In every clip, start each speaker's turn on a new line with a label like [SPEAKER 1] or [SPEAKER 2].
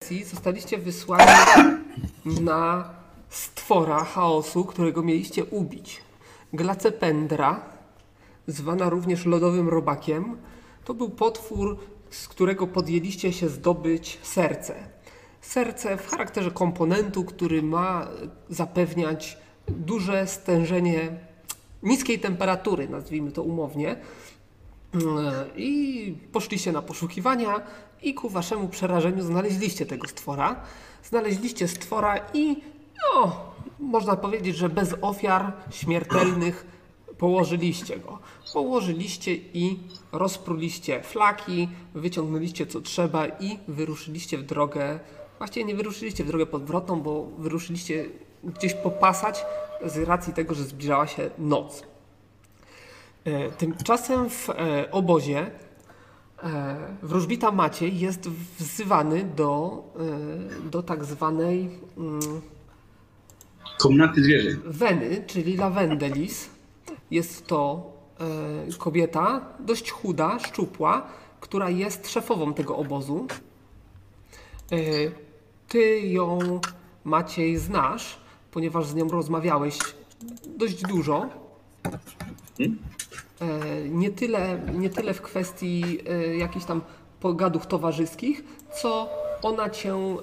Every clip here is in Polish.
[SPEAKER 1] akcji zostaliście wysłani na stwora chaosu, którego mieliście ubić. Glacependra, zwana również lodowym robakiem, to był potwór, z którego podjęliście się zdobyć serce. Serce w charakterze komponentu, który ma zapewniać duże stężenie niskiej temperatury, nazwijmy to umownie, Mm, i poszliście na poszukiwania i ku waszemu przerażeniu znaleźliście tego stwora. Znaleźliście stwora i no, można powiedzieć, że bez ofiar śmiertelnych położyliście go. Położyliście i rozpruliście flaki, wyciągnęliście co trzeba i wyruszyliście w drogę. Właściwie nie wyruszyliście w drogę podwrotną, bo wyruszyliście gdzieś popasać z racji tego, że zbliżała się noc. E, Tymczasem w e, obozie e, wróżbita Maciej jest wzywany do, e, do tak zwanej mm,
[SPEAKER 2] Komnaty zwierzeń.
[SPEAKER 1] Weny, czyli Lavendelis. Jest to e, kobieta dość chuda, szczupła, która jest szefową tego obozu. E, ty ją, Maciej, znasz, ponieważ z nią rozmawiałeś dość dużo. E, nie, tyle, nie tyle w kwestii e, jakichś tam pogadów towarzyskich, co ona cię e,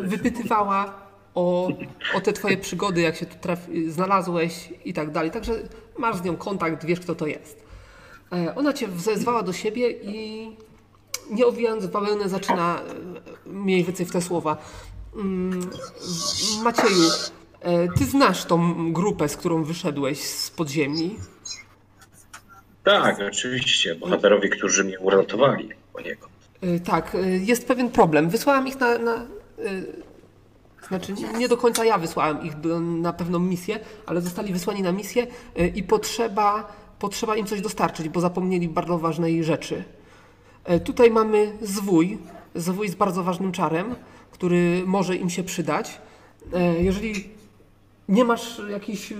[SPEAKER 1] wypytywała o, o te twoje przygody, jak się tu traf- znalazłeś i tak dalej. Także masz z nią kontakt, wiesz kto to jest. E, ona cię wezwała do siebie i nie owijając w bawełnę zaczyna e, mniej więcej w te słowa. Mm, Macieju, e, ty znasz tą grupę, z którą wyszedłeś z podziemi?
[SPEAKER 3] Tak, oczywiście. Bohaterowie, którzy mnie uratowali poniekąd.
[SPEAKER 1] Y, Tak, y, jest pewien problem. Wysłałam ich na. na y, znaczy, nie- nie do końca ja wysłałam ich do, na pewną misję, ale zostali wysłani na misję y, i potrzeba, potrzeba im coś dostarczyć, bo zapomnieli bardzo ważnej rzeczy. Y, Tutaj mamy zwój, zwój z bardzo ważnym czarem, który może im się przydać. Y, Jeżeli nie masz jakichś y,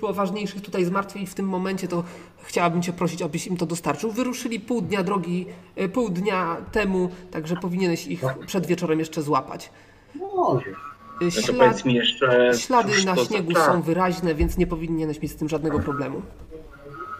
[SPEAKER 1] poważniejszych tutaj zmartwień w tym momencie, to chciałabym Cię prosić, abyś im to dostarczył. Wyruszyli pół dnia drogi, y, pół dnia temu, także powinieneś ich przed wieczorem jeszcze złapać.
[SPEAKER 2] Może.
[SPEAKER 1] Y,
[SPEAKER 3] Znaczy,
[SPEAKER 1] ślad-
[SPEAKER 3] powiedz mi jeszcze.
[SPEAKER 1] ślady
[SPEAKER 3] cóż
[SPEAKER 1] na
[SPEAKER 3] to za
[SPEAKER 1] śniegu
[SPEAKER 3] czar?
[SPEAKER 1] są wyraźne, więc nie powinieneś mieć z tym żadnego problemu.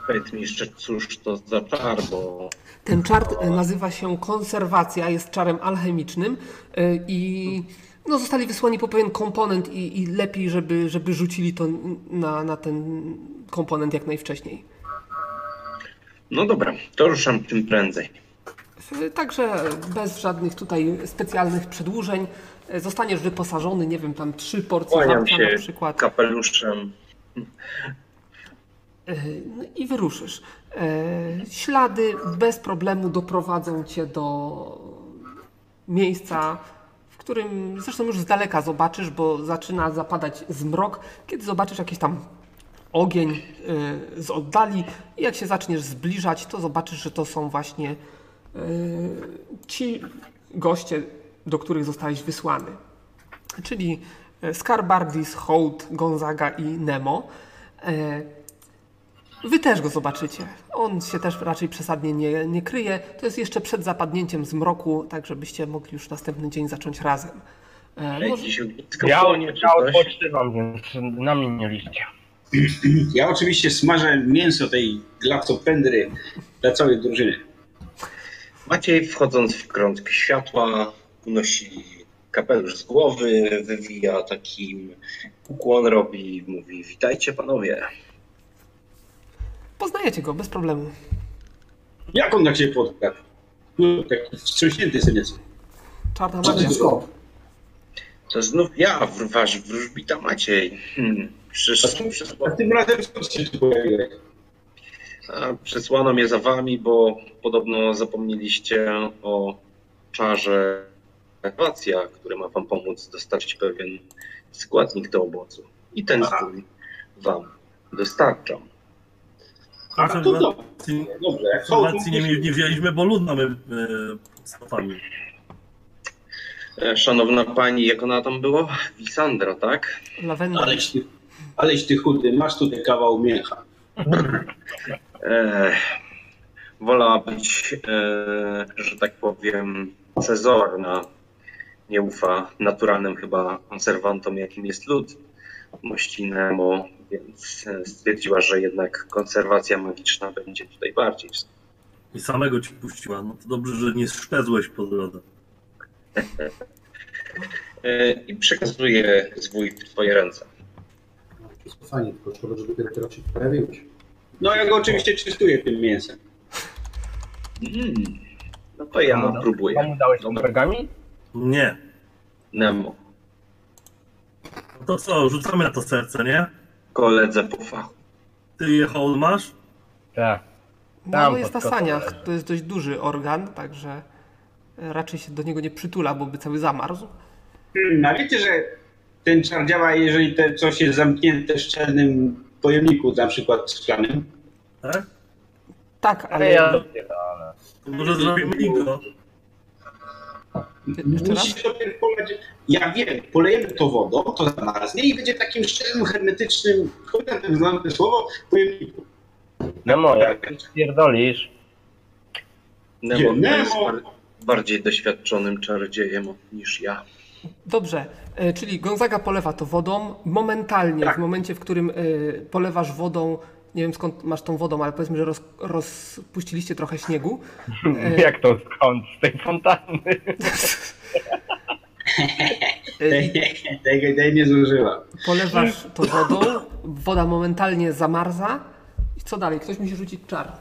[SPEAKER 3] Powiedz mi jeszcze, cóż to za czar, bo
[SPEAKER 1] Ten czar e, nazywa się konserwacja, jest czarem alchemicznym e, i no, zostali wysłani po pewien komponent i, i lepiej, żeby, żeby rzucili to na, na ten komponent jak najwcześniej.
[SPEAKER 3] No dobra, to ruszam tym prędzej.
[SPEAKER 1] E, Także bez żadnych tutaj specjalnych przedłużeń e, zostaniesz wyposażony, nie wiem, tam trzy porcje
[SPEAKER 3] Kłaniam
[SPEAKER 1] warcia
[SPEAKER 3] się
[SPEAKER 1] na przykład.
[SPEAKER 3] kapeluszem.
[SPEAKER 1] No i wyruszysz. E, Ślady bez problemu doprowadzą cię do miejsca, w którym zresztą już z daleka zobaczysz, bo zaczyna zapadać zmrok, kiedy zobaczysz jakiś tam ogień e, z oddali i jak się zaczniesz zbliżać, to zobaczysz, że to są właśnie e, ci goście, do których zostałeś wysłany czyli e, Scarbardis, Hołd, Gonzaga i Nemo. E, Wy też go zobaczycie. On się też raczej przesadnie nie, nie kryje. To jest jeszcze przed zapadnięciem zmroku, tak żebyście mogli już następny dzień zacząć razem. E, może-
[SPEAKER 3] Jakieś ognisko
[SPEAKER 4] Ja,
[SPEAKER 3] płonie czy
[SPEAKER 4] ja
[SPEAKER 3] coś?
[SPEAKER 4] odpoczywam, więc na mnie nie liczcie.
[SPEAKER 2] Ja oczywiście smażę mięso tej glacopendry dla całej drużyny.
[SPEAKER 3] Maciej wchodząc w krąg światła unosi kapelusz z głowy, wywija takim ukłon robi i mówi witajcie panowie.
[SPEAKER 1] Poznajecie go bez problemu.
[SPEAKER 2] Jak on na ciebie podkradł? No, taki wstrząśnięty syniec.
[SPEAKER 1] Czarna
[SPEAKER 2] Co ty
[SPEAKER 1] magia.
[SPEAKER 2] tu robisz?
[SPEAKER 3] To znów ja, wr- wasz wróżbita Maciej. Hmm. Przysz,
[SPEAKER 2] A
[SPEAKER 3] przysła,
[SPEAKER 2] tym razem skąd się tu pojawiłeś?
[SPEAKER 3] a, przysłano mnie za wami, bo podobno zapomnieliście o czarze akwacja, który ma wam pomóc dostarczyć pewien składnik do obozu. I ten
[SPEAKER 2] Aha.
[SPEAKER 3] zwój wam dostarczam.
[SPEAKER 2] A to dobrze.
[SPEAKER 5] Konserwacji,
[SPEAKER 2] Dobrze, jak
[SPEAKER 5] konserwacji nie, mieli- nie wzięliśmy, bo lud mamy e, z stopami.
[SPEAKER 3] E, Szanowna pani, jak ona tam było? Wisandra, tak?
[SPEAKER 1] Lawenda.
[SPEAKER 2] Aleś ty, aleś ty chudy, masz tutaj kawał mięcha.
[SPEAKER 3] E, wolała być, e, że tak powiem, cezorna nie ufa naturalnym chyba konserwantom, jakim jest lód mościnemu, więc e, stwierdziła, że jednak konserwacja magiczna będzie tutaj bardziej
[SPEAKER 5] I samego ci puściła. No to dobrze, że nie szczezłeś po drodze.
[SPEAKER 3] E, i przekazuje zwój w twoje ręce.
[SPEAKER 6] Fajnie, tylko szkoda, że dopiero teraz się pojawiłeś.
[SPEAKER 2] No ja go oczywiście czystuję tym mięsem.
[SPEAKER 3] Mm. No to ja
[SPEAKER 4] Dobra.
[SPEAKER 3] próbuję.
[SPEAKER 4] Komu dałeś
[SPEAKER 3] Dobra.
[SPEAKER 4] ten pergamin?
[SPEAKER 5] Nie.
[SPEAKER 3] Nemo,
[SPEAKER 5] No to co, rzucamy na to serce, nie?
[SPEAKER 3] koledze po fachu.
[SPEAKER 5] Ty je hołd masz?
[SPEAKER 4] Tak.
[SPEAKER 1] No
[SPEAKER 4] Tam
[SPEAKER 1] jest na
[SPEAKER 4] pod
[SPEAKER 1] saniach,
[SPEAKER 4] kotem.
[SPEAKER 1] to jest dość duży organ, także e, raczej się do niego nie przytula, bo by cały zamarzł.
[SPEAKER 2] Hmm, A wiecie, że ten czar działa, jeżeli te coś jest zamknięte w szczelnym pojemniku, na przykład szklanym.
[SPEAKER 5] Tak?
[SPEAKER 1] Tak, ale
[SPEAKER 4] ja...
[SPEAKER 5] To może zrobimy Igo.
[SPEAKER 1] e, jeszcze raz?
[SPEAKER 2] Musisz dopiero polać. Ja wiem, polejemy to wodą, to zamarznie i będzie w takim szczelnym, hermetycznym, kurde, ten znane słowo, pojemniku.
[SPEAKER 4] Nemo, jak No ty spierdolisz,
[SPEAKER 3] Nemo
[SPEAKER 2] Nie,
[SPEAKER 3] jest
[SPEAKER 2] Nemo!
[SPEAKER 3] bar- bardziej doświadczonym czarodziejem niż ja.
[SPEAKER 1] Dobrze, e, czyli Gonzaga polewa to wodą. Momentalnie, w momencie, w którym e, polewasz wodą, nie wiem skąd masz tą wodą, ale powiedzmy, że roz, rozpuściliście trochę śniegu. E,
[SPEAKER 4] jak to skąd? Z tej fontanny.
[SPEAKER 1] e, i
[SPEAKER 2] Tego idei nie zużyła.
[SPEAKER 1] polewasz to wodą, woda momentalnie zamarza. I co dalej? Ktoś musi rzucić czar.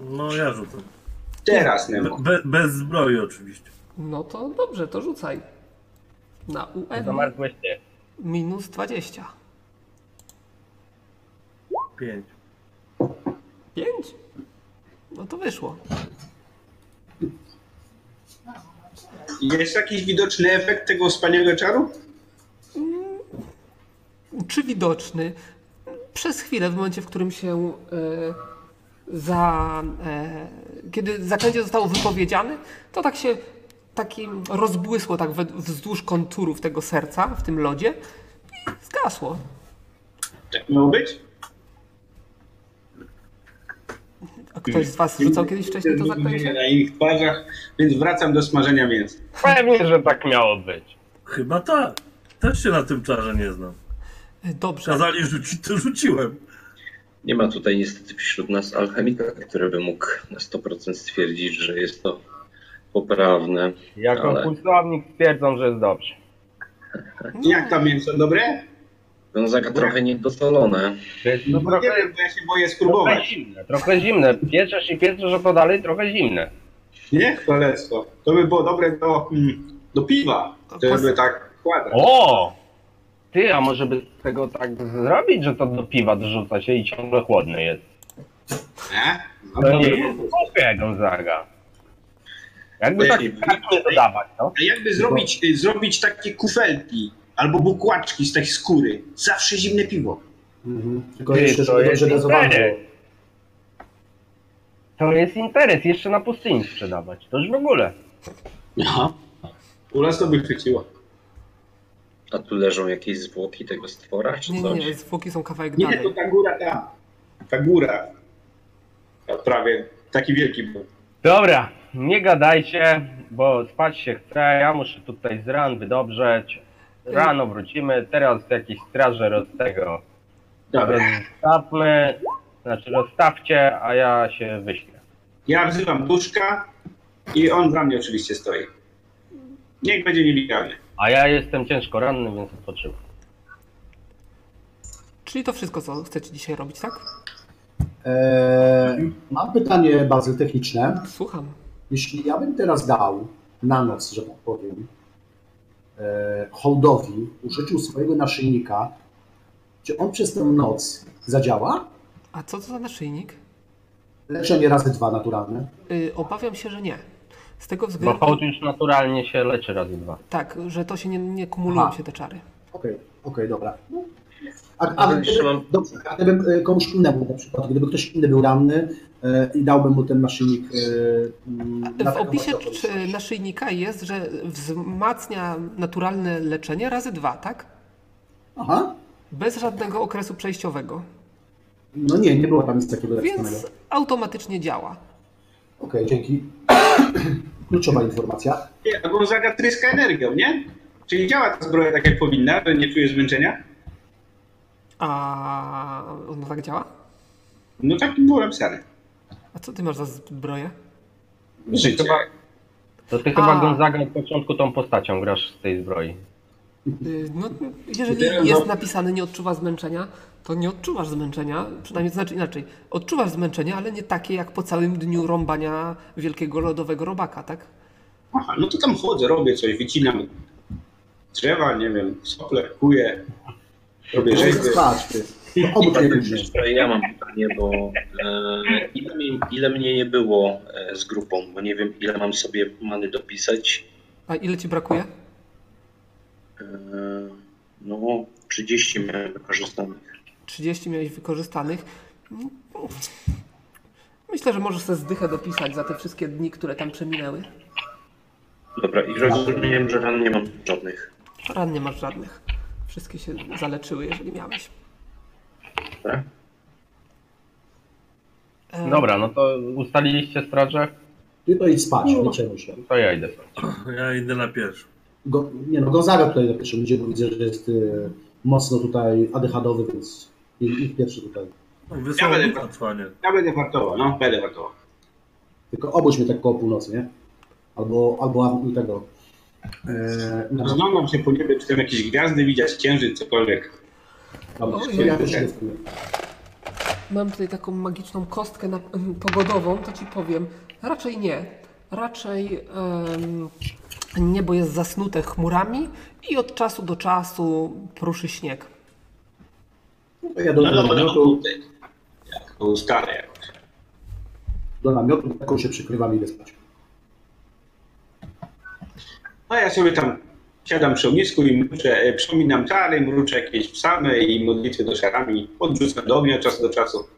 [SPEAKER 5] No ja rzucę.
[SPEAKER 2] Teraz,
[SPEAKER 5] Be,
[SPEAKER 2] Nemo.
[SPEAKER 5] be, bez zbroi oczywiście.
[SPEAKER 1] No to dobrze, to rzucaj. Na UN
[SPEAKER 4] Zamarzłeś ty.
[SPEAKER 1] minus 20.
[SPEAKER 5] Pięć.
[SPEAKER 1] 5? No to wyszło.
[SPEAKER 2] Jest jakiś widoczny efekt tego wspaniałego czaru?
[SPEAKER 1] czy widoczny przez chwilę, w momencie, w którym się e, za. E, kiedy zaklęcie zostało wypowiedziane, to tak się takim rozbłysło tak we, wzdłuż konturów tego serca w tym lodzie i zgasło.
[SPEAKER 2] Tak miało być?
[SPEAKER 1] A ktoś z Was rzucał kiedyś wcześniej to zaklęcie?
[SPEAKER 2] Na ich twarzach, więc wracam do smażenia mięsa.
[SPEAKER 4] Pewnie, że tak miało być.
[SPEAKER 5] Chyba tak. Też się na tym czarze nie znam.
[SPEAKER 1] Dobrze.
[SPEAKER 5] Kazali rzucić, to rzuciłem.
[SPEAKER 3] Nie ma tutaj niestety wśród nas alchemika, który by mógł na 100% stwierdzić, że jest to poprawne.
[SPEAKER 4] Jako
[SPEAKER 3] Ale-
[SPEAKER 4] husownik twierdzą, że jest dobrze.
[SPEAKER 2] Jak tam mięso, dobre?
[SPEAKER 3] Gonzaga trochę niedosolone.
[SPEAKER 4] To jest
[SPEAKER 2] No
[SPEAKER 4] to
[SPEAKER 2] nie
[SPEAKER 4] trochę,
[SPEAKER 2] wiem, bo ja się boję
[SPEAKER 4] trochę
[SPEAKER 2] spróbować.
[SPEAKER 4] zimne. Trochę zimne. Pieczesz i pieczesz, że to dalej trochę zimne.
[SPEAKER 2] Nie? Królestwo. To by było dobre do, mm, do piwa, żeby tak kładać.
[SPEAKER 4] O! Ty, a może by tego tak zrobić, że to do piwa dorzuca się i ciągle chłodny jest.
[SPEAKER 2] Nie? No,
[SPEAKER 4] To nie
[SPEAKER 2] dobre.
[SPEAKER 4] jest głupie, Gonzaga. Jakby tak
[SPEAKER 3] Ej,
[SPEAKER 4] kartnie dodawać, no.
[SPEAKER 2] A jakby zrobić, y, zrobić takie kufelki albo bukłaczki z tej skóry? Zawsze zimne piwo.
[SPEAKER 6] Mhm. Tylko
[SPEAKER 4] Ty,
[SPEAKER 6] jeszcze,
[SPEAKER 4] to
[SPEAKER 6] żeby dobrze
[SPEAKER 4] jest
[SPEAKER 6] gazowane
[SPEAKER 4] impery.
[SPEAKER 6] było.
[SPEAKER 4] To jest interes, jeszcze na pustyni sprzedawać. To już w ogóle.
[SPEAKER 2] Aha. U nas to by chwyciło.
[SPEAKER 3] A tu leżą jakieś zwłoki tego stwora, czy
[SPEAKER 1] Nie,
[SPEAKER 3] coś?
[SPEAKER 1] nie, zwłoki są kawałek
[SPEAKER 2] Nie, to
[SPEAKER 1] dalej.
[SPEAKER 2] ta góra tam. Ta góra. Ta prawie taki wielki był.
[SPEAKER 4] Dobra, nie gadajcie, bo spać się chce. Ja muszę tutaj z ran wydobrzeć. Rano wrócimy, teraz jakieś straże roz tego.
[SPEAKER 2] Dobra.
[SPEAKER 4] Rozstawmy, znaczy rozstawcie, a ja się wyśpię.
[SPEAKER 2] Ja wzywam duszka i on za mnie oczywiście stoi. Niech będzie nielegalny.
[SPEAKER 4] A ja jestem ciężko ranny, więc odpoczywam.
[SPEAKER 1] Czyli to wszystko, co chcecie dzisiaj robić, tak?
[SPEAKER 6] Eee, mam pytanie bardzo techniczne.
[SPEAKER 1] Słucham.
[SPEAKER 6] Jeśli ja bym teraz dał na noc, że tak powiem, e, hołdowi, użyczył swojego naszyjnika, czy on przez tę noc zadziała?
[SPEAKER 1] A co to za naszyjnik?
[SPEAKER 6] Leczenie razy dwa naturalne.
[SPEAKER 1] Y, obawiam się, że nie. Z tego
[SPEAKER 4] Bo
[SPEAKER 1] względu,
[SPEAKER 4] hołd już naturalnie się leczy razy dwa.
[SPEAKER 1] tak, że to się nie, nie kumulują
[SPEAKER 6] Aha.
[SPEAKER 1] się te czary.
[SPEAKER 6] Okej, okej, dobra. No. A, a,
[SPEAKER 3] Ale jeszcze
[SPEAKER 6] gdyby,
[SPEAKER 3] mam-
[SPEAKER 6] dobrze, a gdybym e, komuś innemu na przykład, gdyby ktoś inny był ranny e, i dałbym mu ten naszyjnik. e, mm, na
[SPEAKER 1] W
[SPEAKER 6] taką
[SPEAKER 1] opisie
[SPEAKER 6] właśnie
[SPEAKER 1] czy-
[SPEAKER 6] okoliczność.
[SPEAKER 1] naszyjnika jest, że wzmacnia naturalne leczenie razy dwa, tak?
[SPEAKER 6] Aha.
[SPEAKER 1] Bez żadnego okresu przejściowego,
[SPEAKER 6] No nie, nie było tam nic takiego napisanego.
[SPEAKER 1] więc automatycznie działa.
[SPEAKER 6] Okej, dzięki. Kluczowa informacja.
[SPEAKER 2] Nie, albo zagatryska energią, nie? Czyli działa ta zbroja tak jak powinna, że nie czujesz zmęczenia?
[SPEAKER 1] A ona tak działa?
[SPEAKER 2] No tak było napisane.
[SPEAKER 1] A co ty masz za zbroję?
[SPEAKER 2] Życie.
[SPEAKER 4] To ty chyba
[SPEAKER 1] A.
[SPEAKER 4] Gonzaga od początku tą postacią grasz z tej zbroi.
[SPEAKER 1] Y, No, jeżeli
[SPEAKER 2] Teraz
[SPEAKER 1] jest
[SPEAKER 2] mam-
[SPEAKER 1] napisane nie odczuwa zmęczenia, to nie odczuwasz zmęczenia, przynajmniej to znaczy inaczej. Odczuwasz zmęczenie, ale nie takie jak po całym dniu rąbania wielkiego lodowego robaka, tak?
[SPEAKER 2] Aha, no to tam chodzę, robię coś, wycinam drzewa, nie wiem, sople, kuję, robię
[SPEAKER 6] Proszę
[SPEAKER 2] rzeźby.
[SPEAKER 6] spać, ty. No, To obok nie będzie.
[SPEAKER 3] Ja mam pytanie, bo e, ile, mi- ile mnie nie było e, z grupą, bo nie wiem ile mam sobie many dopisać.
[SPEAKER 1] A ile ci brakuje?
[SPEAKER 3] E, no 30 miałem wykorzystanych.
[SPEAKER 1] 30 miałeś wykorzystanych. Myślę, że możesz sobie zdychę dopisać za te wszystkie dni, które tam przeminęły.
[SPEAKER 3] Dobra, i rozumiem, że ran nie mam żadnych.
[SPEAKER 1] Ran nie masz żadnych. Wszystkie się zaleczyły, jeżeli miałeś.
[SPEAKER 3] Tak?
[SPEAKER 1] E,
[SPEAKER 4] Dobra, no to ustaliliście straże?
[SPEAKER 6] Ty to idź spać,
[SPEAKER 1] No.
[SPEAKER 6] nie przejmuj się.
[SPEAKER 4] To ja idę. spać.
[SPEAKER 5] Ja idę na pierwszy.
[SPEAKER 6] Go, nie no, Gonzaga tutaj na pierwszym idzie, bo widzę, że jest y, mocno tutaj adechadowy, więc i- ich pierwszy tutaj.
[SPEAKER 5] Wysłał
[SPEAKER 2] Ja
[SPEAKER 5] ja
[SPEAKER 2] będę- Ja będę wartował, no, będę wartował.
[SPEAKER 6] Tylko obudź mnie tak koło północy, nie? Albo, albo tego. E, no,
[SPEAKER 2] Rozglądam się po niebie, czy tam jakieś gwiazdy widać, księżyc, cokolwiek. no,
[SPEAKER 6] dobra,
[SPEAKER 1] Oj,
[SPEAKER 6] to ja
[SPEAKER 1] oj,
[SPEAKER 6] też
[SPEAKER 2] oj.
[SPEAKER 6] idę w tył.
[SPEAKER 1] Mam tutaj taką magiczną kostkę na, pogodową, to ci powiem. Raczej nie. Raczej em, niebo jest zasnute chmurami i od czasu do czasu pruszy śnieg.
[SPEAKER 6] To ja do,
[SPEAKER 2] No
[SPEAKER 6] do
[SPEAKER 2] dobra, no to
[SPEAKER 6] namiotu,
[SPEAKER 2] jak to ustalę jakoś.
[SPEAKER 6] do namiotu, taką się przykrywam i idę spać.
[SPEAKER 2] No ja sobie tam siadam przy ognisku i mruczę, e, przypominam czary, mruczę jakieś psamy i modlitwy do szarami. Odrzucam do ognia od czasu do czasu.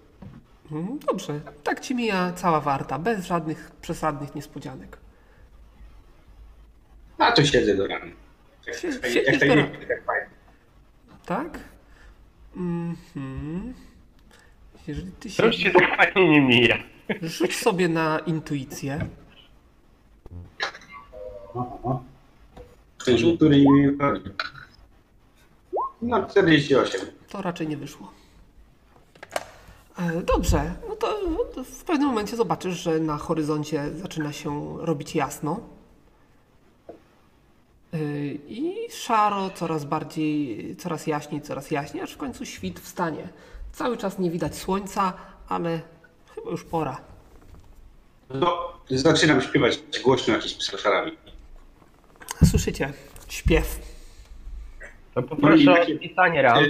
[SPEAKER 1] Mm, Dobrze, tak ci mija cała warta, bez żadnych przesadnych niespodzianek.
[SPEAKER 2] A to siedzę do rana. Jak-
[SPEAKER 1] Sie-
[SPEAKER 2] jak-
[SPEAKER 1] siedzisz
[SPEAKER 2] Jak
[SPEAKER 1] do
[SPEAKER 2] tak tak fajnie.
[SPEAKER 1] Tak? Mhm. Jeżeli ty
[SPEAKER 4] To
[SPEAKER 1] się...
[SPEAKER 4] już się tak fajnie nie mija.
[SPEAKER 1] Rzuć sobie na intuicję.
[SPEAKER 6] Aha, aha.
[SPEAKER 2] Krzyżu, który mi No 48.
[SPEAKER 1] To raczej nie wyszło. E, Dobrze, no to to w pewnym momencie zobaczysz, że na horyzoncie zaczyna się robić jasno. E, I szaro coraz bardziej, coraz jaśniej, coraz jaśniej, aż w końcu świt wstanie. Cały czas nie widać słońca, ale chyba już pora.
[SPEAKER 2] No, zaczynam śpiewać głośno jakieś psy szarami.
[SPEAKER 1] Słyszycie? Śpiew.
[SPEAKER 4] To poproszę
[SPEAKER 2] takie-
[SPEAKER 4] o pisanie ran.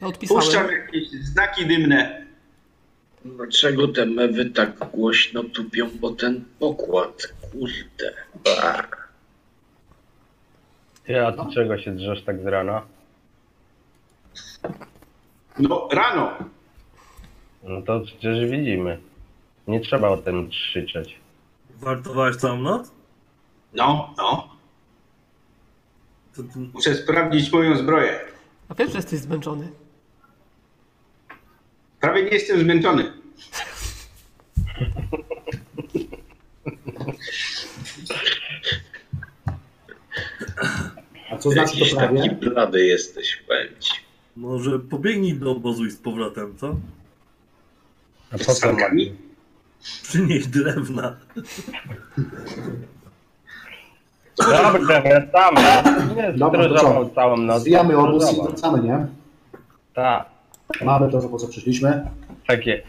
[SPEAKER 1] Ja odpisałem.
[SPEAKER 2] Y, Puszczam jakieś znaki dymne.
[SPEAKER 3] Dlaczego te mewy tak głośno tupią o ten pokład? Kurde.
[SPEAKER 4] Ty, a ty czego się drzesz tak z rana?
[SPEAKER 2] No, rano.
[SPEAKER 4] No to przecież widzimy. Nie trzeba o tym krzyczeć.
[SPEAKER 5] Wartowałeś całą noc?
[SPEAKER 2] No, no.
[SPEAKER 5] To, to,
[SPEAKER 2] Muszę sprawdzić moją zbroję.
[SPEAKER 1] A wiesz, że jesteś zmęczony.
[SPEAKER 2] Prawie nie jestem zmęczony.
[SPEAKER 6] A co znaczy to
[SPEAKER 3] taki
[SPEAKER 6] prawie?
[SPEAKER 3] blady jesteś, powiem ci.
[SPEAKER 5] może pobiegnij do obozu i z powrotem, co?
[SPEAKER 4] A po co ma?
[SPEAKER 2] Sankami?
[SPEAKER 5] Przynieś drewna.
[SPEAKER 4] Dobra, wracamy. Nie,
[SPEAKER 6] Dobra, to
[SPEAKER 4] strażował
[SPEAKER 6] co?
[SPEAKER 4] całą noc.
[SPEAKER 6] Zwijamy obóz i
[SPEAKER 4] Strażował.
[SPEAKER 6] wracamy, nie?
[SPEAKER 4] Tak,
[SPEAKER 6] Mamy to, po co przyszliśmy.
[SPEAKER 4] tak jest.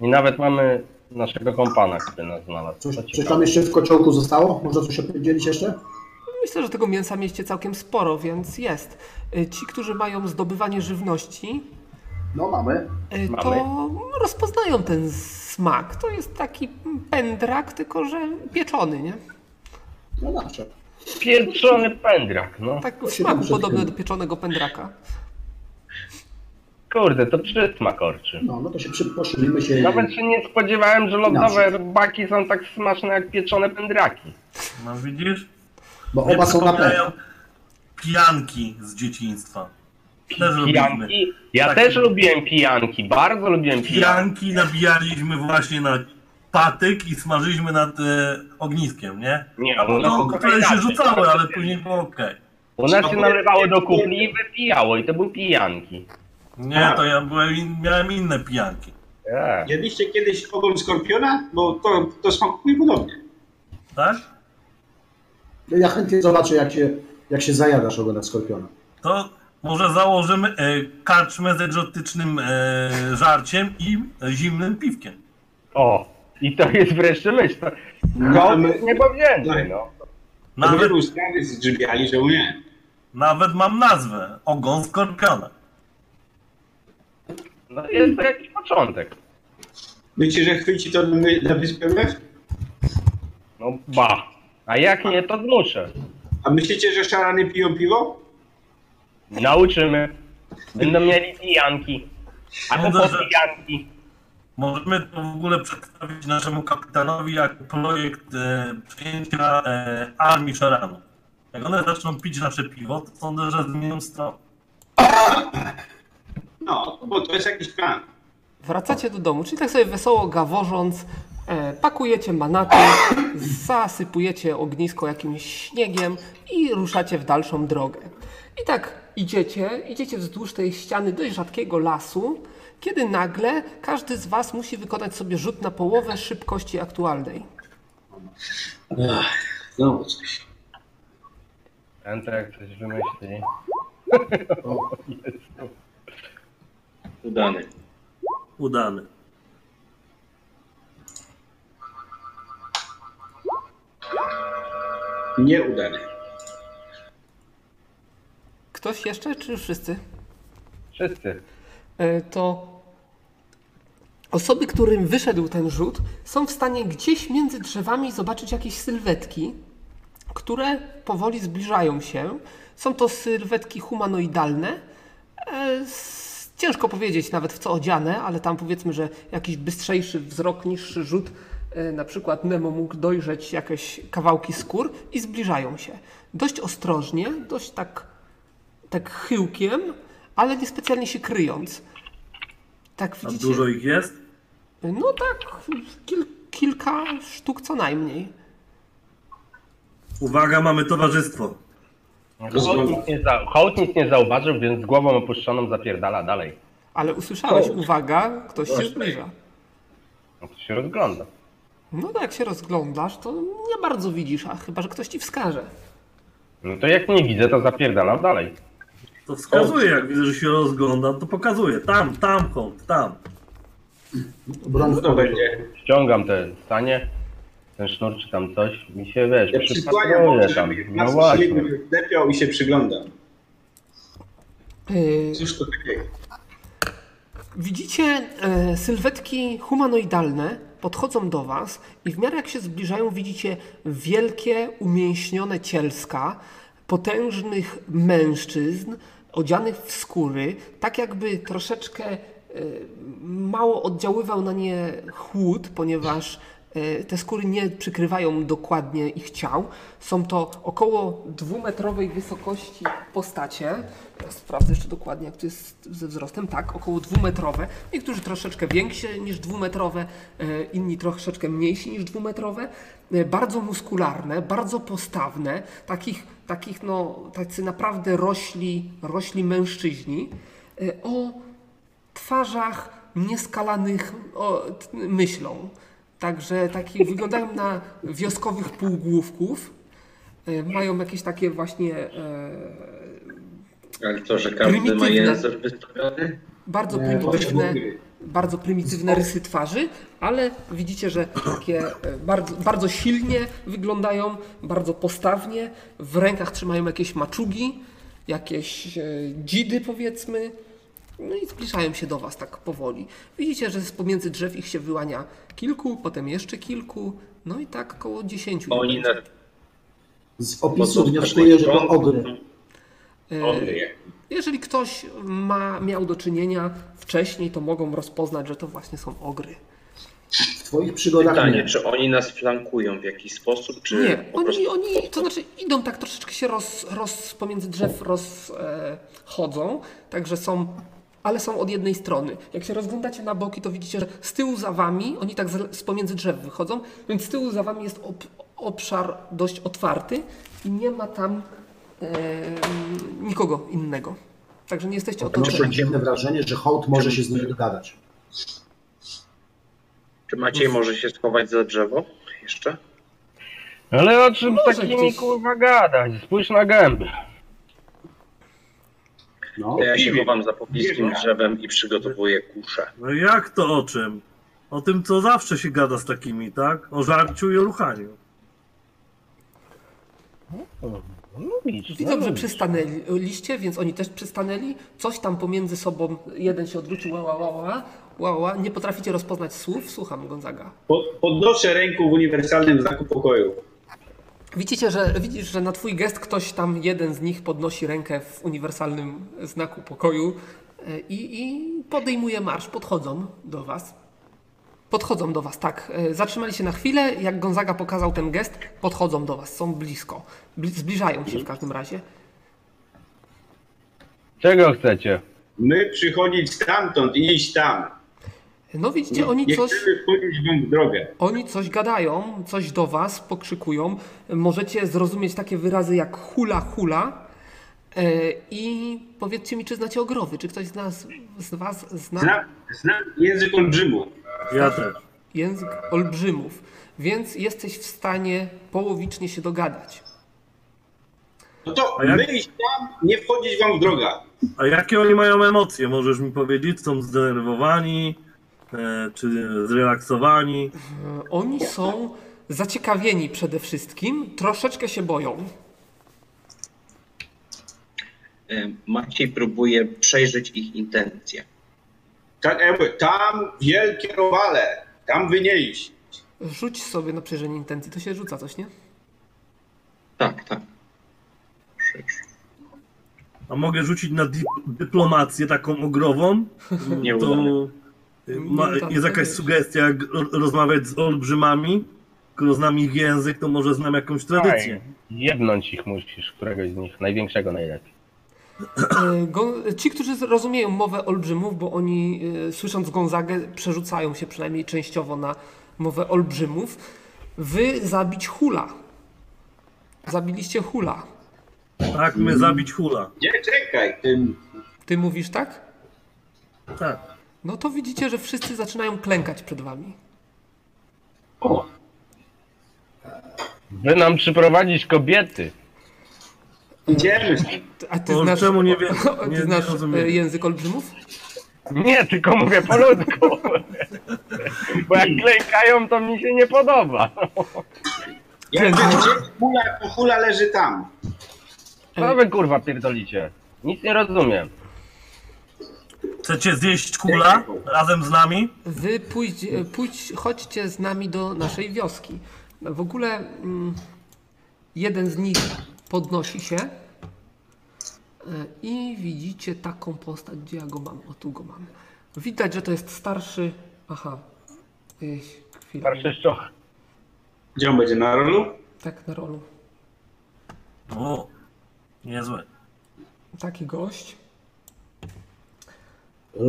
[SPEAKER 4] I nawet mamy naszego kompana, który nas znalazł.
[SPEAKER 6] Coś,
[SPEAKER 4] To
[SPEAKER 6] coś
[SPEAKER 4] ciekawe.
[SPEAKER 6] tam jeszcze w kociołku zostało? Można coś opowiedzieć jeszcze?
[SPEAKER 1] Myślę, że tego mięsa mieście całkiem sporo, więc jest. Y, Ci, którzy mają zdobywanie żywności,
[SPEAKER 6] No mamy.
[SPEAKER 1] y, to rozpoznają ten smak. To jest taki pędrak, tylko że pieczony, nie?
[SPEAKER 6] No nasze.
[SPEAKER 4] Pieczony pędrak, no.
[SPEAKER 1] Tak
[SPEAKER 6] To
[SPEAKER 1] w
[SPEAKER 6] się
[SPEAKER 1] smaku
[SPEAKER 6] dobrze
[SPEAKER 1] podobny
[SPEAKER 6] tyle.
[SPEAKER 1] do pieczonego pędraka.
[SPEAKER 4] Kurde, to przysmak orczy.
[SPEAKER 6] No, no to się przy- posilimy się. i-
[SPEAKER 4] Nawet się nie spodziewałem, że lodowe rybaki są tak smaczne jak pieczone pędraki.
[SPEAKER 5] No widzisz?
[SPEAKER 6] Bo oba są na pewno.
[SPEAKER 5] Przypominają Pijanki z dzieciństwa. Też robiliśmy.
[SPEAKER 4] Pijanki. Ja
[SPEAKER 5] Tak.
[SPEAKER 4] też lubiłem pijanki, bardzo lubiłem pijanki.
[SPEAKER 5] Pijanki nabijaliśmy właśnie na patyk i smażyliśmy nad e, ogniskiem, nie?
[SPEAKER 4] Nie, u nas
[SPEAKER 5] No,
[SPEAKER 4] to
[SPEAKER 5] które się
[SPEAKER 4] inaczej.
[SPEAKER 5] rzucały, ale później było okej.
[SPEAKER 4] U nas się narywało do kupli i wypijało i to były pijanki.
[SPEAKER 5] Nie, to ja byłem, in, miałem inne pijanki.
[SPEAKER 4] Tak.
[SPEAKER 2] Jedliście kiedyś ogon skorpiona? Bo to, to smakuje podobnie.
[SPEAKER 5] Tak?
[SPEAKER 6] No, Ja chętnie zobaczę, jak się, jak się zajadasz ogonem skorpiona.
[SPEAKER 5] To może założymy e, karczmę z egzotycznym e, żarciem i zimnym piwkiem.
[SPEAKER 4] O, i to jest wreszcie myśl. To,
[SPEAKER 2] No,
[SPEAKER 4] to
[SPEAKER 2] my-
[SPEAKER 4] nie powięcej,
[SPEAKER 2] tak.
[SPEAKER 4] no.
[SPEAKER 2] Nawet
[SPEAKER 5] Nawet,
[SPEAKER 2] wielu sprawy zdrzybiali, że nie.
[SPEAKER 5] nawet mam nazwę. Ogon skorpiona.
[SPEAKER 4] no. Jest to jakiś początek.
[SPEAKER 2] Myślicie, że chwyci to na, na wyspę Mew?
[SPEAKER 4] No ba. A jak nie, to zmuszę.
[SPEAKER 2] A myślicie, że szarany piją piwo?
[SPEAKER 4] Nauczymy. Będą mieli pijanki. A to
[SPEAKER 5] Sądzę,
[SPEAKER 4] po
[SPEAKER 5] że-
[SPEAKER 4] pijanki.
[SPEAKER 5] Możemy to w ogóle przedstawić naszemu kapitanowi jako projekt e, przyjęcia e, armii szaranu. Jak one zaczną pić nasze piwo, to sądzę, że zmienią stronę.
[SPEAKER 2] No, bo to jest jakiś plan.
[SPEAKER 1] Wracacie do domu, czyli tak sobie wesoło gaworząc, e, pakujecie manaty, zasypujecie ognisko jakimś śniegiem i ruszacie w dalszą drogę. I tak idziecie, idziecie wzdłuż tej ściany dość rzadkiego lasu, kiedy nagle każdy z Was musi wykonać sobie rzut na połowę szybkości aktualnej.
[SPEAKER 2] Znowu coś.
[SPEAKER 4] Antek coś wymyśli.
[SPEAKER 3] Udany.
[SPEAKER 5] Udany.
[SPEAKER 2] Nieudane.
[SPEAKER 1] Ktoś jeszcze, czy już wszyscy?
[SPEAKER 4] Wszyscy.
[SPEAKER 1] E, to osoby, którym wyszedł ten rzut, są w stanie gdzieś między drzewami zobaczyć jakieś sylwetki, które powoli zbliżają się. Są to sylwetki humanoidalne. E, s- Ciężko powiedzieć nawet w co odziane, ale tam powiedzmy, że jakiś bystrzejszy wzrok, niższy rzut, e, na przykład Nemo mógł dojrzeć jakieś kawałki skór i zbliżają się. Dość ostrożnie, dość tak tak chyłkiem, ale niespecjalnie się kryjąc. Tak
[SPEAKER 5] A
[SPEAKER 1] widzicie?
[SPEAKER 5] dużo ich jest?
[SPEAKER 1] No tak, kil, kilka sztuk co najmniej.
[SPEAKER 5] Uwaga, mamy towarzystwo.
[SPEAKER 4] Hołd nic, nie za... Hołd nic nie zauważył, więc z głową opuszczoną zapierdala dalej.
[SPEAKER 1] Ale usłyszałeś, uwaga, ktoś się zbliża.
[SPEAKER 4] No to się rozgląda.
[SPEAKER 1] No to jak się rozglądasz, to nie bardzo widzisz, a chyba, że ktoś ci wskaże.
[SPEAKER 4] No to jak nie widzę, to zapierdalam dalej.
[SPEAKER 5] To wskazuje, jak widzę, że się rozglądam, to pokazuje. Tam, tam, hołd, tam.
[SPEAKER 6] Broń
[SPEAKER 2] Co
[SPEAKER 6] w
[SPEAKER 2] to będzie?
[SPEAKER 4] Ściągam te stanie, ten sznur czy tam coś, mi się wiesz,
[SPEAKER 2] Ja przykłaniam
[SPEAKER 4] przypatruje
[SPEAKER 2] oczy,
[SPEAKER 4] tam.
[SPEAKER 2] żeby
[SPEAKER 4] No
[SPEAKER 2] nas no
[SPEAKER 4] właśnie.
[SPEAKER 2] lepiał i się przyglądam.
[SPEAKER 1] Yy,
[SPEAKER 2] Cóż to takiego?
[SPEAKER 1] Widzicie e, sylwetki humanoidalne podchodzą do Was i w miarę jak się zbliżają, widzicie wielkie, umięśnione cielska potężnych mężczyzn odzianych w skóry, tak jakby troszeczkę e, mało oddziaływał na nie chłód, ponieważ e, te skóry nie przykrywają dokładnie ich ciał. Są to około dwumetrowej wysokości postacie. Ja sprawdzę jeszcze dokładnie, jak to jest ze wzrostem. Tak, około dwumetrowe. Niektórzy troszeczkę większe niż dwumetrowe, e, inni troszeczkę mniejsi niż dwumetrowe. E, Bardzo muskularne, bardzo postawne. Takich, takich no, tacy naprawdę rośli, rośli mężczyźni. E, O twarzach nieskalanych o, t- myślą. Także taki wyglądają na wioskowych półgłówków. E, Mają jakieś takie właśnie e,
[SPEAKER 3] Ale to, że każdy ma
[SPEAKER 1] Prymitywne.
[SPEAKER 3] język wystawiony?
[SPEAKER 1] bardzo
[SPEAKER 6] Nie,
[SPEAKER 1] prymitywne,
[SPEAKER 2] to są
[SPEAKER 1] bardzo prymitywne rysy twarzy, ale widzicie, że takie e, bardzo, bardzo silnie wyglądają, bardzo postawnie. W rękach trzymają jakieś maczugi, jakieś e, dzidy powiedzmy. No i zbliżają się do Was tak powoli. Widzicie, że z pomiędzy drzew ich się wyłania kilku, potem jeszcze kilku, no i tak około dziesięciu.
[SPEAKER 3] Oni na...
[SPEAKER 6] Z opisu wnioskuję, że to ogry.
[SPEAKER 1] E,
[SPEAKER 2] Ogry.
[SPEAKER 1] Jeżeli ktoś ma, miał do czynienia wcześniej, to mogą rozpoznać, że to właśnie są ogry.
[SPEAKER 6] W twoich przygodach
[SPEAKER 3] Pytanie,
[SPEAKER 6] nie.
[SPEAKER 3] czy oni nas flankują w jakiś sposób, czy
[SPEAKER 1] Nie,
[SPEAKER 3] po prostu
[SPEAKER 1] oni, oni, to znaczy idą tak troszeczkę się roz, roz pomiędzy drzew rozchodzą, e, chodzą, także są ale są od jednej strony. Jak się rozglądacie na boki, to widzicie, że z tyłu za wami, oni tak z, z pomiędzy drzew wychodzą, więc z tyłu za wami jest ob, obszar dość otwarty i nie ma tam e, nikogo innego. Także nie jesteście
[SPEAKER 6] Odnoszę
[SPEAKER 1] otoczeni.
[SPEAKER 6] dziwne wrażenie, że hołd może się z nimi dogadać.
[SPEAKER 3] Czy Maciej może się schować za drzewo jeszcze?
[SPEAKER 4] Ale o czym
[SPEAKER 1] Może
[SPEAKER 4] z takimi
[SPEAKER 1] gdzieś-
[SPEAKER 4] kurwa gadać? Spójrz na gęby.
[SPEAKER 6] No,
[SPEAKER 3] To ja się
[SPEAKER 2] piwie.
[SPEAKER 3] chowam za pobliskim
[SPEAKER 2] Piwie.
[SPEAKER 3] drzewem i przygotowuję kuszę.
[SPEAKER 5] No jak to o czym? O tym, co zawsze się gada z takimi, tak? O żarciu i o ruchaniu.
[SPEAKER 1] Widzą, że przystanęliście, więc oni też przystanęli. Coś tam pomiędzy sobą, jeden się odwrócił, ła, ła, ła, ła, ła, ła. Nie potraficie rozpoznać słów? Słucham, Gonzaga.
[SPEAKER 2] Po- Podnoszę rękę w uniwersalnym znaku pokoju.
[SPEAKER 1] Widzicie, że, widzisz, że na twój gest ktoś tam, jeden z nich podnosi rękę w uniwersalnym znaku pokoju e, i, i podejmuje marsz, podchodzą do was. Podchodzą do was, tak. E, Zatrzymali się na chwilę, jak Gonzaga pokazał ten gest, podchodzą do was, są blisko. Bli- Zbliżają się w każdym razie.
[SPEAKER 4] Czego chcecie?
[SPEAKER 2] My przychodzić stamtąd i iść tam.
[SPEAKER 1] No widzicie, oni
[SPEAKER 2] Nie
[SPEAKER 1] coś...
[SPEAKER 2] chcemy wchodzić wam w drogę.
[SPEAKER 1] Oni coś gadają, coś do was pokrzykują. Możecie zrozumieć takie wyrazy jak hula hula. E, I powiedzcie mi, czy znacie ogrowy? Czy ktoś z, nas, z was zna
[SPEAKER 2] Znam, znam język olbrzymu.
[SPEAKER 5] Ja też.
[SPEAKER 1] język olbrzymów? Więc jesteś w stanie połowicznie się dogadać.
[SPEAKER 2] No to
[SPEAKER 5] A jak-
[SPEAKER 2] my iść tam, nie wchodzić wam w drogę.
[SPEAKER 5] A jakie oni mają emocje? Możesz mi powiedzieć, są zdenerwowani, e, czy zrelaksowani?
[SPEAKER 1] E, Oni są zaciekawieni przede wszystkim, troszeczkę się boją.
[SPEAKER 3] E, Maciej próbuje przejrzeć ich intencje.
[SPEAKER 2] Tak, ja mówię, tam wielkie robale, tam wy nie iść.
[SPEAKER 1] Rzuć sobie na przejrzenie intencji, to się rzuca coś, nie?
[SPEAKER 3] Tak, tak. Przecież
[SPEAKER 5] A mogę rzucić na di- dyplomację taką ogrową?
[SPEAKER 3] Nie
[SPEAKER 5] To
[SPEAKER 3] udało.
[SPEAKER 5] e, ma,
[SPEAKER 1] Nie udało,
[SPEAKER 5] jest
[SPEAKER 1] tak
[SPEAKER 5] jakaś
[SPEAKER 1] jest.
[SPEAKER 5] sugestia, jak ro- rozmawiać z olbrzymami? Skoro znam ich język, to może znam jakąś tradycję.
[SPEAKER 4] Aj, Jednąć ich musisz, któregoś z nich, największego najlepiej.
[SPEAKER 1] E, Gon- Ci, którzy rozumieją mowę olbrzymów, bo oni e, słysząc Gonzagę przerzucają się przynajmniej częściowo na mowę olbrzymów, wy zabić hula. Zabiliście hula.
[SPEAKER 5] Tak,
[SPEAKER 1] Mhm.
[SPEAKER 5] my zabić hula.
[SPEAKER 2] Nie, czekaj, ty,
[SPEAKER 1] Ty mówisz tak?
[SPEAKER 5] Tak.
[SPEAKER 1] No to widzicie, że wszyscy zaczynają klękać przed wami.
[SPEAKER 4] Wy nam przyprowadzić kobiety.
[SPEAKER 2] idziemy. stąd.
[SPEAKER 1] A ty
[SPEAKER 5] O,
[SPEAKER 1] znasz,
[SPEAKER 5] czemu nie wiem?
[SPEAKER 1] ty
[SPEAKER 5] Nie- nie
[SPEAKER 1] znasz
[SPEAKER 5] rozumiem.
[SPEAKER 1] e, język olbrzymów?
[SPEAKER 4] Nie, tylko mówię po ludzku. Bo jak klękają, to mi się nie podoba.
[SPEAKER 2] Jak ty gdzie hula, to hula leży tam.
[SPEAKER 4] Co wy kurwa pierdolicie? Nic nie rozumiem.
[SPEAKER 5] Chcecie zjeść hula razem z nami?
[SPEAKER 1] Wy pójdź, pójdź, chodźcie z nami do naszej wioski. W ogóle mm, jeden z nich podnosi się e, i widzicie taką postać, gdzie ja go mam, o tu go mam. Widać, że to jest starszy, aha, e, Ej, chwilę,
[SPEAKER 4] Starszy szczoch.
[SPEAKER 2] Gdzie on będzie na rolu?
[SPEAKER 1] tak na rolu,
[SPEAKER 5] O, niezłe.
[SPEAKER 1] taki gość.
[SPEAKER 6] e,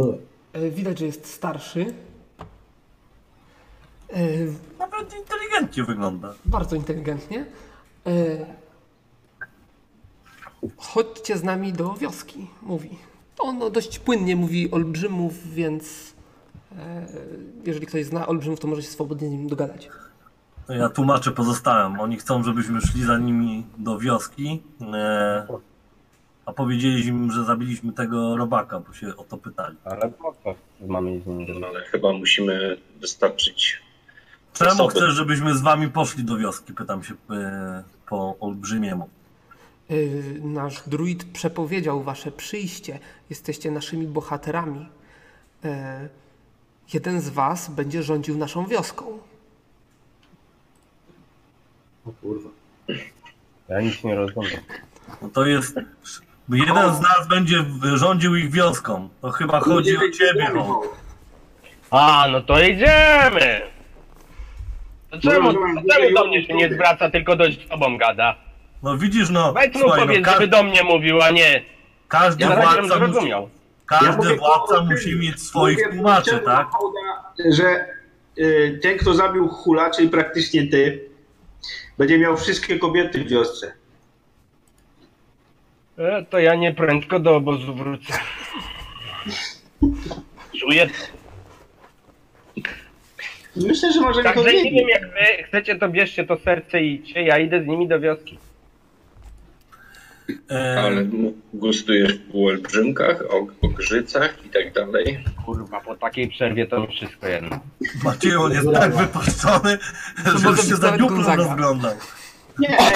[SPEAKER 1] E, Widać, że jest starszy. E,
[SPEAKER 5] Nawet inteligentnie wygląda.
[SPEAKER 1] bardzo inteligentnie. E, chodźcie z nami do wioski, mówi. On dość płynnie mówi olbrzymów, więc e, jeżeli ktoś zna olbrzymów, to może się swobodnie z nim dogadać.
[SPEAKER 5] To Ja tłumaczę pozostałym. Oni chcą, żebyśmy szli za nimi do wioski, e, a powiedzieliśmy im, że zabiliśmy tego robaka, bo się o to pytali.
[SPEAKER 4] Ale po co mamy z nimi
[SPEAKER 3] No,
[SPEAKER 4] rozmawiać?
[SPEAKER 3] ale chyba musimy wystarczyć.
[SPEAKER 5] Czemu
[SPEAKER 3] Osoby.
[SPEAKER 5] chcesz, żebyśmy z wami poszli do wioski? Pytam się e, po olbrzymiemu.
[SPEAKER 1] E, nasz druid przepowiedział wasze przyjście. Jesteście naszymi bohaterami. E, jeden z was będzie rządził naszą wioską.
[SPEAKER 6] o kurwa.
[SPEAKER 4] Ja nic nie rozumiem.
[SPEAKER 5] No to jest. Jeden z nas będzie w- rządził ich wioską. To chyba chodzi o ciebie, no. Hołd.
[SPEAKER 4] A, no to idziemy! To czemu,
[SPEAKER 2] Mówiłem,
[SPEAKER 4] to
[SPEAKER 2] że
[SPEAKER 4] czemu do
[SPEAKER 2] już
[SPEAKER 4] mnie się nie
[SPEAKER 2] mówię.
[SPEAKER 4] zwraca, tylko dość z tobą gada?
[SPEAKER 5] No widzisz, no.
[SPEAKER 4] Weź mu
[SPEAKER 5] słuchaj, no,
[SPEAKER 4] powiedz,
[SPEAKER 5] ka-
[SPEAKER 4] żeby do mnie mówił, a nie...
[SPEAKER 5] każdy
[SPEAKER 4] Ja na razie bym
[SPEAKER 5] władca musi,
[SPEAKER 4] zrozumiał.
[SPEAKER 2] Ja
[SPEAKER 5] Każdy
[SPEAKER 2] mówię,
[SPEAKER 5] władca
[SPEAKER 2] kurwa,
[SPEAKER 5] musi
[SPEAKER 2] ty-
[SPEAKER 5] mieć swoich
[SPEAKER 2] mówię,
[SPEAKER 5] tłumaczy,
[SPEAKER 2] czemu
[SPEAKER 5] tak?
[SPEAKER 2] Hołda, Że y, ten, kto zabił hula, czyli praktycznie ty, będzie miał wszystkie kobiety w wiosce.
[SPEAKER 4] E, to ja nie prędko do obozu wrócę.
[SPEAKER 7] Czuję.
[SPEAKER 2] Myślę, że może
[SPEAKER 4] Także Tak, nie
[SPEAKER 2] biegnie.
[SPEAKER 4] wiem, jak wy chcecie, to bierzcie to serce i idźcie, ja idę z nimi do wioski.
[SPEAKER 5] E,
[SPEAKER 3] Ale m- gustujesz w półolbrzymkach, o, o grzycach i tak dalej.
[SPEAKER 4] Kurwa, po takiej przerwie to mi wszystko jedno.
[SPEAKER 5] Maciej, on jest tak wypuszczony, że
[SPEAKER 1] może
[SPEAKER 5] już się
[SPEAKER 1] być
[SPEAKER 5] za
[SPEAKER 1] nawet
[SPEAKER 5] dziuplem
[SPEAKER 1] Gonzaga.
[SPEAKER 5] rozglądał.
[SPEAKER 2] Nie, ej,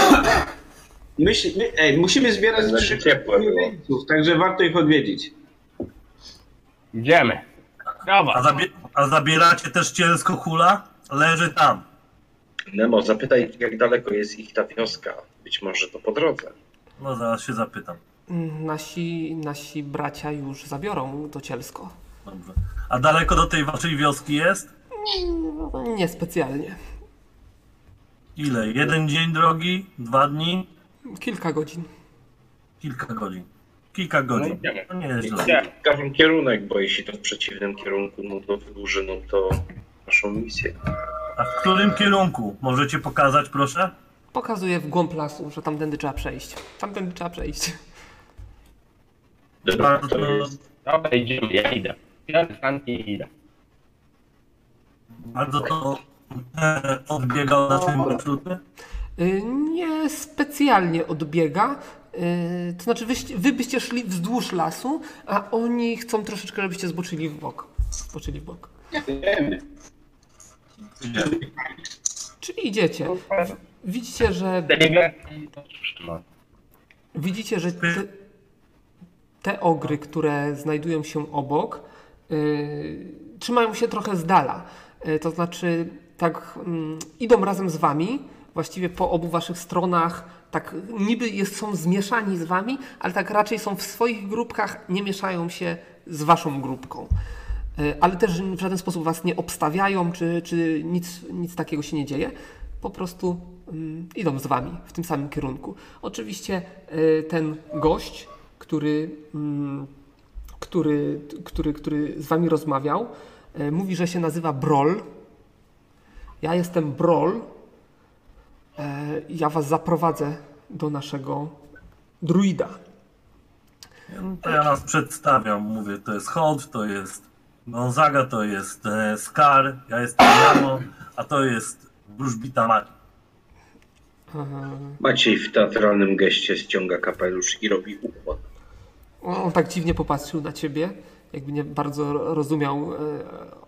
[SPEAKER 2] myśl, my, ej, musimy zbierać
[SPEAKER 3] Znaczy
[SPEAKER 2] skrzynki
[SPEAKER 3] ciepłe było.
[SPEAKER 2] odwiedźców, także warto ich odwiedzić.
[SPEAKER 4] Idziemy.
[SPEAKER 5] A,
[SPEAKER 4] Dobra.
[SPEAKER 5] zabie- a zabieracie też cielsko hula? Leży tam.
[SPEAKER 3] Nemo, zapytaj, jak daleko jest ich ta wioska. Być może to po drodze.
[SPEAKER 5] No zaraz się zapytam.
[SPEAKER 1] Mm, Nasi, nasi bracia już zabiorą to cielsko.
[SPEAKER 5] Dobrze. A daleko do tej waszej wioski jest?
[SPEAKER 1] Mm, Niespecjalnie.
[SPEAKER 5] Ile? Jeden dzień drogi? Dwa dni?
[SPEAKER 1] Kilka godzin.
[SPEAKER 5] Kilka godzin. Kilka godzin.
[SPEAKER 3] idziemy.
[SPEAKER 5] To No, nie jest źle.
[SPEAKER 3] Nie, każdy kierunek, bo jeśli to w przeciwnym kierunku, no to wydłuży no to naszą misję.
[SPEAKER 5] A w którym kierunku? Możecie pokazać, proszę?
[SPEAKER 1] Pokazuje w głąb lasu, że tamtędy trzeba przejść. Tamtędy trzeba przejść.
[SPEAKER 3] Dobra,
[SPEAKER 5] Bardzo,
[SPEAKER 3] to jest,
[SPEAKER 4] Dobra, idziemy, ja idę. Biorę sanki i idę.
[SPEAKER 5] bardzo to e, odbiega od naszej marszruty.
[SPEAKER 1] Y, Nie specjalnie odbiega. Y, To znaczy, wyście, wy byście szli wzdłuż lasu, a oni chcą troszeczkę, żebyście zboczyli w bok. Zboczyli w bok.
[SPEAKER 2] Wiemy.
[SPEAKER 1] Czyli idziecie. Widzicie, że.
[SPEAKER 4] Delegacji to trzyma.
[SPEAKER 1] Widzicie, że te, te ogry, które znajdują się obok, y, trzymają się trochę z dala. Y, to znaczy, tak mm, idą razem z wami, właściwie po obu waszych stronach, tak niby jest, są zmieszani z wami, ale tak raczej są w swoich grupkach, nie mieszają się z waszą grupką. Y, ale też w żaden sposób was nie obstawiają, czy, czy nic, nic takiego się nie dzieje. Po prostu mm, idą z wami w tym samym kierunku. Oczywiście y, ten gość, który, mm, który, który, który z wami rozmawiał, y, mówi, że się nazywa Brol. Ja jestem Brol. E, Ja was zaprowadzę do naszego druida.
[SPEAKER 5] To ja nas przedstawiam, mówię, to jest Holt, to jest Gonzaga, to jest e, Scar, ja jestem Ramo, a to jest Wróżbita Maki.
[SPEAKER 3] Maciej w teatralnym geście ściąga kapelusz i robi układ.
[SPEAKER 1] On on tak dziwnie popatrzył na ciebie, jakby nie bardzo rozumiał e,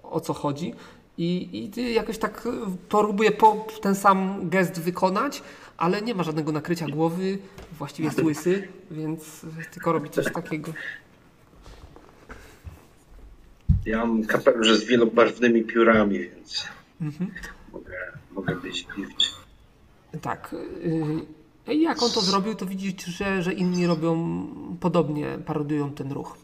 [SPEAKER 1] o co chodzi. I, I ty jakoś tak e, próbuje po ten sam gest wykonać, ale nie ma żadnego nakrycia głowy, właściwie jest łysy, więc e, tylko robi coś takiego.
[SPEAKER 3] Ja mam kapelusz z wielobarwnymi piórami, więc mogę, mogę być dziwny.
[SPEAKER 1] Tak. y, I jak on to zrobił, to widzisz, że, że inni robią podobnie, parodują ten ruch.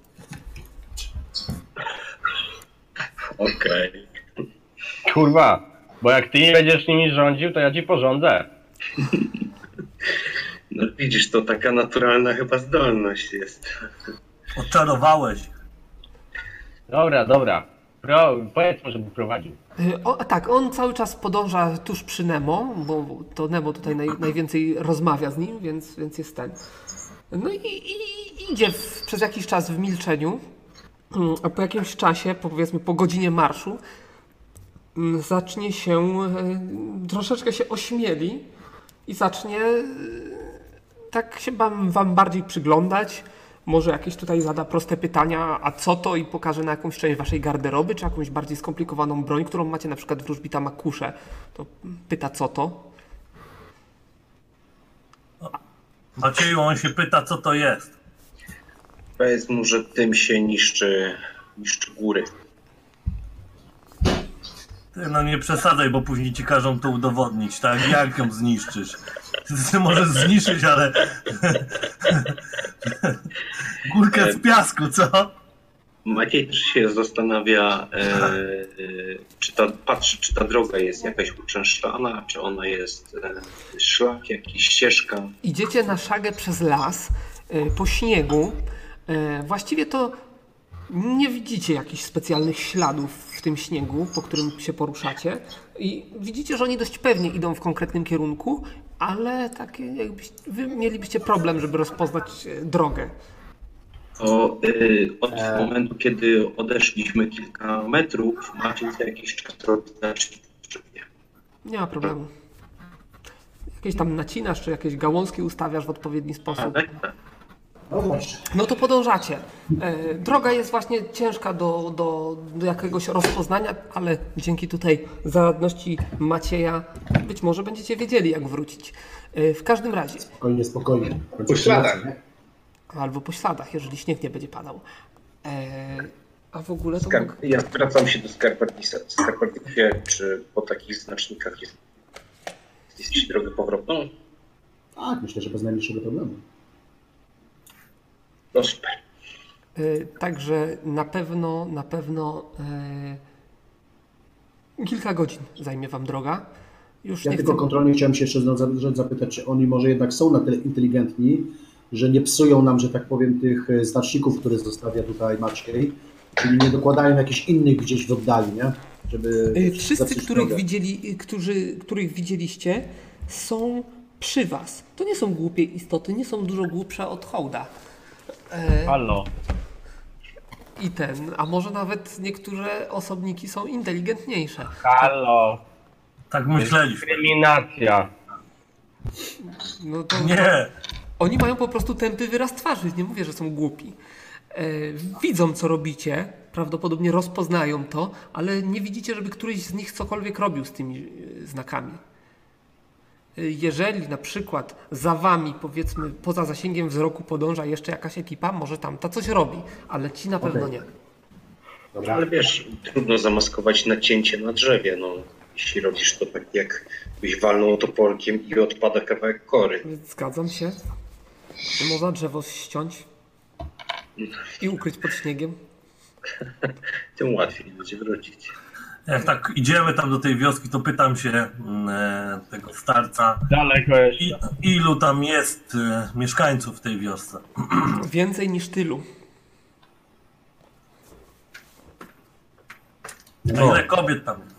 [SPEAKER 3] Okej.
[SPEAKER 4] Kurwa, bo jak ty nie będziesz nimi rządził, to ja ci porządzę.
[SPEAKER 3] No widzisz, to taka naturalna chyba zdolność jest.
[SPEAKER 5] Odczarowałeś.
[SPEAKER 4] Dobra, dobra. Pro, powiedz mu, żeby prowadził.
[SPEAKER 1] Y, O, a tak, on cały czas podąża tuż przy Nemo, bo to Nemo tutaj naj, najwięcej rozmawia z nim, więc, więc jest ten. No i, i i idzie w, przez jakiś czas w milczeniu, Mm, a po jakimś czasie, po powiedzmy po godzinie marszu, mm, zacznie się, e, troszeczkę się ośmieli i zacznie e, tak się wam, wam bardziej przyglądać. Może jakieś tutaj zada proste pytania, a co to i pokaże na jakąś część waszej garderoby, czy jakąś bardziej skomplikowaną broń, którą macie na przykład wróżbita ma kuszę. To pyta co to.
[SPEAKER 5] Macieju, on się pyta, co to jest.
[SPEAKER 3] Powiedz mu, że tym się niszczy, niszczy góry.
[SPEAKER 5] Ty, no nie przesadzaj, bo później ci każą to udowodnić, tak? Jak ją zniszczysz? Ty możesz zniszczyć, ale... Górkę z piasku, co?
[SPEAKER 3] Maciej też się zastanawia, e, e, czy ta, patrzy, czy ta droga jest jakaś uczęszczana, czy ona jest e, szlak, jakiś ścieżka.
[SPEAKER 1] Idziecie na szagę przez las y, po śniegu. Y, Właściwie to Nie widzicie jakichś specjalnych śladów w tym śniegu, po którym się poruszacie. I widzicie, że oni dość pewnie idą w konkretnym kierunku, ale takie jakbyś, wy mielibyście problem, żeby rozpoznać e, drogę.
[SPEAKER 3] To y, od momentu, kiedy odeszliśmy kilka metrów, macie za jakiś czas robić znaczki w drzewie.
[SPEAKER 1] Nie ma problemu. Jakieś tam nacinasz, czy jakieś gałązki ustawiasz w odpowiedni sposób.
[SPEAKER 3] Tak, tak.
[SPEAKER 6] No dobrze.
[SPEAKER 1] No to podążacie. E, Droga jest właśnie ciężka do, do, do jakiegoś rozpoznania, ale dzięki tutaj zaradności Macieja być może będziecie wiedzieli, jak wrócić. E, W każdym razie,
[SPEAKER 6] Spokojnie, spokojnie.
[SPEAKER 2] Po śladach.
[SPEAKER 1] albo po śladach, jeżeli śnieg nie będzie padał. E, A w ogóle to. e,
[SPEAKER 3] Skarb- Tak, Ja zwracam się do skarpetnika. Skarpetnikie, czy po takich znacznikach jest, jest ci drogę powrotną?
[SPEAKER 6] Tak, myślę, że bez najmniejszego problemu.
[SPEAKER 3] No super.
[SPEAKER 1] E, Także na pewno, na pewno e, kilka godzin zajmie Wam droga. Już
[SPEAKER 6] Ja
[SPEAKER 1] nie
[SPEAKER 6] tylko
[SPEAKER 1] chcę.
[SPEAKER 6] kontrolnie chciałem się jeszcze za- za- zapytać, czy oni może jednak są na tyle inteligentni, że nie psują nam, że tak powiem, tych e, znaczników, które zostawia tutaj Maciej, czyli nie dokładają jakichś innych gdzieś w oddali, nie? Żeby
[SPEAKER 1] E, Wszyscy,
[SPEAKER 6] zatrzymać
[SPEAKER 1] których,
[SPEAKER 6] drogę.
[SPEAKER 1] widzieli, y, którzy, których widzieliście, są przy was. To nie są głupie istoty, nie są dużo głupsze od hołda. E,
[SPEAKER 4] Halo.
[SPEAKER 1] I ten, a może nawet niektóre osobniki są inteligentniejsze.
[SPEAKER 4] Halo.
[SPEAKER 5] Tak myśleliśmy.
[SPEAKER 4] Dyskryminacja.
[SPEAKER 1] No to,
[SPEAKER 5] Nie,
[SPEAKER 1] Oni mają po prostu tępy wyraz twarzy, nie mówię, że są głupi. E, widzą, co robicie, prawdopodobnie rozpoznają to, ale nie widzicie, żeby któryś z nich cokolwiek robił z tymi e, znakami. E, Jeżeli na przykład za wami, powiedzmy, poza zasięgiem wzroku podąża jeszcze jakaś ekipa, może tamta coś robi, ale ci na pewno
[SPEAKER 6] Okej.
[SPEAKER 1] nie.
[SPEAKER 6] Dobra.
[SPEAKER 3] Ale wiesz, trudno zamaskować nacięcie na drzewie. No, jeśli robisz to tak jak byś walnął toporkiem i odpada kawałek kory.
[SPEAKER 1] Zgadzam się. Można drzewo ściąć i ukryć pod śniegiem.
[SPEAKER 3] Tym łatwiej będzie wrócić.
[SPEAKER 5] jak tak idziemy tam do tej wioski, to pytam się mm, e, tego starca,
[SPEAKER 4] Daleko jeszcze.
[SPEAKER 5] i, ilu tam jest e, mieszkańców w tej wiosce.
[SPEAKER 1] Więcej niż tylu.
[SPEAKER 4] No.
[SPEAKER 5] A ile kobiet tam jest?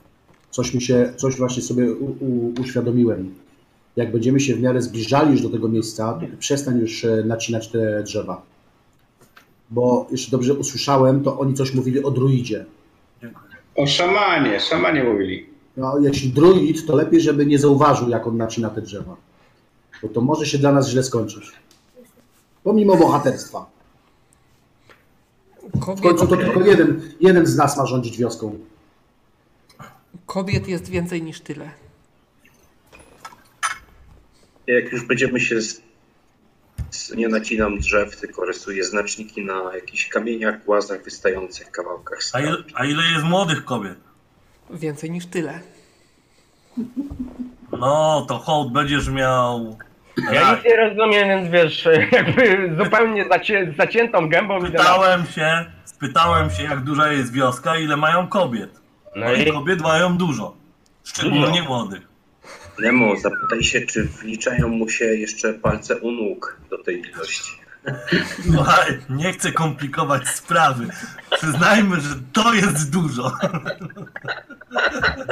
[SPEAKER 6] coś mi się, coś właśnie sobie u, u, uświadomiłem. Jak będziemy się w miarę zbliżali już do tego miejsca, to ty przestań już e, nacinać te drzewa. Bo jeszcze dobrze usłyszałem, to oni coś mówili o druidzie.
[SPEAKER 5] Dziękuję.
[SPEAKER 2] O szamanie, szamanie mówili.
[SPEAKER 6] No, jeśli druid, to lepiej, żeby nie zauważył, jak on nacina te drzewa. Bo to może się dla nas źle skończyć. Pomimo bohaterstwa. W
[SPEAKER 1] Kobiet,
[SPEAKER 6] końcu to tylko jeden, jeden z nas ma rządzić wioską.
[SPEAKER 1] kobiet jest więcej niż tyle.
[SPEAKER 3] Jak już będziemy się. Z... z- Nie nacinam drzew, tylko rysuję znaczniki na jakichś kamieniach, głazach, wystających kawałkach
[SPEAKER 5] A,
[SPEAKER 3] skał.
[SPEAKER 5] il, a ile jest młodych kobiet?
[SPEAKER 1] Więcej niż tyle.
[SPEAKER 5] No, to hołd będziesz miał. Tak.
[SPEAKER 4] Ja
[SPEAKER 5] Raj.
[SPEAKER 4] nic nie rozumiem, więc wiesz, jakby zupełnie zacię, z zaciętą gębą idę na...
[SPEAKER 5] Spytałem się, spytałem się, jak duża jest wioska, ile mają kobiet.
[SPEAKER 4] No
[SPEAKER 5] No i
[SPEAKER 4] i No.
[SPEAKER 5] kobiet mają dużo. Szczególnie młodych.
[SPEAKER 3] Nemo, zapytaj się, czy wliczają mu się jeszcze palce u nóg do tej ilości.
[SPEAKER 5] Słuchaj, nie chcę komplikować sprawy. Przyznajmy, że to jest dużo.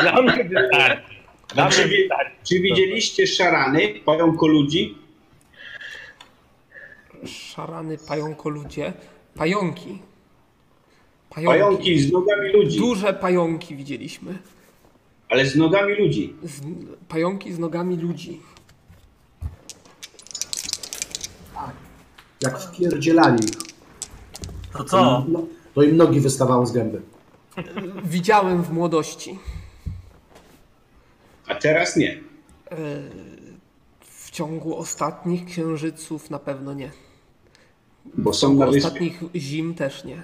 [SPEAKER 4] dla mnie tak. wystarczy. Dla mnie
[SPEAKER 2] No, Czy, wi-
[SPEAKER 4] wystarczy.
[SPEAKER 2] czy widzieliście szarany, pająko ludzi?
[SPEAKER 1] Szarany pająko ludzie. Pająki. Pająki.
[SPEAKER 2] Pająki z nogami ludzi,
[SPEAKER 1] Duże pająki widzieliśmy.
[SPEAKER 2] ale z nogami ludzi.
[SPEAKER 1] Z, pająki z nogami ludzi.
[SPEAKER 6] Jak wpierdzielali ich,
[SPEAKER 5] To co?
[SPEAKER 6] no, to im nogi wystawały z gęby.
[SPEAKER 1] Widziałem w młodości.
[SPEAKER 2] A teraz nie.
[SPEAKER 1] W ciągu ostatnich księżyców na pewno nie.
[SPEAKER 2] Bo
[SPEAKER 1] W
[SPEAKER 2] są
[SPEAKER 1] ciągu
[SPEAKER 2] na wyspie.
[SPEAKER 1] ostatnich zim też nie.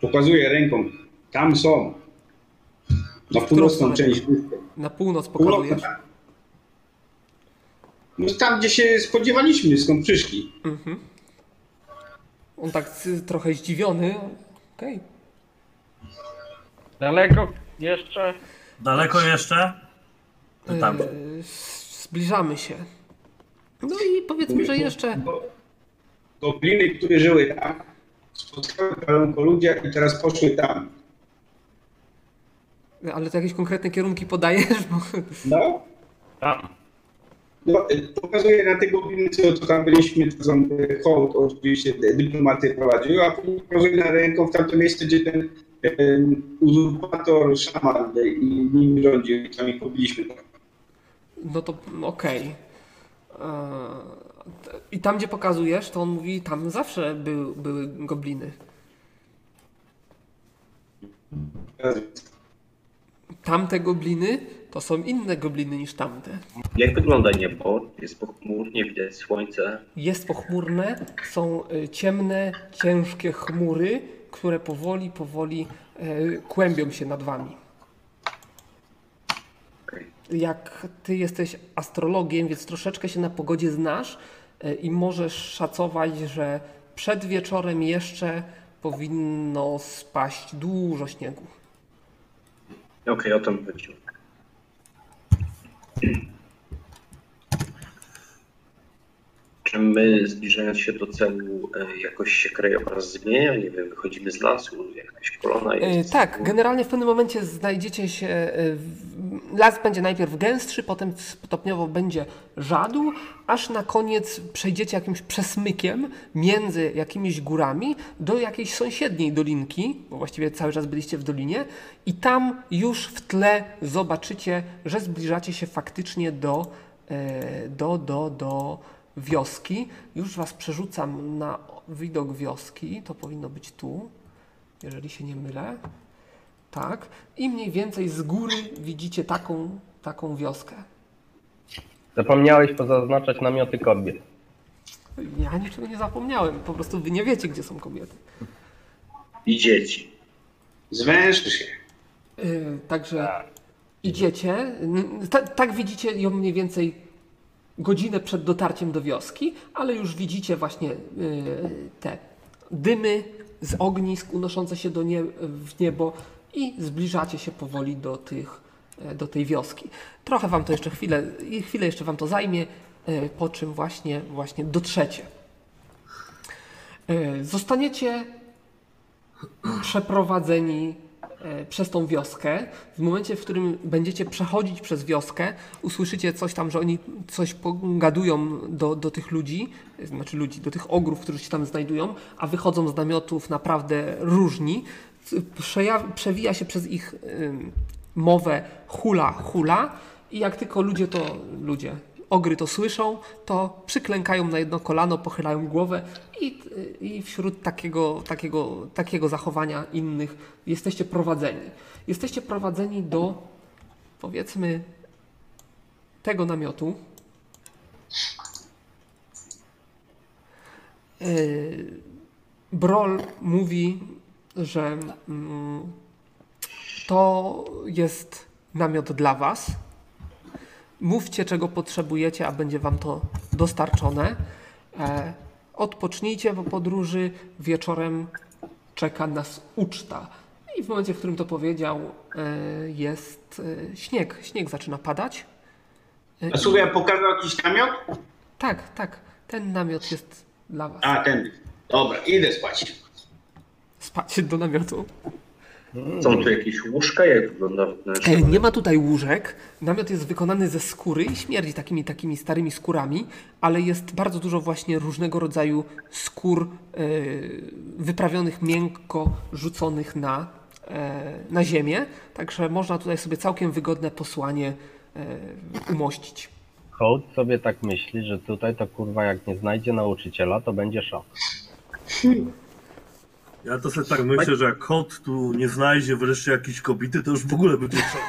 [SPEAKER 2] Pokazuję ręką. Tam są. Na północną
[SPEAKER 1] stronę?
[SPEAKER 2] część wyspy.
[SPEAKER 1] Na północ pokazujesz.
[SPEAKER 2] Północna. No tam, gdzie się spodziewaliśmy, skąd przyszli.
[SPEAKER 1] On tak z- trochę zdziwiony. Okej.
[SPEAKER 4] Daleko jeszcze?
[SPEAKER 5] Daleko jeszcze? Pytam.
[SPEAKER 1] Yy, s- Zbliżamy się. No i powiedzmy, że jeszcze
[SPEAKER 2] Bo, gobliny, które żyły tam, spotkały paleonkoludia i teraz poszły tam.
[SPEAKER 1] Ale to jakieś konkretne kierunki podajesz? Bo...
[SPEAKER 2] No,
[SPEAKER 4] Tam.
[SPEAKER 2] no y, pokazuję na te gobliny, co, co tam byliśmy, to są y, hołd, oczywiście y, dyplomaty prowadził, a później pokazuję na ręką w tamte miejsce, gdzie ten y, uzurpator szaman y, i nim rządził i tam ich pobiliśmy.
[SPEAKER 1] No to okej. Eee, I tam, gdzie pokazujesz, to on mówi, tam zawsze by, były gobliny. Tamte gobliny to są inne gobliny niż tamte.
[SPEAKER 3] Jak wygląda niebo? Jest pochmurnie, widać słońce.
[SPEAKER 1] Jest pochmurne, są y, ciemne, ciężkie chmury, które powoli, powoli e, kłębią się nad wami.
[SPEAKER 3] Okej.
[SPEAKER 1] Jak ty jesteś astrologiem, więc troszeczkę się na pogodzie znasz e, i możesz szacować, że przed wieczorem jeszcze powinno spaść dużo śniegu.
[SPEAKER 3] Okej, o tym chodziło. Czy my, zbliżając się do celu, e, jakoś się krajobraz zmienia? Nie wiem, wychodzimy z lasu, jakaś kolona
[SPEAKER 1] E,
[SPEAKER 3] jest.
[SPEAKER 1] Tak, generalnie w pewnym momencie znajdziecie się. e, w- Las będzie najpierw gęstszy, potem stopniowo będzie żadł, aż na koniec przejdziecie jakimś przesmykiem między jakimiś górami do jakiejś sąsiedniej dolinki, bo właściwie cały czas byliście w dolinie, i tam już w tle zobaczycie, że zbliżacie się faktycznie do, e, do, do, do wioski. Już was przerzucam na widok wioski, to powinno być tu jeżeli się nie mylę. Tak. I mniej więcej z góry widzicie taką, taką wioskę.
[SPEAKER 4] Zapomniałeś pozaznaczać namioty kobiet.
[SPEAKER 1] Ja niczego nie zapomniałem, po prostu wy nie wiecie, gdzie są kobiety.
[SPEAKER 3] I dzieci.
[SPEAKER 2] Zwęży się.
[SPEAKER 1] Yy, także
[SPEAKER 4] Tak.
[SPEAKER 1] idziecie, n- ta, tak widzicie ją mniej więcej godzinę przed dotarciem do wioski, ale już widzicie właśnie yy, te dymy z ognisk unoszące się do nie, w niebo i zbliżacie się powoli do tych, e, do tej wioski. Trochę wam to jeszcze chwilę, i chwilę jeszcze wam to zajmie, e, po czym właśnie, właśnie dotrzecie. E, Zostaniecie przeprowadzeni e, przez tą wioskę. W momencie, w którym będziecie przechodzić przez wioskę, usłyszycie coś tam, że oni coś pogadują do, do tych ludzi, e, znaczy ludzi, do tych ogrów, którzy się tam znajdują, a wychodzą z namiotów naprawdę różni. C- Przeja- przewija się przez ich ym, mowę hula, hula i jak tylko ludzie to, ludzie, ogry to słyszą, to przyklękają na jedno kolano, pochylają głowę i, i wśród takiego, takiego, takiego zachowania innych jesteście prowadzeni. Jesteście prowadzeni do powiedzmy tego namiotu. Yy, Brol mówi, że mm, to jest namiot dla was. Mówcie, czego potrzebujecie, a będzie wam to dostarczone. E, odpocznijcie po podróży, wieczorem czeka nas uczta. I w momencie, w którym to powiedział, e, jest e, śnieg. Śnieg zaczyna padać.
[SPEAKER 2] A słuchaj, a pokazał jakiś namiot?
[SPEAKER 1] Tak, tak, ten namiot jest dla was.
[SPEAKER 2] A, ten. Dobra, idę spać.
[SPEAKER 1] Spacie do namiotu.
[SPEAKER 3] Są tu jakieś łóżka? Jak wygląda wnętrze?
[SPEAKER 1] E, Nie ma tutaj łóżek. Namiot jest wykonany ze skóry i śmierdzi takimi takimi starymi skórami, ale jest bardzo dużo właśnie różnego rodzaju skór e, wyprawionych miękko, rzuconych na, e, na ziemię. Także można tutaj sobie całkiem wygodne posłanie e, umościć.
[SPEAKER 4] Hołd sobie tak myśli, że tutaj to kurwa jak nie znajdzie nauczyciela, to będzie szok.
[SPEAKER 5] Ja to sobie tak myślę, że jak kot tu nie znajdzie wreszcie jakiejś kobiety, to już w ogóle będzie szok.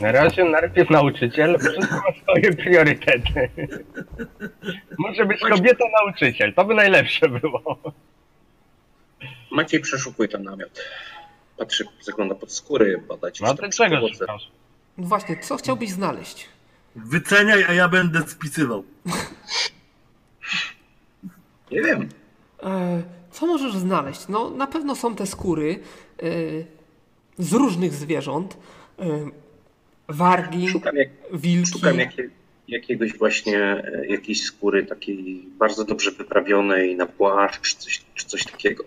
[SPEAKER 4] Na razie najpierw nauczyciel, wszystko ma swoje priorytety. Może być kobieta nauczyciel, to by najlepsze było.
[SPEAKER 3] Maciej przeszukuj ten namiot. Patrzy, zagląda pod skóry, badać.
[SPEAKER 4] No ty czego szukasz?
[SPEAKER 1] No właśnie, co chciałbyś znaleźć?
[SPEAKER 5] Wyceniaj, a ja będę spisywał.
[SPEAKER 3] Nie wiem.
[SPEAKER 1] E, co możesz znaleźć? No, na pewno są te skóry e, z różnych zwierząt. E, wargi,
[SPEAKER 3] Szukam, jak,
[SPEAKER 1] wilki.
[SPEAKER 3] szukam jakie, jakiegoś właśnie, e, jakiejś skóry takiej bardzo dobrze wyprawionej na płaszcz czy coś, czy coś takiego.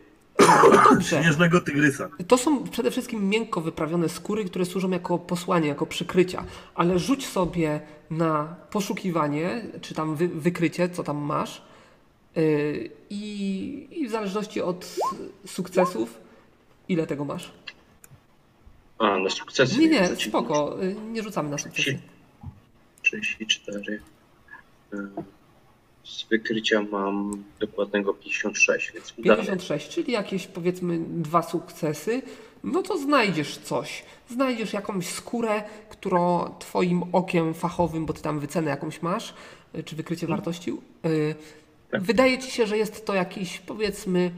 [SPEAKER 1] Dobrze.
[SPEAKER 5] Śnieżnego tygrysa.
[SPEAKER 1] To są przede wszystkim miękko wyprawione skóry, które służą jako posłanie, jako przykrycia. Ale rzuć sobie na poszukiwanie, czy tam wy, wykrycie, co tam masz. Yy, I, I w zależności od sukcesów, ile tego masz?
[SPEAKER 3] A, na sukcesy.
[SPEAKER 1] Nie, nie,
[SPEAKER 3] rzuciłem.
[SPEAKER 1] spoko, yy, nie rzucamy na sukcesy.
[SPEAKER 3] 34. E, Z wykrycia mam dokładnego 56, więc udało.
[SPEAKER 1] 56, czyli jakieś powiedzmy dwa sukcesy, no to znajdziesz coś. Znajdziesz jakąś skórę, którą twoim okiem fachowym, bo ty tam wycenę jakąś masz, y, czy wykrycie wartości, y, wydaje ci się, że jest to jakiś powiedzmy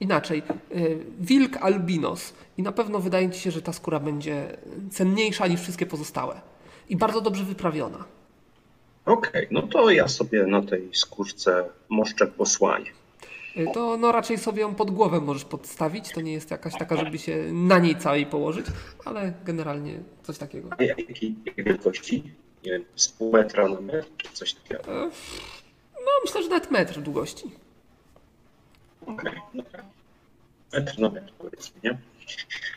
[SPEAKER 1] inaczej, y, wilk albinos i na pewno wydaje ci się, że ta skóra będzie cenniejsza niż wszystkie pozostałe i bardzo dobrze wyprawiona.
[SPEAKER 3] Okej, no to ja sobie na tej skórce moszczę posłanie.
[SPEAKER 1] Y, To no raczej sobie ją pod głowę możesz podstawić. To nie jest jakaś taka, żeby się na niej całej położyć, ale generalnie coś takiego.
[SPEAKER 3] A jakiej wielkości? Nie wiem, z pół metra na metr, czy coś takiego.
[SPEAKER 1] No myślę, że nawet metr długości.
[SPEAKER 3] Okej, dobra. Metr na metr, powiedzmy, nie?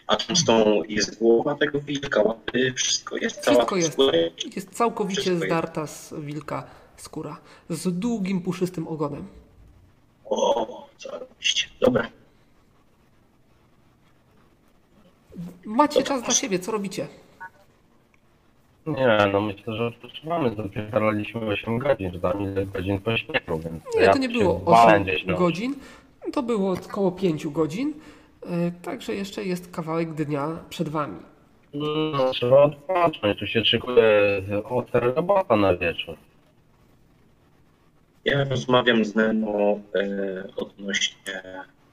[SPEAKER 3] A czym z tą jest głowa tego wilka, łapy, wszystko jest? Cała
[SPEAKER 1] Wszystko jest.
[SPEAKER 3] skóra?
[SPEAKER 1] Jest całkowicie
[SPEAKER 3] Wszystko jest.
[SPEAKER 1] zdarta z wilka skóra. Z długim, puszystym ogonem.
[SPEAKER 3] O, zarobiście. Dobra.
[SPEAKER 1] Macie czas dla siebie, co robicie?
[SPEAKER 4] Nie, no myślę, że odpoczywamy. Zapierdaliśmy 8 godzin, czy tam ile godzin po śniegu, więc
[SPEAKER 1] Nie,
[SPEAKER 4] ja
[SPEAKER 1] to nie
[SPEAKER 4] się
[SPEAKER 1] było
[SPEAKER 4] bałem
[SPEAKER 1] 8
[SPEAKER 4] gdzieś, no.
[SPEAKER 1] godzin. To było około 5 godzin. Y, Także jeszcze jest kawałek dnia przed wami.
[SPEAKER 4] No, trzeba odpocząć, tu się szykuje ostra robota na wieczór.
[SPEAKER 3] Ja rozmawiam z Nemo e, odnośnie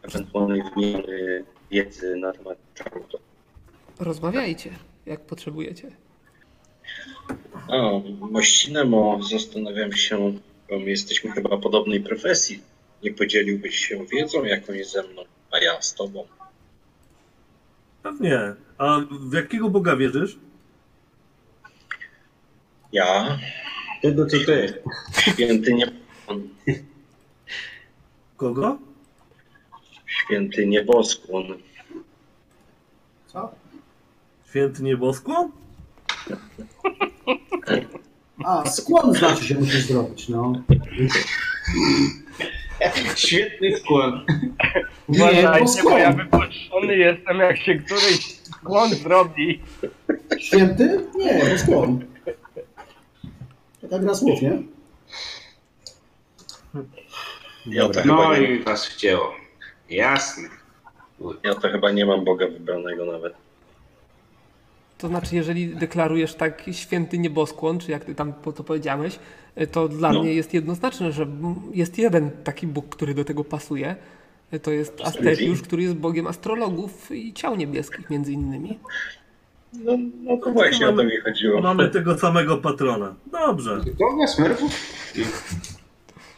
[SPEAKER 3] ewentualnej wymiany wiedzy na temat czarnotu.
[SPEAKER 1] Rozmawiajcie, jak potrzebujecie.
[SPEAKER 3] O, mości Nemo, zastanawiam się, bo my jesteśmy chyba podobnej profesji. Nie podzieliłbyś się wiedzą jakąś ze mną, a ja z tobą.
[SPEAKER 5] Pewnie. A w jakiego Boga wierzysz?
[SPEAKER 3] Ja,
[SPEAKER 2] Tego co ty.
[SPEAKER 3] święty nie...
[SPEAKER 5] Kogo?
[SPEAKER 3] Święty nieboskłon.
[SPEAKER 6] Co?
[SPEAKER 5] Święty nieboskłon?
[SPEAKER 6] A, skłon znaczy się musisz zrobić, no.
[SPEAKER 2] Świetny skłon.
[SPEAKER 6] bo
[SPEAKER 4] Uważajcie, bo
[SPEAKER 6] skłon.
[SPEAKER 4] ja wypaczony jestem, jak się któryś skłon zrobi.
[SPEAKER 6] Święty? Nie, to skłon. Taka gra słów, nie?
[SPEAKER 3] Ja to,
[SPEAKER 2] No
[SPEAKER 3] chyba nie,
[SPEAKER 2] i was wcięło. Jasne.
[SPEAKER 3] ja to chyba nie mam Boga wybranego nawet.
[SPEAKER 1] To znaczy, jeżeli deklarujesz tak święty nieboskłon, czy jak ty tam po to powiedziałeś, y, to dla
[SPEAKER 3] No.
[SPEAKER 1] mnie jest jednoznaczne, że m- jest jeden taki Bóg, który do tego pasuje. Y, To jest Asteriusz, który jest Bogiem astrologów i ciał niebieskich między innymi.
[SPEAKER 3] No, no to No. właśnie o to mi chodziło.
[SPEAKER 5] Mamy tego samego patrona. Dobrze.
[SPEAKER 2] Dobra, smerfów?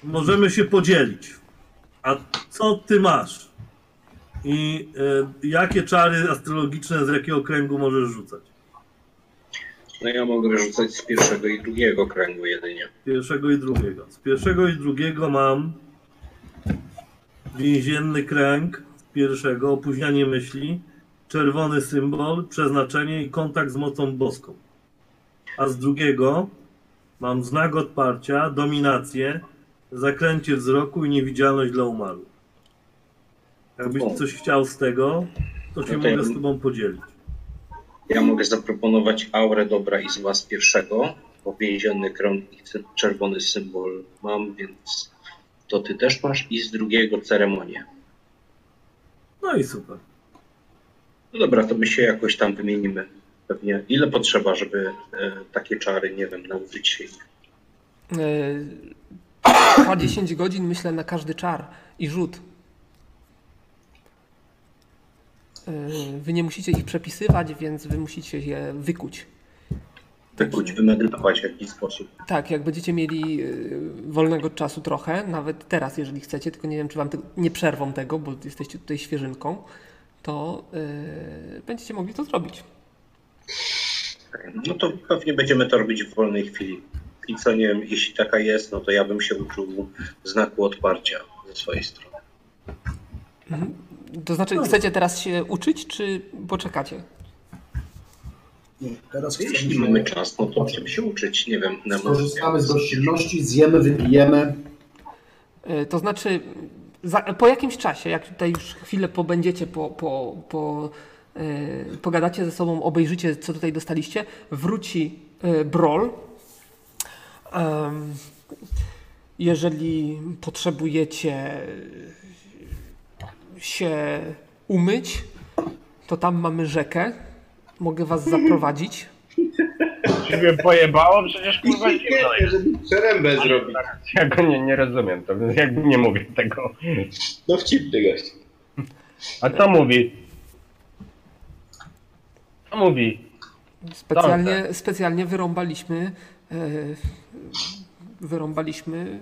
[SPEAKER 5] Możemy się podzielić. A co ty masz? I e, jakie czary astrologiczne z jakiego kręgu możesz rzucać?
[SPEAKER 3] No ja mogę rzucać z pierwszego i drugiego kręgu jedynie.
[SPEAKER 5] Pierwszego i drugiego. Z pierwszego i drugiego mam więzienny kręg. Z pierwszego opóźnianie myśli, czerwony symbol, przeznaczenie i kontakt z mocą boską. A z drugiego mam znak odparcia, dominację, zakręcie wzroku i niewidzialność dla umarłych. Jakbyś
[SPEAKER 3] O.
[SPEAKER 5] coś chciał z tego, to się
[SPEAKER 3] No to ja
[SPEAKER 5] mogę z
[SPEAKER 3] bym-
[SPEAKER 5] tobą podzielić.
[SPEAKER 3] Ja mogę zaproponować aurę dobra i zła z pierwszego, bo więzienny krąg i ten czerwony symbol mam, więc to ty też masz i z drugiego ceremonię.
[SPEAKER 5] No i super.
[SPEAKER 3] No dobra, to my się jakoś tam wymienimy. Pewnie ile potrzeba, żeby e, takie czary, nie wiem, nauczyć się ich.
[SPEAKER 1] Y, Trwa 10 godzin, myślę, na każdy czar i rzut. Y, Wy nie musicie ich przepisywać, więc wy musicie je wykuć.
[SPEAKER 3] wykuć, wymedytować w jakiś sposób.
[SPEAKER 1] Tak, jak będziecie mieli y, wolnego czasu trochę, nawet teraz, jeżeli chcecie, tylko nie wiem, czy wam te, nie przerwą tego, bo jesteście tutaj świeżynką, to y, będziecie mogli to zrobić.
[SPEAKER 3] No to pewnie będziemy to robić w wolnej chwili. skliceniem, jeśli taka jest, no to ja bym się uczył znaku odparcia ze swojej strony.
[SPEAKER 1] To znaczy, chcecie teraz się uczyć, czy poczekacie?
[SPEAKER 6] Nie, teraz
[SPEAKER 3] Jeśli
[SPEAKER 6] chcemy,
[SPEAKER 3] mamy czas, no to będziemy się uczyć, nie wiem, na
[SPEAKER 6] skorzystamy z gościnności, zjemy, wypijemy.
[SPEAKER 1] E, To znaczy, za, po jakimś czasie, jak tutaj już chwilę pobędziecie, po, po, po, e, pogadacie ze sobą, obejrzycie, co tutaj dostaliście, wróci e, Brol. Em, jeżeli potrzebujecie się umyć, to tam mamy rzekę. Mogę was zaprowadzić.
[SPEAKER 4] Ciebie pojebało, przecież kurwa zimno
[SPEAKER 2] Świetnie,
[SPEAKER 4] jest.
[SPEAKER 2] żeby przerębę zrobić.
[SPEAKER 4] Ja go nie, nie rozumiem, to jakby nie mówię tego.
[SPEAKER 2] No wcipny gość.
[SPEAKER 4] A co mówi? Co mówi?
[SPEAKER 1] Specjalnie, specjalnie wyrąbaliśmy, e, wyrąbaliśmy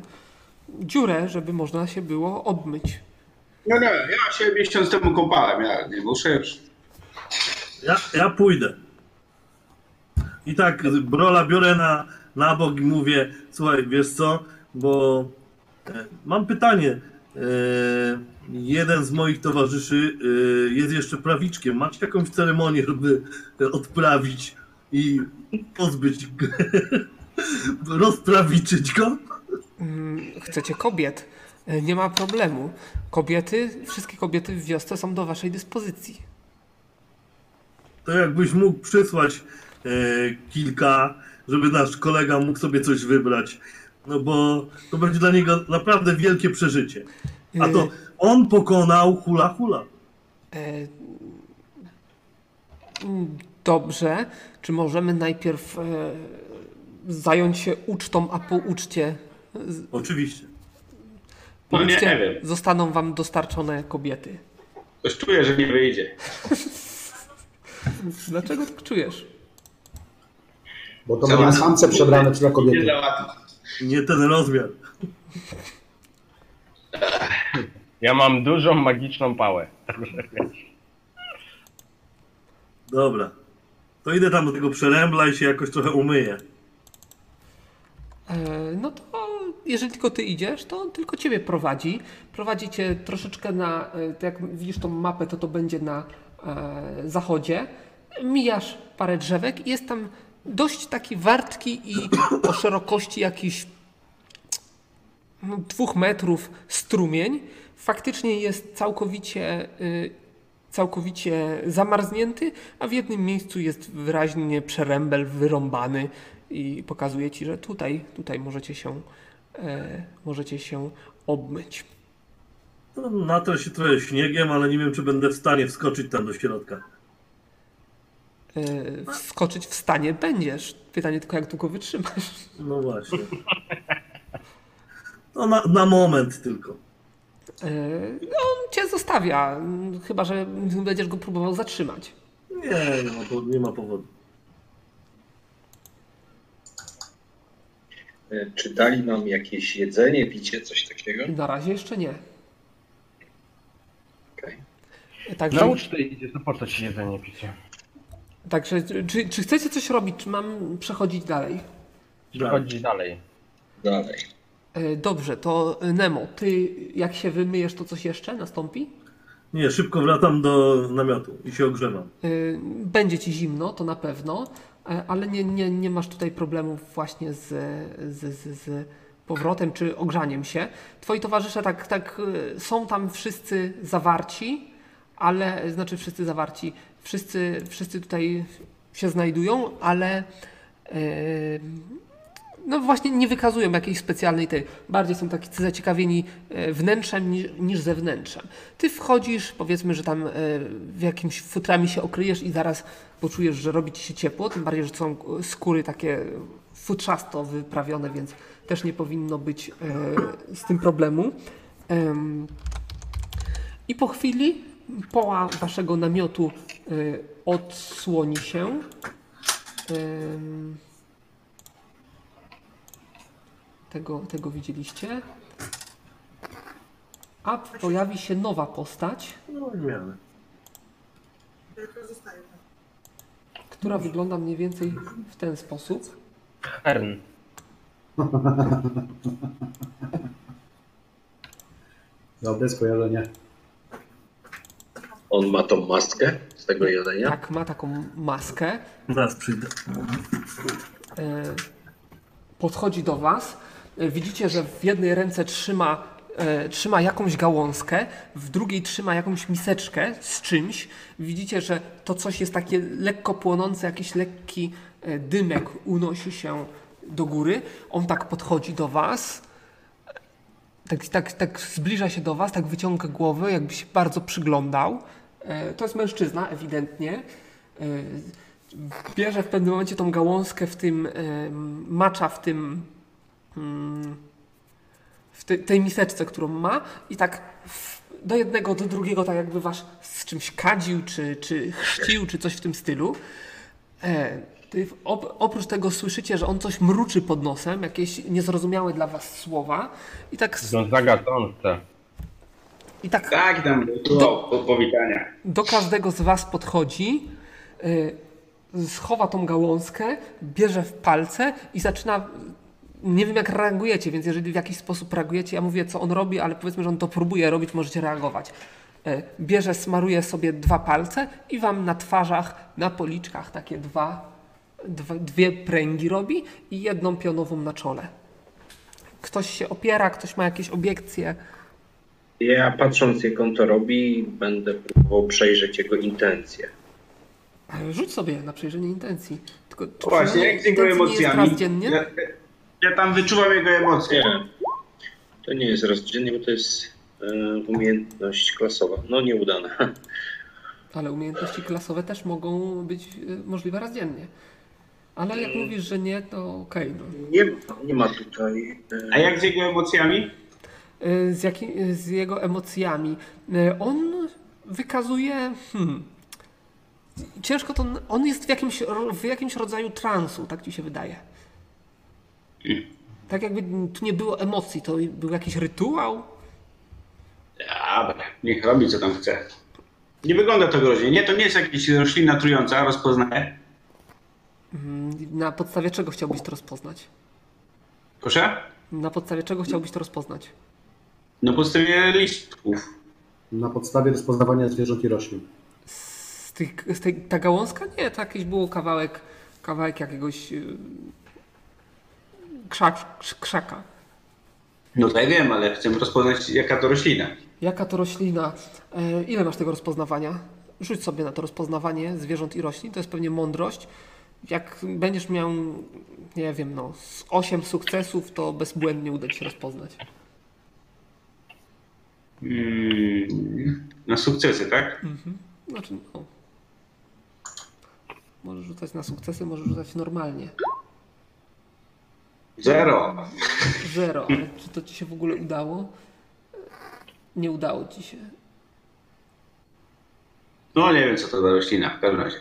[SPEAKER 1] dziurę, żeby można się było obmyć.
[SPEAKER 2] No nie, ja się miesiąc temu kąpałem, ja nie muszę już.
[SPEAKER 5] Ja, ja pójdę. I tak Brola biorę na, na bok i mówię, słuchaj, wiesz co, bo e, mam pytanie. E, jeden z moich towarzyszy e, jest jeszcze prawiczkiem. Macie jakąś ceremonię, żeby e, odprawić i pozbyć go, rozprawiczyć go?
[SPEAKER 1] Mm, Chcecie kobiet? E, Nie ma problemu. Kobiety, wszystkie kobiety w wiosce są do waszej dyspozycji.
[SPEAKER 5] To jakbyś mógł przysłać e, kilka, żeby nasz kolega mógł sobie coś wybrać. No bo to będzie dla niego naprawdę wielkie przeżycie. A to on pokonał hula hula.
[SPEAKER 1] E, mm, Dobrze. Czy możemy najpierw e, zająć się ucztą, a po uczcie,
[SPEAKER 5] Oczywiście.
[SPEAKER 1] po
[SPEAKER 2] No nie
[SPEAKER 1] uczcie
[SPEAKER 2] wiem.
[SPEAKER 1] zostaną wam dostarczone kobiety?
[SPEAKER 2] Coś czuję, że nie wyjdzie.
[SPEAKER 1] Dlaczego tak czujesz?
[SPEAKER 6] Bo to mamy samce przebrane przez
[SPEAKER 2] Nie
[SPEAKER 6] kobiety.
[SPEAKER 2] załatwić.
[SPEAKER 5] Nie ten rozmiar.
[SPEAKER 4] Ja mam dużą magiczną pałę.
[SPEAKER 5] Dobra. To idę tam do tego przerębla i się jakoś trochę umyję.
[SPEAKER 1] E, No to jeżeli tylko ty idziesz, to on tylko ciebie prowadzi. Prowadzi cię troszeczkę na, e, to jak widzisz tą mapę, to to będzie na e, zachodzie. Mijasz parę drzewek i jest tam dość taki wartki i o szerokości jakiś no, dwóch metrów strumień. Faktycznie jest całkowicie, y, całkowicie zamarznięty, a w jednym miejscu jest wyraźnie przerębel wyrąbany i pokazuje ci, że tutaj, tutaj możecie się, e, możecie się obmyć.
[SPEAKER 5] No, natrę się trochę śniegiem, ale nie wiem, czy będę w stanie wskoczyć tam do środka.
[SPEAKER 1] E, wskoczyć w stanie będziesz. Pytanie tylko, jak długo wytrzymasz.
[SPEAKER 5] No właśnie. No na, na moment tylko.
[SPEAKER 1] E, no, on cię zostawia, m, chyba że będziesz go próbował zatrzymać.
[SPEAKER 5] Nie, nie ma, po- nie ma powodu.
[SPEAKER 3] E, Czy dali nam jakieś jedzenie, picie, coś takiego?
[SPEAKER 1] Na razie jeszcze nie.
[SPEAKER 3] Okej.
[SPEAKER 1] Także...
[SPEAKER 4] Naucz ty idzie, to po co ci jedzenie picie?
[SPEAKER 1] Także czy, czy chcecie coś robić, czy mam przechodzić dalej?
[SPEAKER 4] Przechodzi dalej.
[SPEAKER 3] Dalej.
[SPEAKER 1] E, Dobrze, to e, Nemo, ty jak się wymyjesz, to coś jeszcze nastąpi?
[SPEAKER 5] Nie, szybko wracam do namiotu i się ogrzewam.
[SPEAKER 1] E, Będzie ci zimno, to na pewno, e, ale nie, nie, nie masz tutaj problemów właśnie z, z, z, z powrotem czy ogrzaniem się. Twoi towarzysze tak, tak e, są tam wszyscy zawarci, ale znaczy wszyscy zawarci, wszyscy, wszyscy tutaj się znajdują, ale e, no właśnie nie wykazują jakiejś specjalnej tej. Bardziej są taki zaciekawieni e, wnętrzem niż, niż zewnętrzem. Ty wchodzisz, powiedzmy, że tam e, w jakimś futrami się okryjesz i zaraz poczujesz, że robi ci się ciepło, tym bardziej, że to są e, skóry takie futrzasto wyprawione, więc też nie powinno być e, z tym problemu. Em, I po chwili poła waszego namiotu e, odsłoni się. Em, tego, tego widzieliście. A pojawi się nowa postać,
[SPEAKER 5] No w miarę.
[SPEAKER 1] która wygląda mniej więcej w ten sposób.
[SPEAKER 4] Hern.
[SPEAKER 6] Dobre skojarzenie.
[SPEAKER 3] On ma tą maskę z tego jelenia.
[SPEAKER 1] Tak, ma taką maskę.
[SPEAKER 5] Zaraz przyjdę.
[SPEAKER 1] E, podchodzi do was. E, Widzicie, że w jednej ręce trzyma, e, trzyma jakąś gałązkę, w drugiej trzyma jakąś miseczkę z czymś. Widzicie, że to coś jest takie lekko płonące, jakiś lekki e, dymek unosi się do góry. On tak podchodzi do was. Tak, tak, tak zbliża się do was, tak wyciąga głowę, jakby się bardzo przyglądał. E, To jest mężczyzna, ewidentnie. E, Bierze w pewnym momencie tą gałązkę w tym, em, macza w tym, mm, w te, tej miseczce, którą ma i tak w, do jednego, do drugiego, tak jakby wasz z czymś kadził, czy, czy chrzcił, czy coś w tym stylu. E, ty w- op, oprócz tego słyszycie, że on coś mruczy pod nosem, jakieś niezrozumiałe dla was słowa i tak, s-
[SPEAKER 4] Gonzaga Tonce.
[SPEAKER 1] i tak
[SPEAKER 2] Tak, tam
[SPEAKER 1] Do-
[SPEAKER 2] do, do powitania.
[SPEAKER 1] do każdego z was podchodzi, y, schowa tą gałązkę, bierze w palce i zaczyna. Nie wiem, jak reagujecie, więc jeżeli w jakiś sposób reagujecie, ja mówię, co on robi, ale powiedzmy, że on to próbuje robić, możecie reagować. Y, Bierze, smaruje sobie dwa palce i wam na twarzach, na policzkach takie dwa, dwa, dwie pręgi robi i jedną pionową na czole. Ktoś się opiera, ktoś ma jakieś obiekcje.
[SPEAKER 3] Ja patrząc jak on to robi, będę próbował przejrzeć jego intencje.
[SPEAKER 1] Ale E, Rzuć sobie na przejrzenie intencji. Tylko czy
[SPEAKER 2] No Właśnie,
[SPEAKER 1] przejrzenie
[SPEAKER 2] jak z jego
[SPEAKER 1] intencji nie Jest
[SPEAKER 2] emocjami.
[SPEAKER 1] raz dziennie?
[SPEAKER 2] Ja, ja tam wyczuwam jego emocje.
[SPEAKER 3] Nie, to nie jest rozdzielnie, bo to jest e, umiejętność klasowa. No nieudana.
[SPEAKER 1] Ale umiejętności klasowe też mogą być y, możliwe raz dziennie. Ale jak mówisz, że nie, to okej. no.
[SPEAKER 3] Nie, ma- nie ma tutaj... e,
[SPEAKER 2] A jak z jego emocjami?
[SPEAKER 1] Y, Z, jaki, z jego emocjami. Y, On wykazuje. Hmm, ciężko to. On jest w jakimś, ro- w jakimś rodzaju transu, tak ci się wydaje. Tak jakby tu nie było emocji, to był jakiś rytuał.
[SPEAKER 2] Dobra, niech robi co tam chce. Nie wygląda to groźnie. Nie, to nie jest jakaś roślina trująca, rozpoznaję.
[SPEAKER 1] Mm, Na podstawie czego chciałbyś to rozpoznać?
[SPEAKER 2] Proszę?
[SPEAKER 1] Na podstawie czego chciałbyś to rozpoznać?
[SPEAKER 2] Na podstawie listków.
[SPEAKER 6] Na podstawie rozpoznawania zwierząt i roślin.
[SPEAKER 1] Z tych, z tej, ta gałązka? Nie, to jakiś był kawałek, kawałek jakiegoś yy, krzak, krz- krzaka.
[SPEAKER 2] No to ja wiem, ale chcę rozpoznać jaka to roślina.
[SPEAKER 1] Jaka to roślina? E, ile masz tego rozpoznawania? Rzuć sobie na to rozpoznawanie zwierząt i roślin, to jest pewnie mądrość. Jak będziesz miał, nie wiem, no, z 8 sukcesów, to bezbłędnie uda ci się rozpoznać.
[SPEAKER 2] Mm, na sukcesy, tak?
[SPEAKER 1] Znaczy, no. Możesz rzucać na sukcesy, możesz rzucać normalnie.
[SPEAKER 2] Zero.
[SPEAKER 1] Zero, ale czy to ci się w ogóle udało? Nie udało ci się.
[SPEAKER 2] No nie wiem co to za roślina w każdym razie.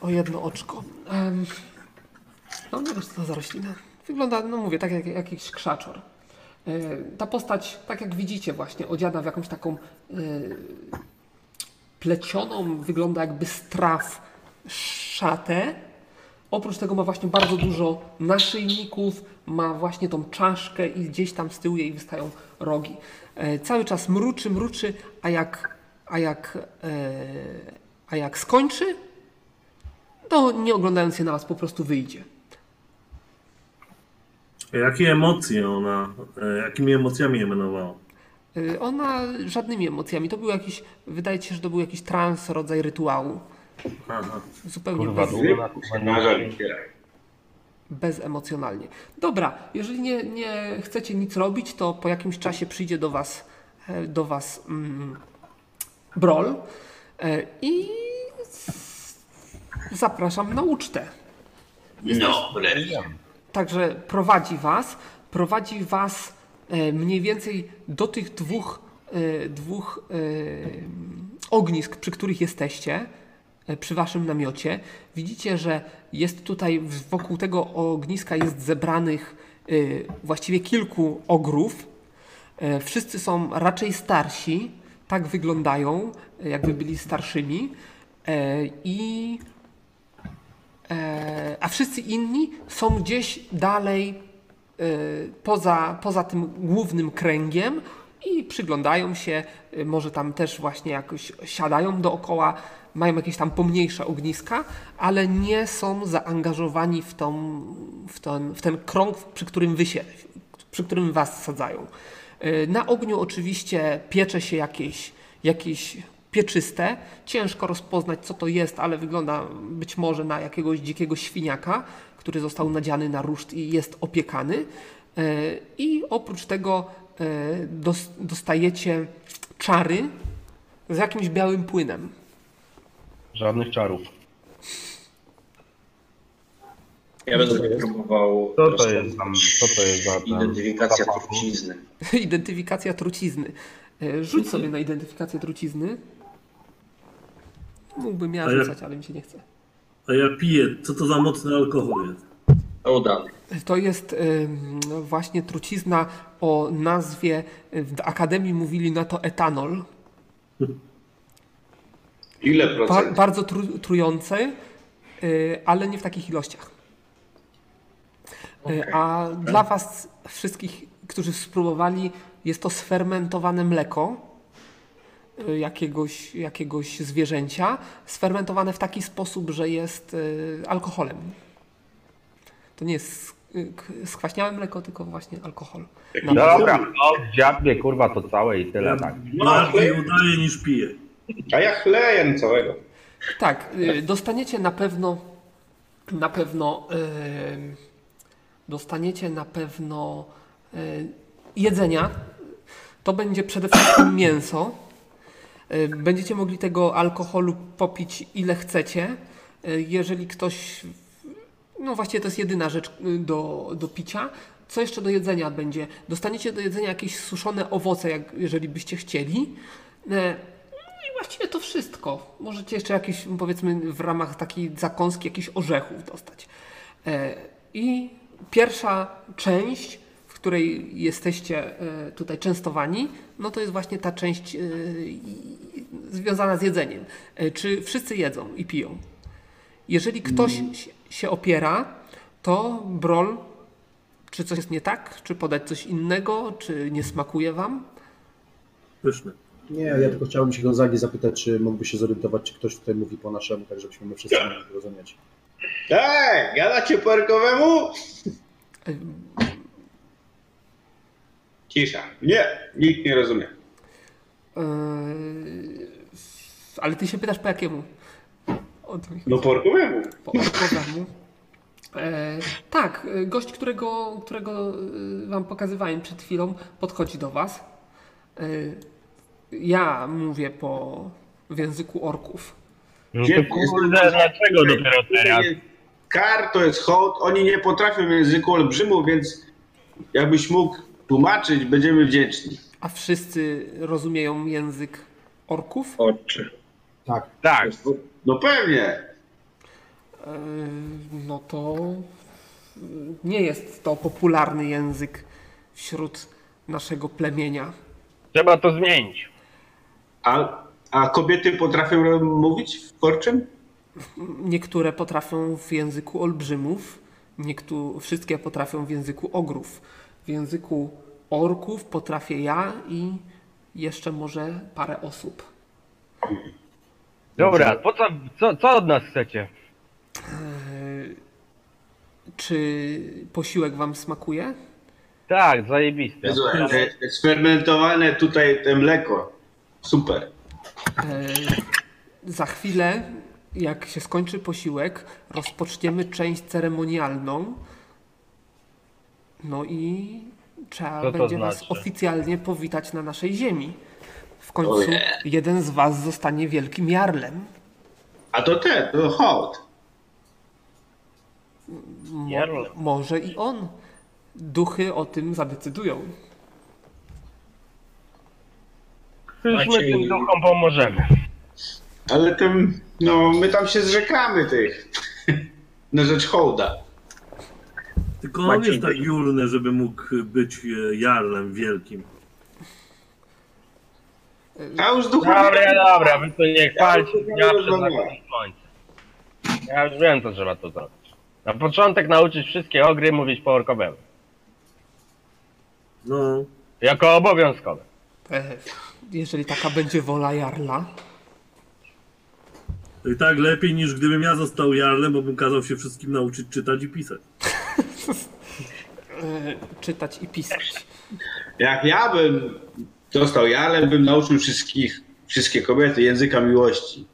[SPEAKER 1] O jedno oczko. Em, no nie wiesz, co to za roślina. Wygląda, no mówię, tak jak jakiś krzaczor. E, ta postać, tak jak widzicie właśnie, odziana w jakąś taką e, plecioną, wygląda jakby straw szatę. Oprócz tego ma właśnie bardzo dużo naszyjników, ma właśnie tą czaszkę i gdzieś tam z tyłu jej wystają rogi. E, cały czas mruczy, mruczy, a jak, a jak, e, a jak skończy, to No, nie oglądając się na was po prostu wyjdzie.
[SPEAKER 5] Jakie emocje ona, e, jakimi emocjami emanowała?
[SPEAKER 1] Y, Ona żadnymi emocjami. To był jakiś, wydaje ci się, że to był jakiś trans, rodzaj rytuału.
[SPEAKER 5] Aha.
[SPEAKER 1] Zupełnie
[SPEAKER 4] Kurwa,
[SPEAKER 1] bez,
[SPEAKER 4] długo na to będą
[SPEAKER 2] Na żadnych kierach.
[SPEAKER 1] bezemocjonalnie. Dobra, jeżeli nie, nie chcecie nic robić, to po jakimś czasie przyjdzie do was, e, do was mm, brol e, i s- zapraszam na ucztę.
[SPEAKER 2] No, wreszcie.
[SPEAKER 1] Także prowadzi was, prowadzi was e, mniej więcej do tych dwóch, e, dwóch e, ognisk, przy których jesteście, e, przy waszym namiocie. Widzicie, że jest tutaj w- wokół tego ogniska jest zebranych e, właściwie kilku ogrów. E, Wszyscy są raczej starsi, tak wyglądają, e, jakby byli starszymi. E, I. E, a wszyscy inni są gdzieś dalej e, poza, poza tym głównym kręgiem i przyglądają się. e, Może tam też właśnie jakoś siadają dookoła, mają jakieś tam pomniejsze ogniska, ale nie są zaangażowani w, tą, w, ten, w ten krąg, przy którym wy się, przy którym was sadzają. E, Na ogniu oczywiście piecze się jakieś, jakieś pieczyste. Ciężko rozpoznać, co to jest, ale wygląda być może na jakiegoś dzikiego świniaka, który został nadziany na ruszt i jest opiekany. E, I oprócz tego e, dos- dostajecie czary z jakimś białym płynem.
[SPEAKER 4] Żadnych czarów.
[SPEAKER 3] Ja będę próbował
[SPEAKER 4] Co to
[SPEAKER 3] rozpoznać
[SPEAKER 4] jest tam- co to jest za ten-
[SPEAKER 3] identyfikacja
[SPEAKER 4] zapach?
[SPEAKER 3] trucizny.
[SPEAKER 1] Identyfikacja trucizny. E, Rzuć sobie na identyfikację trucizny. Mógłbym ja
[SPEAKER 5] A ja-
[SPEAKER 1] rzucać, ale mi się nie chce.
[SPEAKER 5] A ja piję, co to za mocny alkohol jest?
[SPEAKER 3] Udany.
[SPEAKER 1] To jest ym, właśnie trucizna o nazwie, w akademii mówili na to etanol.
[SPEAKER 3] Ile
[SPEAKER 1] Ba
[SPEAKER 3] procent?
[SPEAKER 1] bardzo tru trujący, y, ale nie w takich ilościach. Y, A dla Was wszystkich, którzy spróbowali, jest to sfermentowane mleko y, jakiegoś, jakiegoś zwierzęcia, sfermentowane w taki sposób, że jest y, alkoholem. To nie jest y, k- skwaśniałe mleko, tylko właśnie alkohol. Na-
[SPEAKER 4] Dobra, no, dziabnie kurwa to całe i tyle,
[SPEAKER 5] Ja
[SPEAKER 4] tak.
[SPEAKER 5] bardziej udaję niż piję.
[SPEAKER 2] A ja chleję całego.
[SPEAKER 1] Tak, y, dostaniecie na pewno na pewno ym, dostaniecie na pewno y, jedzenia. To będzie przede wszystkim mięso. Y, Będziecie mogli tego alkoholu popić ile chcecie. Y, Jeżeli ktoś. No właśnie, to jest jedyna rzecz y, do, do picia. Co jeszcze do jedzenia będzie? Dostaniecie do jedzenia jakieś suszone owoce, jak, jeżeli byście chcieli. E, No i właściwie to wszystko. Możecie jeszcze jakieś, powiedzmy, w ramach takiej zakąski, jakichś orzechów dostać. E, I pierwsza część, w której jesteście e, tutaj częstowani, no to jest właśnie ta część e, i- związana z jedzeniem. E, Czy wszyscy jedzą i piją? Jeżeli ktoś si- się opiera, to brol, czy coś jest nie tak, czy podać coś innego, czy nie smakuje wam?
[SPEAKER 5] Pyszne.
[SPEAKER 6] Nie, ja tylko chciałbym się Gonzagi zapytać, czy mógłby się zorientować, czy ktoś tutaj mówi po naszemu, tak żebyśmy my wszyscy mogli rozumieć.
[SPEAKER 2] Tak, gadacie po rykowemu?
[SPEAKER 1] E,
[SPEAKER 2] Cisza. Nie, nikt nie rozumie.
[SPEAKER 1] Eee, ale ty się pytasz po jakiemu? O to mi chodzi.
[SPEAKER 2] No po rykowemu.
[SPEAKER 1] Po programu. Eee, tak, e, gość, którego, którego e, wam pokazywałem przed chwilą, podchodzi do was. Eee, ja mówię po w języku orków.
[SPEAKER 4] No
[SPEAKER 2] Gdzie-
[SPEAKER 4] to kurde, dlaczego dopiero teraz?
[SPEAKER 2] Kar to jest hołd, oni nie potrafią języku olbrzymu, więc jakbyś mógł tłumaczyć, będziemy wdzięczni.
[SPEAKER 1] A wszyscy rozumieją język orków?
[SPEAKER 3] Oczy.
[SPEAKER 6] Tak.
[SPEAKER 4] Tak,
[SPEAKER 2] No pewnie.
[SPEAKER 1] Eee, No to y, nie jest to popularny język wśród naszego plemienia.
[SPEAKER 4] trzeba to zmienić.
[SPEAKER 2] A, a kobiety potrafią ro- mówić w korczym?
[SPEAKER 1] Niektóre potrafią w języku olbrzymów, niektó- wszystkie potrafią w języku ogrów. W języku orków potrafię ja i jeszcze może parę osób.
[SPEAKER 4] Dobra, po co, co, co od nas chcecie?
[SPEAKER 1] Czy posiłek Wam smakuje?
[SPEAKER 4] Tak, zajebiste.
[SPEAKER 2] Jezu, e- Eksperymentowane tutaj te mleko. Super.
[SPEAKER 1] Za chwilę, jak się skończy posiłek, rozpoczniemy część ceremonialną. No i trzeba
[SPEAKER 4] Co to
[SPEAKER 1] będzie Was
[SPEAKER 4] znaczy?
[SPEAKER 1] oficjalnie powitać na naszej ziemi. W końcu jeden z Was zostanie wielkim jarlem.
[SPEAKER 2] A to te, to hołd.
[SPEAKER 1] Mo-
[SPEAKER 4] Jarl.
[SPEAKER 1] Może i on. Duchy o tym zadecydują.
[SPEAKER 4] Przecież my
[SPEAKER 3] Maciej-
[SPEAKER 4] tym duchom pomożemy.
[SPEAKER 2] Ale tym, no my tam się zrzekamy tych. Na rzecz hołda.
[SPEAKER 5] Tylko on
[SPEAKER 3] Maciej,
[SPEAKER 5] jest tak jurny, żeby mógł być e, jarlem wielkim.
[SPEAKER 2] A już duchowy...
[SPEAKER 4] Dobra, dobra, wy tu nie chwalcie,
[SPEAKER 2] Ja
[SPEAKER 4] ja
[SPEAKER 2] już
[SPEAKER 4] przed
[SPEAKER 2] rozmawiałem.
[SPEAKER 4] nami słońce. Ja już wiem, co trzeba tu zrobić. Na początek nauczyć wszystkie ogry mówić po orkowemu.
[SPEAKER 5] No,
[SPEAKER 4] Jako obowiązkowe.
[SPEAKER 1] E, jeżeli taka będzie wola Jarla.
[SPEAKER 5] to i tak lepiej niż gdybym ja został jarlem, bo bym kazał się wszystkim nauczyć czytać i pisać.
[SPEAKER 1] e, czytać i pisać.
[SPEAKER 2] Jak ja bym został Jarlem, bym nauczył wszystkich, wszystkie kobiety języka miłości.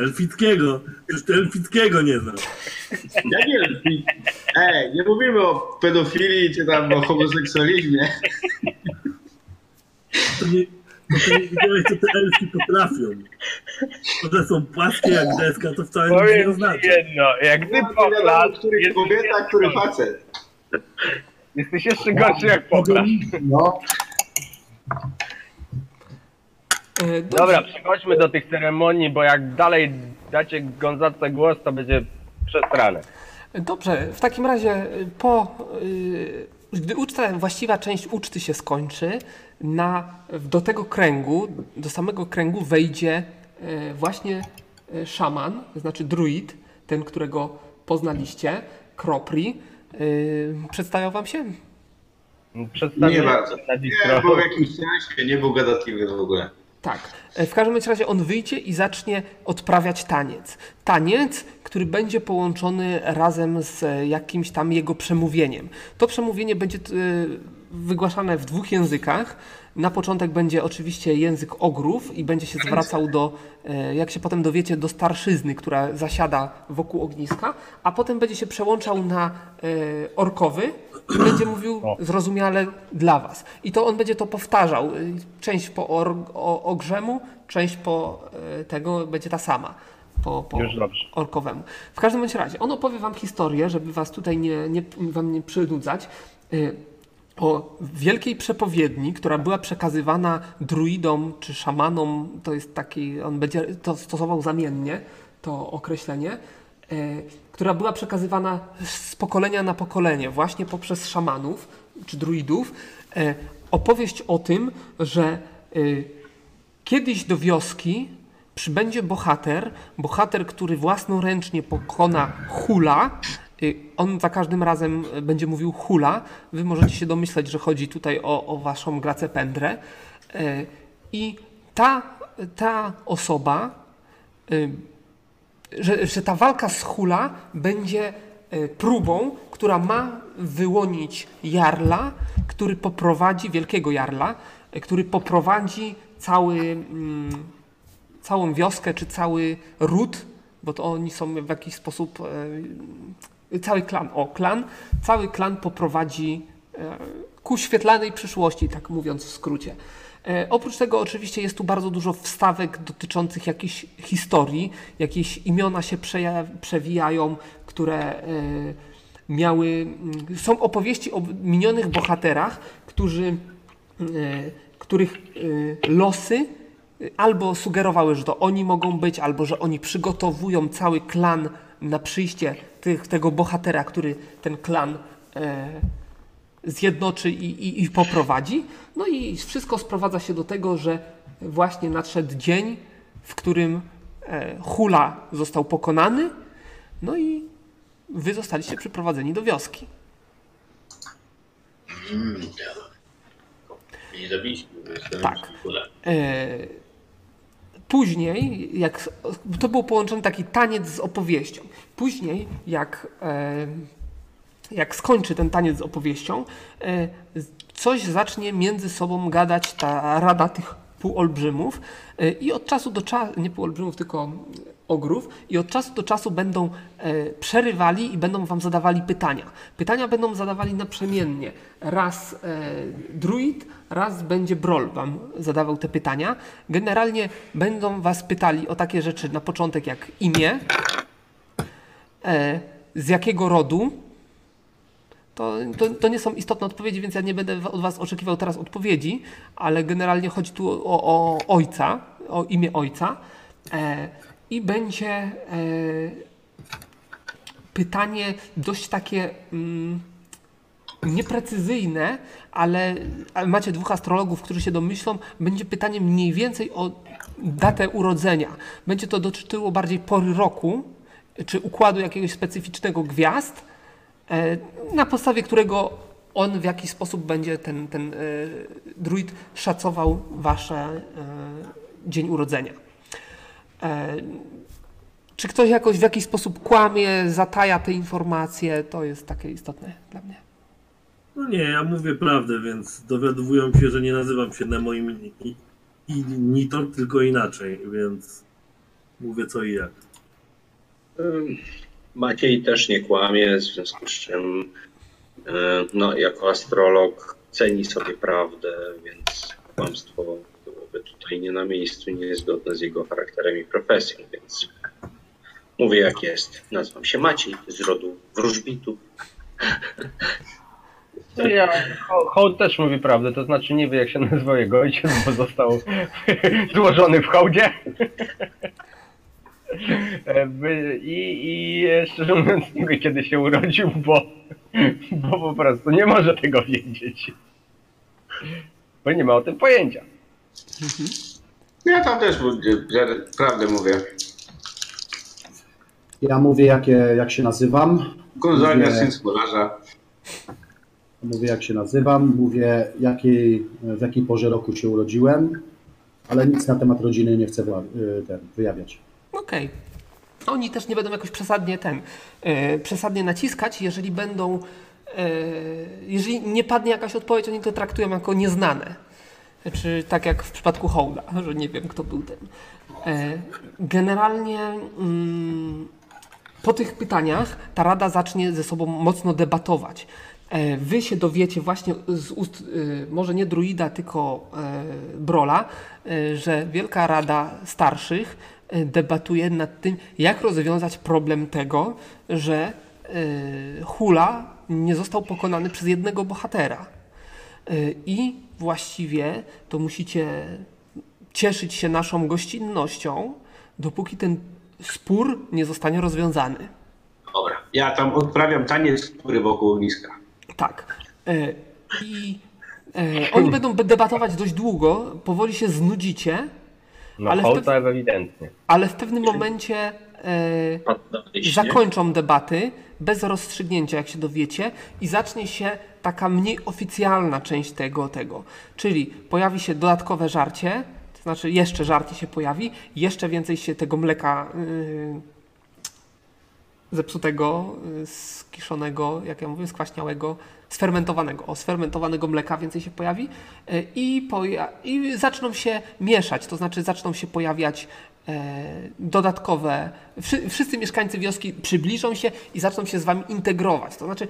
[SPEAKER 5] Elfickiego! Przecież ty elfickiego nie znasz.
[SPEAKER 2] Ja nie wiem, i- ej, nie mówimy o pedofilii czy tam o homoseksualizmie.
[SPEAKER 5] To nie, to ty nie widziałeś, co te elfy potrafią. One są płaskie jak deska, to wcale nic nie znaczy.
[SPEAKER 4] Powiem ci
[SPEAKER 5] oznacza.
[SPEAKER 4] jedno, jak ty
[SPEAKER 2] Nie
[SPEAKER 4] poplasz,
[SPEAKER 2] wiadomo, który
[SPEAKER 4] jesteś
[SPEAKER 2] kobieta,
[SPEAKER 4] jeszcze
[SPEAKER 2] który
[SPEAKER 4] gorszy.
[SPEAKER 2] facet.
[SPEAKER 4] Jesteś jeszcze gorszy jak poplasz.
[SPEAKER 6] No,
[SPEAKER 1] E, dobrze.
[SPEAKER 4] Dobra, przechodźmy do tych ceremonii, bo jak dalej dacie Gonzatce głos, to będzie przesrane.
[SPEAKER 1] Dobrze, w takim razie y, po, y, gdy uczta, właściwa część uczty się skończy, na, w- do tego kręgu, do samego kręgu wejdzie y, właśnie y, szaman, to znaczy druid, ten, którego poznaliście, Kropri. Y, Przedstawiał wam się?
[SPEAKER 4] Przedstawię
[SPEAKER 2] Nie bardzo.
[SPEAKER 4] Nadzić
[SPEAKER 2] Nie,
[SPEAKER 4] trochę.
[SPEAKER 2] był w jakimś sensie, nie był gadatliwy w ogóle.
[SPEAKER 1] Tak. E, W każdym bądź razie on wyjdzie i zacznie odprawiać taniec. Taniec, który będzie połączony razem z e, jakimś tam jego przemówieniem. To przemówienie będzie t- y, wygłaszane w dwóch językach. Na początek będzie oczywiście język ogrów i będzie się zwracał do, e, jak się potem dowiecie, do starszyzny, która zasiada wokół ogniska, a potem będzie się przełączał na e, orkowy i będzie mówił zrozumiale dla was. I to on będzie to powtarzał. y, Część po or, o, ogrzemu, część po y, tego będzie ta sama. Po, po
[SPEAKER 4] Już dobrze.
[SPEAKER 1] orkowemu. W każdym bądź razie, on opowie wam historię, żeby was tutaj nie, nie, wam nie przynudzać. y, O wielkiej przepowiedni, która była przekazywana druidom czy szamanom, to jest taki, on będzie to stosował zamiennie, to określenie, y, która była przekazywana z pokolenia na pokolenie, właśnie poprzez szamanów czy druidów. y, Opowieść o tym, że y, Kiedyś do wioski przybędzie bohater, bohater, który własnoręcznie pokona hula. Y, On za każdym razem y, będzie mówił hula. Wy możecie się domyślać, że chodzi tutaj o, o waszą gracę pędrę. Y, I ta, ta osoba, y, że, że ta walka z hula będzie y, próbą, która ma wyłonić jarla, który poprowadzi, wielkiego jarla, y, który poprowadzi cały, mm, całą wioskę czy cały ród, bo to oni są w jakiś sposób, y, cały klan, o klan, cały klan poprowadzi e, ku świetlanej przyszłości, tak mówiąc w skrócie. E, Oprócz tego oczywiście jest tu bardzo dużo wstawek dotyczących jakichś historii, jakieś imiona się przeja- przewijają, które e, miały. mm, Są opowieści o minionych bohaterach, którzy, e, których e, losy e, albo sugerowały, że to oni mogą być, albo że oni przygotowują cały klan na przyjście tych, tego bohatera, który ten klan e, zjednoczy i, i, i poprowadzi. No i wszystko sprowadza się do tego, że właśnie nadszedł dzień, w którym e, Hula został pokonany, no i wy zostaliście przyprowadzeni do wioski.
[SPEAKER 3] Nie zabiliśmy, bo jestem
[SPEAKER 1] Tak.
[SPEAKER 3] w ogóle.
[SPEAKER 1] E, później, jak s- to był połączony taki taniec z opowieścią. Później, jak, e, jak skończy ten taniec z opowieścią, e, z- coś zacznie między sobą gadać ta rada tych półolbrzymów e, i od czasu do czasu, nie półolbrzymów, tylko mm, ogrów, i od czasu do czasu będą e, przerywali i będą wam zadawali pytania. Pytania będą zadawali naprzemiennie. Raz e, druid, raz będzie brol wam zadawał te pytania. Generalnie będą was pytali o takie rzeczy na początek jak imię, e, z jakiego rodu. To, to, to nie są istotne odpowiedzi, więc ja nie będę wa- od Was oczekiwał teraz odpowiedzi, ale generalnie chodzi tu o, o ojca, o imię ojca. E, I będzie e, pytanie dość takie. Mm, nieprecyzyjne, ale, ale macie dwóch astrologów, którzy się domyślą, będzie pytanie mniej więcej o datę urodzenia. Będzie to dotyczyło bardziej pory roku, czy układu jakiegoś specyficznego gwiazd, e, na podstawie którego on w jakiś sposób będzie, ten, ten e, druid, szacował wasze e, dzień urodzenia. E, Czy ktoś jakoś w jakiś sposób kłamie, zataja te informacje, to jest takie istotne dla mnie.
[SPEAKER 5] No nie, ja mówię prawdę, więc dowiadowują się, że nie nazywam się Nemo i, Mini- i, i Nitor, tylko inaczej, więc mówię co i jak.
[SPEAKER 3] Ym, Maciej też nie kłamie, w związku z czym y, no, jako astrolog ceni sobie prawdę, więc kłamstwo byłoby tutaj nie na miejscu, niezgodne z jego charakterem i profesją, więc mówię jak jest. Nazywam się Maciej, z rodu wróżbitów.
[SPEAKER 4] To ja, Ho- hołd też mówi prawdę, to znaczy nie wie jak się nazywa jego ojciec, bo został złożony w hołdzie. E, by- I, I e, szczerze mówiąc nie wie kiedy się urodził, bo, bo po prostu nie może tego wiedzieć. Bo nie ma o tym pojęcia.
[SPEAKER 2] Ja tam też mówię, że prawdę mówię.
[SPEAKER 6] Ja mówię, jakie, jak się nazywam.
[SPEAKER 2] Gonzalnia,
[SPEAKER 6] Nie.
[SPEAKER 2] syn spolarza.
[SPEAKER 6] Mówię, jak się nazywam, mówię, jakiej, w jakiej porze roku się urodziłem, ale nic na temat rodziny nie chcę wla- y, ten, wyjawiać.
[SPEAKER 1] Okej. Oni też nie będą jakoś przesadnie ten, e, przesadnie naciskać, jeżeli będą, e, jeżeli nie padnie jakaś odpowiedź, oni to traktują jako nieznane. Czy tak jak w przypadku Hołda, że nie wiem kto był ten. E, Generalnie mm, po tych pytaniach ta rada zacznie ze sobą mocno debatować. E, Wy się dowiecie właśnie z ust, y, może nie druida, tylko e, Brola, e, że Wielka Rada Starszych e, debatuje nad tym, jak rozwiązać problem tego, że e, Hula nie został pokonany przez jednego bohatera. E, I właściwie to musicie cieszyć się naszą gościnnością, dopóki ten spór nie zostanie rozwiązany.
[SPEAKER 2] Dobra. Ja tam odprawiam taniec, który wokół ogniska.
[SPEAKER 1] Tak. E, I e, oni będą debatować dość długo, powoli się znudzicie,
[SPEAKER 4] No
[SPEAKER 1] Ale
[SPEAKER 4] Ale
[SPEAKER 1] w
[SPEAKER 4] hołd
[SPEAKER 1] pe-
[SPEAKER 4] to ewidentnie.
[SPEAKER 1] ale w pewnym momencie e,
[SPEAKER 3] Padł na wyjście.
[SPEAKER 1] zakończą debaty bez rozstrzygnięcia, jak się dowiecie, i zacznie się taka mniej oficjalna część tego, tego. Czyli pojawi się dodatkowe żarcie, to znaczy jeszcze żarcie się pojawi, jeszcze więcej się tego mleka yy, zepsutego, yy, skiszonego, jak ja mówię, skwaśniałego, sfermentowanego, o, sfermentowanego mleka więcej się pojawi yy, i, poja- i zaczną się mieszać, to znaczy zaczną się pojawiać e, dodatkowe, wszy- wszyscy mieszkańcy wioski przybliżą się i zaczną się z wami integrować, to znaczy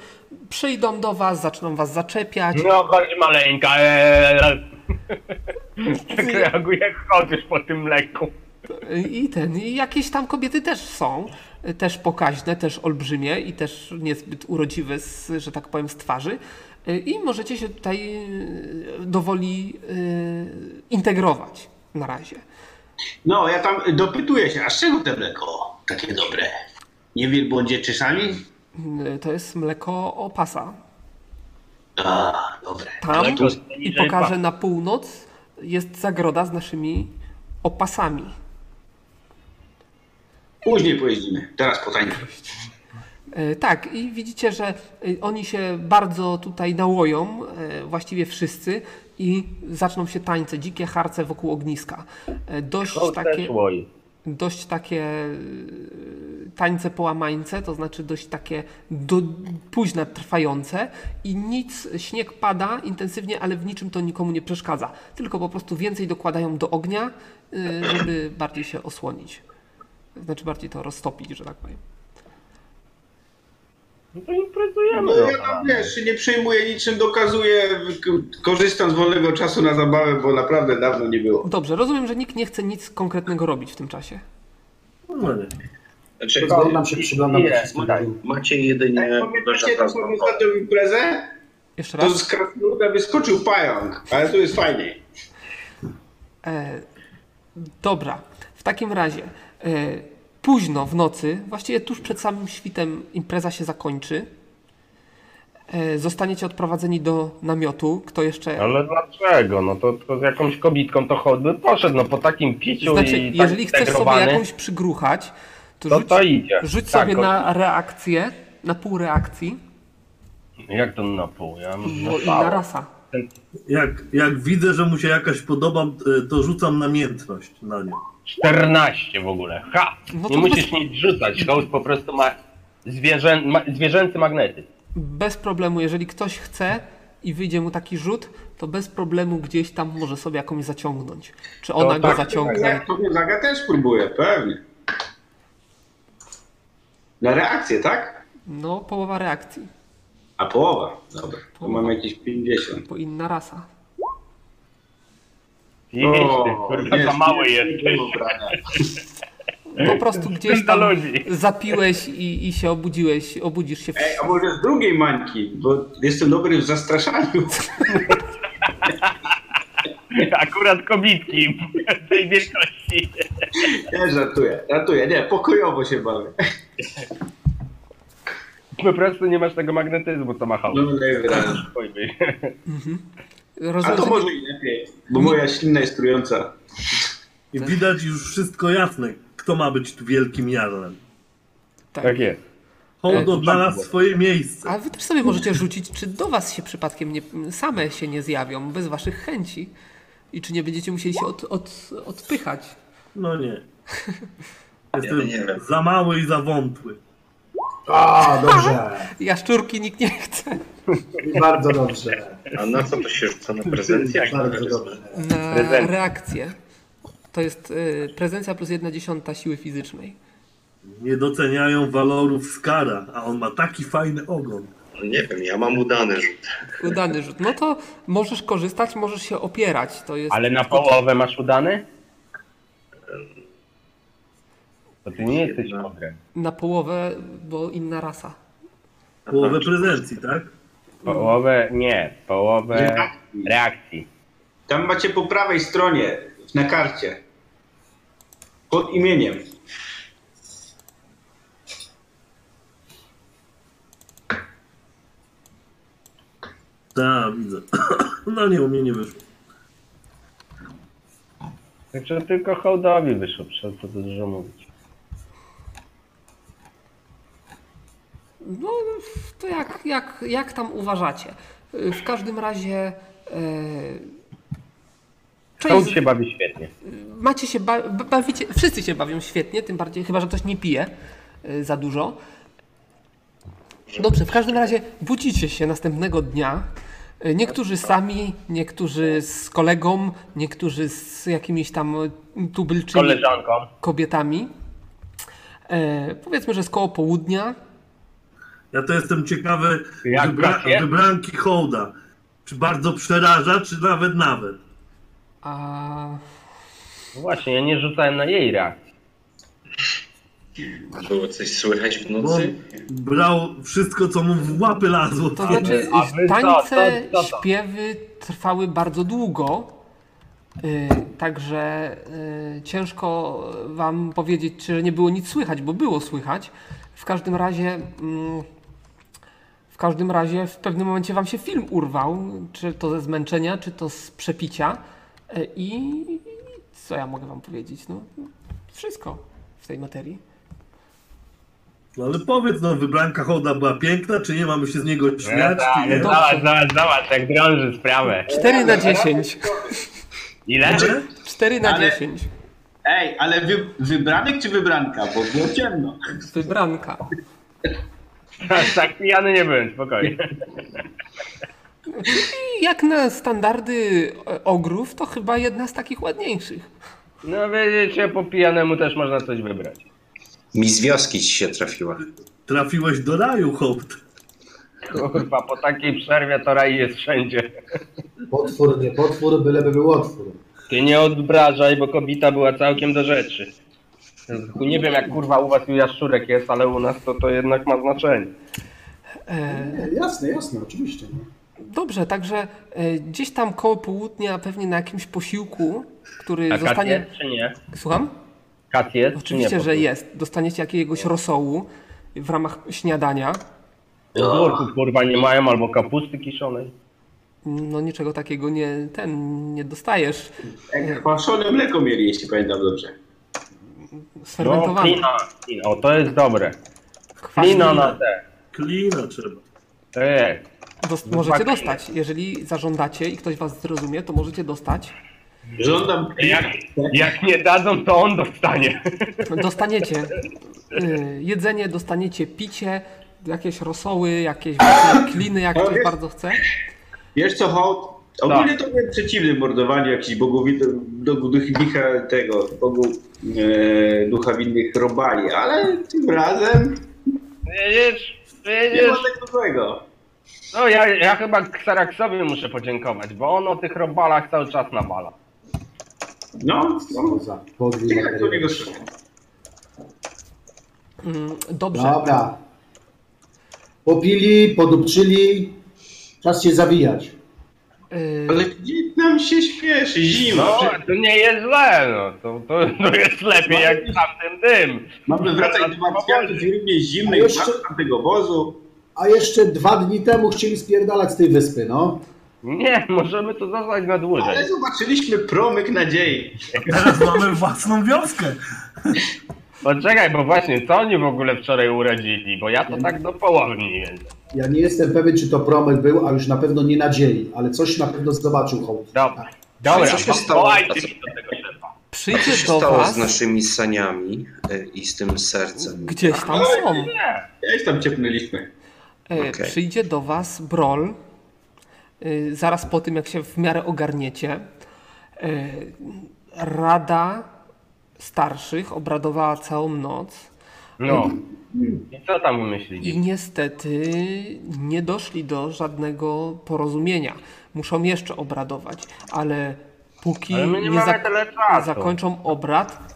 [SPEAKER 1] przyjdą do was, zaczną was zaczepiać,
[SPEAKER 4] No chodź maleńka. eee. Tak reaguje hołd już po tym mleku.
[SPEAKER 1] I ten, i jakieś tam kobiety też są, y, też pokaźne, też olbrzymie i też niezbyt urodziwe, z, że tak powiem, z twarzy. Y, I możecie się tutaj y, dowoli y, integrować na razie.
[SPEAKER 2] No, ja tam dopytuję się, a z czego te mleko takie dobre? Nie wielbłądzie czy sami?
[SPEAKER 1] Y, To jest mleko opasa.
[SPEAKER 2] A, dobre.
[SPEAKER 1] Tam
[SPEAKER 4] Mleko z
[SPEAKER 1] i
[SPEAKER 4] poniżej
[SPEAKER 1] pokażę
[SPEAKER 4] pasa.
[SPEAKER 1] na północ jest zagroda z naszymi opasami.
[SPEAKER 2] Później pojeździmy, teraz po tańcu.
[SPEAKER 1] E, Tak, i widzicie, że e, oni się bardzo tutaj nałoją, e, właściwie wszyscy, i zaczną się tańce, dzikie harce wokół ogniska. E, Dość
[SPEAKER 4] Hołd
[SPEAKER 1] takie,
[SPEAKER 4] też łoi.
[SPEAKER 1] dość takie e, tańce połamańce, to znaczy dość takie do, późne, trwające i nic, śnieg pada intensywnie, ale w niczym to nikomu nie przeszkadza. Tylko po prostu więcej dokładają do ognia, e, żeby bardziej się osłonić. Znaczy bardziej to roztopić, że tak powiem.
[SPEAKER 4] No to imprezujemy.
[SPEAKER 2] No
[SPEAKER 4] No,
[SPEAKER 2] ja tam wiesz, się nie przejmuję niczym, dokazuję, k- korzystam z wolnego czasu na zabawę, bo naprawdę dawno nie było.
[SPEAKER 1] Dobrze, rozumiem, że nikt nie chce nic konkretnego robić w tym czasie.
[SPEAKER 5] No nie.
[SPEAKER 3] Znaczy,
[SPEAKER 6] Przyglądam się, przyglądam
[SPEAKER 4] Nie,
[SPEAKER 6] się wszystkim.
[SPEAKER 4] tak.
[SPEAKER 3] Maciej jedynie
[SPEAKER 2] Jak pamiętacie
[SPEAKER 3] wyrzuca z
[SPEAKER 2] taką ostatnią imprezę?
[SPEAKER 1] Jeszcze
[SPEAKER 2] To
[SPEAKER 1] raz.
[SPEAKER 2] z krasnoluda wyskoczył pająk, ale tu jest fajniej.
[SPEAKER 1] E, dobra, w takim razie e, późno w nocy, właściwie tuż przed samym świtem impreza się zakończy. E, Zostaniecie odprowadzeni do namiotu. Kto jeszcze.
[SPEAKER 4] Ale dlaczego? No to, to z jakąś kobitką to chodby poszedł, no po takim piciu
[SPEAKER 1] Znaczy,
[SPEAKER 4] i tak
[SPEAKER 1] jeżeli chcesz sobie
[SPEAKER 4] integrowany,
[SPEAKER 1] jakąś przygruchać, to
[SPEAKER 4] No to
[SPEAKER 1] rzuć,
[SPEAKER 4] to idzie.
[SPEAKER 1] rzuć
[SPEAKER 4] Tak,
[SPEAKER 1] sobie
[SPEAKER 4] o-
[SPEAKER 1] na reakcję, na pół reakcji,
[SPEAKER 4] No Jak to na pół? Ja bym
[SPEAKER 1] bo
[SPEAKER 4] został.
[SPEAKER 1] inna rasa.
[SPEAKER 5] Jak, jak widzę, że mu się jakaś podoba, y, to rzucam namiętność na nią.
[SPEAKER 4] 14 w ogóle. Ha!
[SPEAKER 1] No to
[SPEAKER 4] nie musisz
[SPEAKER 1] bez-
[SPEAKER 4] nic rzucać. Hołd po prostu ma, zwierzę... ma zwierzęcy magnety.
[SPEAKER 1] Bez problemu, jeżeli ktoś chce i wyjdzie mu taki rzut, to bez problemu gdzieś tam może sobie jakąś zaciągnąć. Czy ona go
[SPEAKER 4] tak,
[SPEAKER 1] zaciągnie?
[SPEAKER 2] Ja to Gonzaga też próbuję, pewnie. Na reakcję, tak?
[SPEAKER 1] No, połowa reakcji,
[SPEAKER 2] A połowa. Dobra, to mam jakieś 50.
[SPEAKER 1] bo inna rasa.
[SPEAKER 4] Jeźdź ty,
[SPEAKER 2] O,
[SPEAKER 4] kurwa, za mały
[SPEAKER 2] nie, nie
[SPEAKER 4] jesteś.
[SPEAKER 2] było brania.
[SPEAKER 1] Po prostu gdzieś
[SPEAKER 4] Dla
[SPEAKER 1] tam
[SPEAKER 4] ludzi.
[SPEAKER 1] zapiłeś i, i się obudziłeś, obudzisz się w...
[SPEAKER 2] Ej, a może z drugiej mańki, bo jestem dobry w zastraszaniu.
[SPEAKER 4] Akurat kobitki tej wielkości.
[SPEAKER 2] Nie, żartuję, żartuję, nie, pokojowo się bawię.
[SPEAKER 4] Po prostu nie masz tego magnetyzmu, co ma hołd.
[SPEAKER 2] No najwyraźniej.
[SPEAKER 4] Spojrzyj.
[SPEAKER 2] A to
[SPEAKER 1] Rozwiązanie-
[SPEAKER 2] może i lepiej, bo moja ślina jest trująca.
[SPEAKER 5] I widać już wszystko jasne, kto ma być tu wielkim jarlem.
[SPEAKER 1] tak.
[SPEAKER 4] Tak jest.
[SPEAKER 5] Hołd odnalazł swoje miejsce.
[SPEAKER 1] A wy też sobie możecie rzucić, czy do was się przypadkiem nie, same się nie zjawią, bez waszych chęci. I czy nie będziecie musieli się od, od, odpychać.
[SPEAKER 5] No nie.
[SPEAKER 3] Ja nie
[SPEAKER 5] Jestem
[SPEAKER 3] wiem.
[SPEAKER 5] za mały i za wątły.
[SPEAKER 6] A, dobrze.
[SPEAKER 1] Jaszczurki nikt nie chce.
[SPEAKER 6] Bardzo dobrze.
[SPEAKER 3] A na co to się rzuca? Na prezencję? czy na
[SPEAKER 6] Bardzo
[SPEAKER 3] charyzmę?
[SPEAKER 6] dobrze.
[SPEAKER 1] Na
[SPEAKER 4] Prezencja.
[SPEAKER 1] reakcję. To jest y, prezencja plus jedna dziesiąta siły fizycznej.
[SPEAKER 5] Nie doceniają walorów Skara, a on ma taki fajny ogon.
[SPEAKER 3] No Nie wiem, ja mam udany rzut.
[SPEAKER 1] Udany rzut. No to możesz korzystać, możesz się opierać. To jest.
[SPEAKER 4] Ale na połowę masz udany? To ty nie jesteś
[SPEAKER 3] Jedna.
[SPEAKER 4] ogrem.
[SPEAKER 1] Na połowę, bo inna rasa.
[SPEAKER 5] Połowę prezencji, tak?
[SPEAKER 4] Połowę, nie, połowę
[SPEAKER 2] Reakcji.
[SPEAKER 4] reakcji.
[SPEAKER 2] Tam macie po prawej stronie, na karcie. Pod imieniem.
[SPEAKER 5] Tak, widzę. No nie, u mnie nie wyszło.
[SPEAKER 4] Także Znaczy, tylko hołdowi wyszło, przez co tu dużo mówić.
[SPEAKER 1] No, to jak, jak, jak tam uważacie? Y, W każdym razie. y,
[SPEAKER 4] Hołd się bawi świetnie.
[SPEAKER 1] macie się, ba- ba- bawicie, wszyscy się bawią świetnie, tym bardziej, chyba że ktoś nie pije y, za dużo. Dobrze, w każdym razie budzicie się następnego dnia. Y, Niektórzy sami, niektórzy z kolegą, niektórzy z jakimiś tam y, tubylczymi
[SPEAKER 4] Koleżanką.
[SPEAKER 1] kobietami. E, powiedzmy, że z koło południa.
[SPEAKER 5] Ja to jestem ciekawy
[SPEAKER 4] Jak
[SPEAKER 5] wybra-
[SPEAKER 4] trafię?
[SPEAKER 5] wybranki hołda. Czy bardzo przeraża, czy nawet nawet.
[SPEAKER 1] A
[SPEAKER 4] No właśnie, ja nie rzucałem na jej reakcji.
[SPEAKER 3] Było coś słychać w
[SPEAKER 5] Bo on
[SPEAKER 3] nocy?
[SPEAKER 7] No,
[SPEAKER 5] brał wszystko, co mu w łapy lazło.
[SPEAKER 1] To znaczy,
[SPEAKER 4] a wy co?
[SPEAKER 1] tańce,
[SPEAKER 4] Co- co to?
[SPEAKER 1] śpiewy trwały bardzo długo. y, Także y, ciężko wam powiedzieć, czy nie było nic słychać, bo było słychać. W każdym razie, mm, w każdym razie w pewnym momencie wam się film urwał, czy to ze zmęczenia, czy to z przepicia. Y, I co ja mogę wam powiedzieć? No, wszystko w tej materii.
[SPEAKER 5] No ale powiedz, no wybranka hołda była piękna, czy nie mamy się z niego śmiać,
[SPEAKER 4] Zobacz,
[SPEAKER 5] czy nie?
[SPEAKER 4] zobacz, zobacz, zobacz, jak drąży sprawę.
[SPEAKER 1] 4 na 10.
[SPEAKER 4] Ile?
[SPEAKER 5] Czy?
[SPEAKER 1] 4 na
[SPEAKER 2] Ale-
[SPEAKER 1] 10.
[SPEAKER 2] Ej, ale wy, wybranek czy wybranka? Bo było ciemno.
[SPEAKER 1] Wybranka.
[SPEAKER 4] Aż tak pijany nie byłem, spokojnie.
[SPEAKER 1] I Jak na standardy e, ogrów, to chyba jedna z takich ładniejszych.
[SPEAKER 4] No wiecie, po pijanemu też można coś wybrać.
[SPEAKER 7] Mi z wioski ci się trafiła.
[SPEAKER 5] Trafiłeś do raju, hołd.
[SPEAKER 4] Kurwa, po takiej przerwie to raj jest wszędzie.
[SPEAKER 6] Potwór, nie potwór, byleby był otwór.
[SPEAKER 4] Ty nie odbrażaj, bo kobita była całkiem do rzeczy. Chuj, Nie wiem jak kurwa u was u jaszczurek jest, ale u nas to, to jednak ma znaczenie.
[SPEAKER 1] E,
[SPEAKER 6] Nie, Jasne, jasne, oczywiście. No.
[SPEAKER 1] Dobrze, także e, gdzieś tam koło południa, pewnie na jakimś posiłku, który
[SPEAKER 4] A kat
[SPEAKER 1] zostanie.
[SPEAKER 4] jest czy nie?
[SPEAKER 1] Słucham?
[SPEAKER 4] Kat jest? czy
[SPEAKER 1] Oczywiście,
[SPEAKER 4] nie,
[SPEAKER 1] że jest. Dostaniecie jakiegoś rosołu w ramach śniadania.
[SPEAKER 4] Ogórków kurwa nie mają, albo kapusty kiszonej.
[SPEAKER 1] No niczego takiego nie, ten, nie dostajesz.
[SPEAKER 2] Jak Kwaszone mleko mieli, jeśli pamiętam dobrze.
[SPEAKER 4] No,
[SPEAKER 1] Sfermentowane.
[SPEAKER 4] klina, klina, o to jest dobre.
[SPEAKER 1] Kwas
[SPEAKER 4] Klina na te. Tak.
[SPEAKER 5] Klina trzeba.
[SPEAKER 4] To jest.
[SPEAKER 1] dos- możecie
[SPEAKER 4] Dokładnie.
[SPEAKER 1] dostać. Jeżeli zażądacie i ktoś was zrozumie, to możecie dostać.
[SPEAKER 2] Żądam
[SPEAKER 4] Jak, jak nie dadzą, to on dostanie.
[SPEAKER 1] Dostaniecie y, jedzenie, dostaniecie picie, jakieś rosoły, jakieś właśnie kliny, jak
[SPEAKER 2] Ale
[SPEAKER 1] ktoś
[SPEAKER 2] wiesz-
[SPEAKER 1] bardzo chce.
[SPEAKER 2] Wiesz co, hołd? Ogólnie
[SPEAKER 4] Tak.
[SPEAKER 2] to byłem przeciwny mordowaniu jakichś bogów, bogu ducha tego, bogu e, ducha winnych robali, ale tym razem
[SPEAKER 4] Wiedziesz?
[SPEAKER 2] nie ma
[SPEAKER 4] Wiedziesz?
[SPEAKER 2] tego złego.
[SPEAKER 4] No ja, ja chyba Xeraxowi muszę podziękować, bo on o tych robalach cały czas nawala.
[SPEAKER 2] No, no.
[SPEAKER 6] Za podwój
[SPEAKER 2] Ciekawe, kto
[SPEAKER 6] materiał.
[SPEAKER 2] niego słyszał.
[SPEAKER 1] Mm, Dobrze.
[SPEAKER 7] No.
[SPEAKER 6] Dobra. Popili, podupczyli. Czas się zawijać.
[SPEAKER 1] Y,
[SPEAKER 2] Ale gdzie nam się śpieszy, zima.
[SPEAKER 4] No, to nie jest źle, no. To, to, to jest lepiej jak tamten dym.
[SPEAKER 2] Mamy
[SPEAKER 4] no,
[SPEAKER 2] wracać do Marcjantów i równie zimnej,
[SPEAKER 6] A jeszcze-
[SPEAKER 2] jeszcze... tego wozu.
[SPEAKER 6] A jeszcze dwa dni temu chcieli spierdalać z tej wyspy, no.
[SPEAKER 4] Nie, możemy to zostać na dłużej.
[SPEAKER 2] Ale zobaczyliśmy promyk nadziei.
[SPEAKER 5] Teraz mamy własną wioskę.
[SPEAKER 4] Poczekaj, bo właśnie, co oni w ogóle wczoraj urodzili? Bo ja to tak do połowy mniej więcej.
[SPEAKER 6] Ja nie jestem pewien, czy to promyk był, a już na pewno nie nadziei, ale coś na pewno zobaczył hołd.
[SPEAKER 4] Dobra. Dobra,
[SPEAKER 7] Co się
[SPEAKER 4] bo-
[SPEAKER 7] stało?
[SPEAKER 4] wołajcie mi do tego szefa.
[SPEAKER 7] Co
[SPEAKER 1] Przyjdzie
[SPEAKER 7] się
[SPEAKER 1] do
[SPEAKER 7] stało z
[SPEAKER 1] was,
[SPEAKER 7] naszymi saniami y, i z tym sercem?
[SPEAKER 1] gdzieś tam są.
[SPEAKER 2] Gdzieś tam ciepnęliśmy.
[SPEAKER 1] E,
[SPEAKER 7] Okej.
[SPEAKER 1] Przyjdzie do Was Brol e, zaraz po tym, jak się w miarę ogarniecie. E, Rada starszych obradowała całą noc
[SPEAKER 4] No. I co tam
[SPEAKER 1] i
[SPEAKER 4] umyślili?
[SPEAKER 1] niestety nie doszli do żadnego porozumienia. Muszą jeszcze obradować, ale póki
[SPEAKER 4] Ale my nie mamy
[SPEAKER 1] zak-
[SPEAKER 4] tyle czasu.
[SPEAKER 1] zakończą obrad,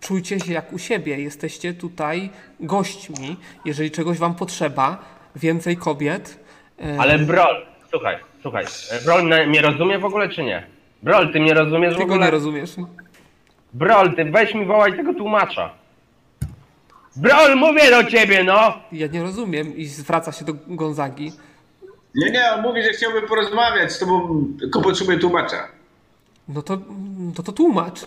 [SPEAKER 1] czujcie się jak u siebie. Jesteście tutaj gośćmi. Jeżeli czegoś Wam potrzeba, więcej kobiet. e,
[SPEAKER 4] Ale Brol, słuchaj, słuchaj. e, Brol na- mnie rozumie w ogóle czy nie? Brol, ty mnie rozumiesz w
[SPEAKER 1] Ty go nie
[SPEAKER 4] ogóle?
[SPEAKER 1] rozumiesz.
[SPEAKER 4] Brol, ty weź mi wołaj tego tłumacza. Brol, mówię do ciebie, no!
[SPEAKER 1] Ja nie rozumiem i zwraca się do Gonzagi.
[SPEAKER 2] Nie, nie, on mówi, że chciałby porozmawiać z tobą, tylko potrzebuję tłumacza.
[SPEAKER 1] No to, to, to tłumacz.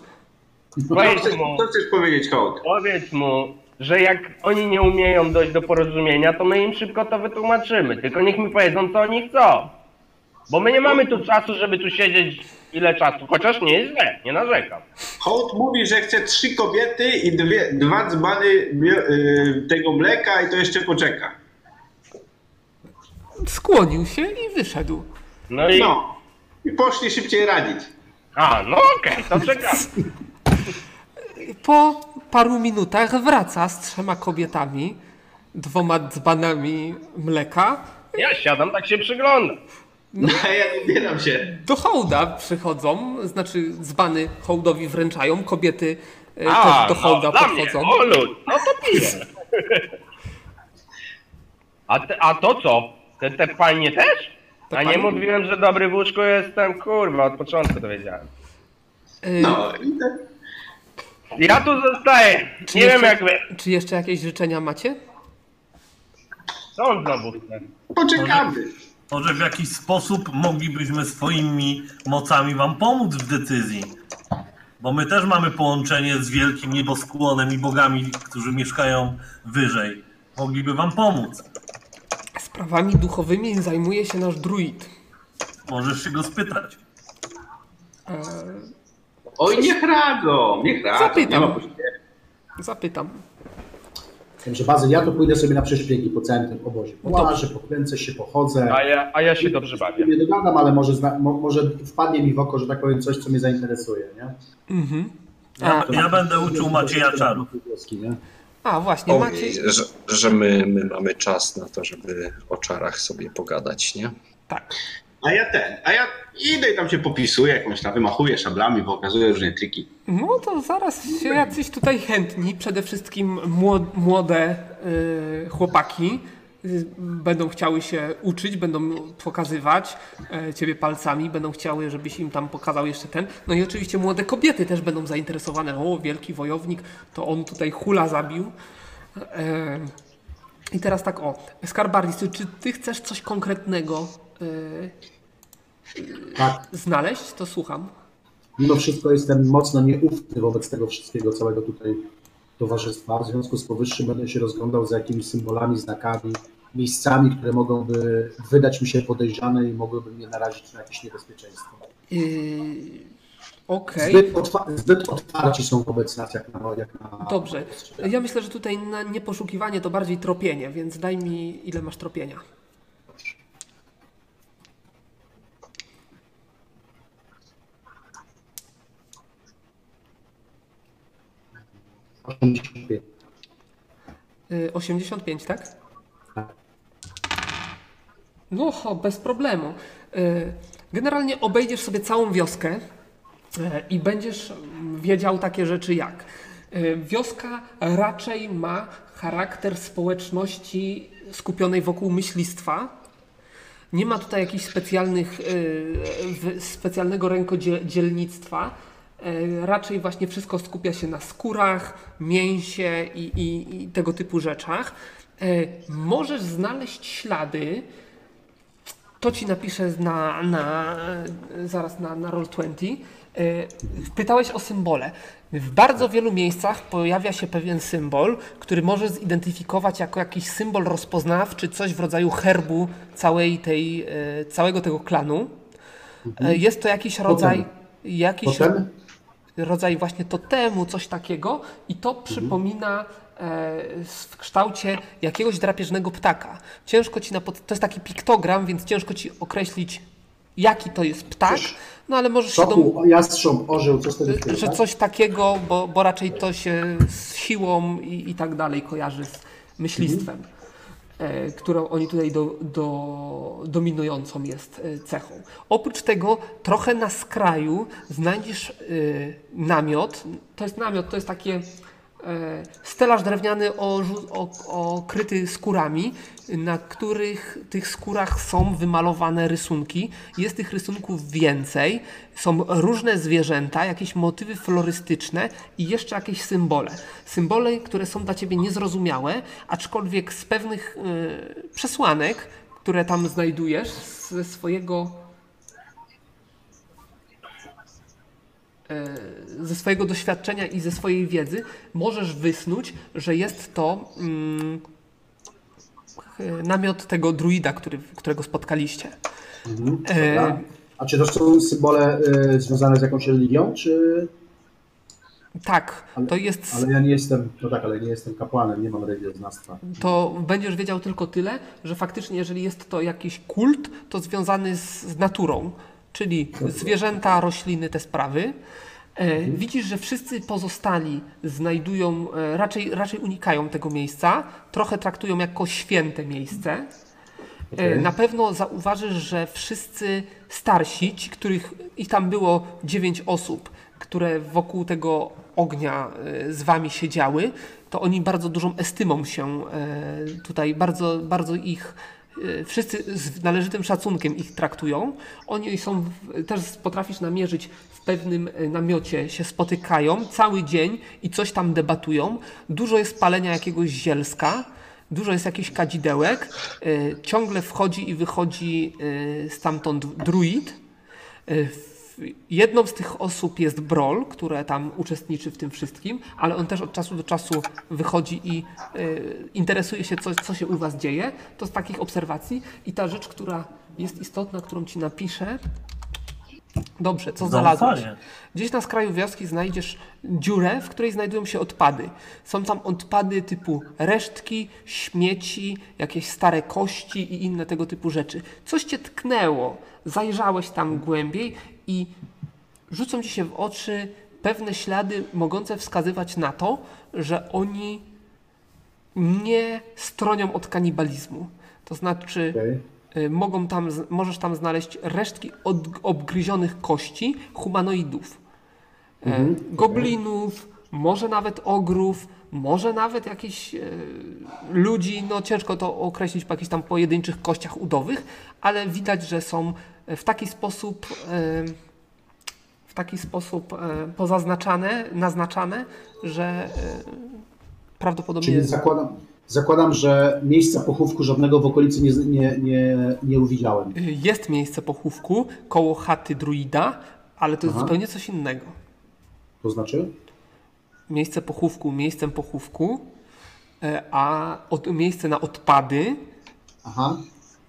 [SPEAKER 7] No,
[SPEAKER 2] Co
[SPEAKER 4] Powiedz
[SPEAKER 2] chcesz,
[SPEAKER 4] mu,
[SPEAKER 2] co chcesz powiedzieć, hołd?
[SPEAKER 4] powiedz mu, że jak oni nie umieją dojść do porozumienia, to my im szybko to wytłumaczymy. Tylko niech mi powiedzą, co oni chcą. Bo my nie mamy tu czasu, żeby tu siedzieć ile czasu. Chociaż nie jest źle, nie narzekam.
[SPEAKER 2] Hołd mówi, że chce trzy kobiety i dwie, dwa dzbany mio- y, tego mleka i to jeszcze poczeka.
[SPEAKER 1] Skłonił się i wyszedł.
[SPEAKER 4] No i...
[SPEAKER 2] No. I poszli szybciej radzić.
[SPEAKER 4] A, no okej, to czekam.
[SPEAKER 1] Po paru minutach wraca z trzema kobietami, dwoma dzbanami mleka.
[SPEAKER 4] Ja siadam, tak się przyglądam.
[SPEAKER 2] No a ja ubieram się.
[SPEAKER 1] Do hołda przychodzą, znaczy dzbany hołdowi wręczają, kobiety e,
[SPEAKER 4] A,
[SPEAKER 1] też do hołda
[SPEAKER 4] no, dla mnie,
[SPEAKER 1] podchodzą.
[SPEAKER 4] o lud, no to piję. A, te, a to co? Te, te panie też?
[SPEAKER 1] Te
[SPEAKER 4] a nie
[SPEAKER 1] panie-
[SPEAKER 4] mówiłem, że dobry w łóżku jestem, kurwa, od początku dowiedziałem.
[SPEAKER 1] E,
[SPEAKER 2] No i tak.
[SPEAKER 4] Ja tu zostaję,
[SPEAKER 1] E, czy
[SPEAKER 4] nie wiem
[SPEAKER 1] jeszcze-
[SPEAKER 4] jak wy.
[SPEAKER 1] Czy jeszcze jakieś życzenia macie?
[SPEAKER 4] Co on znowu chce?
[SPEAKER 2] Poczekamy.
[SPEAKER 5] Może w jakiś sposób moglibyśmy swoimi mocami wam pomóc w decyzji. Bo my też mamy połączenie z wielkim nieboskłonem i bogami, którzy mieszkają wyżej. Mogliby wam pomóc.
[SPEAKER 1] Sprawami duchowymi zajmuje się nasz druid.
[SPEAKER 5] Możesz się go spytać.
[SPEAKER 2] Oj, niech radzą, niech radzą.
[SPEAKER 1] Zapytam.
[SPEAKER 2] Nie ma pośpiechu.
[SPEAKER 1] Zapytam.
[SPEAKER 6] Także Bazyl, ja to pójdę sobie na prześpiegi po całym tym obozie. Połażę, pokręcę się, pochodzę.
[SPEAKER 4] No A ja, a ja się dobrze bawię.
[SPEAKER 6] Nie dogadam, ale może, zna, mo, może wpadnie mi w oko, że tak powiem, coś, co mnie zainteresuje, nie?
[SPEAKER 1] Mhm.
[SPEAKER 5] Ja,
[SPEAKER 1] A,
[SPEAKER 5] ja będę uczył Macieja czarów.
[SPEAKER 6] Wioski, nie?
[SPEAKER 1] a właśnie, macie.
[SPEAKER 7] Ojej, E, że, że my, my mamy czas na to, żeby o czarach sobie pogadać, nie?
[SPEAKER 1] Tak.
[SPEAKER 2] A ja ten, a ja idę i tam się popisuję jakąś tam, wymachuję szablami, pokazuję różne triki.
[SPEAKER 1] No to zaraz się jacyś tutaj chętni, przede wszystkim mło- młode y, chłopaki y, będą chciały się uczyć, będą pokazywać y, ciebie palcami, będą chciały, żebyś im tam pokazał jeszcze ten. No i oczywiście młode kobiety też będą zainteresowane. O, wielki wojownik, to on tutaj hula zabił. E, I teraz tak o, Skarbardis, ty- czy ty chcesz coś konkretnego y,
[SPEAKER 6] Tak,
[SPEAKER 1] znaleźć? To słucham.
[SPEAKER 6] mimo wszystko jestem mocno nieufny wobec tego wszystkiego, całego tutaj towarzystwa. W związku z powyższym będę się rozglądał za jakimiś symbolami, znakami, miejscami, które mogłyby wydać mi się podejrzane i mogłyby mnie narazić na jakieś niebezpieczeństwo.
[SPEAKER 1] Yy, Okej.
[SPEAKER 6] Zbyt, otwa- zbyt otwarci są wobec nas, jak na... Jak na
[SPEAKER 1] Dobrze. Ja myślę, że tutaj na nie poszukiwanie to bardziej tropienie, więc daj mi ile masz tropienia. Y, 85, tak? No, ho, bez problemu. Y, Generalnie obejdziesz sobie całą wioskę y, i będziesz mm, wiedział takie rzeczy jak. y, Wioska raczej ma charakter społeczności skupionej wokół myślistwa. Nie ma tutaj jakichś specjalnych, y, w- specjalnego rękodzielnictwa. Y, Raczej właśnie wszystko skupia się na skórach, mięsie i, i, i tego typu rzeczach. Y, Możesz znaleźć ślady, to ci napiszę na, na, zaraz na, na Roll20. Y, Pytałeś o symbole. W bardzo wielu miejscach pojawia się pewien symbol, który możesz zidentyfikować jako jakiś symbol rozpoznawczy, coś w rodzaju herbu całej tej, y, całego tego klanu. Y, Jest to jakiś rodzaj, jakiś
[SPEAKER 6] Potem?
[SPEAKER 1] rodzaj właśnie totemu, coś takiego i to przypomina e, s- w kształcie jakiegoś drapieżnego ptaka. Ciężko ci na pod... To jest taki piktogram, więc ciężko ci określić jaki to jest ptak, no ale możesz się dom...
[SPEAKER 6] Soku, jastrząb, orzeł, co z tego świata?
[SPEAKER 1] że coś takiego, bo, bo raczej to się z siłą i, i tak dalej kojarzy z myślistwem, e, którą oni tutaj do, do, dominującą jest e, cechą. Oprócz tego trochę na skraju znajdziesz e, namiot. To jest namiot, to jest takie e, stelaż drewniany o, żu- o, okryty skórami, na których tych skórach są wymalowane rysunki. Jest tych rysunków więcej, są różne zwierzęta, jakieś motywy florystyczne i jeszcze jakieś symbole. Symbole, które są dla ciebie niezrozumiałe, aczkolwiek z pewnych y, przesłanek, które tam znajdujesz ze swojego y, ze swojego doświadczenia i ze swojej wiedzy możesz wysnuć, że jest to mm, e, namiot tego druida, który, którego spotkaliście. e-
[SPEAKER 6] Dobra. A czy to są symbole y, związane z jakąś religią, czy...
[SPEAKER 1] Tak, to jest.
[SPEAKER 6] Ale ja nie jestem, no tak, ale nie jestem kapłanem, nie mam religioznawstwa.
[SPEAKER 1] To będziesz wiedział tylko tyle, że faktycznie, jeżeli jest to jakiś kult, to związany z, z naturą, czyli zwierzęta, rośliny, te sprawy. E,
[SPEAKER 6] Mhm.
[SPEAKER 1] widzisz, że wszyscy pozostali znajdują, e, raczej, raczej unikają tego miejsca, trochę traktują jako święte miejsce. E, Na pewno zauważysz, że wszyscy starsi, ci, których ich tam było 9 osób, które wokół tego ognia e, z wami siedziały, to oni bardzo dużą estymą się e, tutaj, bardzo, bardzo ich e, wszyscy z należytym szacunkiem ich traktują. Oni są, w- też potrafisz namierzyć w pewnym e, namiocie się spotykają cały dzień i coś tam debatują. Dużo jest palenia jakiegoś zielska dużo jest jakichś kadzidełek, y, ciągle wchodzi i wychodzi y, stamtąd druid. Y, w- Jedną z tych osób jest Brol, które tam uczestniczy w tym wszystkim, ale on też od czasu do czasu wychodzi i y, interesuje się, co, co się u Was dzieje. To z takich obserwacji. I ta rzecz, która jest istotna, którą Ci napiszę. Dobrze, co znalazłeś?
[SPEAKER 5] Zaufanie.
[SPEAKER 1] Gdzieś na skraju wioski znajdziesz dziurę, w której znajdują się odpady. Są tam odpady typu resztki, śmieci, jakieś stare kości i inne tego typu rzeczy. Coś cię tknęło, zajrzałeś tam głębiej i rzucą ci się w oczy pewne ślady mogące wskazywać na to, że oni nie stronią od kanibalizmu. To znaczy,
[SPEAKER 6] Okej.
[SPEAKER 1] Y, mogą tam, z- możesz tam znaleźć resztki od, obgryzionych kości humanoidów. E, Goblinów, może nawet ogrów, może nawet jakichś e, ludzi, no ciężko to określić po jakichś tam pojedynczych kościach udowych, ale widać, że są w taki sposób e, w taki sposób e, pozaznaczane, naznaczane, że e, prawdopodobnie
[SPEAKER 6] Czyli zakładam, Zakładam, że miejsca pochówku żadnego w okolicy nie, nie, nie, nie uwidziałem.
[SPEAKER 1] Y, Jest miejsce pochówku koło chaty druida, ale to jest
[SPEAKER 6] Aha.
[SPEAKER 1] zupełnie coś innego.
[SPEAKER 6] To znaczy?
[SPEAKER 1] Miejsce pochówku miejscem pochówku, y, a od, miejsce na odpady
[SPEAKER 6] Aha.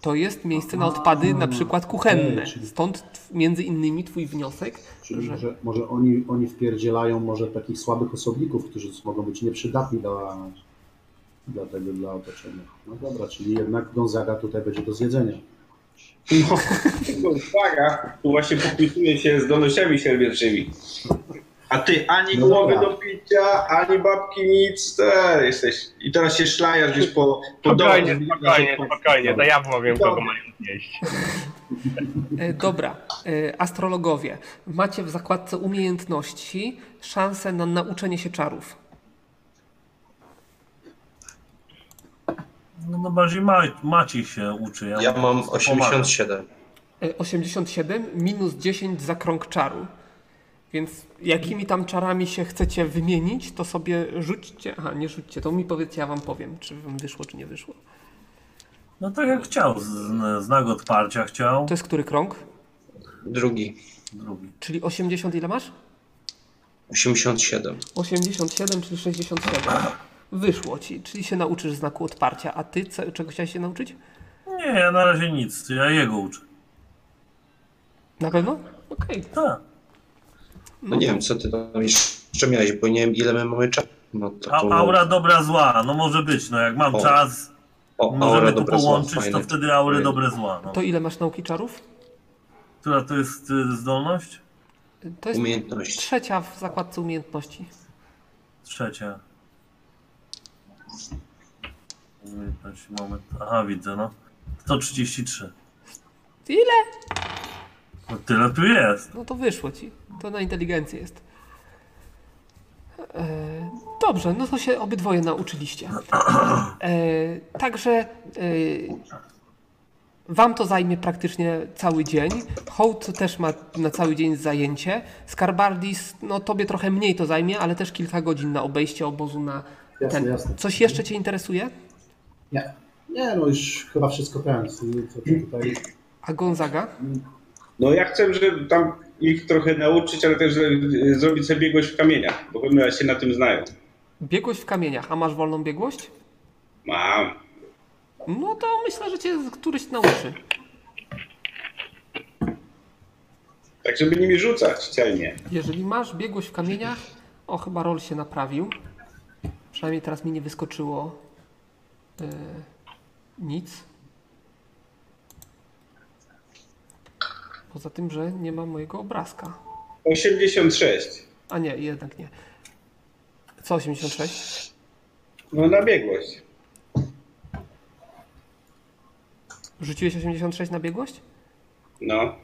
[SPEAKER 1] to jest miejsce na odpady na przykład kuchenne.
[SPEAKER 6] okej, czyli-
[SPEAKER 1] Stąd tw- między innymi twój wniosek,
[SPEAKER 6] Czyli
[SPEAKER 1] że
[SPEAKER 6] może, może oni, oni wpierdzielają może takich słabych osobników, którzy mogą być nieprzydatni dla, dla tego, dla otoczenia. No dobra, czyli jednak Gonzaga tutaj będzie do zjedzenia.
[SPEAKER 2] No, tylko uwaga, tu właśnie pokutuje się z donościami siermięczymi. A ty ani
[SPEAKER 6] No
[SPEAKER 2] głowy
[SPEAKER 6] dobra.
[SPEAKER 2] do picia, ani babki nic, te, jesteś. I teraz się szlajasz gdzieś po, po domu.
[SPEAKER 4] Spokojnie, spokojnie, spokojnie, to
[SPEAKER 2] No.
[SPEAKER 4] ja powiem, kogo
[SPEAKER 2] Dobra.
[SPEAKER 4] mają zjeść.
[SPEAKER 1] E, Dobra, e, astrologowie, macie w zakładce umiejętności szansę na nauczenie się czarów.
[SPEAKER 5] No, no bardziej ma, Maciej się uczy. Ja,
[SPEAKER 7] Ja
[SPEAKER 5] mu
[SPEAKER 7] mam
[SPEAKER 5] po prostu pomagam.
[SPEAKER 7] 87.
[SPEAKER 1] E, 87 minus 10 za krąg czaru. Więc jakimi tam czarami się chcecie wymienić, to sobie rzućcie. Aha, nie rzućcie, to mi powiedzcie, ja wam powiem, czy wam wyszło, czy nie wyszło.
[SPEAKER 5] No tak jak chciał, z- z- znak odparcia chciał.
[SPEAKER 1] To jest który krąg?
[SPEAKER 7] Drugi.
[SPEAKER 5] Drugi.
[SPEAKER 1] Czyli 80 ile masz?
[SPEAKER 7] 87.
[SPEAKER 1] 87, czyli 67. Wyszło ci, czyli się nauczysz znaku odparcia. A ty co, czego chciałeś się nauczyć?
[SPEAKER 5] Nie, ja na razie nic, ja jego uczę.
[SPEAKER 1] Na pewno? Okej.
[SPEAKER 5] Tak.
[SPEAKER 7] No nie wiem, co ty tam jeszcze miałeś, bo nie wiem, ile my mamy czasu. No to,
[SPEAKER 5] A,
[SPEAKER 7] to-
[SPEAKER 5] aura dobra, zła, no może być, no jak mam
[SPEAKER 7] O,
[SPEAKER 5] czas,
[SPEAKER 7] o, aura
[SPEAKER 5] możemy to
[SPEAKER 7] dobra, zła,
[SPEAKER 5] połączyć, to
[SPEAKER 7] fajne.
[SPEAKER 5] wtedy aurę
[SPEAKER 7] Fajne.
[SPEAKER 5] dobre, zła. No.
[SPEAKER 1] To ile masz nauki czarów?
[SPEAKER 5] Która to jest y, zdolność?
[SPEAKER 1] To jest
[SPEAKER 7] Umiejętności.
[SPEAKER 1] trzecia w zakładce umiejętności.
[SPEAKER 5] Trzecia. Umiejętności, moment. Aha, widzę, no. 133.
[SPEAKER 1] Ile?
[SPEAKER 5] No tyle tu jest.
[SPEAKER 1] No to wyszło ci. To na inteligencję jest. E, Dobrze, no to się obydwoje nauczyliście. E, Także e, wam to zajmie praktycznie cały dzień. Hołd też ma na cały dzień zajęcie. Skarbardis, no tobie trochę mniej to zajmie, ale też kilka godzin na obejście obozu na
[SPEAKER 6] Jasne,
[SPEAKER 1] ten.
[SPEAKER 6] jasne.
[SPEAKER 1] Coś jeszcze cię interesuje?
[SPEAKER 6] Nie. Nie, no już chyba wszystko ten, co tutaj
[SPEAKER 1] A Gonzaga?
[SPEAKER 2] No ja chcę, żeby tam ich trochę nauczyć, ale też e, zrobić sobie biegłość w kamieniach, bo pewnie się na tym znają.
[SPEAKER 1] Biegłość w kamieniach, a masz wolną biegłość?
[SPEAKER 2] Mam.
[SPEAKER 1] No to myślę, że cię któryś nauczy.
[SPEAKER 2] Tak, żeby nimi rzucać celnie.
[SPEAKER 1] Jeżeli masz biegłość w kamieniach, o chyba rol się naprawił. Przynajmniej teraz mi nie wyskoczyło e, nic. Poza tym, że nie ma mojego obrazka.
[SPEAKER 2] 86.
[SPEAKER 1] A nie, jednak nie. Co 86?
[SPEAKER 2] No na biegłość.
[SPEAKER 1] Rzuciłeś 86 na biegłość?
[SPEAKER 2] No.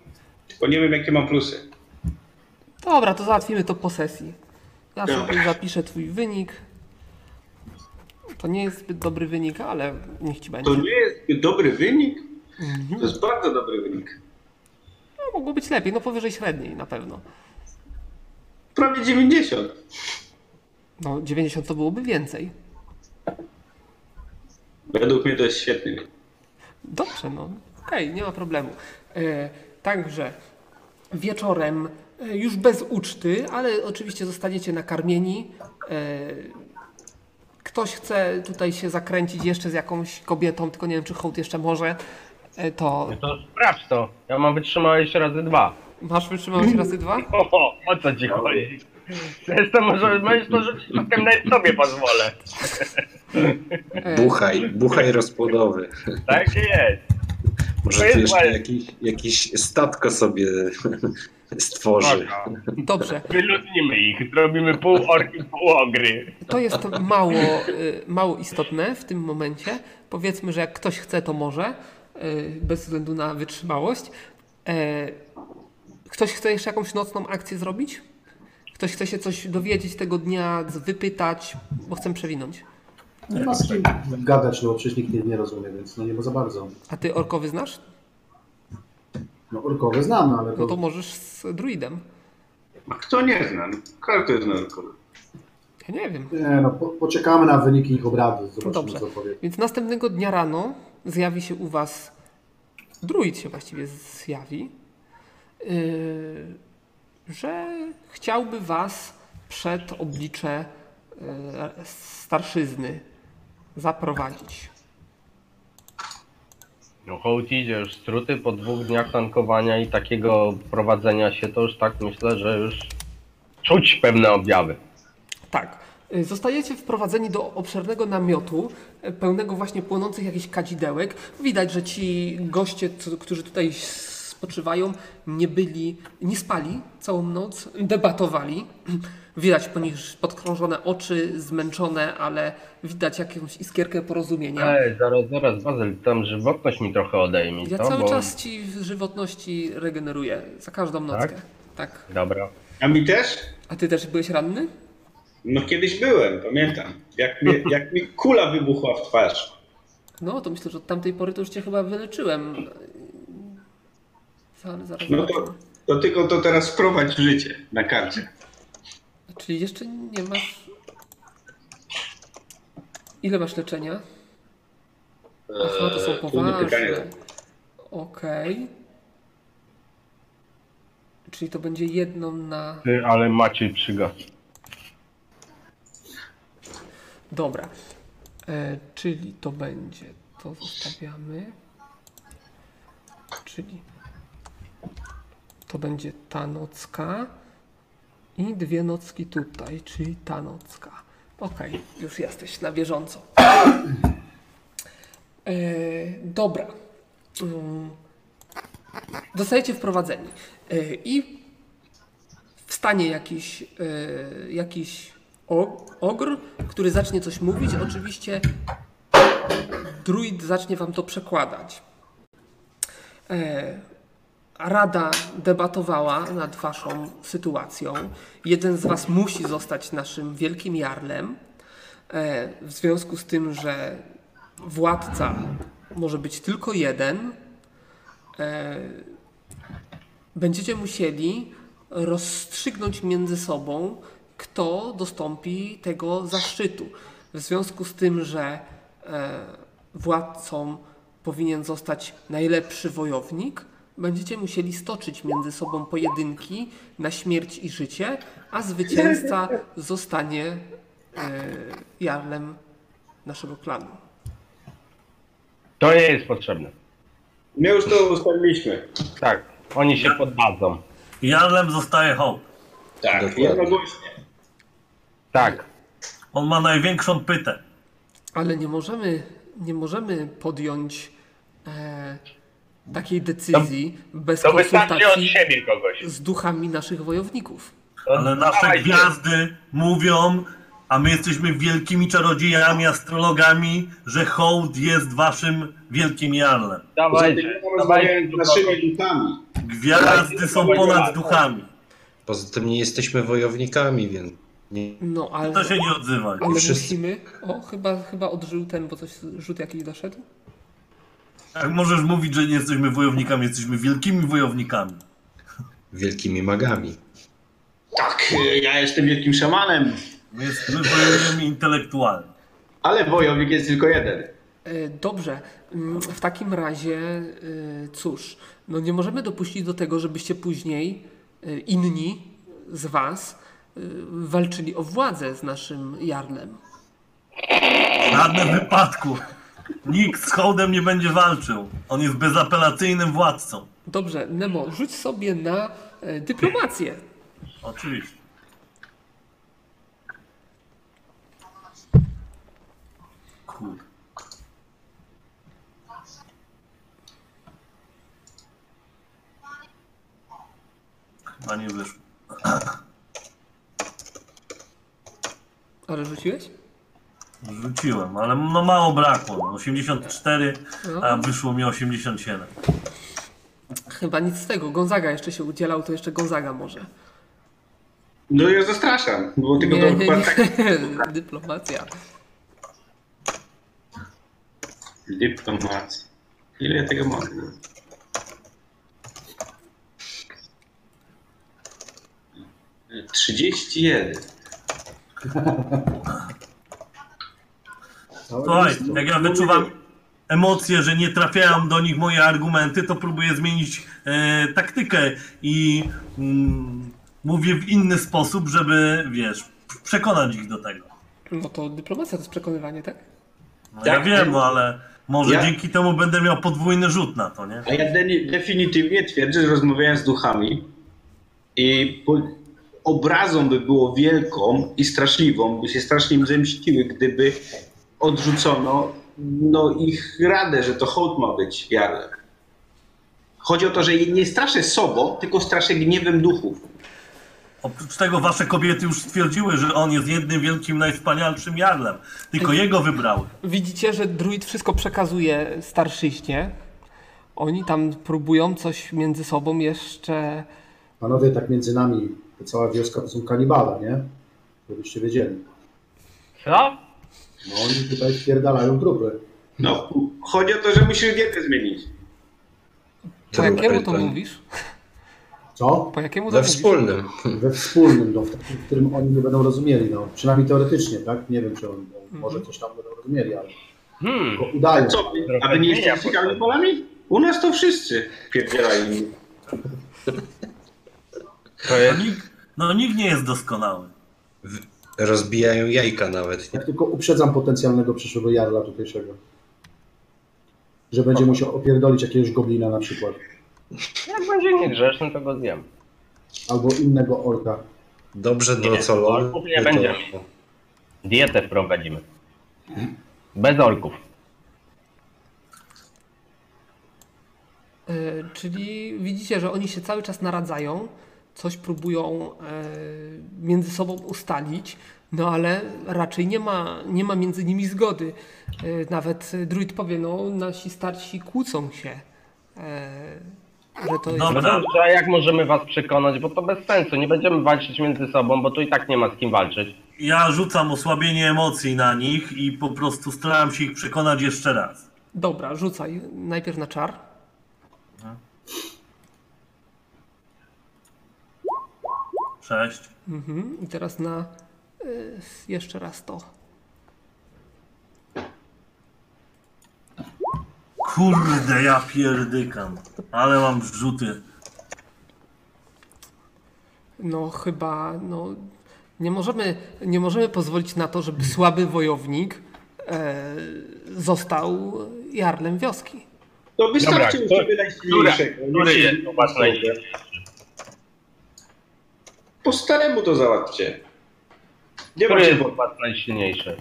[SPEAKER 2] Tylko nie wiem, jakie mam plusy.
[SPEAKER 1] Dobra, to załatwimy to po sesji. Ja
[SPEAKER 2] Tak.
[SPEAKER 1] sobie zapiszę twój wynik. To nie jest zbyt dobry wynik, ale niech ci będzie.
[SPEAKER 2] To nie jest dobry wynik? To jest bardzo dobry wynik.
[SPEAKER 1] No, mogło być lepiej, no powyżej średniej na pewno.
[SPEAKER 2] Prawie 90.
[SPEAKER 1] No 90 to byłoby więcej.
[SPEAKER 2] Według mnie to jest świetny wynik.
[SPEAKER 1] Dobrze, no okej, nie ma problemu. E, także wieczorem, e, już bez uczty, ale oczywiście zostaniecie nakarmieni. E, ktoś chce tutaj się zakręcić jeszcze z jakąś kobietą, tylko nie wiem, czy hołd jeszcze może. E, to
[SPEAKER 4] To sprawdź to, ja mam wytrzymałość razy dwa.
[SPEAKER 1] masz wytrzymałość razy dwa?
[SPEAKER 4] O, o co ci chodzi? Przecież to może, możesz to rzucić, potem nawet sobie pozwolę.
[SPEAKER 1] E,
[SPEAKER 7] Buchaj, buchaj rozpłodowy.
[SPEAKER 4] Tak jest.
[SPEAKER 7] Może
[SPEAKER 4] To
[SPEAKER 7] tu
[SPEAKER 4] jest
[SPEAKER 7] jeszcze
[SPEAKER 4] fajne.
[SPEAKER 7] jakiś, jakiś statko sobie stworzy.
[SPEAKER 4] Można.
[SPEAKER 1] dobrze,
[SPEAKER 4] Wyludnimy ich, zrobimy pół orki, pół ogry.
[SPEAKER 1] to jest mało, e, mało istotne w tym momencie. Powiedzmy, że jak ktoś chce, to może, e, bez względu na wytrzymałość. E, Ktoś chce jeszcze jakąś nocną akcję zrobić? Ktoś chce się coś dowiedzieć tego dnia, z- wypytać, bo chcę przewinąć.
[SPEAKER 6] nie ma z kim gadać, no bo przecież nikt nie, nie rozumie, więc no nie ma za bardzo.
[SPEAKER 1] A ty orkowy znasz?
[SPEAKER 6] No orkowe znam, ale
[SPEAKER 1] No
[SPEAKER 6] to...
[SPEAKER 1] to możesz z druidem.
[SPEAKER 2] A kto nie zna? No, Każdy zna tylko.
[SPEAKER 1] E, Ja nie wiem.
[SPEAKER 6] Nie, no, po, poczekamy na wyniki ich obrady, zobaczymy
[SPEAKER 1] Dobrze.
[SPEAKER 6] co powie.
[SPEAKER 1] Więc następnego dnia rano zjawi się u was druid się właściwie zjawi, yy, że chciałby was przed oblicze yy, starszyzny zaprowadzić.
[SPEAKER 4] No hołd idzie już struty po dwóch dniach tankowania i takiego prowadzenia się, to już tak myślę, że już czuć pewne objawy.
[SPEAKER 1] Tak. Y, Zostajecie wprowadzeni do obszernego namiotu, y, pełnego właśnie płonących jakichś kadzidełek. Widać, że ci goście, co- którzy tutaj spoczywają, nie byli, nie spali całą noc, debatowali. Widać po nich podkrążone oczy, zmęczone, ale widać jakąś iskierkę porozumienia.
[SPEAKER 4] Ej, zaraz, zaraz, Bazyl, tam żywotność mi trochę odejmij,
[SPEAKER 1] ja
[SPEAKER 4] co?
[SPEAKER 1] cały
[SPEAKER 4] Bo-
[SPEAKER 1] czas ci w żywotności regeneruję, za każdą nockę. Tak? tak.
[SPEAKER 4] Dobra.
[SPEAKER 2] A mi też?
[SPEAKER 1] A ty też byłeś ranny?
[SPEAKER 2] No kiedyś byłem, pamiętam. Jak, mnie, jak mi kula wybuchła w twarz.
[SPEAKER 1] No, to myślę, że od tamtej pory to już cię chyba wyleczyłem. Ale zaraz
[SPEAKER 2] No
[SPEAKER 1] zobaczę.
[SPEAKER 2] to, to tylko to teraz wprowadź w życie na karcie.
[SPEAKER 1] Czyli jeszcze nie masz... Ile masz leczenia? Aha, to są
[SPEAKER 3] Eee,
[SPEAKER 2] trudne pytanie.
[SPEAKER 1] poważne. Okej. Czyli to będzie jedną na...
[SPEAKER 4] Ty, ale Maciej przygas.
[SPEAKER 1] Dobra. E, czyli to będzie... To zostawiamy. Czyli... To będzie ta nocka. I dwie nocki tutaj, czyli ta nocka. Okej, już jesteś na bieżąco. E, dobra. Mm. Dostajecie wprowadzenie. E, I wstanie jakiś, e, jakiś o- ogr, który zacznie coś mówić. Oczywiście druid zacznie wam to przekładać. E, Rada debatowała nad waszą sytuacją. Jeden z was musi zostać naszym wielkim jarlem, e, w związku z tym, że władca może być tylko jeden. e, Będziecie musieli rozstrzygnąć między sobą, kto dostąpi tego zaszczytu. W związku z tym, że e, władcą powinien zostać najlepszy wojownik, będziecie musieli stoczyć między sobą pojedynki na śmierć i życie, a zwycięzca zostanie e, jarlem naszego klanu.
[SPEAKER 4] To nie jest potrzebne.
[SPEAKER 2] My już to ustaliliśmy.
[SPEAKER 4] Tak, oni się poddadzą.
[SPEAKER 5] Jarlem zostaje Hołd.
[SPEAKER 2] Tak,
[SPEAKER 7] Dokładnie.
[SPEAKER 2] jednogłośnie.
[SPEAKER 4] Tak.
[SPEAKER 5] On ma największą pytę.
[SPEAKER 1] Ale nie możemy, nie możemy podjąć e, takiej decyzji bez
[SPEAKER 4] To wystarczy od
[SPEAKER 1] konsultacji
[SPEAKER 4] siebie kogoś.
[SPEAKER 1] z duchami naszych wojowników.
[SPEAKER 8] No
[SPEAKER 5] Ale nasze
[SPEAKER 4] Dawaj,
[SPEAKER 5] gwiazdy mówią, a my jesteśmy wielkimi czarodziejami, astrologami, że hołd jest waszym wielkim jarlem.
[SPEAKER 4] Dawaj,
[SPEAKER 2] Dawajcie,
[SPEAKER 4] dawaj.
[SPEAKER 2] rozmawiając z naszymi duchami.
[SPEAKER 5] Gwiazdy są ponad duchami.
[SPEAKER 7] Poza tym nie jesteśmy wojownikami, więc nie,
[SPEAKER 1] No ale,
[SPEAKER 5] To się nie odzywaj.
[SPEAKER 1] ale
[SPEAKER 7] wszyscy-
[SPEAKER 1] musimy. O, chyba, chyba odżył ten, bo coś rzut jakiś doszedł.
[SPEAKER 5] Jak Tak możesz mówić, że nie jesteśmy wojownikami, jesteśmy wielkimi wojownikami.
[SPEAKER 7] wielkimi magami.
[SPEAKER 2] Tak, ja jestem wielkim szamanem.
[SPEAKER 5] My jesteśmy wojownikami intelektualnymi.
[SPEAKER 2] Ale wojownik jest tylko jeden.
[SPEAKER 1] E, Dobrze, Mm, w takim razie e, cóż, no nie możemy dopuścić do tego, żebyście później e, inni z Was e, walczyli o władzę z naszym jarlem.
[SPEAKER 5] W żadnym wypadku nikt z hołdem nie będzie walczył. On jest bezapelacyjnym władcą.
[SPEAKER 1] Dobrze, Nemo, rzuć sobie na e, dyplomację.
[SPEAKER 5] Oczywiście. Kur. Chyba nie wyszło.
[SPEAKER 1] Ale rzuciłeś?
[SPEAKER 5] Rzuciłem, ale no mało brakło. 84, a wyszło mi 87.
[SPEAKER 1] Chyba nic z tego. Gonzaga jeszcze się udzielał, to jeszcze Gonzaga może.
[SPEAKER 2] No ja zastraszam, bo
[SPEAKER 1] Nie,
[SPEAKER 2] tylko
[SPEAKER 1] nie,
[SPEAKER 2] to chyba
[SPEAKER 1] nie.
[SPEAKER 2] tak.
[SPEAKER 1] Dyplomacja.
[SPEAKER 2] Dyplomacja. Ile ja tego mam? Trzydzieści jeden.
[SPEAKER 6] Całe
[SPEAKER 5] Słuchaj,
[SPEAKER 6] miasto.
[SPEAKER 5] jak ja wyczuwam emocje, że nie trafiają do nich moje argumenty, to próbuję zmienić e, taktykę i mm, mówię w inny sposób, żeby, wiesz, przekonać ich do tego.
[SPEAKER 1] No to dyplomacja to jest przekonywanie, tak?
[SPEAKER 5] No, ja
[SPEAKER 2] Tak,
[SPEAKER 5] wiem,
[SPEAKER 2] tak.
[SPEAKER 5] no, ale może
[SPEAKER 2] Ja-
[SPEAKER 5] dzięki temu będę miał podwójny rzut na to, nie?
[SPEAKER 2] A ja de- definitywnie twierdzę, że rozmawiałem z duchami i po- obrazą by było wielką i straszliwą, by się strasznie im zemściły, gdyby odrzucono no, ich radę, że to hołd ma być jarlem. Chodzi o to, że nie straszę sobą, tylko straszę gniewem duchów.
[SPEAKER 5] Oprócz tego wasze kobiety już stwierdziły, że on jest jednym wielkim, najwspanialszym jarlem. Tylko jego wybrały.
[SPEAKER 1] Widzicie, że druid wszystko przekazuje starszyźnie. Oni tam próbują coś między sobą jeszcze.
[SPEAKER 6] Panowie, tak między nami, to cała wioska to są kanibale, nie? Żebyście wiedzieli.
[SPEAKER 4] Co?
[SPEAKER 6] No oni tutaj wpierdalają grupy.
[SPEAKER 2] No, chodzi o to, że musisz dietę zmienić.
[SPEAKER 1] Po jakiemu to
[SPEAKER 7] Trupy, tak.
[SPEAKER 1] mówisz?
[SPEAKER 6] Co?
[SPEAKER 1] Po jakiemu to
[SPEAKER 7] We
[SPEAKER 1] mówisz?
[SPEAKER 7] wspólnym.
[SPEAKER 6] We wspólnym, no, w takim, w którym oni nie będą rozumieli, no. Przynajmniej teoretycznie, tak? Nie wiem, czy oni, no, może coś tam będą rozumieli, ale
[SPEAKER 4] Hmm.
[SPEAKER 6] tylko udają.
[SPEAKER 2] Co, aby nie
[SPEAKER 4] zmienia
[SPEAKER 2] jesteście kannibalami? U nas to wszyscy pierdzielają.
[SPEAKER 5] No nikt, no nikt nie jest doskonały.
[SPEAKER 7] Rozbijają jajka nawet. Nie?
[SPEAKER 6] Ja tylko uprzedzam potencjalnego przyszłego jarla tutejszego. Że będzie musiał opierdolić jakiegoś goblina na przykład.
[SPEAKER 4] Jak będzie niegrzeczny, to go zjem.
[SPEAKER 6] Albo innego orka.
[SPEAKER 7] Dobrze
[SPEAKER 4] Nie,
[SPEAKER 7] docolone.
[SPEAKER 4] orków nie będzie. Dietę wprowadzimy. Bez orków.
[SPEAKER 1] E, Czyli widzicie, że oni się cały czas naradzają, coś próbują e, między sobą ustalić, no ale raczej nie ma, nie ma między nimi zgody. E, Nawet druid powie, no nasi starsi kłócą się, e, że to jest...
[SPEAKER 4] No
[SPEAKER 5] Dobra.
[SPEAKER 4] dobrze, a jak możemy was przekonać, bo to bez sensu, nie będziemy walczyć między sobą, bo tu i tak nie ma z kim walczyć.
[SPEAKER 5] Ja rzucam osłabienie emocji na nich i po prostu staram się ich przekonać jeszcze raz.
[SPEAKER 1] Dobra, rzucaj. Najpierw na czar.
[SPEAKER 5] Cześć.
[SPEAKER 1] Mhm. I teraz na... y, jeszcze raz to.
[SPEAKER 5] Kurde, ja pierdykam. Ale mam rzuty.
[SPEAKER 1] No chyba, no nie możemy, nie możemy pozwolić na to, żeby słaby wojownik e, został jarlem wioski.
[SPEAKER 2] To wystarczy
[SPEAKER 4] Dobra,
[SPEAKER 2] już
[SPEAKER 4] to-
[SPEAKER 2] sobie najsilniejszego.
[SPEAKER 4] Który jest u was najlepszy?
[SPEAKER 2] Po staremu to załatwcie. Nie
[SPEAKER 4] Który
[SPEAKER 2] macie
[SPEAKER 4] jest
[SPEAKER 2] bo...
[SPEAKER 4] u was najsilniejszy?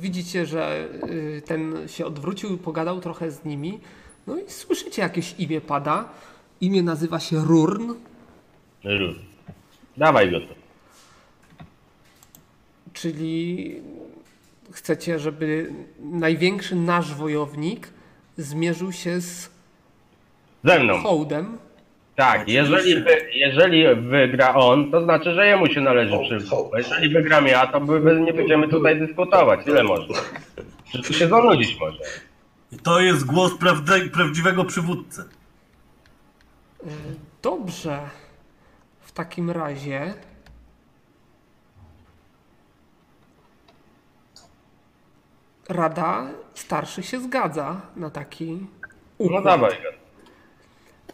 [SPEAKER 1] Widzicie, że y, ten się odwrócił, pogadał trochę z nimi. No i słyszycie jakieś imię pada. Imię nazywa się Rurn.
[SPEAKER 4] Rur. Dawaj go tu.
[SPEAKER 1] Czyli chcecie, żeby największy nasz wojownik zmierzył się z
[SPEAKER 4] Ze mną.
[SPEAKER 1] hołdem.
[SPEAKER 4] Tak, jeżeli, wy, jeżeli wygra on, to znaczy, że jemu się należy przywód. Jeżeli wygram ja, to by, by nie będziemy tutaj dyskutować. Ile można? Czy tu się zanudzić może?
[SPEAKER 5] I to jest głos prawde- prawdziwego przywódcy.
[SPEAKER 1] Dobrze. W takim razie. Rada starszy się zgadza na taki
[SPEAKER 4] No
[SPEAKER 1] układ.
[SPEAKER 4] dawaj go.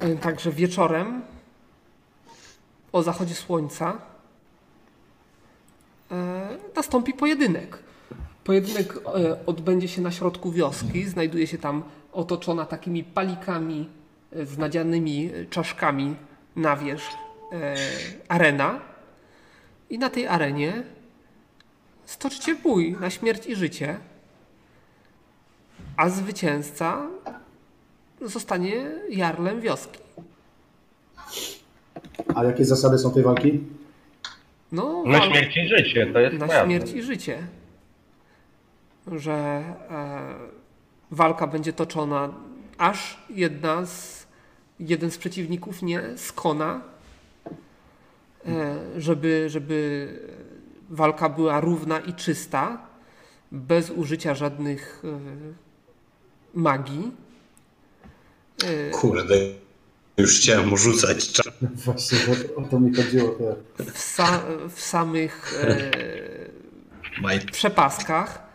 [SPEAKER 1] E, Także wieczorem o zachodzie słońca e, nastąpi pojedynek. Pojedynek e, odbędzie się na środku wioski. Znajduje się tam otoczona takimi palikami e, z nadzianymi e, czaszkami na wierzch e, arena. I na tej arenie stoczycie bój na śmierć i życie. A zwycięzca zostanie jarlem wioski.
[SPEAKER 6] A jakie zasady są tej walki?
[SPEAKER 1] No,
[SPEAKER 4] Na
[SPEAKER 1] walka-
[SPEAKER 4] śmierć i życie, to jest
[SPEAKER 1] na
[SPEAKER 4] prawda.
[SPEAKER 1] śmierć i życie. Że e, walka będzie toczona, aż jedna z, jeden z przeciwników nie skona, e, żeby, żeby walka była równa i czysta, bez użycia żadnych e, magii.
[SPEAKER 7] Kurde,
[SPEAKER 3] Już chciałem rzucać czar.
[SPEAKER 6] Właśnie, o, o to mi chodziło. tak.
[SPEAKER 1] w, sa, w samych e,
[SPEAKER 3] Maj-
[SPEAKER 1] przepaskach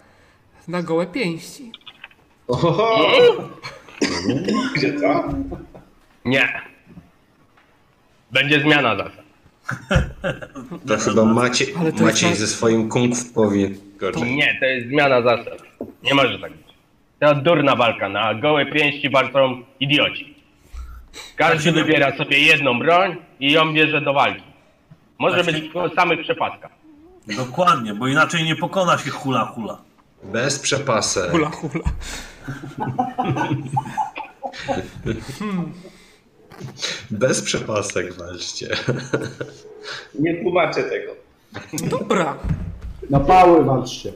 [SPEAKER 1] na gołe pięści.
[SPEAKER 4] Tak.
[SPEAKER 2] Oho! Gdzie to?
[SPEAKER 8] Nie. Będzie zmiana zasad.
[SPEAKER 3] To chyba Maciej,
[SPEAKER 1] Ale to jest
[SPEAKER 3] Maciej
[SPEAKER 1] na-
[SPEAKER 3] ze swoim kung fu powie. Gorzej.
[SPEAKER 8] Nie, to jest zmiana zasad. Nie może tak być. To durna walka. Na gołe pięści walczą idioci. Każdy wybiera sobie jedną broń i ją bierze do walki. Może być w samych przypadkach.
[SPEAKER 5] Dokładnie, bo inaczej nie pokona się hula hula.
[SPEAKER 3] Bez przepasek.
[SPEAKER 1] Hula hula.
[SPEAKER 3] Bez przepasek walczcie.
[SPEAKER 2] Nie tłumaczę tego.
[SPEAKER 1] Dobra.
[SPEAKER 6] Na pały walczcie.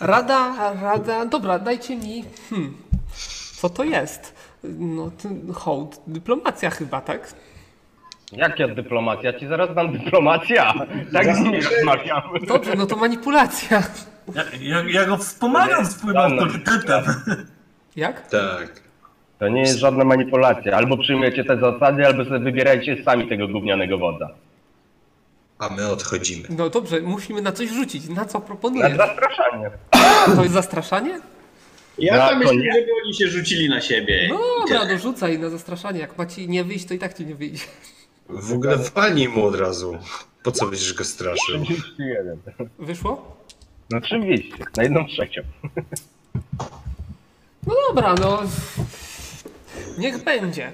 [SPEAKER 1] Rada, rada. Dobra, dajcie mi. Hmm. Co to jest? No, ten hołd. Dyplomacja chyba, tak?
[SPEAKER 8] Jaka dyplomacja? Ci zaraz dam dyplomacja. Tak z nimi rozmawiamy.
[SPEAKER 1] Dobrze, no to manipulacja.
[SPEAKER 5] Ja, ja, ja go wspomagam swoim autorytetem.
[SPEAKER 1] Jak?
[SPEAKER 3] Tak.
[SPEAKER 8] To nie jest żadna manipulacja. Albo przyjmujecie te zasady, albo sobie wybierajcie sami tego gównianego wodza.
[SPEAKER 3] A my odchodzimy.
[SPEAKER 1] No dobrze, musimy na coś rzucić. Na co
[SPEAKER 8] Na
[SPEAKER 1] proponuję?
[SPEAKER 8] zastraszanie.
[SPEAKER 1] To jest zastraszanie?
[SPEAKER 2] Ja
[SPEAKER 8] No,
[SPEAKER 2] tam
[SPEAKER 8] to
[SPEAKER 2] myślę,
[SPEAKER 8] nie.
[SPEAKER 2] żeby oni się rzucili na siebie.
[SPEAKER 1] No dobra, no rzucaj na zastraszanie. Jak ma ci nie wyjść, to i tak ci nie wyjdzie.
[SPEAKER 3] W ogóle walnij mu od razu. Po co będziesz go straszył?
[SPEAKER 1] Wyszło?
[SPEAKER 8] No oczywiście. Na jedną trzecią.
[SPEAKER 1] No dobra, no. Niech będzie.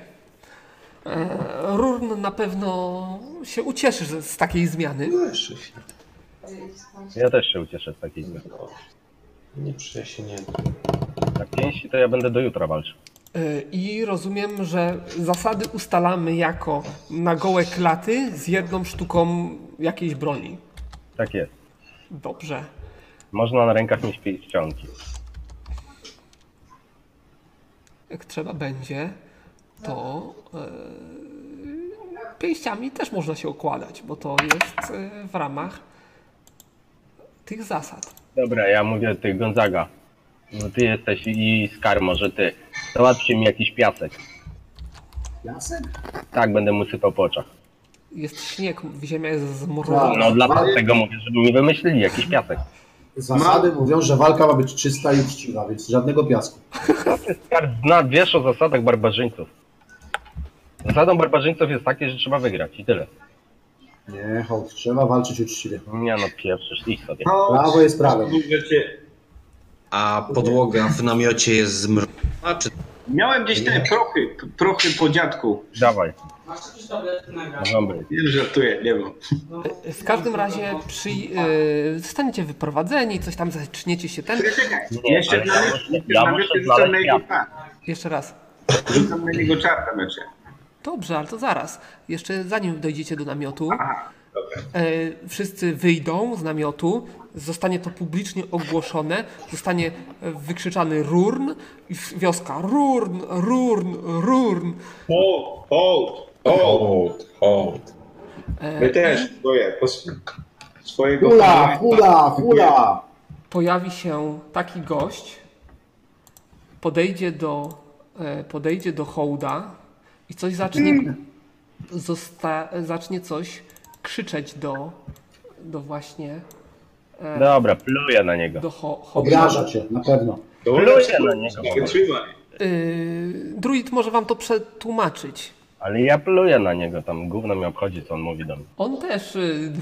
[SPEAKER 1] E, Rurn na pewno się ucieszy z- z takiej zmiany.
[SPEAKER 3] Cieszę się.
[SPEAKER 8] Ja też się ucieszę z takiej zmiany.
[SPEAKER 3] No. Nie przesienie.
[SPEAKER 8] Na pięści to ja będę do jutra walczył.
[SPEAKER 1] E, I rozumiem, że zasady ustalamy jako na gołe klaty z jedną sztuką jakiejś broni.
[SPEAKER 8] Tak jest.
[SPEAKER 1] Dobrze.
[SPEAKER 8] Można na rękach mieć pięścionki.
[SPEAKER 1] Jak trzeba będzie, to e, pięściami też można się okładać, bo to jest e, w ramach tych zasad.
[SPEAKER 8] Dobra, ja mówię ty, Gonzaga. No ty jesteś i Skar może ty. Załatwcie mi jakiś piasek.
[SPEAKER 6] Jasne.
[SPEAKER 8] Tak, będę mu sypał po oczach.
[SPEAKER 1] Jest śnieg, ziemia jest zmrożona.
[SPEAKER 8] No dlatego mówię, żeby mi wymyślili jakiś piasek.
[SPEAKER 6] Zasady mówią, że walka ma być czysta i uczciwa, więc żadnego piasku.
[SPEAKER 8] Skar zna, wiesz o zasadach barbarzyńców. Zasadą barbarzyńców jest takie, że trzeba wygrać i tyle.
[SPEAKER 6] Nie, hołd, trzeba walczyć uczciwie.
[SPEAKER 8] Nie no, pierwszysz, idź sobie.
[SPEAKER 6] Prawo jest prawem.
[SPEAKER 2] Możecie-
[SPEAKER 3] A podłoga w namiocie jest zmroczona? Czy
[SPEAKER 2] Miałem gdzieś te prochy, prochy po dziadku.
[SPEAKER 8] Dawaj,
[SPEAKER 9] Masz jakieś tablety na gaz?
[SPEAKER 8] żąbry.
[SPEAKER 2] Nie żartuję, nie wiem.
[SPEAKER 1] W każdym razie przy, e, zostaniecie wyprowadzeni, coś tam zaczniecie się ten.
[SPEAKER 4] No,
[SPEAKER 2] Jeszcze
[SPEAKER 8] ale
[SPEAKER 2] na
[SPEAKER 8] ja
[SPEAKER 2] myśl,
[SPEAKER 8] muszę- ja
[SPEAKER 2] na
[SPEAKER 8] muszę
[SPEAKER 2] myśl rzucam
[SPEAKER 8] znaleźć
[SPEAKER 2] na jego
[SPEAKER 8] piasek.
[SPEAKER 2] czar.
[SPEAKER 1] Jeszcze raz.
[SPEAKER 2] Rzucam na jego czar na mecze.
[SPEAKER 1] Dobrze, ale to zaraz. Jeszcze zanim dojdziecie do namiotu,
[SPEAKER 2] Aha, dobra.
[SPEAKER 1] e, wszyscy wyjdą z namiotu, zostanie to publicznie ogłoszone, zostanie e, wykrzyczany Rurn i w- wioska Rurn, Rurn, Rurn.
[SPEAKER 2] Hold, hold, hold.
[SPEAKER 3] Hold, hold.
[SPEAKER 2] My też swoje, po sw- swojego...
[SPEAKER 6] Hula, hula, hula!
[SPEAKER 1] Pojawi się taki gość, podejdzie do, e, podejdzie do hołda i coś zacznie, zosta, zacznie coś krzyczeć do, do właśnie
[SPEAKER 8] Dobra, pluję na niego.
[SPEAKER 1] do ho, hołda.
[SPEAKER 6] Obraża cię, na pewno.
[SPEAKER 2] Dobra,
[SPEAKER 8] Pluję na niego.
[SPEAKER 2] Wytrzymaj.
[SPEAKER 1] Yy, druid może wam to przetłumaczyć.
[SPEAKER 8] Ale ja pluję na niego, tam gówno mnie obchodzi, co on mówi do mnie.
[SPEAKER 1] On też y,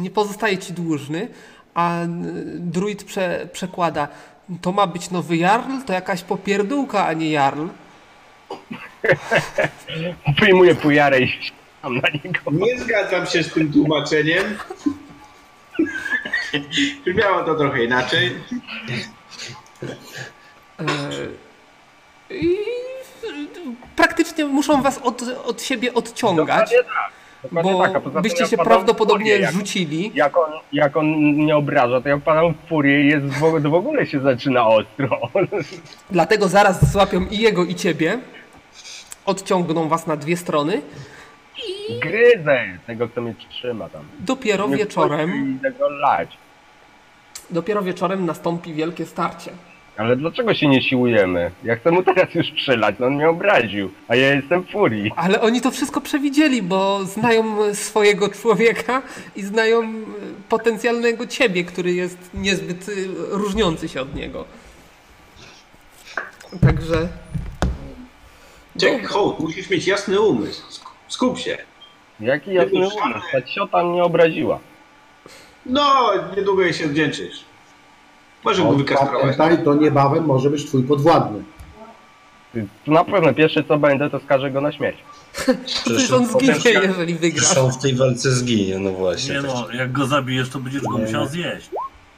[SPEAKER 1] nie pozostaje ci dłużny, a y, druid prze, przekłada. To ma być nowy jarl? To jakaś popierdółka, a nie jarl.
[SPEAKER 8] Wyjmuję pujarę i tam na niego.
[SPEAKER 2] Nie zgadzam się z tym tłumaczeniem. Brzmiało to trochę inaczej.
[SPEAKER 1] I y, praktycznie muszą was od, od siebie odciągać,
[SPEAKER 8] Dokładnie tak. Dokładnie
[SPEAKER 1] bo
[SPEAKER 8] tak, a poza tym
[SPEAKER 1] byście
[SPEAKER 8] ja
[SPEAKER 1] się
[SPEAKER 8] wpadam w furię,
[SPEAKER 1] prawdopodobnie
[SPEAKER 8] jak,
[SPEAKER 1] rzucili.
[SPEAKER 8] jak, on, jak on nie obraża, to ja wpadam w furię i jest w, ogóle- w ogóle się zaczyna ostro.
[SPEAKER 1] Dlatego zaraz złapią i jego, i ciebie. Odciągną was na dwie strony.
[SPEAKER 8] Gryzę tego, kto mnie trzyma tam.
[SPEAKER 1] Dopiero
[SPEAKER 8] Nie
[SPEAKER 1] wieczorem,
[SPEAKER 8] wchodzi I tego lać.
[SPEAKER 1] dopiero wieczorem nastąpi wielkie starcie.
[SPEAKER 8] Ale dlaczego się nie siłujemy? Ja chcę mu teraz już strzelać, no on mnie obraził, a ja jestem w furii.
[SPEAKER 1] Ale oni to wszystko przewidzieli, bo znają swojego człowieka i znają y, potencjalnego ciebie, który jest niezbyt y, różniący się od niego. Także.
[SPEAKER 2] Jack Holt, musisz mieć jasny umysł. Sk- Skup się.
[SPEAKER 8] Jaki jasny
[SPEAKER 2] Jezus,
[SPEAKER 8] umysł, ta ciota mnie obraziła.
[SPEAKER 2] No, niedługo jej się odwdzięczysz. Może go
[SPEAKER 6] On,
[SPEAKER 2] wykastrować.
[SPEAKER 6] pamiętaj, to niebawem może być twój podwładny.
[SPEAKER 8] To na pewno pierwsze co będę, to skażę go na śmierć.
[SPEAKER 1] Przecież on zginie,
[SPEAKER 3] potencjal-
[SPEAKER 1] jeżeli wygrasz.
[SPEAKER 3] Zresztą w tej walce zginie, no właśnie.
[SPEAKER 5] Nie
[SPEAKER 3] tak.
[SPEAKER 5] no, jak go zabijesz, to będziesz go musiał zjeść.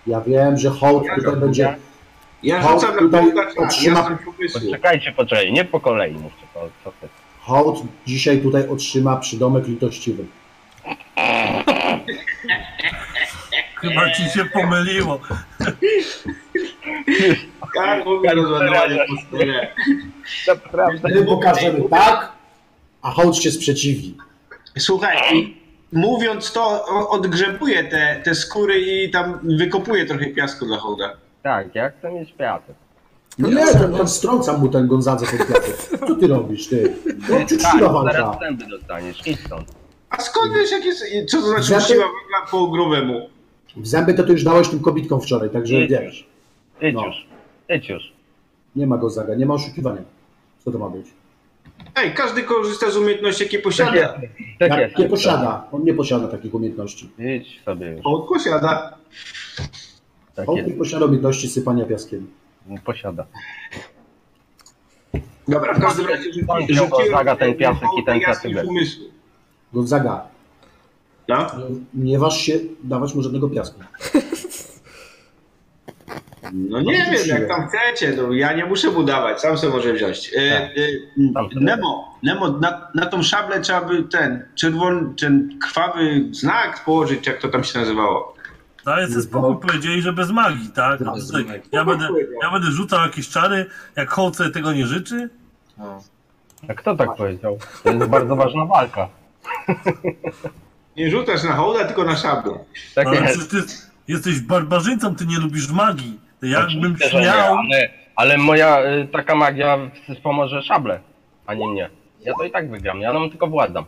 [SPEAKER 6] Ja wiem, że hołd tutaj będzie.
[SPEAKER 2] Ja
[SPEAKER 6] Holt
[SPEAKER 2] rzucam na
[SPEAKER 6] tutaj
[SPEAKER 2] Bolta czar,
[SPEAKER 6] otrzyma-
[SPEAKER 2] jasność umysłu.
[SPEAKER 8] Czekajcie, poczekaj, nie po kolei mówcie, to co ty.
[SPEAKER 6] Hołd dzisiaj tutaj otrzyma przydomek litościwy.
[SPEAKER 5] Chyba ci się pomyliło.
[SPEAKER 2] Karl mówi Tak, rozładowanie po stole.
[SPEAKER 8] Naprawdę.
[SPEAKER 6] My pokażemy tak, a hołd się sprzeciwi.
[SPEAKER 2] Słuchaj, i mówiąc to, o- odgrzebuję te, te skóry i tam wykopuję trochę piasku dla hołda.
[SPEAKER 8] Tak, ja chcę mieć piatę.
[SPEAKER 6] No nie, ten, ten strącam mu ten Gonzadze pod piasek. Co ty robisz, ty? No,
[SPEAKER 8] Tak,
[SPEAKER 6] Uczciwa walka.
[SPEAKER 8] zaraz zęby dostaniesz, idź stąd.
[SPEAKER 2] A skąd wiesz, jak jest, co to znaczy
[SPEAKER 6] Zatem-
[SPEAKER 2] siła węgla po grubemu?
[SPEAKER 6] W zęby to ty już dałeś tym kobitkom wczoraj, także wiesz.
[SPEAKER 8] Idź
[SPEAKER 6] No.
[SPEAKER 8] już, idź już.
[SPEAKER 6] Nie ma Gonzaga, nie ma oszukiwania. Co to ma być?
[SPEAKER 2] Ej, każdy korzysta z umiejętności, jakie posiada.
[SPEAKER 8] Tak
[SPEAKER 6] Jak
[SPEAKER 8] jest.
[SPEAKER 6] nie posiada, on nie posiada takich umiejętności.
[SPEAKER 8] Idź sobie już,
[SPEAKER 2] Hołd posiada.
[SPEAKER 8] tak
[SPEAKER 6] Hołd
[SPEAKER 8] jest.
[SPEAKER 6] nie posiada umiejętności sypania piaskiem.
[SPEAKER 8] Posiada.
[SPEAKER 2] Dobra, w każdym razie rzu-
[SPEAKER 8] Pan wziął Gonzaga, ten piasek i ten
[SPEAKER 2] jasność
[SPEAKER 8] piasek.
[SPEAKER 2] umysłu.
[SPEAKER 6] Gonzaga,
[SPEAKER 2] No?
[SPEAKER 6] nie waż się dawać mu żadnego piasku.
[SPEAKER 2] No nie wiem, jak tam chcecie, no, ja nie muszę mu dawać, sam sobie może wziąć. E,
[SPEAKER 8] Tak.
[SPEAKER 2] e,
[SPEAKER 8] Sam sobie
[SPEAKER 2] Nemo, Nemo na, na tą szablę trzeba by ten czerwony, ten krwawy znak położyć, jak to tam się nazywało.
[SPEAKER 5] Daję sobie No, spokój, powiedzieli, że bez magii, tak?
[SPEAKER 6] Tak,
[SPEAKER 5] Bzyk. Ja będę, ja będę rzucał jakieś czary, jak Hołd sobie tego nie życzy.
[SPEAKER 8] A kto tak powiedział? To jest bardzo ważna walka.
[SPEAKER 2] Nie rzucasz na hołda, tylko na szablę.
[SPEAKER 8] Tak
[SPEAKER 5] Ale przecież
[SPEAKER 8] jest.
[SPEAKER 5] ty jesteś barbarzyńcą, ty nie lubisz magii. Jakbym
[SPEAKER 8] Oczywiście, że nie,
[SPEAKER 5] śmiał,
[SPEAKER 8] ale, ale moja y, taka magia wspomoże szable, a nie mnie. Ja to i tak wygram, ja nam tylko władam.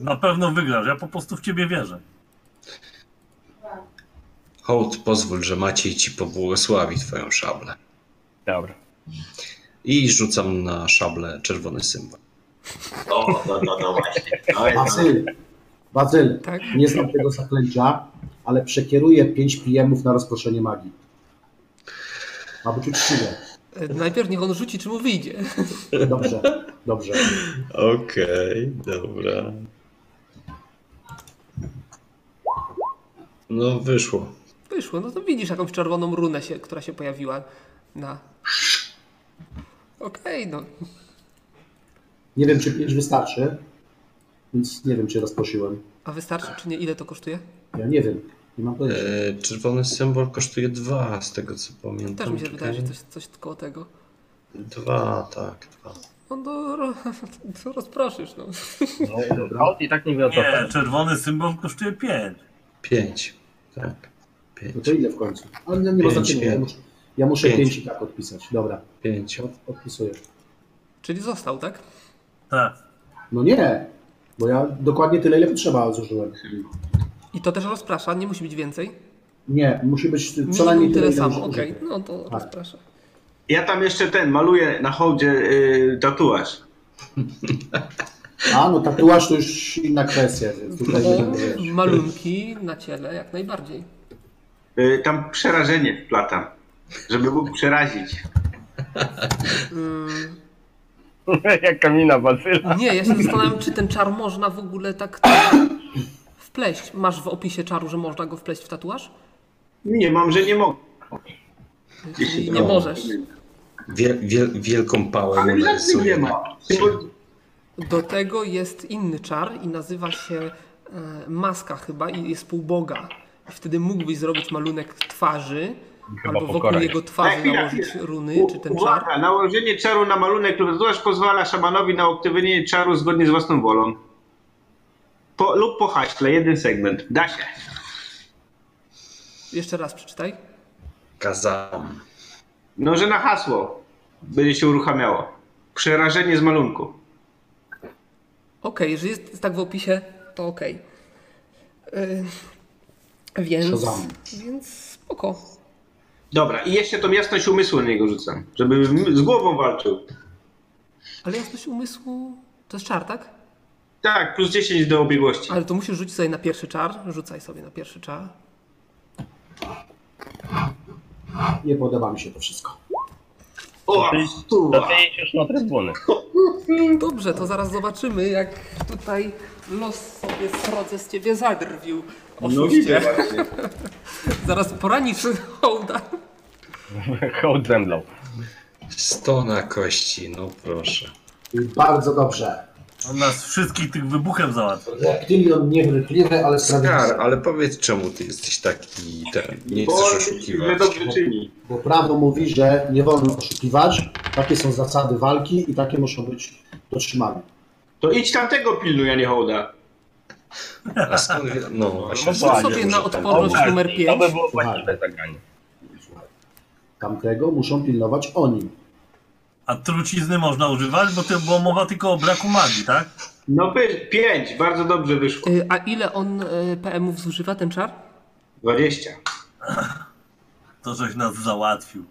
[SPEAKER 5] na pewno wygrasz. Ja po prostu w ciebie wierzę.
[SPEAKER 3] Hołd, pozwól, że Maciej ci pobłogosławi twoją szablę.
[SPEAKER 8] Dobra.
[SPEAKER 3] I rzucam na szablę czerwony symbol.
[SPEAKER 2] O, no, no, no właśnie. No, jest, no.
[SPEAKER 6] Bazyl, Bazyl,
[SPEAKER 1] Tak?
[SPEAKER 6] nie znam tego zaklęcia, ale przekieruję 5 pm na rozproszenie magii. Ma być uczciwe.
[SPEAKER 1] E, Najpierw niech on rzuci, czy mu wyjdzie.
[SPEAKER 6] Dobrze, dobrze.
[SPEAKER 3] Okej, dobra. No wyszło.
[SPEAKER 1] Wyszło, no to widzisz jakąś czerwoną runę, się, która się pojawiła na. Okej, no.
[SPEAKER 6] Nie wiem, czy 5 wystarczy, więc nie wiem, czy rozproszyłem.
[SPEAKER 1] A wystarczy, czy nie? Ile to kosztuje?
[SPEAKER 6] Ja nie wiem, nie mam pojęcia.
[SPEAKER 3] E, czerwony symbol kosztuje dwa, z tego co pamiętam.
[SPEAKER 1] Też mi się
[SPEAKER 3] Czekaj.
[SPEAKER 1] wydaje, że coś, coś koło tego.
[SPEAKER 3] Dwa, tak, dwa.
[SPEAKER 1] No to ro, to rozproszysz, no.
[SPEAKER 8] No, I tak nie wiem co
[SPEAKER 5] Nie, czerwony symbol kosztuje 5.
[SPEAKER 3] Pięć, tak. Pięć,
[SPEAKER 6] No to ile w końcu? Ale nie, nie ma
[SPEAKER 3] Pięć,
[SPEAKER 6] znaczenia, ja
[SPEAKER 3] pięć.
[SPEAKER 6] muszę, ja muszę
[SPEAKER 3] Pięć.
[SPEAKER 6] 5 i tak odpisać. Dobra,
[SPEAKER 3] pięć.
[SPEAKER 6] od, odpisuję.
[SPEAKER 1] Czyli został, tak?
[SPEAKER 5] Tak.
[SPEAKER 6] No nie, bo ja dokładnie tyle, ile potrzeba zużyłem.
[SPEAKER 1] I to też rozprasza, nie musi być więcej.
[SPEAKER 6] Nie, musi być co najmniej
[SPEAKER 1] Minimum
[SPEAKER 6] tyle,
[SPEAKER 1] tyle
[SPEAKER 6] Tak.
[SPEAKER 1] samo,
[SPEAKER 6] ile już
[SPEAKER 1] okej.
[SPEAKER 6] użyłem.
[SPEAKER 1] No to rozprasza.
[SPEAKER 2] Ja tam jeszcze ten, maluję na hołdzie y, tatuaż.
[SPEAKER 6] A, no tatuaż to już inna kwestia, więc tutaj
[SPEAKER 1] O,
[SPEAKER 6] będę, wiesz.
[SPEAKER 1] malunki na ciele jak najbardziej.
[SPEAKER 2] Y, tam przerażenie wplatam, żeby mógł przerazić.
[SPEAKER 1] Mm,
[SPEAKER 8] Jak kamina bazyla.
[SPEAKER 1] nie, ja się zastanawiam, czy ten czar można w ogóle tak wpleść. Masz w opisie czaru, że można go wpleść w tatuaż?
[SPEAKER 2] Nie mam, że nie mogę.
[SPEAKER 1] Czyli
[SPEAKER 6] No.
[SPEAKER 1] nie możesz.
[SPEAKER 3] Wie, wie, wielką pałę
[SPEAKER 2] Ale
[SPEAKER 3] mu
[SPEAKER 2] żadnych
[SPEAKER 3] narysuję.
[SPEAKER 2] nie ma. Tylko
[SPEAKER 1] Do tego jest inny czar i nazywa się e, maska chyba i jest pół Boga. Wtedy mógłbyś zrobić malunek twarzy albo wokół
[SPEAKER 8] pokoraj.
[SPEAKER 1] jego twarzy
[SPEAKER 2] Chwila,
[SPEAKER 1] nałożyć
[SPEAKER 2] chwila.
[SPEAKER 1] runy Y, czy ten czar.
[SPEAKER 2] Uwaga, nałożenie czaru na malunek lub tatuaż pozwala szamanowi na aktywowanie czaru zgodnie z własną wolą. Po, lub po haśle, jeden segment. Da się.
[SPEAKER 1] Jeszcze raz przeczytaj.
[SPEAKER 7] kazałam.
[SPEAKER 2] No, że na hasło będzie się uruchamiało. Przerażenie z malunku.
[SPEAKER 1] Okej, jeżeli jest tak w opisie, to okej. Y, więc,
[SPEAKER 6] Shazam.
[SPEAKER 1] więc spoko.
[SPEAKER 2] Dobra, i jeszcze tą jasność umysłu na niego rzucam, żeby m- z głową walczył.
[SPEAKER 1] Ale jasność umysłu to jest czar, tak?
[SPEAKER 2] Tak, plus 10 do obiegłości.
[SPEAKER 1] Ale to musisz rzucić sobie na pierwszy czar. Rzucaj sobie na pierwszy czar.
[SPEAKER 6] Nie podoba mi się to wszystko.
[SPEAKER 2] O, stuwa.
[SPEAKER 4] Dosyć już na trybuny.
[SPEAKER 1] Dobrze, to zaraz zobaczymy, jak tutaj los sobie srodze z ciebie zadrwił.
[SPEAKER 2] No
[SPEAKER 1] Oszuście.
[SPEAKER 2] widzę właśnie.
[SPEAKER 1] zaraz poranisz hołda.
[SPEAKER 4] Hołd zemdlał.
[SPEAKER 7] 100 na kości, no proszę.
[SPEAKER 6] Bardzo dobrze.
[SPEAKER 5] On nas wszystkich tych wybuchem załatwi.
[SPEAKER 6] Reptilion niewrychliwy, ale
[SPEAKER 7] Skar,
[SPEAKER 6] sprawiedliwy.
[SPEAKER 7] ale powiedz czemu ty jesteś taki ten, nie
[SPEAKER 2] Bo
[SPEAKER 7] chcesz
[SPEAKER 2] że
[SPEAKER 7] oszukiwać.
[SPEAKER 2] dobrze czyni.
[SPEAKER 6] Bo prawo mówi, że nie wolno oszukiwać. Takie są zasady walki i takie muszą być dotrzymane.
[SPEAKER 2] To idź tamtego pilnuj, a nie hołda.
[SPEAKER 7] A skąd, wi- no właśnie,
[SPEAKER 4] Rzuć
[SPEAKER 7] skąd
[SPEAKER 4] sobie
[SPEAKER 7] wiesz,
[SPEAKER 1] na
[SPEAKER 7] że ten-
[SPEAKER 1] odporność. Podróż numer
[SPEAKER 4] I To
[SPEAKER 1] pięć.
[SPEAKER 4] by było właściwe zagranie.
[SPEAKER 6] Tamtego muszą pilnować oni.
[SPEAKER 5] A trucizny można używać, bo to była mowa tylko o braku magii, tak?
[SPEAKER 2] No py- pięć, bardzo dobrze wyszło.
[SPEAKER 1] Y, A ile on y, PM-ów zużywa ten czar?
[SPEAKER 2] 20.
[SPEAKER 5] To żeś nas załatwił.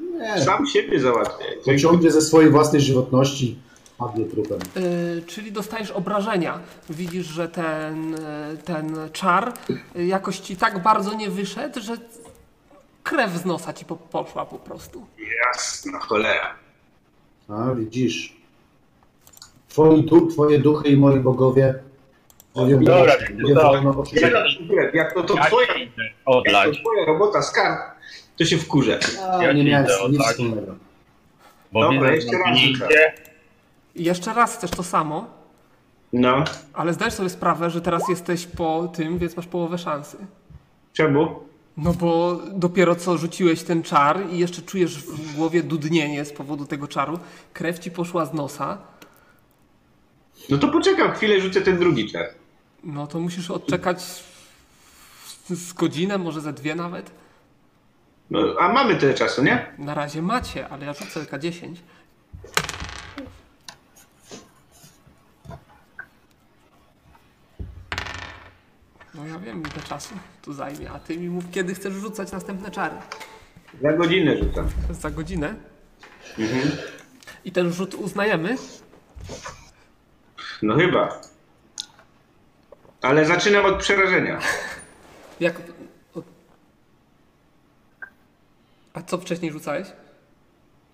[SPEAKER 6] Nie,
[SPEAKER 2] Sam siebie załatwiaj.
[SPEAKER 6] to ciągnie ze swojej własnej żywotności. Padnie trupem.
[SPEAKER 1] Y, czyli dostajesz obrażenia. Widzisz, że ten, y, ten czar y, jakoś ci tak bardzo nie wyszedł, że krew z nosa ci po- poszła po prostu.
[SPEAKER 2] Jasna cholera.
[SPEAKER 6] A, widzisz. Twoi du- twoje duchy i moi bogowie mówią,
[SPEAKER 4] Dobra,
[SPEAKER 6] że
[SPEAKER 4] to-
[SPEAKER 6] nie wolno oszukiwać.
[SPEAKER 2] Jak no, to, to
[SPEAKER 4] Ja
[SPEAKER 2] twoja,
[SPEAKER 4] się idę
[SPEAKER 2] jak to
[SPEAKER 4] odlać,
[SPEAKER 2] twoja robota z kart, to się wkurzę.
[SPEAKER 6] A, nie miałem z tym
[SPEAKER 8] tak.
[SPEAKER 6] nic wspólnego.
[SPEAKER 4] bo
[SPEAKER 2] Dobra,
[SPEAKER 4] widzę,
[SPEAKER 2] jeszcze
[SPEAKER 4] że
[SPEAKER 2] raz
[SPEAKER 4] zabiliście.
[SPEAKER 1] I jeszcze raz chcesz to samo,
[SPEAKER 2] No,
[SPEAKER 1] ale zdajesz sobie sprawę, że teraz jesteś po tym, więc masz połowę szansy.
[SPEAKER 2] czemu?
[SPEAKER 1] No bo dopiero co rzuciłeś ten czar i jeszcze czujesz w głowie dudnienie z powodu tego czaru, krew ci poszła z nosa,
[SPEAKER 2] No to poczekam chwilę, rzucę ten drugi czar.
[SPEAKER 1] no to musisz odczekać z- z godzinę, może ze dwie nawet.
[SPEAKER 2] No, a mamy tyle czasu, nie?
[SPEAKER 1] Na razie macie, ale ja rzucę K10. No ja wiem ile czasu tu zajmie, a ty mi mów kiedy chcesz rzucać następne czary.
[SPEAKER 2] Za godzinę rzucam.
[SPEAKER 1] Za godzinę. I ten rzut uznajemy.
[SPEAKER 2] No chyba. Ale zaczynam od przerażenia.
[SPEAKER 1] Jak... o- A co wcześniej rzucałeś?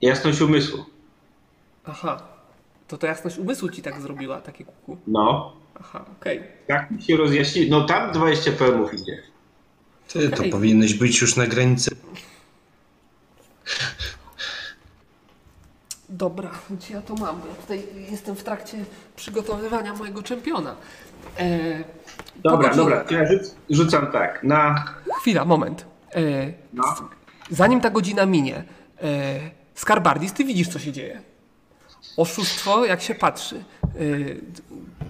[SPEAKER 2] Jasność umysłu.
[SPEAKER 1] Aha. To ta jasność umysłu ci tak zrobiła, takie kuku.
[SPEAKER 2] No.
[SPEAKER 1] Aha, okej.
[SPEAKER 2] Tak mi się rozjaśni. No tam 20 PM-ów idzie.
[SPEAKER 7] Ty, to
[SPEAKER 1] Okej.
[SPEAKER 7] powinieneś być już na granicy.
[SPEAKER 1] Dobra, gdzie ja to mam? Bo Ja tutaj jestem w trakcie przygotowywania mojego czempiona. E,
[SPEAKER 2] Dobra,
[SPEAKER 1] pogodzi-
[SPEAKER 2] dobra. Ja rzuc- rzucam tak. Na.
[SPEAKER 1] Chwila, moment. E,
[SPEAKER 2] No.
[SPEAKER 1] zanim ta godzina minie, e, Skarbardis, ty widzisz, co się dzieje. Oszustwo, jak się patrzy. E,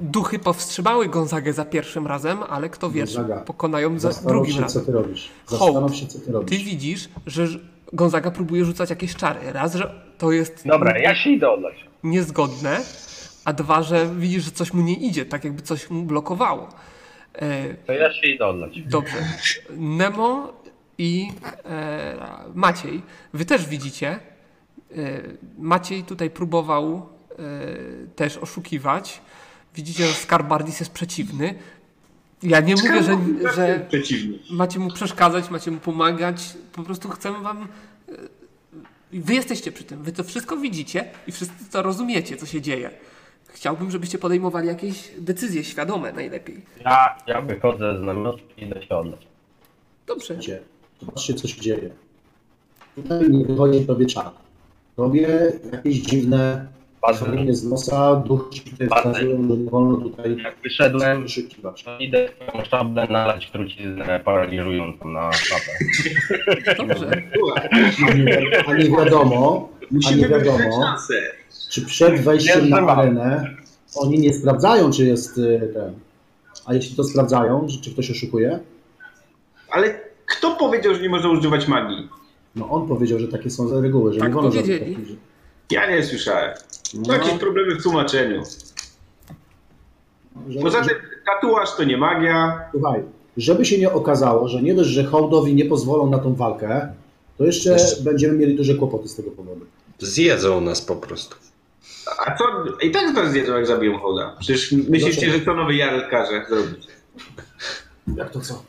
[SPEAKER 1] duchy powstrzymały Gonzagę za pierwszym razem, ale kto wie,
[SPEAKER 6] Gonzaga,
[SPEAKER 1] czy pokonają za
[SPEAKER 6] Zastanów
[SPEAKER 1] drugim
[SPEAKER 6] się, co
[SPEAKER 1] razem.
[SPEAKER 6] ty robisz.
[SPEAKER 1] Hołd.
[SPEAKER 6] Zastanów się, co ty
[SPEAKER 1] Ty
[SPEAKER 6] robisz.
[SPEAKER 1] widzisz, że ż- Gonzaga próbuje rzucać jakieś czary. Raz, że to jest
[SPEAKER 4] Dobra, ja się idę odlać.
[SPEAKER 1] niezgodne, a dwa, że widzisz, że coś mu nie idzie, tak jakby coś mu blokowało. E,
[SPEAKER 4] To ja się idę odlać.
[SPEAKER 1] dobrze. Nemo i e, Maciej. Wy też widzicie. E, Maciej tutaj próbował e, też oszukiwać. Widzicie, że Skarbardis jest przeciwny. Ja nie mówię, że,
[SPEAKER 2] tak
[SPEAKER 1] że
[SPEAKER 2] Przeciwny.
[SPEAKER 1] macie mu przeszkadzać, macie mu pomagać. Po prostu chcemy wam. e, Wy jesteście przy tym, wy to wszystko widzicie i wszyscy to rozumiecie, co się dzieje. Chciałbym, żebyście podejmowali jakieś decyzje świadome najlepiej.
[SPEAKER 4] Ja, ja wychodzę z namiotu i idę się odlać.
[SPEAKER 1] Dobrze.
[SPEAKER 6] Gdzie? Zobaczcie, co się dzieje. Tutaj nie wychodzi tobie czar. Tobie jakieś dziwne
[SPEAKER 4] Patrzę,
[SPEAKER 6] szalenie z nosa, duch ci tutaj
[SPEAKER 4] Bardzo.
[SPEAKER 6] wskazują, że nie wolno tutaj
[SPEAKER 4] jak wyszedłem,
[SPEAKER 6] oszukiwać.
[SPEAKER 4] to idę swoją szablę nalać truciznę paraliżującą na szablę.
[SPEAKER 1] Dobrze.
[SPEAKER 6] A nie, wi- a nie wiadomo, a nie
[SPEAKER 2] Musimy wybrać
[SPEAKER 6] wiadomo,
[SPEAKER 2] szansę.
[SPEAKER 6] czy przed wejściem na arenę oni nie sprawdzają, czy jest y, ten. A jeśli to sprawdzają, że- czy ktoś oszukuje,
[SPEAKER 2] Ale Kto powiedział, że nie można używać magii?
[SPEAKER 6] No on powiedział, że takie są za reguły, że
[SPEAKER 1] Tak
[SPEAKER 6] nie wolno
[SPEAKER 1] powiedzieli.
[SPEAKER 6] żadnych takich-
[SPEAKER 2] Ja nie słyszałem. To
[SPEAKER 6] No,
[SPEAKER 2] jakieś problemy w tłumaczeniu.
[SPEAKER 6] że-
[SPEAKER 2] Poza tym tatuaż to nie magia.
[SPEAKER 6] Słuchaj, żeby się nie okazało, że nie dość, że hołdowi nie pozwolą na tą walkę, to jeszcze
[SPEAKER 3] Jeszcze-
[SPEAKER 6] będziemy mieli duże kłopoty z tego powodu.
[SPEAKER 3] Zjedzą nas po prostu.
[SPEAKER 2] A co? I tak to zjedzą, jak zabiją hołda. Przecież myślicie,
[SPEAKER 6] Dlaczego?
[SPEAKER 2] że to nowy Jarl każe zrobić.
[SPEAKER 6] Jak to co?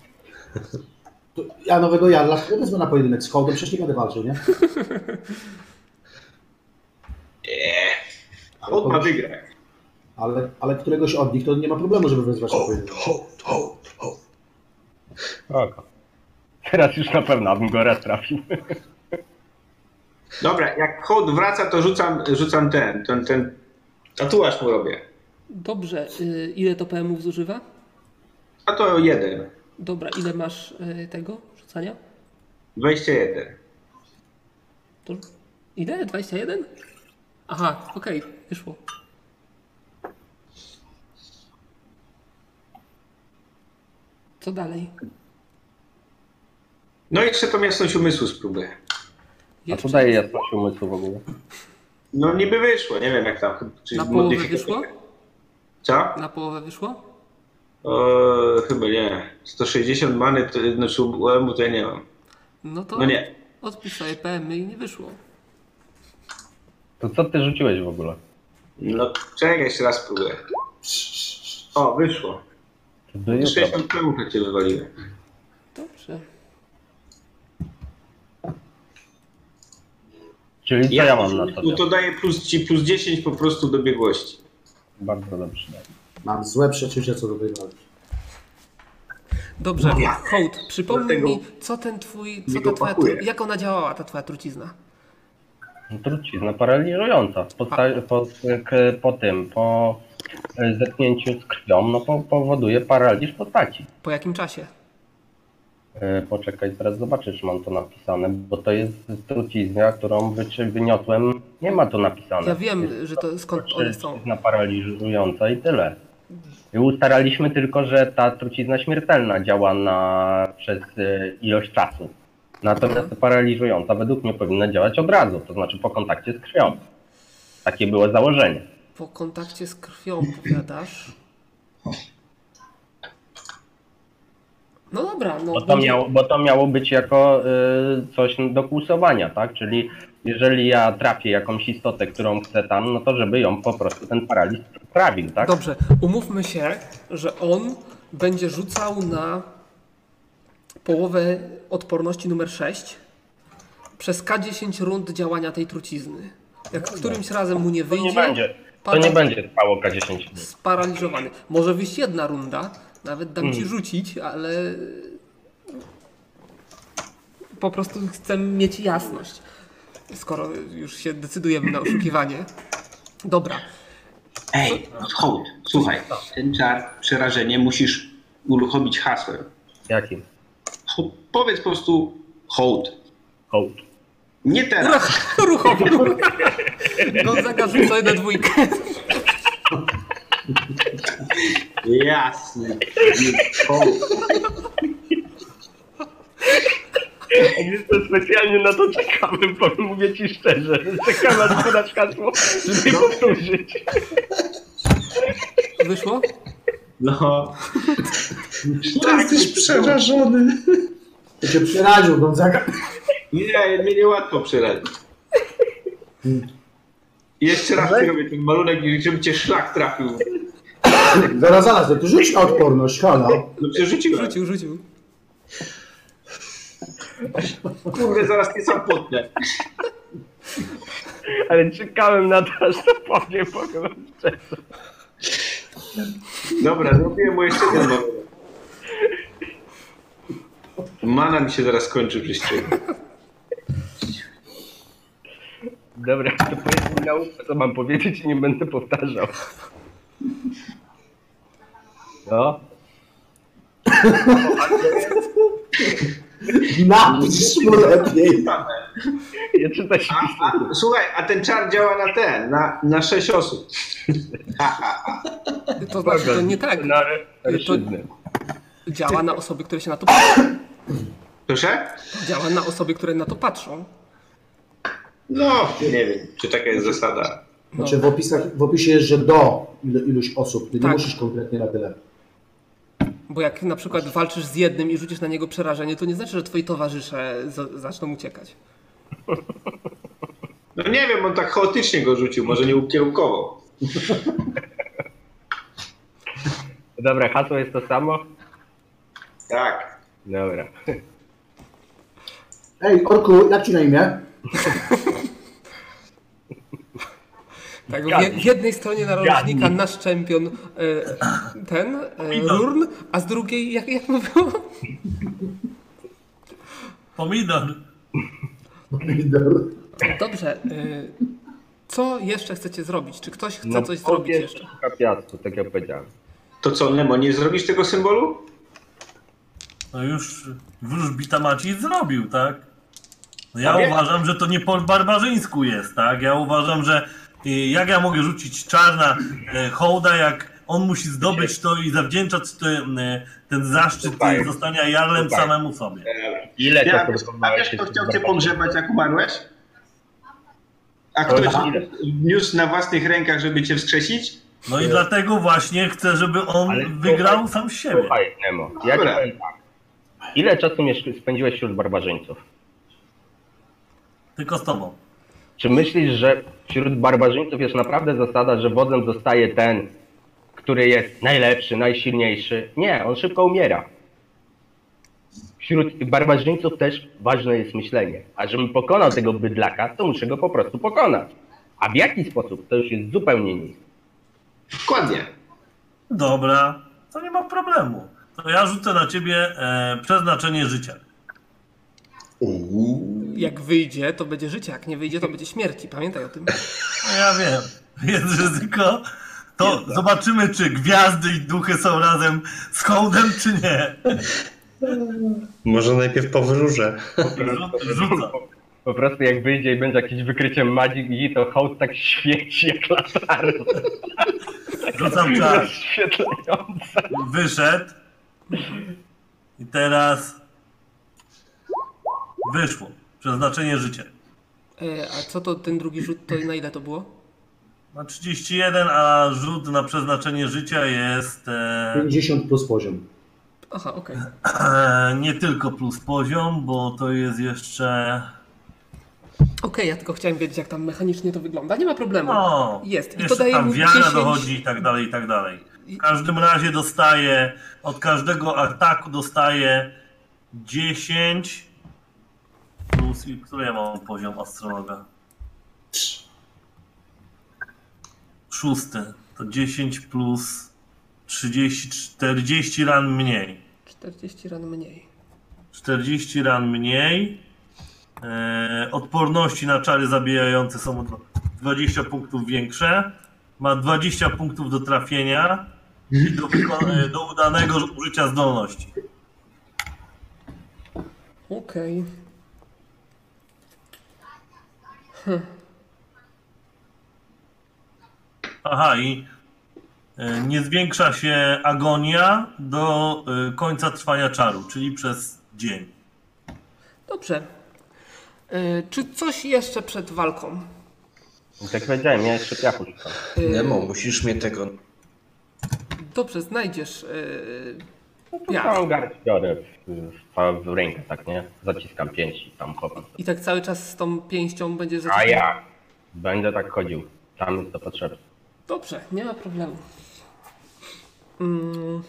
[SPEAKER 6] To ja nowego Jarla nie wezmę na pojedynek z hołdem, przecież nie będę walczył, nie?
[SPEAKER 2] Hołd ma wygrać.
[SPEAKER 6] Ale, ale któregoś od nich to nie ma problemu, żeby wezwać na pojedynek.
[SPEAKER 3] Hołd, hołd, hołd.
[SPEAKER 8] Spoko. Teraz już na pewno bym go raz trafił.
[SPEAKER 2] Dobra, jak hołd wraca, to rzucam, rzucam ten, ten, ten tatuaż mu robię.
[SPEAKER 1] Dobrze, y, ile to PM-ów zużywa?
[SPEAKER 2] A to jeden.
[SPEAKER 1] Dobra, ile masz y, tego rzucania?
[SPEAKER 2] 21.
[SPEAKER 1] To ile? 21? Aha, okej, wyszło. Co dalej?
[SPEAKER 2] No i jeszcze tą jasność umysłu spróbuję.
[SPEAKER 8] A
[SPEAKER 1] Jeszcze
[SPEAKER 8] co daje jasność umysłu w ogóle?
[SPEAKER 2] No niby wyszło, nie wiem jak tam. Czy
[SPEAKER 1] na połowę
[SPEAKER 2] modyfikacja-
[SPEAKER 1] wyszło?
[SPEAKER 2] Co?
[SPEAKER 1] Na połowę wyszło?
[SPEAKER 2] O, chyba nie. 160 many, to, znaczy UM-u to ja nie mam.
[SPEAKER 1] No to
[SPEAKER 2] No nie.
[SPEAKER 1] odpisz sobie PM i nie wyszło.
[SPEAKER 8] To co ty rzuciłeś w ogóle?
[SPEAKER 2] No czekaj, jeszcze raz spróbuję. O, wyszło.
[SPEAKER 8] To do jutra.
[SPEAKER 2] 60 temu to cię wywaliłem.
[SPEAKER 1] Dobrze.
[SPEAKER 8] Czyli co ja mam na to?
[SPEAKER 2] No to daje plus, ci plus 10 po prostu do biegłości.
[SPEAKER 8] Bardzo dobrze.
[SPEAKER 6] Mam złe przeczucia co do tej walki.
[SPEAKER 1] Dobrze, hołd, przypomnij
[SPEAKER 2] No Dlatego
[SPEAKER 1] mi, co ten twój, co
[SPEAKER 2] mi
[SPEAKER 1] ta
[SPEAKER 2] go
[SPEAKER 1] twoja,
[SPEAKER 2] pakuje.
[SPEAKER 1] tru- jak ona działała, ta twoja trucizna?
[SPEAKER 8] No Trucizna paraliżująca. Po, sta- po, k, po tym, po e, zetknięciu z krwią, no po, powoduje paraliż postaci.
[SPEAKER 1] Po jakim czasie?
[SPEAKER 8] E, Poczekaj, zaraz zobaczę, czy mam to napisane, bo to jest trucizna, którą wyczy- wyniosłem. Nie ma to napisane.
[SPEAKER 1] Ja wiem, że to skąd one są.
[SPEAKER 8] Trucizna paraliżująca i tyle. I ustalaliśmy tylko, że ta trucizna śmiertelna działa na, przez e, ilość czasu. Natomiast paraliżująca według mnie powinna działać od razu, to znaczy po kontakcie z krwią. Takie było założenie.
[SPEAKER 1] Po kontakcie z krwią, powiadasz? No dobra, no
[SPEAKER 8] Bo to,
[SPEAKER 1] będzie-
[SPEAKER 8] miało, bo to miało być jako y, coś do kłusowania, tak? Czyli jeżeli ja trafię jakąś istotę, którą chcę tam, no to żeby ją po prostu ten paraliż trawił, tak?
[SPEAKER 1] Dobrze, umówmy się, że on będzie rzucał na połowę odporności numer 6 przez K10 rund działania tej trucizny. Jak którymś razem mu nie
[SPEAKER 8] No to nie
[SPEAKER 1] wyjdzie,
[SPEAKER 8] będzie. To nie będzie trwało K10 dni.
[SPEAKER 1] sparaliżowany. Może wyjść jedna runda, nawet dam ci rzucić, ale po prostu chcę mieć jasność, skoro już się decydujemy na oszukiwanie. Dobra,
[SPEAKER 2] Ej, hołd, słuchaj. Ten czar, przerażenie musisz uruchomić hasłem.
[SPEAKER 8] Jakim?
[SPEAKER 2] Ho- Powiedz po prostu hołd.
[SPEAKER 8] Hołd.
[SPEAKER 2] Nie teraz.
[SPEAKER 1] Ruch, ruchowo. Gonzaga rzuca na dwójkę.
[SPEAKER 2] Jasne. Hołd.
[SPEAKER 8] To specjalnie na to czekamy, bo mówię ci szczerze, czekamy aż podasz hasło, żeby powtórzyć.
[SPEAKER 1] Wyszło?
[SPEAKER 2] No.
[SPEAKER 3] Tak, jesteś przerażony.
[SPEAKER 6] To cię przeraził Gonzaga.
[SPEAKER 2] Nie, mnie niełatwo przerazić. Jeszcze raz ci robię ten malunek, i żeby cię szlak trafił.
[SPEAKER 6] Zaraz, zaraz, no to rzuć na odporność, halo.
[SPEAKER 2] No przecież rzuciłem.
[SPEAKER 1] Rzucił, rzucił.
[SPEAKER 2] Kurde, zaraz nie sam potnę.
[SPEAKER 8] Ale czekałem na to, aż to powiem, powiem wam szczerze.
[SPEAKER 2] Dobra, zrobiłem mu jeszcze jeden malunek. Mana mi się zaraz kończy w liście.
[SPEAKER 8] Dobra, to powiedz mi na ucho, co mam powiedzieć i nie będę powtarzał. No.
[SPEAKER 6] Napisz mu lepiej.
[SPEAKER 8] Ja czytać
[SPEAKER 2] A, a, słuchaj, a ten czar działa na ten, na, na sześć osób.
[SPEAKER 1] To znaczy,
[SPEAKER 8] No,
[SPEAKER 1] to nie tak.
[SPEAKER 8] na
[SPEAKER 1] To działa na osoby, które się na to patrzą.
[SPEAKER 2] Proszę?
[SPEAKER 1] Działa na osoby, które na to patrzą.
[SPEAKER 2] No, nie wiem, czy taka jest zasada.
[SPEAKER 6] Znaczy w, opisach, w opisie jest, że do ilu, iluś osób. Ty
[SPEAKER 1] Tak.
[SPEAKER 6] nie musisz konkretnie na tyle.
[SPEAKER 1] Bo jak na przykład walczysz z jednym i rzucisz na niego przerażenie, to nie znaczy, że twoi towarzysze za- zaczną uciekać.
[SPEAKER 2] No nie wiem, on tak chaotycznie go rzucił, może nie ukierunkował.
[SPEAKER 8] Dobra, hasło jest to samo?
[SPEAKER 2] Tak.
[SPEAKER 8] Dobra.
[SPEAKER 6] Ej, Orku, jak ci na imię?
[SPEAKER 1] Tak,
[SPEAKER 8] Zgadza
[SPEAKER 1] w, w
[SPEAKER 8] się.
[SPEAKER 1] jednej stronie narożnika
[SPEAKER 8] Zgadnij.
[SPEAKER 1] nasz czempion e, ten, e,
[SPEAKER 5] Pomidor.
[SPEAKER 1] Rurn, a z drugiej, jak, jak mówią,
[SPEAKER 5] Pomidor.
[SPEAKER 6] Pomidor.
[SPEAKER 1] Dobrze. y, Co jeszcze chcecie zrobić? Czy ktoś chce
[SPEAKER 8] No,
[SPEAKER 1] coś zrobić
[SPEAKER 8] powiedz-
[SPEAKER 1] jeszcze?
[SPEAKER 8] Szuka piasku, tak jak powiedziałem.
[SPEAKER 2] To co, Nemo, nie zrobisz tego symbolu?
[SPEAKER 5] No już wróżbita Maciej zrobił, tak? No ja
[SPEAKER 2] A wie-
[SPEAKER 5] uważam, że to nie po barbarzyńsku jest, tak? Ja uważam, że y, jak ja mogę rzucić czarna e, hołda, jak on musi zdobyć to i zawdzięczać ten, e, ten zaszczyt
[SPEAKER 8] Tutaj.
[SPEAKER 5] e, zostania jarlem
[SPEAKER 8] Tutaj.
[SPEAKER 5] samemu sobie.
[SPEAKER 8] Ile
[SPEAKER 2] Ja,
[SPEAKER 8] czasu
[SPEAKER 2] a
[SPEAKER 8] wykonałeś
[SPEAKER 2] wiesz, kto
[SPEAKER 8] się
[SPEAKER 2] chciał
[SPEAKER 8] z
[SPEAKER 2] cię pogrzebać, jak umarłeś? A
[SPEAKER 8] To
[SPEAKER 2] ktoś
[SPEAKER 8] na ile?
[SPEAKER 2] niósł na własnych rękach, żeby cię wskrzesić?
[SPEAKER 5] No i dlatego właśnie chcę, żeby on
[SPEAKER 8] E, Ale
[SPEAKER 5] wygrał
[SPEAKER 8] słuchaj,
[SPEAKER 5] sam siebie.
[SPEAKER 8] Słuchaj, Nemo, ja ci
[SPEAKER 2] Dobra.
[SPEAKER 8] powiem tak. Ile czasu miesz- spędziłeś wśród barbarzyńców?
[SPEAKER 5] Tylko z tobą.
[SPEAKER 8] Czy myślisz, że wśród barbarzyńców jest naprawdę zasada, że wodzem zostaje ten, który jest najlepszy, najsilniejszy? Nie, on szybko umiera. Wśród barbarzyńców też ważne jest myślenie. A żebym pokonał tego bydlaka, to muszę go po prostu pokonać. A w jaki sposób, to już jest zupełnie nic.
[SPEAKER 2] Dokładnie.
[SPEAKER 5] Dobra, to nie ma problemu. To ja rzucę na ciebie e, przeznaczenie życia.
[SPEAKER 1] Jak wyjdzie, to będzie życie, jak nie wyjdzie, to będzie śmierci. Pamiętaj o tym.
[SPEAKER 5] No ja wiem, jest ryzyko. To zobaczymy, czy gwiazdy i duchy są razem z hołdem, czy nie.
[SPEAKER 3] Może najpierw powróżę.
[SPEAKER 5] Rzut- Rzucam.
[SPEAKER 8] Po prostu jak wyjdzie i będzie jakieś wykrycie magii, to hołd tak świeci jak latarnia. Tak
[SPEAKER 5] Rzucam czar.
[SPEAKER 8] Rozświetlająca.
[SPEAKER 5] Wyszedł. I teraz. Wyszło. Przeznaczenie życia.
[SPEAKER 1] E, A co to ten drugi rzut, to na ile to było?
[SPEAKER 5] Na 31, a rzut na przeznaczenie życia jest e,
[SPEAKER 6] 50 plus poziom.
[SPEAKER 1] Aha, okej.
[SPEAKER 5] e, nie tylko plus poziom, bo to jest jeszcze.
[SPEAKER 1] Okej, ja tylko chciałem wiedzieć, jak tam mechanicznie to wygląda. Nie ma problemu.
[SPEAKER 5] No,
[SPEAKER 1] Jest. I to
[SPEAKER 5] jeszcze
[SPEAKER 1] daje
[SPEAKER 5] tam
[SPEAKER 1] mi
[SPEAKER 5] wiara
[SPEAKER 1] 10.
[SPEAKER 5] dochodzi i tak dalej, i tak dalej. W każdym razie dostaje, od każdego ataku dostaje 10 plus, i który ja mam poziom astrologa? Szósty. To 10 plus 30, 40 ran mniej.
[SPEAKER 1] 40 ran mniej.
[SPEAKER 5] 40 ran mniej. E, odporności na czary zabijające są o 20 punktów większe. Ma 20 punktów do trafienia i do, wyko- e, do udanego użycia zdolności.
[SPEAKER 1] Okej.
[SPEAKER 5] Aha, i e, nie zwiększa się agonia do e, końca trwania czaru, czyli przez dzień.
[SPEAKER 1] Dobrze. E, Czy coś jeszcze przed walką?
[SPEAKER 8] Tak powiedziałem, ja jeszcze piachu szukam.
[SPEAKER 1] E,
[SPEAKER 3] Nemo, musisz mnie tego...
[SPEAKER 1] Dobrze, znajdziesz. e,
[SPEAKER 8] Tu
[SPEAKER 1] piach.
[SPEAKER 8] całą garść biorę w, w, w rękę, tak nie? Zaciskam pięć i tam chowam.
[SPEAKER 1] I tak cały czas z tą pięścią będziesz
[SPEAKER 8] A
[SPEAKER 1] zaciskał?
[SPEAKER 8] ja będę tak chodził. Tam jest to potrzebne.
[SPEAKER 1] Dobrze, nie ma problemu. Mm,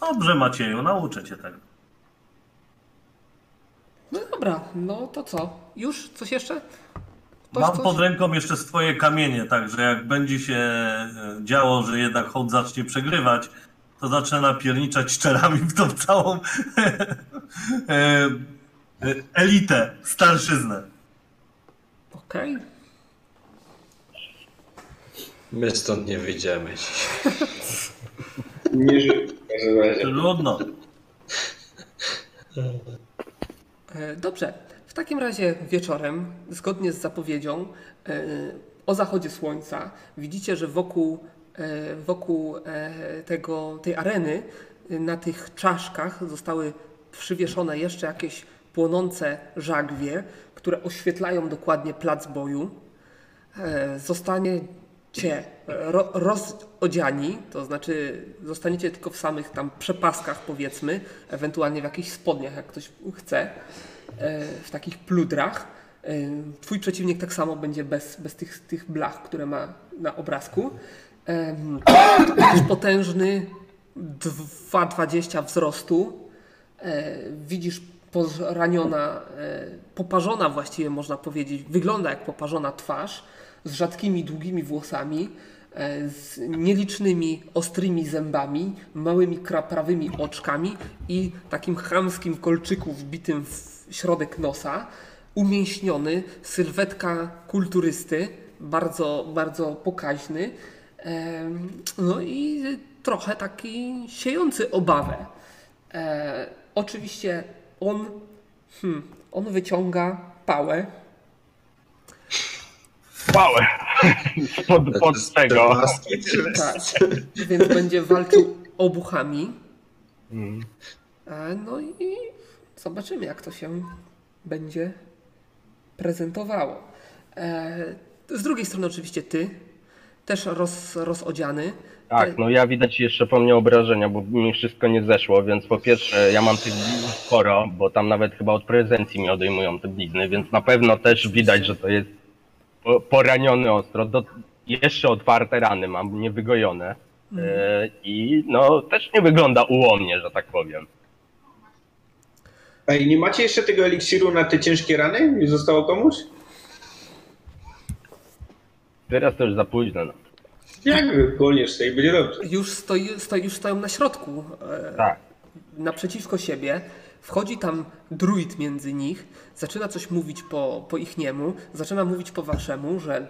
[SPEAKER 5] Dobrze, Macieju, nauczę cię tego.
[SPEAKER 1] no dobra, no to co? Już? Coś jeszcze? Ktoś
[SPEAKER 5] Mam
[SPEAKER 1] coś?
[SPEAKER 5] pod ręką jeszcze swoje kamienie, także jak będzie się e, działo, że jednak hołd zacznie przegrywać, to zacznę napierniczać czerami w tą całą e, e, elitę, starszyznę.
[SPEAKER 1] Okej.
[SPEAKER 3] My stąd nie wyjdziemy dziś.
[SPEAKER 2] Nie żył. w każdym razie.
[SPEAKER 5] Trudno.
[SPEAKER 1] E, Dobrze. W takim razie wieczorem, zgodnie z zapowiedzią, e, o zachodzie słońca widzicie, że wokół, e, wokół e, tego, tej areny e, na tych czaszkach zostały przywieszone jeszcze jakieś płonące żagwie, które oświetlają dokładnie plac boju. E, Zostaniecie e, ro, rozodziani, to znaczy zostaniecie tylko w samych tam przepaskach powiedzmy, ewentualnie w jakichś spodniach, jak ktoś chce, e, w takich pludrach. E, Twój przeciwnik tak samo będzie bez, bez tych, tych blach, które ma na obrazku. Em, Widzisz potężny 2,20 wzrostu. E, widzisz poraniona, e, poparzona właściwie można powiedzieć, wygląda jak poparzona twarz z rzadkimi, długimi włosami, e, z nielicznymi, ostrymi zębami, małymi, kraprawymi oczkami i takim chamskim kolczyku wbitym w środek nosa. Umięśniony, sylwetka kulturysty, bardzo, bardzo pokaźny. Em, No i trochę taki siejący obawę. E, oczywiście on, hmm, on wyciąga pałę.
[SPEAKER 8] Pałę. Spod, pod
[SPEAKER 10] Z
[SPEAKER 8] tego.
[SPEAKER 10] maski.
[SPEAKER 1] Tak, więc będzie walczył obuchami.
[SPEAKER 8] Mm.
[SPEAKER 1] E, no i zobaczymy, jak to się będzie prezentowało. E, z drugiej strony, oczywiście, ty też roz, rozodziany. Y-
[SPEAKER 8] Tak, no ja widać jeszcze po mnie obrażenia, bo mi wszystko nie zeszło, więc po pierwsze ja mam tych blizn sporo, bo tam nawet chyba od prezencji mi odejmują te blizny, więc na pewno też widać, że to jest po- poraniony ostro. Do, jeszcze otwarte rany mam, niewygojone. E, I no też nie wygląda ułomnie, że tak powiem.
[SPEAKER 2] Ej, nie macie jeszcze tego eliksiru na te ciężkie rany? Nie zostało komuś?
[SPEAKER 8] Teraz to już za późno. No.
[SPEAKER 2] Jak koniesz tej będzie dobrze.
[SPEAKER 1] Już, stoi, stoi, już stoją na środku. E,
[SPEAKER 8] Tak.
[SPEAKER 1] naprzeciwko siebie. Wchodzi tam druid między nich, zaczyna coś mówić po, po ich niemu, zaczyna mówić po waszemu, że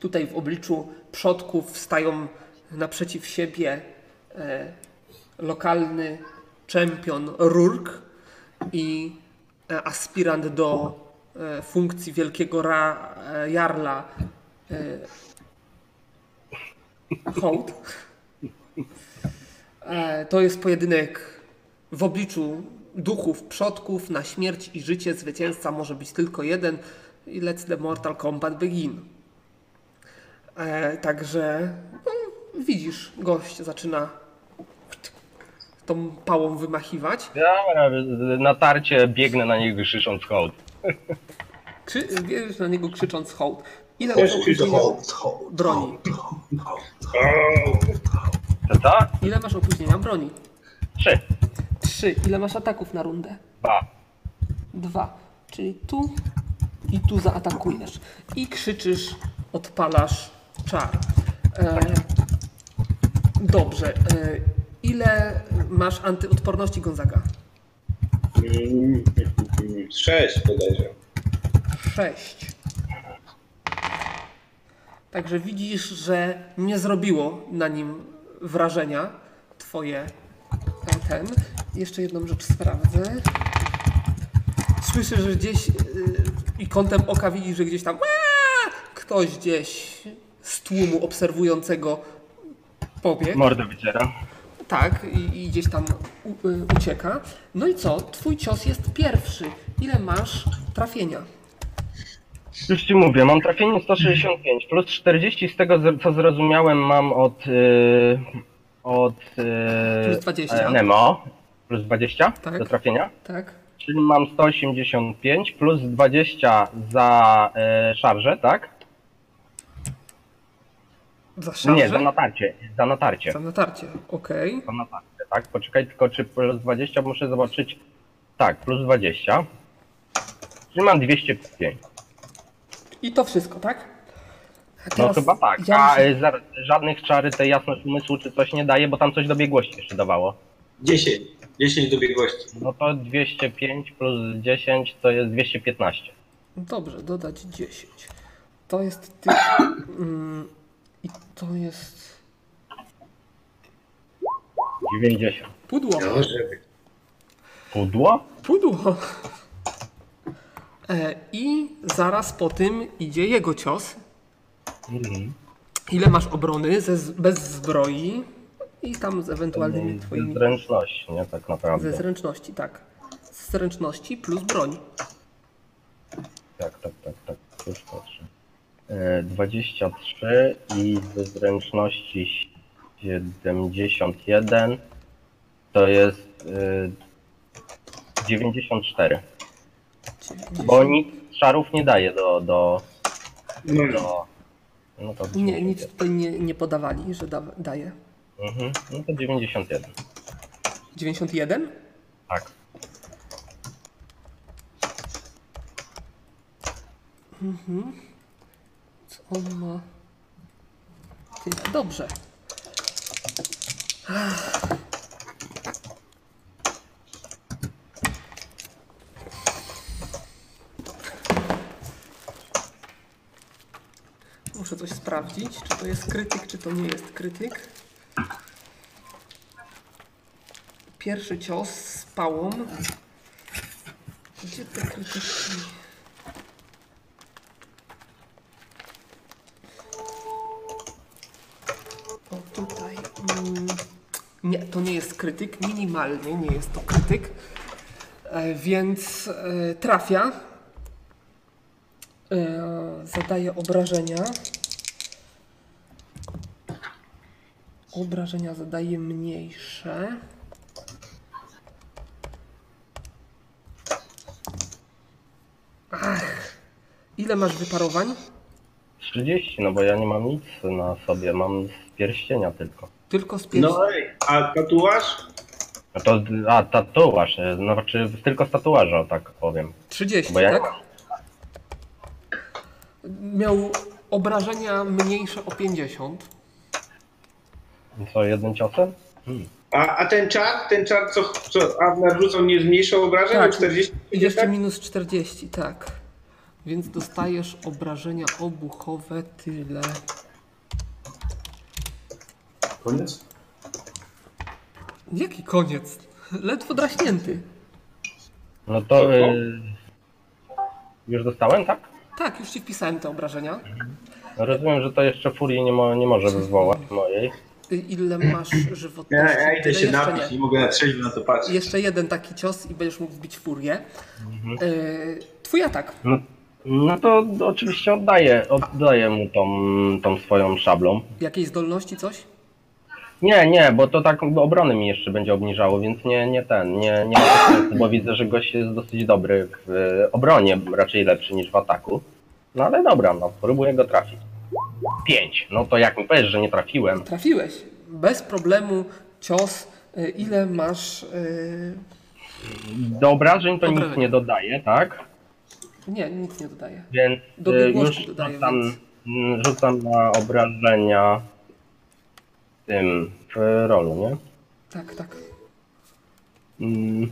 [SPEAKER 1] tutaj w obliczu przodków stają naprzeciw siebie e, lokalny czempion Rurk i e, aspirant do e, funkcji wielkiego ra, e, jarla e, Hołd. E, To jest pojedynek w obliczu duchów, przodków, na śmierć i życie zwycięzca może być tylko jeden i let's the Mortal Kombat begin. E, także no, widzisz, gość zaczyna tą pałą wymachiwać.
[SPEAKER 8] Dobra, z- natarcie biegnę na niego krzysząc hołd.
[SPEAKER 1] Krzy, wiesz, na niego krzycząc hołd. Ile
[SPEAKER 2] Też
[SPEAKER 1] masz
[SPEAKER 2] krzyczę,
[SPEAKER 1] opóźnienia
[SPEAKER 2] hołd,
[SPEAKER 1] broni?
[SPEAKER 8] To co?
[SPEAKER 1] Ile masz opóźnienia broni?
[SPEAKER 8] Trzy,
[SPEAKER 1] Trzy. Ile masz ataków na rundę?
[SPEAKER 8] dwa.
[SPEAKER 1] Dwa. Czyli tu i tu zaatakujesz. I krzyczysz, odpalasz czar. E, dobrze. E, ile masz antyodporności, Gonzaga?
[SPEAKER 2] Mm, Sześć bodajże.
[SPEAKER 1] Sześć. Także widzisz, że nie zrobiło na nim wrażenia twoje e, ten. Jeszcze jedną rzecz sprawdzę. Słyszę, że gdzieś yy, i kątem oka widzisz, że gdzieś tam aaa, ktoś gdzieś z tłumu obserwującego pobiegł.
[SPEAKER 8] Mordę wycieram.
[SPEAKER 1] Tak, i, i gdzieś tam u, y, ucieka. No i co? Twój cios jest pierwszy. Ile masz trafienia?
[SPEAKER 8] Już ci mówię, mam trafienie 165 plus 40 z tego z- co zrozumiałem mam od yy, od yy,
[SPEAKER 1] Plus 20.
[SPEAKER 8] e, Nemo plus 20
[SPEAKER 1] Tak.
[SPEAKER 8] do trafienia,
[SPEAKER 1] Tak?
[SPEAKER 8] czyli mam 185 plus 20 za e, szarżę, tak?
[SPEAKER 1] Za
[SPEAKER 8] Nie, za
[SPEAKER 1] szarżę?
[SPEAKER 8] natarcie, za natarcie.
[SPEAKER 1] Za natarcie, okej.
[SPEAKER 8] Za natarcie, tak? Poczekaj tylko czy plus 20 muszę zobaczyć. Tak, plus 20. Czyli mam 205.
[SPEAKER 1] I to wszystko, tak? A
[SPEAKER 8] No
[SPEAKER 1] teraz
[SPEAKER 8] chyba tak.
[SPEAKER 1] Ja
[SPEAKER 8] A
[SPEAKER 1] muszę...
[SPEAKER 8] e, zaraz, żadnych czary tej jasność umysłu czy coś nie daje, bo tam coś do biegłości jeszcze dawało.
[SPEAKER 2] Dziesięć. Dziesięć dobiegłości.
[SPEAKER 8] No to 205 plus 10 to jest 215. y-
[SPEAKER 1] Dobrze, dodać 10. To jest ty... Mm, I to jest...
[SPEAKER 8] 90.
[SPEAKER 1] Pudło.
[SPEAKER 8] Pudło?
[SPEAKER 1] Pudło. E, I zaraz po tym idzie jego cios.
[SPEAKER 8] Mhm.
[SPEAKER 1] Ile masz obrony ze, z- bez zbroi i tam z ewentualnymi
[SPEAKER 8] Z
[SPEAKER 1] twoimi...
[SPEAKER 8] zręczności, nie? Tak naprawdę.
[SPEAKER 1] Ze zręczności, tak. z ręczności plus broń.
[SPEAKER 8] Tak, tak, tak, tak. Już patrzę. E, 23 i ze zręczności 71 to jest e, 94. Bo nic szarów nie daje do. do,
[SPEAKER 2] No, no.
[SPEAKER 8] do no to
[SPEAKER 1] Nie, nic
[SPEAKER 8] 91.
[SPEAKER 1] tutaj nie, nie podawali, że da, daje.
[SPEAKER 8] Mhm. No to 91.
[SPEAKER 1] 91?
[SPEAKER 8] Tak.
[SPEAKER 1] Co on ma? Tyle. Dobrze. Ach. Muszę coś sprawdzić, czy to jest krytyk, czy to nie jest krytyk. Pierwszy cios z pałą. Gdzie te krytyczki? O tutaj. Mm, Nie, to nie jest krytyk, minimalny, nie jest to krytyk. E, Więc e, trafia. E, Zadaje obrażenia. Obrażenia zadaje mniejsze. Ach, ile masz wyparowań?
[SPEAKER 8] 30, no bo ja nie mam nic na sobie, mam z pierścienia tylko.
[SPEAKER 1] Tylko z pięć.
[SPEAKER 2] no ej, a tatuaż?
[SPEAKER 8] No to, a tatuaż, e, no znaczy tylko z tatuaża, tak powiem.
[SPEAKER 1] 30,
[SPEAKER 8] Bo ja nie
[SPEAKER 1] tak? Miał obrażenia mniejsze o 50.
[SPEAKER 8] Co, jednym ciosem?
[SPEAKER 2] A, a ten czar, ten czar, co, co Avnar rzucał, nie zmniejszał obrażeń
[SPEAKER 1] Tak.
[SPEAKER 2] o 40?
[SPEAKER 1] I jeszcze minus 40, tak. Więc dostajesz obrażenia obuchowe tyle.
[SPEAKER 6] Koniec?
[SPEAKER 1] Jaki koniec? Ledwo draśnięty.
[SPEAKER 8] No to. e, już dostałem, tak?
[SPEAKER 1] Tak, już ci wpisałem te obrażenia.
[SPEAKER 8] No Rozumiem, że to jeszcze furii nie, mo- nie może wywołać mojej.
[SPEAKER 1] Y, Ile masz
[SPEAKER 2] Ja,
[SPEAKER 1] żywotności?
[SPEAKER 2] ja idę
[SPEAKER 1] Tyle
[SPEAKER 2] się
[SPEAKER 1] jeszcze
[SPEAKER 2] napić,
[SPEAKER 1] nie.
[SPEAKER 2] nie mogę na trzeźwo na to patrzeć.
[SPEAKER 1] Jeszcze jeden taki cios i będziesz mógł wbić furię.
[SPEAKER 2] Mhm.
[SPEAKER 1] Y, Twój atak.
[SPEAKER 8] No, no to oczywiście oddaję, oddaję mu tą, tą swoją szablą.
[SPEAKER 1] Jakiej zdolności coś?
[SPEAKER 8] Nie, nie, bo to tak obrony mi jeszcze będzie obniżało, więc nie, nie ten, nie, nie ma sensu, bo widzę, że gość jest dosyć dobry w e, obronie, raczej lepszy niż w ataku. No ale dobra, no próbuję go trafić. Pięć. No to jak mi powiesz, że nie trafiłem,
[SPEAKER 1] Trafiłeś. Bez problemu cios. Y, Ile masz. y,
[SPEAKER 8] do obrażeń to
[SPEAKER 1] Dobra.
[SPEAKER 8] nic nie dodaje, tak?
[SPEAKER 1] Nie, nic nie dodaję.
[SPEAKER 8] Więc
[SPEAKER 1] Do
[SPEAKER 8] e,
[SPEAKER 1] biegłości
[SPEAKER 8] już
[SPEAKER 1] dodaję,
[SPEAKER 8] rzucam,
[SPEAKER 1] więc-
[SPEAKER 8] mm, rzucam na obrażenia w tym w rolu, nie?
[SPEAKER 1] Tak, tak.
[SPEAKER 8] Mm.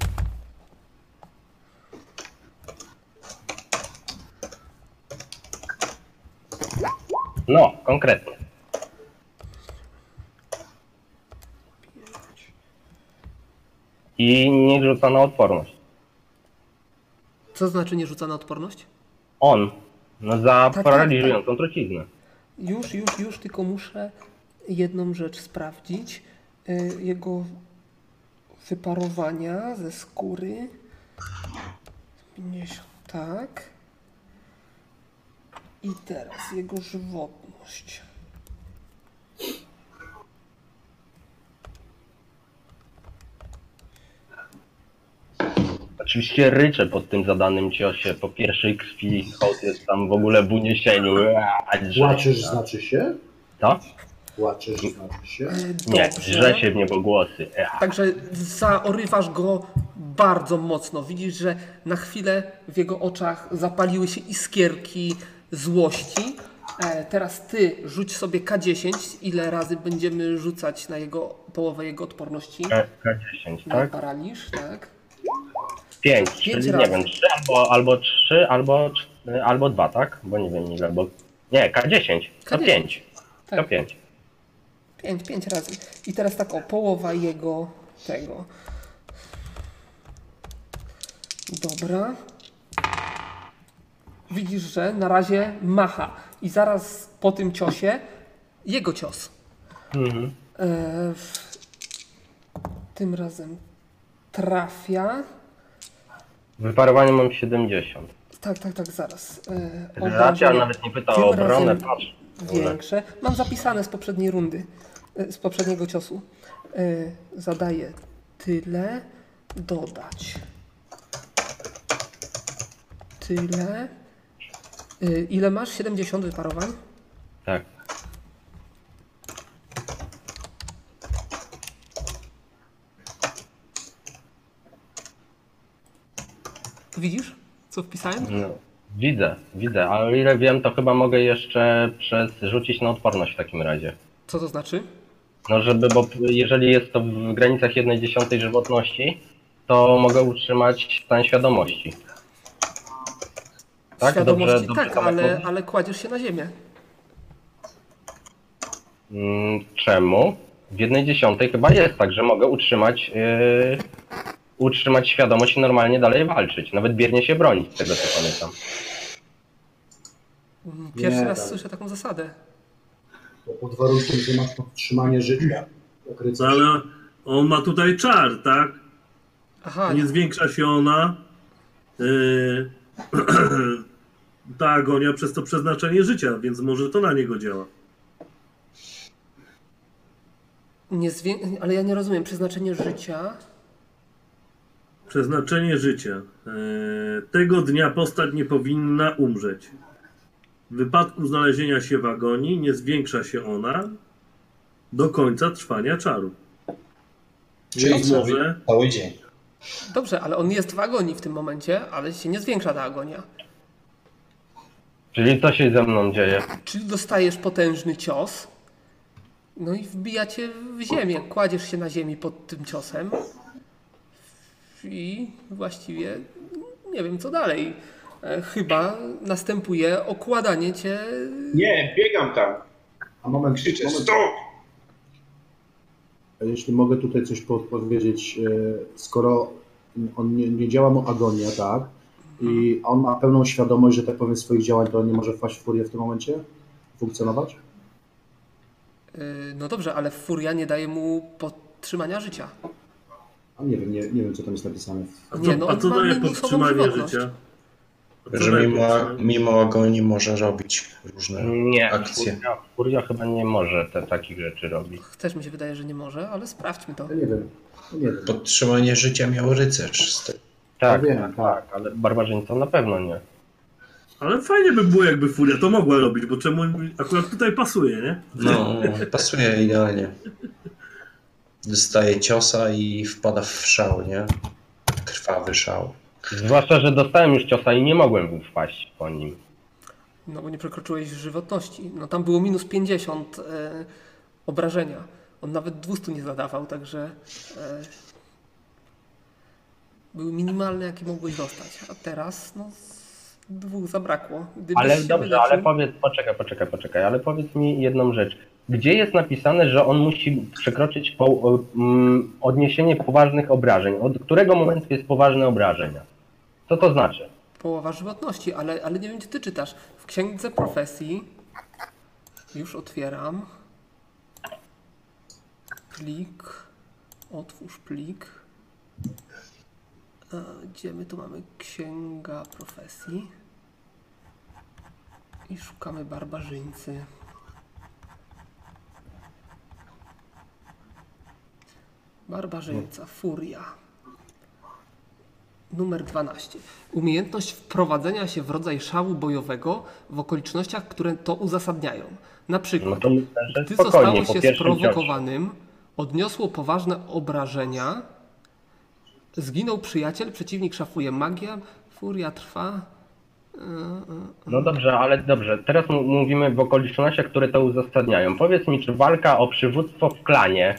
[SPEAKER 8] No, konkretnie. I nie rzuca na odporność.
[SPEAKER 1] Co znaczy nie rzuca na odporność?
[SPEAKER 8] On. No za
[SPEAKER 1] Tak, tak,
[SPEAKER 8] paraliżującą truciznę.
[SPEAKER 1] Już, już, już, tylko muszę jedną rzecz sprawdzić. Y, Jego wyparowania ze skóry. 50, tak. I teraz jego żywotność.
[SPEAKER 8] Oczywiście ryczę pod tym zadanym ciosie. Po pierwszej krwi hołd jest tam w ogóle w uniesieniu. Aaa, drze-
[SPEAKER 6] Płaczesz znaczy się?
[SPEAKER 8] Co?
[SPEAKER 6] Płaczesz znaczy się?
[SPEAKER 1] Y,
[SPEAKER 8] Nie,
[SPEAKER 1] dobrze.
[SPEAKER 8] drze się w niebo głosy. Ea.
[SPEAKER 1] Także zaorywasz go bardzo mocno. Widzisz, że na chwilę w jego oczach zapaliły się iskierki złości. E, teraz ty rzuć sobie K10, ile razy będziemy rzucać na jego połowę jego odporności.
[SPEAKER 8] K- K10,
[SPEAKER 1] Na
[SPEAKER 8] E, tak?
[SPEAKER 1] paraliż, tak?
[SPEAKER 8] 5,
[SPEAKER 1] Pięć
[SPEAKER 8] czyli
[SPEAKER 1] razy.
[SPEAKER 8] nie wiem, 3 albo, albo 3, albo, cz- albo 2, tak? Bo nie wiem ile, bo... Nie, K10, to
[SPEAKER 1] K10,
[SPEAKER 8] 5, to
[SPEAKER 1] Tak.
[SPEAKER 8] 5.
[SPEAKER 1] Pięć, pięć razy. I teraz tak o, połowa jego tego. Dobra. Widzisz, że na razie macha. I zaraz po tym ciosie jego cios. E, w... Tym razem trafia.
[SPEAKER 8] Wyparowanie mam 70.
[SPEAKER 1] Tak, tak, tak, zaraz. E,
[SPEAKER 8] Racja
[SPEAKER 1] obrażenia
[SPEAKER 8] nawet nie pyta
[SPEAKER 1] tym
[SPEAKER 8] o obronę,
[SPEAKER 1] razem
[SPEAKER 8] patrz. w ogóle.
[SPEAKER 1] Większe. Mam zapisane z poprzedniej rundy, e, z poprzedniego ciosu. E, Zadaję tyle, dodać. Tyle. E, Ile masz? 70 wyparowań?
[SPEAKER 8] Tak.
[SPEAKER 1] Widzisz, co wpisałem?
[SPEAKER 8] No, widzę, widzę, ale o ile wiem, to chyba mogę jeszcze przez rzucić na odporność w takim razie.
[SPEAKER 1] Co to znaczy?
[SPEAKER 8] No żeby, bo jeżeli jest to w granicach 1 dziesiątej żywotności, to mogę utrzymać stan świadomości. Tak,
[SPEAKER 1] Świadomości,
[SPEAKER 8] dobrze, dobrze
[SPEAKER 1] tak,
[SPEAKER 8] tam
[SPEAKER 1] ale,
[SPEAKER 8] jako-
[SPEAKER 1] ale kładziesz się na ziemię.
[SPEAKER 8] Mm, Czemu? W 1 dziesiątej chyba jest tak, że mogę utrzymać, yy, utrzymać świadomość i normalnie dalej walczyć. Nawet biernie się bronić, z tego co pamiętam.
[SPEAKER 1] Mm, Pierwszy
[SPEAKER 6] Nie,
[SPEAKER 1] raz
[SPEAKER 6] tak.
[SPEAKER 1] słyszę taką zasadę.
[SPEAKER 6] Bo pod warunkiem, że masz podtrzymanie życia. jak rycerz.
[SPEAKER 5] Ale on ma tutaj czar, tak?
[SPEAKER 1] Aha,
[SPEAKER 5] Nie zwiększa się ona. Yy, ta agonia przez to przeznaczenie życia, więc może to na niego działa.
[SPEAKER 1] nie zwię- ale ja nie rozumiem. Przeznaczenie życia.
[SPEAKER 5] Przeznaczenie życia. Yy, tego dnia postać nie powinna umrzeć. W wypadku znalezienia się w agonii nie zwiększa się ona do końca trwania czaru.
[SPEAKER 2] Czyli
[SPEAKER 5] Może-
[SPEAKER 2] cały, cały dzień.
[SPEAKER 1] Dobrze, ale on jest w agonii w tym momencie, ale się nie zwiększa ta agonia.
[SPEAKER 8] Czyli co się ze mną dzieje?
[SPEAKER 1] Czyli dostajesz potężny cios, no i wbijacie w ziemię. Kładziesz się na ziemi pod tym ciosem i właściwie nie wiem co dalej. E, Chyba następuje okładanie cię.
[SPEAKER 2] Nie, biegam tam.
[SPEAKER 6] A moment,
[SPEAKER 2] Krzyczę
[SPEAKER 6] moment,
[SPEAKER 2] stop!
[SPEAKER 6] jeśli mogę tutaj coś podpowiedzieć, e, skoro on nie, nie działa mu agonia, tak? I on ma pełną świadomość, że tak powiem, swoich działań, to on nie może wpaść w furię w tym momencie? Funkcjonować?
[SPEAKER 1] Y, No dobrze, ale furia nie daje mu podtrzymania życia.
[SPEAKER 6] A nie wiem, nie, nie wiem, co tam jest napisane.
[SPEAKER 5] A
[SPEAKER 1] Nie,
[SPEAKER 5] co,
[SPEAKER 1] no
[SPEAKER 5] a
[SPEAKER 1] on
[SPEAKER 5] co
[SPEAKER 1] ma
[SPEAKER 5] daje
[SPEAKER 1] minusową
[SPEAKER 5] podtrzymanie
[SPEAKER 1] żywotność.
[SPEAKER 5] życia? A co
[SPEAKER 7] Że
[SPEAKER 5] daje
[SPEAKER 7] mimo,
[SPEAKER 5] podtrzymanie-
[SPEAKER 7] mimo agonii może robić różne
[SPEAKER 8] Nie,
[SPEAKER 7] akcje.
[SPEAKER 8] Furia, Furia chyba nie może te, takich rzeczy robić.
[SPEAKER 1] Też mi się wydaje, że nie może, ale sprawdźmy to.
[SPEAKER 6] Ja nie wiem. Ja nie wiem.
[SPEAKER 7] Podtrzymanie życia miał rycerz. z tego.
[SPEAKER 8] Tak,
[SPEAKER 6] wiem, tak.
[SPEAKER 8] tak, tak, ale barbarzyńca na pewno nie.
[SPEAKER 5] Ale fajnie by było, jakby Furia to mogła robić, bo czemu akurat tutaj pasuje, nie?
[SPEAKER 7] No, pasuje idealnie. Dostaje ciosa i wpada w szał, nie? Krwawy szał.
[SPEAKER 8] Zwłaszcza, że dostałem już ciosa i nie mogłem wpaść po nim.
[SPEAKER 1] No bo nie przekroczyłeś żywotności. No tam było minus 50 e, obrażenia. On nawet 200 nie zadawał, także e, były minimalne, jakie mogłeś dostać. A teraz no z dwóch zabrakło. Gdybyś
[SPEAKER 8] Ale
[SPEAKER 1] się
[SPEAKER 8] dobrze,
[SPEAKER 1] wyleczył-
[SPEAKER 8] ale powiedz, poczekaj, poczekaj, poczekaj, ale powiedz mi jedną rzecz. Gdzie jest napisane, że on musi przekroczyć po, o- mm, odniesienie poważnych obrażeń? Od którego momentu jest poważne obrażenia? Co to znaczy?
[SPEAKER 1] Połowa żywotności, ale, ale nie wiem, gdzie ty czytasz. W księdze profesji już otwieram. Plik. Otwórz plik. E, Gdzie my tu mamy księga profesji? I szukamy barbarzyńcy. Barbarzyńca, furia. Numer 12. Umiejętność wprowadzenia się w rodzaj szału bojowego w okolicznościach, które to uzasadniają. Na
[SPEAKER 8] No
[SPEAKER 1] przykład,
[SPEAKER 8] to myślę, że
[SPEAKER 1] gdy
[SPEAKER 8] spokojnie,
[SPEAKER 1] zostało
[SPEAKER 8] po
[SPEAKER 1] się
[SPEAKER 8] pierwszym ciosie.
[SPEAKER 1] sprowokowanym, odniosło poważne obrażenia, zginął przyjaciel, przeciwnik szafuje magia, furia trwa. Yy, yy.
[SPEAKER 8] No dobrze, ale dobrze. Teraz m- mówimy w okolicznościach, które to uzasadniają. Powiedz mi, czy walka o przywództwo w klanie,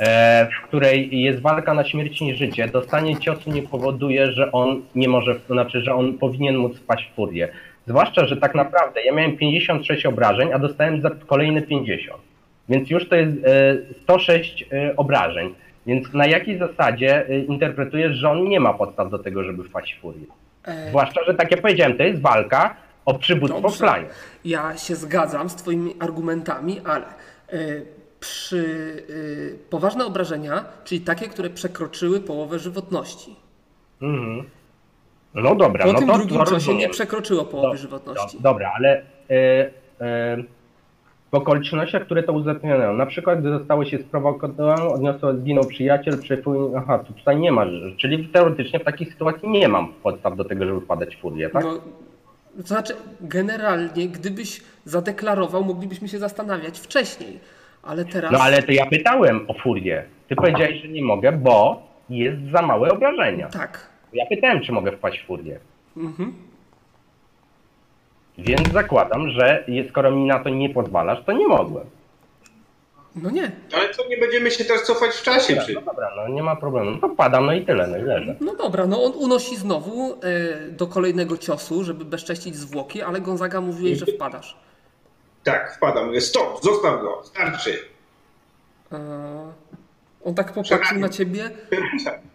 [SPEAKER 8] e, w której jest walka na śmierć i życie, dostanie ciosu nie powoduje, że on nie może, to znaczy, że on powinien móc wpaść w furię. Zwłaszcza, że tak naprawdę ja miałem 56 obrażeń, a dostałem za kolejne 50. Więc już to jest e, 106 e, obrażeń. Więc na jakiej zasadzie e, interpretujesz, że on nie ma podstaw do tego, żeby wpaść w furię?
[SPEAKER 1] E,
[SPEAKER 8] Zwłaszcza, że tak jak powiedziałem, to jest walka o przywództwo
[SPEAKER 1] Dobrze.
[SPEAKER 8] w planie.
[SPEAKER 1] Ja się zgadzam z Twoimi argumentami, ale e, przy e, poważne obrażenia, czyli takie, które przekroczyły połowę żywotności,
[SPEAKER 8] Mhm. No dobra,
[SPEAKER 1] Po
[SPEAKER 8] no
[SPEAKER 1] tym
[SPEAKER 8] to,
[SPEAKER 1] drugim
[SPEAKER 8] to
[SPEAKER 1] czasie
[SPEAKER 8] rozumiem.
[SPEAKER 1] nie przekroczyło połowy
[SPEAKER 8] Do-
[SPEAKER 1] żywotności.
[SPEAKER 8] Do, dobra, ale y, y, w okolicznościach, które to uzasadniają, na przykład gdy zostały się sprowokowane, odniosło, zginął przyjaciel, przypłynie, aha, tu tutaj nie ma, czyli teoretycznie w takiej sytuacji nie mam podstaw do tego, żeby wpadać w furię, tak?
[SPEAKER 1] No, to znaczy, generalnie, gdybyś zadeklarował, moglibyśmy się zastanawiać wcześniej, ale teraz.
[SPEAKER 8] No ale to ja pytałem o furię. Ty powiedziałeś, że nie mogę, bo jest za małe obrażenia.
[SPEAKER 1] Tak.
[SPEAKER 8] Ja pytałem, czy mogę wpaść w furię.
[SPEAKER 1] Mhm.
[SPEAKER 8] Więc zakładam, że je- skoro mi na to nie pozwalasz, to nie mogłem.
[SPEAKER 1] No nie.
[SPEAKER 2] Ale to nie będziemy się też cofać w czasie
[SPEAKER 8] Dobra,
[SPEAKER 7] Znaczy-
[SPEAKER 2] przy
[SPEAKER 8] no dobra, no nie ma problemu. No to padam, no i tyle, no i leżę.
[SPEAKER 1] No dobra, no on unosi znowu e, do kolejnego ciosu, żeby bezcześcić zwłoki, ale Gonzaga mówiłeś, że wpadasz.
[SPEAKER 2] Tak, wpadam, mówię, stop, zostaw go, starczy.
[SPEAKER 1] E, on tak popatrzył na ciebie,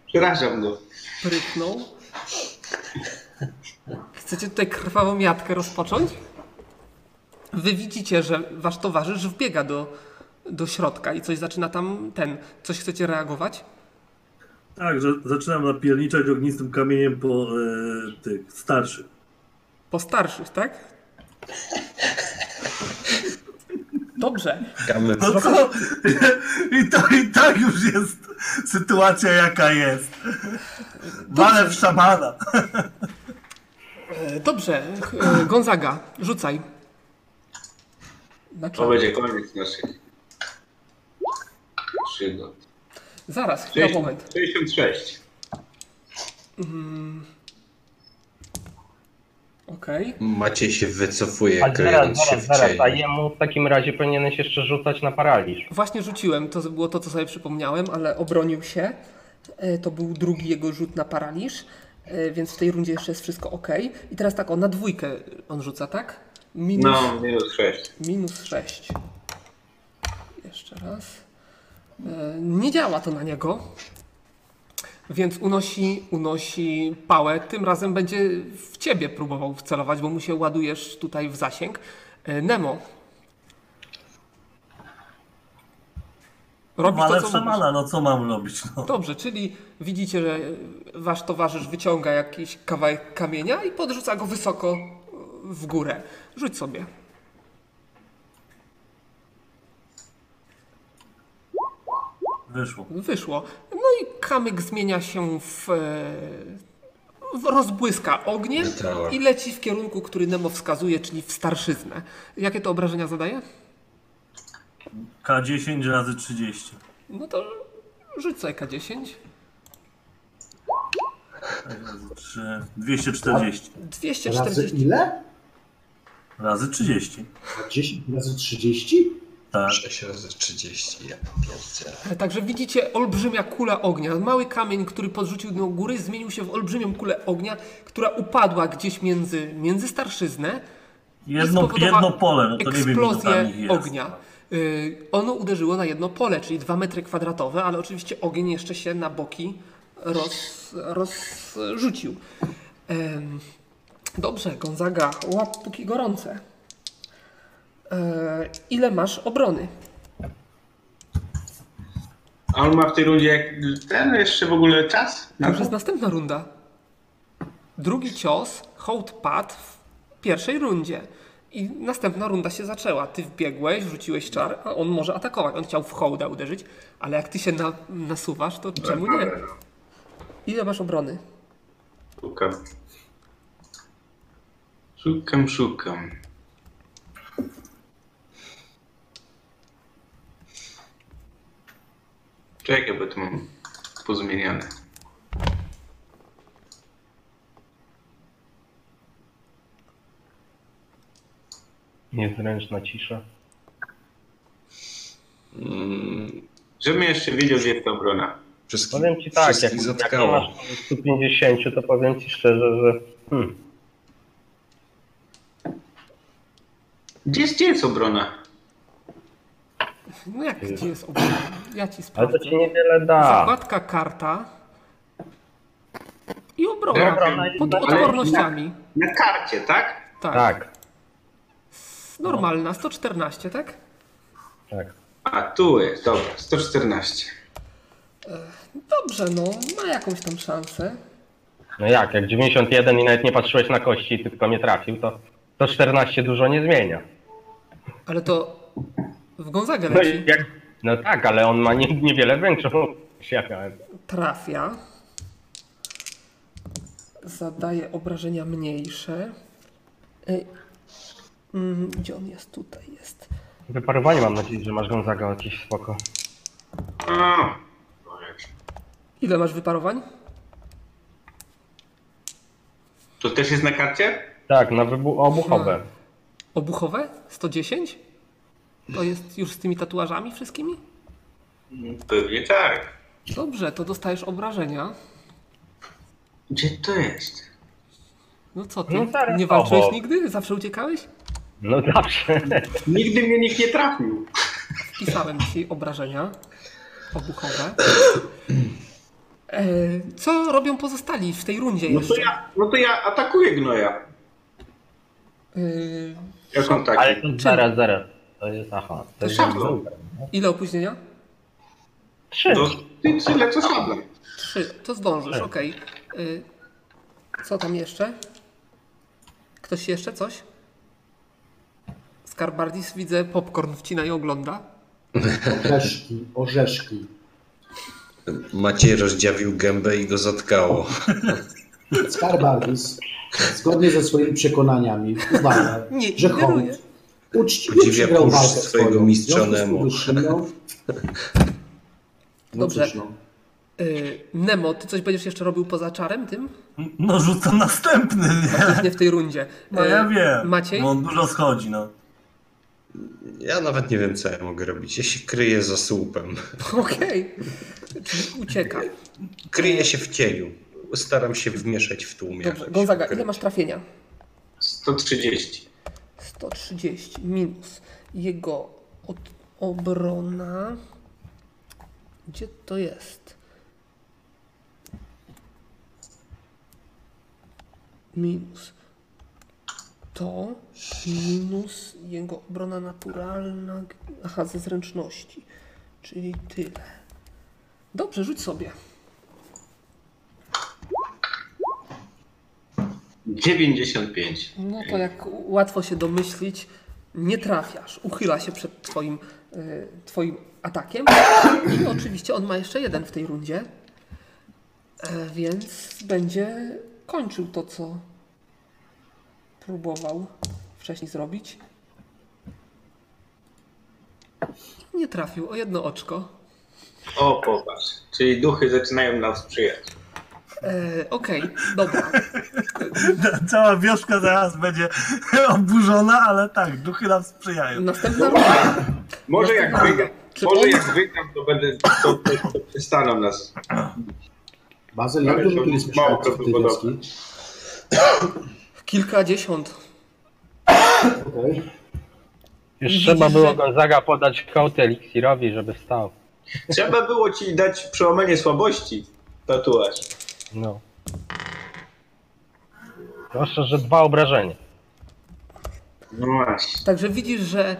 [SPEAKER 2] Przerażam go.
[SPEAKER 1] prychnął. Chcecie tutaj krwawą jatkę rozpocząć? Wy widzicie, że wasz towarzysz wbiega do, do środka i coś zaczyna tam ten. Coś chcecie reagować?
[SPEAKER 5] Tak, że zaczynam napierniczać ognistym kamieniem po e, tych starszych.
[SPEAKER 1] Po starszych, tak? Dobrze.
[SPEAKER 7] Kamy-
[SPEAKER 5] No co? I, to, I tak już jest sytuacja jaka jest. Walę w szamana.
[SPEAKER 1] E, Dobrze. E, Gonzaga, rzucaj. Na
[SPEAKER 2] To
[SPEAKER 1] czas.
[SPEAKER 2] będzie koniec naszych przygód.
[SPEAKER 1] Zaraz, chwila,
[SPEAKER 2] Sześć-
[SPEAKER 1] No, moment.
[SPEAKER 2] 66.
[SPEAKER 1] Okej.
[SPEAKER 7] Maciej się wycofuje,
[SPEAKER 8] A zaraz,
[SPEAKER 7] kryjąc się
[SPEAKER 8] zaraz,
[SPEAKER 7] w
[SPEAKER 8] zaraz, a
[SPEAKER 7] cieniu.
[SPEAKER 8] jemu w takim razie powinieneś jeszcze rzucać na paraliż.
[SPEAKER 1] Właśnie rzuciłem, to było to, co sobie przypomniałem, ale obronił się. E, To był drugi jego rzut na paraliż, e, więc w tej rundzie jeszcze jest wszystko ok. I teraz tak, on na dwójkę on rzuca, tak? Minus,
[SPEAKER 2] No, minus 6.
[SPEAKER 1] minus 6. Jeszcze raz. E, Nie działa to na niego, więc unosi, unosi pałę. Tym razem będzie w ciebie próbował wcelować, bo mu się ładujesz tutaj w zasięg. E, Nemo. Robisz to,
[SPEAKER 5] Walę
[SPEAKER 1] co
[SPEAKER 5] w
[SPEAKER 1] mówisz.
[SPEAKER 5] szamana, no co mam robić? No.
[SPEAKER 1] Dobrze, czyli widzicie, że wasz towarzysz wyciąga jakiś kawałek kamienia i podrzuca go wysoko w górę. Rzuć sobie.
[SPEAKER 5] Wyszło.
[SPEAKER 1] Wyszło. No i kamyk zmienia się w, e, w rozbłyska ogniem
[SPEAKER 7] Meteor.
[SPEAKER 1] i leci w kierunku, który Nemo wskazuje, czyli w starszyznę. Jakie to obrażenia zadaje?
[SPEAKER 5] K10 razy 30.
[SPEAKER 1] No to rzuć sobie K10.
[SPEAKER 5] 3, 240.
[SPEAKER 1] 240.
[SPEAKER 6] Razy ile?
[SPEAKER 5] Razy 30.
[SPEAKER 6] 10 razy 30?
[SPEAKER 5] Tak.
[SPEAKER 7] 6 razy 30, ja pierdzielę.
[SPEAKER 1] Także widzicie olbrzymia kula ognia. Mały kamień, który podrzucił do góry, zmienił się w olbrzymią kulę ognia, która upadła gdzieś między, między starszyznę
[SPEAKER 5] Jedno,
[SPEAKER 1] spowodowała
[SPEAKER 5] jedno pole, no to nie wiem, ile
[SPEAKER 1] eksplozję
[SPEAKER 5] tam ich jest.
[SPEAKER 1] ognia. Y, ono uderzyło na jedno pole, czyli dwa metry kwadratowe, ale oczywiście ogień jeszcze się na boki roz, rozrzucił. Em, dobrze, Gonzaga, łap póki gorące. E, ile masz obrony?
[SPEAKER 2] A on ma w tej rundzie jak ten jeszcze w ogóle czas?
[SPEAKER 1] To już jest następna runda. Drugi cios, hołd padł w pierwszej rundzie. I następna runda się zaczęła. Ty wbiegłeś, rzuciłeś czar, a on może atakować. On chciał w hołda uderzyć, ale jak ty się na, nasuwasz, to
[SPEAKER 8] Tak.
[SPEAKER 1] czemu nie? Ile masz obrony?
[SPEAKER 2] Szukam. Szukam, szukam. Czekaj, bo to mam pozmieniane.
[SPEAKER 8] Niezręczna cisza.
[SPEAKER 2] Mm, Żebym jeszcze wiedział, gdzie jest ta obrona.
[SPEAKER 7] Wszystkich,
[SPEAKER 8] Powiem ci tak, jak,
[SPEAKER 7] wszystkich
[SPEAKER 8] jak nie masz
[SPEAKER 7] zatkało.
[SPEAKER 8] 150, to powiem ci szczerze, że hmm,
[SPEAKER 2] Gdzie jest, gdzie jest obrona?
[SPEAKER 1] No jak gdzie jest obrona? Ja ci
[SPEAKER 8] ale to
[SPEAKER 1] sprawdzę.
[SPEAKER 8] ci niewiele da.
[SPEAKER 1] Zakładka karta i
[SPEAKER 2] Dobra,
[SPEAKER 1] obrona.
[SPEAKER 8] Obrona jest
[SPEAKER 1] Pod
[SPEAKER 8] na-
[SPEAKER 1] odpornościami.
[SPEAKER 2] Na karcie, tak?
[SPEAKER 1] Tak.
[SPEAKER 8] Tak,
[SPEAKER 1] Normalna, 114, tak?
[SPEAKER 8] tak.
[SPEAKER 2] A tu jest, dobra, 114.
[SPEAKER 1] Dobrze, no, ma jakąś tam szansę.
[SPEAKER 8] No jak, jak 91 i nawet nie patrzyłeś na kości, tylko nie trafił, to, to 14 dużo nie zmienia.
[SPEAKER 1] Ale to w Gonzaga
[SPEAKER 8] No, i
[SPEAKER 1] leci.
[SPEAKER 8] jak, no tak, ale on ma nie, niewiele większą. Ja miałem.
[SPEAKER 1] Trafia. Zadaje obrażenia mniejsze. Ej. Mm, Gdzie on jest? Tutaj jest.
[SPEAKER 8] Wyparowanie mam nadzieję, że masz Gonzaga jakiś spoko.
[SPEAKER 2] A,
[SPEAKER 1] Ile masz wyparowań?
[SPEAKER 2] to też jest na karcie?
[SPEAKER 8] Tak, na wybu- obuchowe.
[SPEAKER 1] Obuchowe? 110? To jest już z tymi tatuażami wszystkimi?
[SPEAKER 2] Pewnie tak.
[SPEAKER 1] Dobrze, to dostajesz obrażenia.
[SPEAKER 2] Gdzie to jest?
[SPEAKER 1] No co ty?
[SPEAKER 8] No zaraz
[SPEAKER 1] nie walczyłeś
[SPEAKER 8] obok.
[SPEAKER 1] nigdy? Zawsze uciekałeś?
[SPEAKER 8] No zawsze.
[SPEAKER 2] Nigdy mnie nikt nie trafił.
[SPEAKER 1] Wpisałem dzisiaj obrażenia obuchowe. E, co robią pozostali w tej rundzie
[SPEAKER 2] No
[SPEAKER 1] jeszcze?
[SPEAKER 2] to ja, no to ja atakuję gnoja.
[SPEAKER 1] E,
[SPEAKER 2] Jak on taki.
[SPEAKER 8] Ale to zaraz, zaraz. To jest aha.
[SPEAKER 1] To
[SPEAKER 8] To jest
[SPEAKER 1] szablon. ile opóźnienia?
[SPEAKER 8] trzy.
[SPEAKER 2] To ty trzy lecę szablem.
[SPEAKER 1] Trzy. To zdążysz,
[SPEAKER 8] Trzy.
[SPEAKER 1] okej. E, Co tam jeszcze? Ktoś jeszcze coś? Skarbardis widzę, popcorn wcina i ogląda.
[SPEAKER 6] Orzeszki, orzeszki.
[SPEAKER 7] Maciej rozdziawił gębę i go zatkało.
[SPEAKER 6] Skarbardis, zgodnie ze swoimi przekonaniami, uważa,
[SPEAKER 1] Nie
[SPEAKER 6] że
[SPEAKER 1] ingeruję.
[SPEAKER 6] hołd uczciwie
[SPEAKER 7] Podziwia
[SPEAKER 6] przegrał
[SPEAKER 7] puls
[SPEAKER 6] walkę
[SPEAKER 7] swojego
[SPEAKER 6] swoją. W
[SPEAKER 7] mistrza
[SPEAKER 6] związku z
[SPEAKER 7] Nemo.
[SPEAKER 6] powyższym, no, no
[SPEAKER 1] Dobrze.
[SPEAKER 6] cóż, no.
[SPEAKER 1] E, Nemo, ty coś będziesz jeszcze robił poza czarem tym?
[SPEAKER 5] No rzucam następny, nie?
[SPEAKER 1] Nie w tej rundzie.
[SPEAKER 5] No
[SPEAKER 1] E,
[SPEAKER 5] ja wiem.
[SPEAKER 1] Maciej?
[SPEAKER 5] Bo on dużo schodzi, no.
[SPEAKER 7] Ja nawet nie wiem, co ja mogę robić. Ja się kryję za słupem.
[SPEAKER 1] Okej. Czyli ucieka.
[SPEAKER 7] Kryję się w cieniu. Staram się wmieszać w tłumie.
[SPEAKER 1] Dobrze. Gonzaga, ile masz trafienia?
[SPEAKER 2] 130.
[SPEAKER 1] 130 minus jego od obrona. Gdzie to jest? Minus to minus jego obrona naturalna. Aha, ze zręczności. Czyli tyle. Dobrze, rzuć sobie.
[SPEAKER 2] 95.
[SPEAKER 1] No to jak łatwo się domyślić, nie trafiasz. Uchyla się przed twoim, y, twoim atakiem. I oczywiście on ma jeszcze jeden w tej rundzie. E, Więc będzie kończył to, co próbował wcześniej zrobić. Nie trafił o jedno oczko.
[SPEAKER 2] O, popatrz. Czyli duchy zaczynają nam sprzyjać.
[SPEAKER 1] E, Okej, dobra.
[SPEAKER 5] Cała wioska zaraz będzie oburzona, ale tak, duchy nam sprzyjają.
[SPEAKER 1] Następna runda.
[SPEAKER 2] Może jak wygram,
[SPEAKER 1] Czy
[SPEAKER 2] może
[SPEAKER 1] on-
[SPEAKER 2] jak wygram, to będę, to, to, to przestaną nas.
[SPEAKER 6] Bazyl, jak
[SPEAKER 2] Ale
[SPEAKER 6] dużo
[SPEAKER 2] to
[SPEAKER 6] tu jest
[SPEAKER 2] mało
[SPEAKER 6] mieszkańców tej
[SPEAKER 2] prawdopodobne.
[SPEAKER 6] wioski?
[SPEAKER 1] Kilkadziesiąt.
[SPEAKER 6] Okej.
[SPEAKER 8] Już
[SPEAKER 1] Widzisz,
[SPEAKER 8] trzeba było
[SPEAKER 1] że-
[SPEAKER 8] Gonzaga podać hołd eliksirowi, żeby wstał.
[SPEAKER 2] Trzeba było ci dać przełamanie słabości, tatuaż.
[SPEAKER 8] No. Proszę, że dwa obrażenia.
[SPEAKER 2] No właśnie.
[SPEAKER 1] Także widzisz, że e,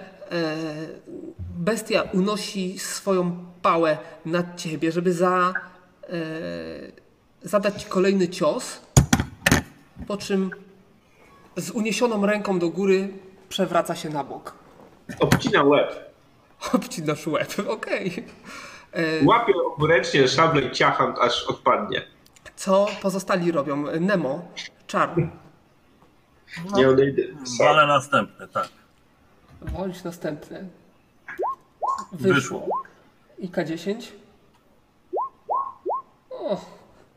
[SPEAKER 1] bestia unosi swoją pałę nad ciebie, żeby za, e, zadać ci kolejny cios, po czym z uniesioną ręką do góry przewraca się na bok.
[SPEAKER 2] Obcina łeb.
[SPEAKER 1] Obcinasz łeb, okej. E,
[SPEAKER 2] Łapię obręcznie szablę i ciacham, aż odpadnie.
[SPEAKER 1] Co pozostali robią? Nemo, czar.
[SPEAKER 2] Nie odejdę.
[SPEAKER 8] No,
[SPEAKER 5] Ale następny, tak.
[SPEAKER 1] Wolisz następne.
[SPEAKER 5] Wyszło.
[SPEAKER 1] I K10. O,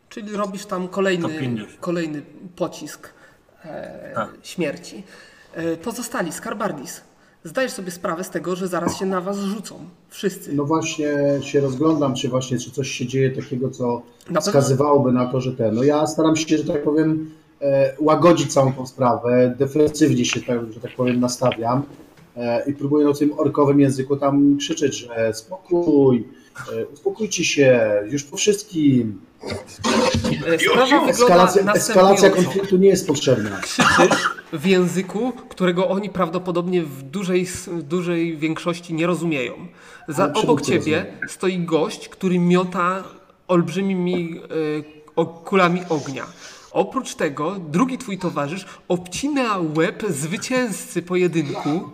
[SPEAKER 1] czyli robisz tam kolejny,
[SPEAKER 5] 150.
[SPEAKER 1] kolejny pocisk e,
[SPEAKER 5] Tak.
[SPEAKER 1] śmierci. E, pozostali, Skarbardis. Zdajesz sobie sprawę z tego, że zaraz się na was rzucą. Wszyscy.
[SPEAKER 6] No właśnie się rozglądam, czy właśnie czy coś się dzieje takiego, co
[SPEAKER 1] pewno-
[SPEAKER 6] wskazywałoby na to, że ten. No ja staram się, że tak powiem, e, łagodzić całą tą sprawę, defensywnie się, tak, że tak powiem, nastawiam e, i próbuję na tym orkowym języku tam krzyczeć, że spokój, e, uspokójcie się, już po wszystkim.
[SPEAKER 1] E, sprawa wygląda
[SPEAKER 6] Eskalacja, eskalacja
[SPEAKER 1] następująco.
[SPEAKER 6] konfliktu nie jest potrzebna.
[SPEAKER 1] Krzyczysz w języku, którego oni prawdopodobnie w dużej, s- dużej większości nie rozumieją. Za,
[SPEAKER 6] Ale
[SPEAKER 1] obok
[SPEAKER 6] przywódcy
[SPEAKER 1] ciebie
[SPEAKER 6] rozumieją.
[SPEAKER 1] stoi gość, który miota olbrzymimi e, o- kulami ognia. Oprócz tego drugi twój towarzysz obcina łeb zwycięzcy pojedynku,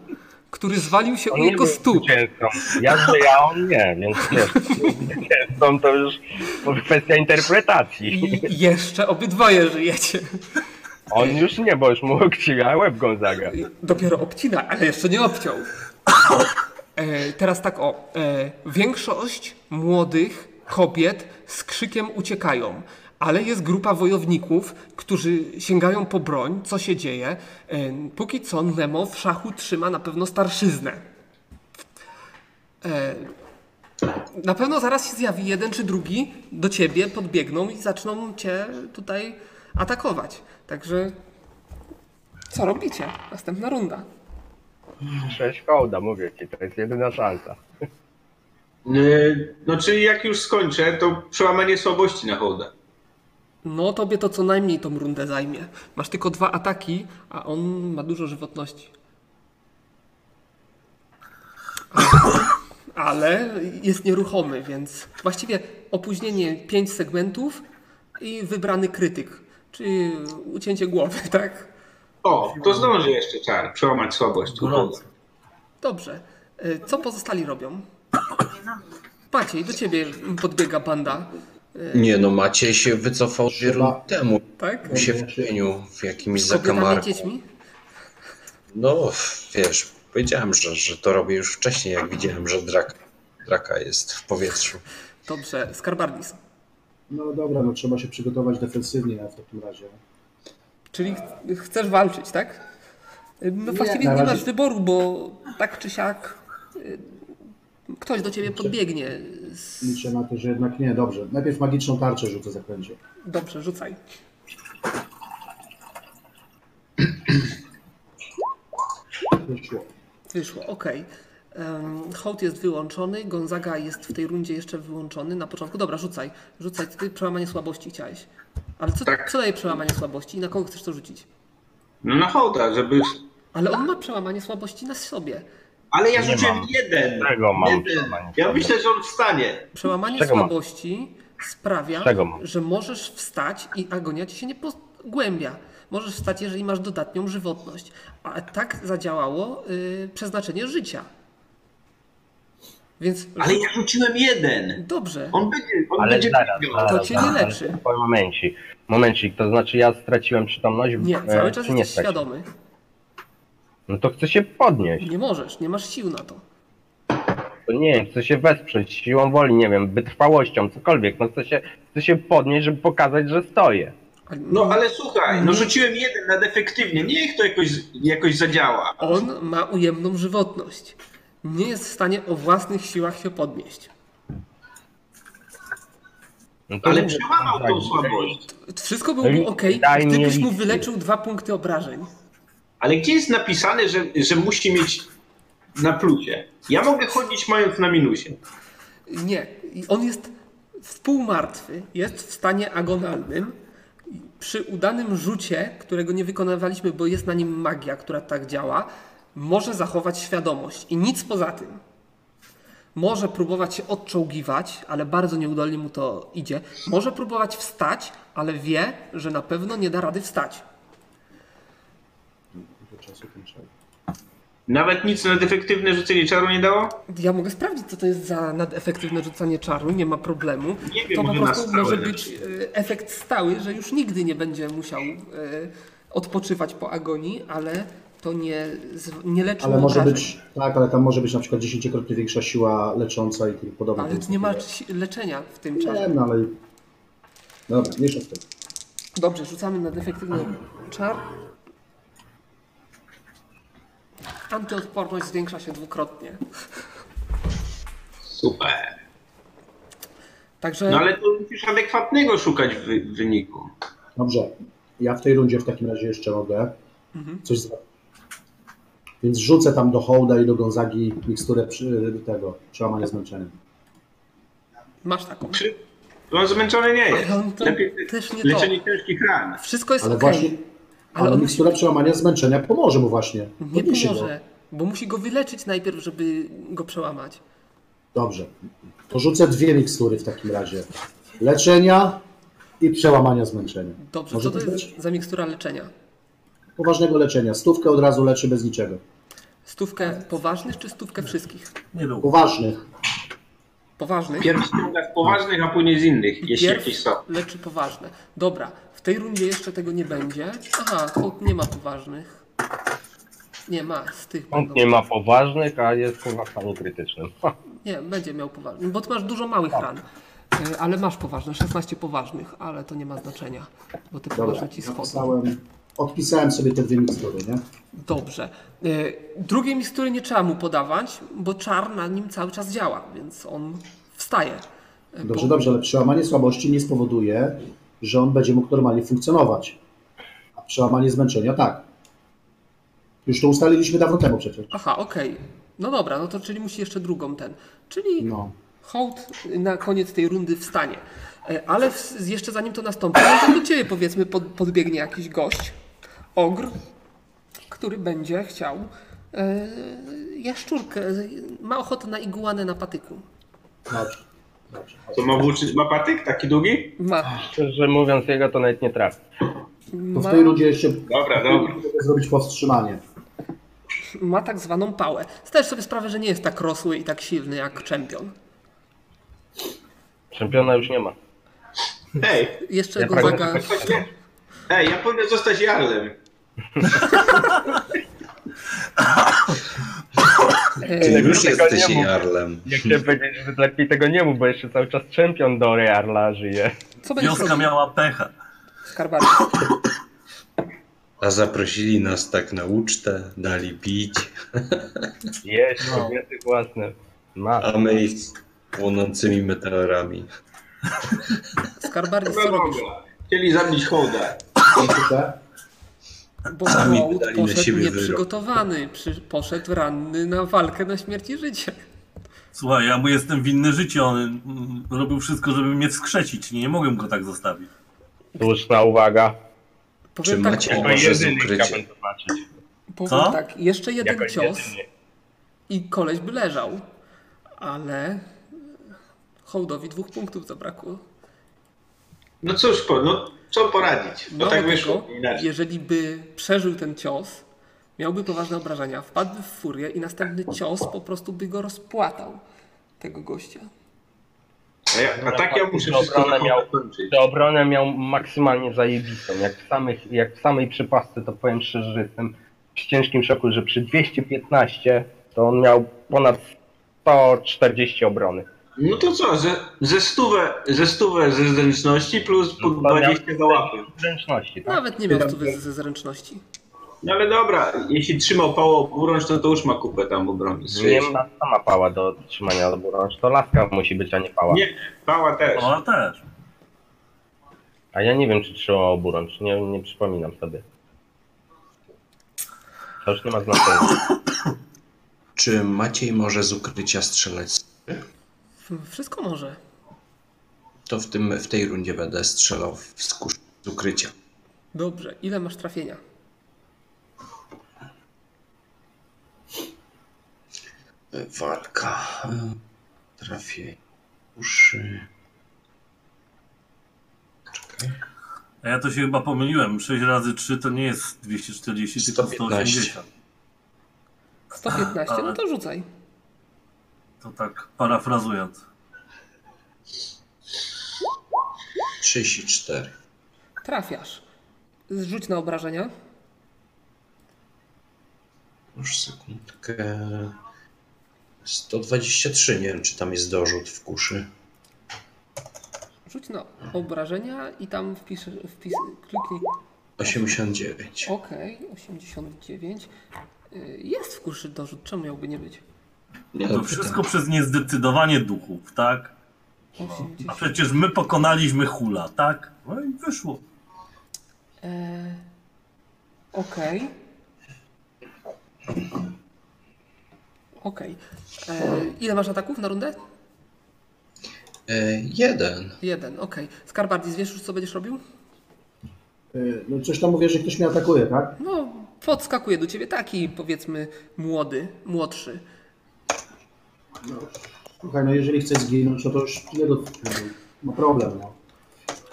[SPEAKER 1] który zwalił się u
[SPEAKER 4] On nie
[SPEAKER 1] jego
[SPEAKER 4] był
[SPEAKER 1] stóp.
[SPEAKER 4] zwycięzcą. Ja żyję, a on nie, więc wiesz, zwycięzcą to już kwestia interpretacji.
[SPEAKER 1] I jeszcze obydwoje żyjecie.
[SPEAKER 4] On już nie, bo już mu krzyga łeb Gonzaga.
[SPEAKER 1] Dopiero obcina, ale jeszcze nie obciął. E, teraz tak o. E, większość młodych kobiet z krzykiem uciekają, ale jest grupa wojowników, którzy sięgają po broń. Co się dzieje? E, póki co Nemo w szachu trzyma na pewno starszyznę. E, na pewno zaraz się zjawi jeden czy drugi, do ciebie podbiegną i zaczną cię tutaj atakować. Także co robicie? Następna runda.
[SPEAKER 4] Sześć hołda, mówię ci, to jest jedyna szansa.
[SPEAKER 2] Yy, No czyli jak już skończę, to przełamanie słabości na hołda.
[SPEAKER 1] No, tobie to co najmniej tą rundę zajmie. Masz tylko dwa ataki, a on ma dużo żywotności. Ale jest nieruchomy, więc właściwie opóźnienie 5 segmentów i wybrany krytyk, czyli ucięcie głowy, tak?
[SPEAKER 2] O, to zdąży jeszcze czar, przełamać słabość u hołda.
[SPEAKER 1] Dobrze. Y, Co pozostali robią? Maciej, do ciebie podbiega banda,
[SPEAKER 7] Nie no, Maciej się wycofał dwie rundy temu.
[SPEAKER 1] tak?
[SPEAKER 7] Był się w cieniu, w jakimś
[SPEAKER 1] Z kobietami,
[SPEAKER 7] zakamarku.
[SPEAKER 1] dziećmi?
[SPEAKER 7] No, wiesz, powiedziałem, że, że to robię już wcześniej, jak widziałem, że drak, draka jest w powietrzu.
[SPEAKER 1] Dobrze, Skarbardis.
[SPEAKER 6] No dobra, no trzeba się przygotować defensywnie w takim razie.
[SPEAKER 1] Czyli ch- chcesz walczyć, tak? No
[SPEAKER 6] Nie,
[SPEAKER 1] właściwie
[SPEAKER 6] na
[SPEAKER 1] nie
[SPEAKER 6] razie-
[SPEAKER 1] masz wyboru, bo tak czy siak y, ktoś do ciebie podbiegnie. Z-
[SPEAKER 6] Liczę na to, że jednak nie, dobrze. Najpierw magiczną tarczę rzucę zaklęcie.
[SPEAKER 1] Dobrze, rzucaj.
[SPEAKER 6] Wyszło.
[SPEAKER 1] Wyszło, okej. Em, Hołd jest wyłączony, Gonzaga jest w tej rundzie jeszcze wyłączony na początku. Dobra, rzucaj. Rzucaj, ty przełamanie słabości chciałeś. Ale co,
[SPEAKER 2] Tak.
[SPEAKER 1] co daje przełamanie słabości i na kogo chcesz to rzucić?
[SPEAKER 2] No na hołda, żeby...
[SPEAKER 1] Ale on ma przełamanie słabości na sobie.
[SPEAKER 2] Ale ja
[SPEAKER 4] Nie
[SPEAKER 2] rzuciłem
[SPEAKER 4] mam.
[SPEAKER 2] jeden.
[SPEAKER 4] Tego mam
[SPEAKER 2] jeden.
[SPEAKER 4] przełamanie
[SPEAKER 2] Ja
[SPEAKER 4] słabości.
[SPEAKER 2] myślę, że on wstanie.
[SPEAKER 1] Przełamanie
[SPEAKER 4] Czego mam?
[SPEAKER 1] słabości sprawia,
[SPEAKER 4] Czego mam?
[SPEAKER 1] że możesz wstać i agonia ci się nie pogłębia. Możesz wstać, jeżeli masz dodatnią żywotność. A tak zadziałało y, przeznaczenie życia. Więc
[SPEAKER 2] Ale ja rzuciłem jeden.
[SPEAKER 1] dobrze.
[SPEAKER 2] On będzie, on
[SPEAKER 4] Ale
[SPEAKER 2] będzie
[SPEAKER 4] zaraz,
[SPEAKER 2] biegał.
[SPEAKER 4] zaraz,
[SPEAKER 1] To cię nie
[SPEAKER 4] zaraz, ale
[SPEAKER 1] leczy.
[SPEAKER 4] tylko Momencik, momencik, to znaczy ja straciłem przytomność?
[SPEAKER 1] Nie,
[SPEAKER 4] e,
[SPEAKER 1] cały czas
[SPEAKER 4] czy nie
[SPEAKER 1] jesteś
[SPEAKER 4] straciłem?
[SPEAKER 1] świadomy.
[SPEAKER 4] No to chcę się podnieść,
[SPEAKER 1] Nie możesz, nie masz sił na to.
[SPEAKER 4] to nie wiem, chcę się wesprzeć siłą woli, nie wiem, wytrwałością, cokolwiek, no chcę się, chcę się podnieść, żeby pokazać, że stoję.
[SPEAKER 1] Ale-
[SPEAKER 2] No ale słuchaj, no rzuciłem jeden na defektywnie, niech to jakoś, jakoś zadziała.
[SPEAKER 1] On ma ujemną żywotność. Nie jest w stanie o własnych siłach się podnieść.
[SPEAKER 4] No to
[SPEAKER 2] Ale
[SPEAKER 4] mówię,
[SPEAKER 2] przełamał tą
[SPEAKER 4] Gonzaga,
[SPEAKER 2] słabość.
[SPEAKER 1] Wszystko byłoby ok,
[SPEAKER 4] Daj mi
[SPEAKER 1] gdybyś mu
[SPEAKER 4] listy.
[SPEAKER 1] wyleczył dwa punkty obrażeń.
[SPEAKER 2] Ale gdzie jest napisane, że, że musi mieć na plusie? Ja mogę chodzić mając na minusie.
[SPEAKER 1] Nie, I on jest współmartwy, jest w stanie agonalnym. I Przy udanym rzucie, którego nie wykonywaliśmy, bo jest na nim magia, która tak działa, może zachować świadomość i nic poza tym. Może próbować się odczołgiwać, ale bardzo nieudolnie mu to idzie. Może próbować wstać, ale wie, że na pewno nie da rady wstać.
[SPEAKER 6] Do czasu kończenia.
[SPEAKER 2] Nawet nic na defektywne rzucenie czaru nie dało?
[SPEAKER 1] Ja mogę sprawdzić, co to jest za nadefektywne rzucanie czaru, nie ma problemu.
[SPEAKER 2] Nie wiem,
[SPEAKER 1] to po
[SPEAKER 2] może na
[SPEAKER 1] prostu
[SPEAKER 2] stałe
[SPEAKER 1] może
[SPEAKER 2] lecz.
[SPEAKER 1] być e, efekt stały, że już nigdy nie będzie musiał e, odpoczywać po agonii, ale to nie, z- nie leczy
[SPEAKER 6] Ale
[SPEAKER 1] mu
[SPEAKER 6] może
[SPEAKER 1] obrażeń.
[SPEAKER 6] być, tak, ale tam może być na przykład dziesięciokrotnie większa siła lecząca i tym podobne.
[SPEAKER 1] Ale nie ma si- leczenia w tym czarze.
[SPEAKER 6] Wiem, no ale... No dobra, mniejsza z tym.
[SPEAKER 1] Dobrze, rzucamy na defektywny czar. Antyodporność zwiększa się dwukrotnie.
[SPEAKER 2] Super.
[SPEAKER 1] Także
[SPEAKER 2] No ale to musisz adekwatnego szukać w wy- wyniku.
[SPEAKER 6] Dobrze, ja w tej rundzie w takim razie jeszcze mogę
[SPEAKER 1] Mhm.
[SPEAKER 6] coś zrobić. Więc rzucę tam do Hołda i do Gonzagi miksturę przy, y, tego, przełamania zmęczenia.
[SPEAKER 1] masz taką.
[SPEAKER 2] Czy on zmęczony nie jest?
[SPEAKER 1] Ale on to
[SPEAKER 2] Lepiej
[SPEAKER 1] też nie to.
[SPEAKER 2] leczenie ciężkich ran.
[SPEAKER 1] Wszystko jest
[SPEAKER 6] Ale
[SPEAKER 1] ok.
[SPEAKER 6] właśnie, ale,
[SPEAKER 1] on
[SPEAKER 6] mikstura przełamania zmęczenia pomoże mu właśnie.
[SPEAKER 1] Nie
[SPEAKER 6] Podniesie go.
[SPEAKER 1] pomoże, bo musi go wyleczyć najpierw, żeby go przełamać.
[SPEAKER 6] Dobrze, to rzucę dwie mikstury w takim razie. Leczenia i przełamania zmęczenia.
[SPEAKER 1] Dobrze,
[SPEAKER 6] Może
[SPEAKER 1] co to
[SPEAKER 6] tak
[SPEAKER 1] jest za mikstura leczenia?
[SPEAKER 6] Poważnego leczenia. Stówkę od razu leczy bez niczego.
[SPEAKER 1] Stówkę poważnych czy stówkę wszystkich?
[SPEAKER 5] Nie no,
[SPEAKER 6] Poważnych.
[SPEAKER 1] Poważnych?
[SPEAKER 11] Pierwszy z poważnych, a później z innych, jeśli
[SPEAKER 1] Pierw
[SPEAKER 11] jakieś są.
[SPEAKER 1] leczy poważne. Dobra, w tej rundzie jeszcze tego nie będzie. Aha, hołd nie ma poważnych. Nie ma, z tych
[SPEAKER 8] Kąt
[SPEAKER 1] będą.
[SPEAKER 8] nie ma poważnych, a jest kurwa w stanie krytycznym. Ha,
[SPEAKER 1] Nie, będzie miał poważny, bo ty masz dużo małych ran. Y, Ale masz poważne, 16 poważnych, ale to nie ma znaczenia, bo te
[SPEAKER 6] Dobra,
[SPEAKER 1] poważne ci schodzą.
[SPEAKER 6] odpisałem, odpisałem sobie te dwie mikstury, nie?
[SPEAKER 1] Dobrze. Y, Drugiej mikstury nie trzeba mu podawać, bo czar na nim cały czas działa, więc on wstaje. Y,
[SPEAKER 6] Dobrze,
[SPEAKER 1] bo-
[SPEAKER 6] dobrze, ale przełamanie słabości nie spowoduje, że on będzie mógł normalnie funkcjonować. A przełamanie zmęczenia tak. Już to ustaliliśmy dawno temu przecież.
[SPEAKER 1] Aha, okej. No dobra, no to czyli musi jeszcze drugą ten. Czyli
[SPEAKER 6] No.
[SPEAKER 1] hołd na koniec tej rundy wstanie. E, Ale w, jeszcze zanim to nastąpi, no to do ciebie powiedzmy pod, podbiegnie jakiś gość, ogr, który będzie chciał e, jaszczurkę, ma ochotę na iguanę na patyku.
[SPEAKER 6] Dobrze. Dobrze.
[SPEAKER 2] To ma włóczyć ma patyk taki długi?
[SPEAKER 1] Ma,
[SPEAKER 8] Szczerze mówiąc, jego to nawet nie trafi.
[SPEAKER 6] To w
[SPEAKER 1] ma,
[SPEAKER 6] tej rundzie jeszcze
[SPEAKER 2] Dobra, dobra.
[SPEAKER 6] zrobić powstrzymanie.
[SPEAKER 1] ma tak zwaną pałę. Zdajesz sobie sprawę, że nie jest tak rosły i tak silny jak czempion.
[SPEAKER 8] Czempiona już nie ma.
[SPEAKER 2] Hej,
[SPEAKER 1] Jeszcze
[SPEAKER 8] Ja
[SPEAKER 1] go
[SPEAKER 8] pragnę
[SPEAKER 1] zaga...
[SPEAKER 2] hej, ja powinien zostać jarlem.
[SPEAKER 7] Ty
[SPEAKER 1] E,
[SPEAKER 7] już
[SPEAKER 8] tego
[SPEAKER 7] jesteś
[SPEAKER 8] nie mów.
[SPEAKER 7] jarlem.
[SPEAKER 8] Nie chciałem powiedzieć, że lepiej tego nie mów, bo jeszcze cały czas czempion do Rearla żyje.
[SPEAKER 1] co będziesz
[SPEAKER 5] wioska
[SPEAKER 1] robił,
[SPEAKER 5] miała pecha.
[SPEAKER 1] Skarbarczyk?
[SPEAKER 7] A zaprosili nas tak na ucztę, dali pić,
[SPEAKER 8] Jeść
[SPEAKER 2] No.
[SPEAKER 8] kobiety własne. Ma.
[SPEAKER 7] a my ich płonącymi meteorami.
[SPEAKER 1] Skarbarczyk, co robisz?
[SPEAKER 2] Dobra. Chcieli zabić hołda.
[SPEAKER 6] No, Kończycie?
[SPEAKER 1] Bo
[SPEAKER 7] Sami
[SPEAKER 1] Hołd
[SPEAKER 7] wydali na
[SPEAKER 1] poszedł
[SPEAKER 7] siebie wyrok.
[SPEAKER 1] nieprzygotowany, przy, poszedł ranny na walkę na śmierć i życie.
[SPEAKER 5] Słuchaj, ja mu jestem winny życie, on mm, robił wszystko, żeby mnie wskrzesić, nie, nie mogłem go tak zostawić.
[SPEAKER 8] Słuszna uwaga.
[SPEAKER 7] Czy
[SPEAKER 1] Powiem tak,
[SPEAKER 7] macie
[SPEAKER 8] Jako
[SPEAKER 7] może z
[SPEAKER 8] jedyny
[SPEAKER 7] ukryciem?
[SPEAKER 8] chciałbym zobaczyć.
[SPEAKER 5] Co?
[SPEAKER 1] powiem tak jeszcze jeden
[SPEAKER 8] Jako
[SPEAKER 1] cios
[SPEAKER 8] jedyny.
[SPEAKER 1] i koleś by leżał, ale Hołdowi dwóch punktów zabrakło.
[SPEAKER 2] No cóż, po- no co poradzić? No
[SPEAKER 1] Mało
[SPEAKER 2] tak
[SPEAKER 1] tego,
[SPEAKER 2] wyszło. Inaczej.
[SPEAKER 1] jeżeli by przeżył ten cios, miałby poważne obrażenia, wpadłby w furię i następny cios po prostu by go rozpłatał, tego gościa.
[SPEAKER 2] A, ja, a tak ja muszę
[SPEAKER 8] Dobra,
[SPEAKER 2] wszystko
[SPEAKER 8] ale
[SPEAKER 2] na
[SPEAKER 8] miał-
[SPEAKER 2] miał... kończyć.
[SPEAKER 8] Tę obronę miał maksymalnie zajebistą. Jak w, samych, jak w samej przypasce, to powiem szczerze, że jestem w ciężkim szoku, że przy 215 to on miał ponad 140 obrony.
[SPEAKER 2] No to co, ze, ze, stówę, ze stówę ze zręczności plus po
[SPEAKER 8] Pan miał
[SPEAKER 2] 20 za łapy.
[SPEAKER 8] Zręczności, tak?
[SPEAKER 1] Nawet nie miał stówy ze zręczności.
[SPEAKER 2] No ale dobra, jeśli trzymał pało oburącz, to, to już ma kupę tam obrony.
[SPEAKER 8] Nie
[SPEAKER 2] Słyszysz?
[SPEAKER 8] ma sama pała do trzymania obrony. To laska musi być, a nie pała.
[SPEAKER 2] Nie, pała też.
[SPEAKER 5] Ona też.
[SPEAKER 8] A ja nie wiem, czy trzymała oburącz. Nie, nie przypominam sobie. To już nie ma znaczenia.
[SPEAKER 7] Czy Maciej może z ukrycia strzelać?
[SPEAKER 1] Wszystko może.
[SPEAKER 7] To w, tym, w tej rundzie będę strzelał w skusz z ukrycia.
[SPEAKER 1] Dobrze, ile masz trafienia?
[SPEAKER 7] Walka. Trafię. Uszy.
[SPEAKER 5] A ja to się chyba pomyliłem, 6 razy 3 to nie jest 240, tylko
[SPEAKER 7] 115.
[SPEAKER 5] 180.
[SPEAKER 1] 115, no to rzucaj.
[SPEAKER 5] To tak parafrazując.
[SPEAKER 7] 34.
[SPEAKER 1] Trafiasz. Zrzuć na obrażenia.
[SPEAKER 7] Już sekundkę. 123. Nie wiem, czy tam jest dorzut w kuszy.
[SPEAKER 1] Rzuć na obrażenia i tam wpisz, wpis, kliknij.
[SPEAKER 7] 89.
[SPEAKER 1] OK, 89. Y, Jest w kuszy dorzut, czemu miałby nie być?
[SPEAKER 7] Nie,
[SPEAKER 5] To wszystko przez niezdecydowanie duchów, tak?
[SPEAKER 1] 80.
[SPEAKER 5] A przecież my pokonaliśmy hula, tak? No i wyszło.
[SPEAKER 1] E, Okej. Okej. E, Ile masz ataków na rundę?
[SPEAKER 7] E, jeden.
[SPEAKER 1] Jeden, okej. Skarbardis, wiesz już co będziesz robił?
[SPEAKER 6] Y, No coś tam mówię, że ktoś mnie atakuje, tak?
[SPEAKER 1] No, podskakuje do ciebie taki, powiedzmy, młody, młodszy.
[SPEAKER 6] Słuchaj, no jeżeli chce zginąć, no to już nie do... no, Ma problem, no.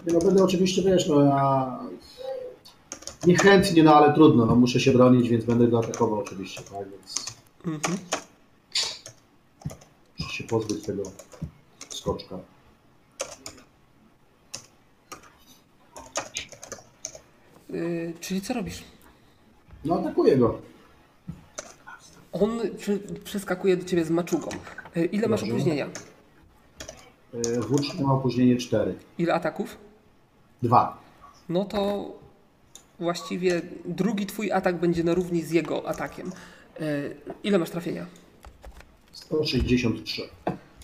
[SPEAKER 6] Nie, No będę oczywiście, wiesz, no ja niechętnie, no ale trudno, no muszę się bronić, więc będę go atakował oczywiście, tak, więc
[SPEAKER 1] Mhm.
[SPEAKER 6] muszę się pozbyć tego skoczka.
[SPEAKER 1] Y, czyli co robisz?
[SPEAKER 6] No atakuję go.
[SPEAKER 1] On przy, przeskakuje do ciebie z maczugą. Y, ile masz
[SPEAKER 6] Dobrze.
[SPEAKER 1] opóźnienia?
[SPEAKER 6] Yy, Włócznia ma opóźnienie 4.
[SPEAKER 1] Ile ataków?
[SPEAKER 6] 2.
[SPEAKER 1] No to właściwie drugi twój atak będzie na równi z jego atakiem. Y, ile masz trafienia?
[SPEAKER 6] 163.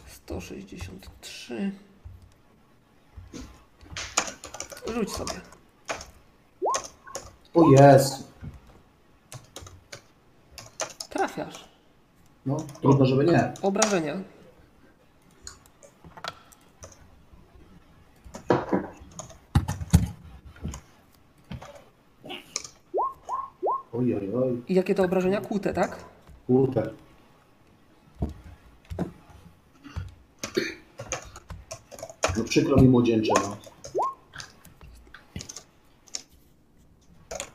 [SPEAKER 1] 163. Rzuć sobie.
[SPEAKER 6] O jest!
[SPEAKER 1] Trafiasz.
[SPEAKER 6] No, trudno, żeby nie.
[SPEAKER 1] Obrażenia.
[SPEAKER 6] Oj, oj, oj.
[SPEAKER 1] I jakie to obrażenia? Kłute, tak?
[SPEAKER 6] Kurde. No przykro mi młodzieńcze, no.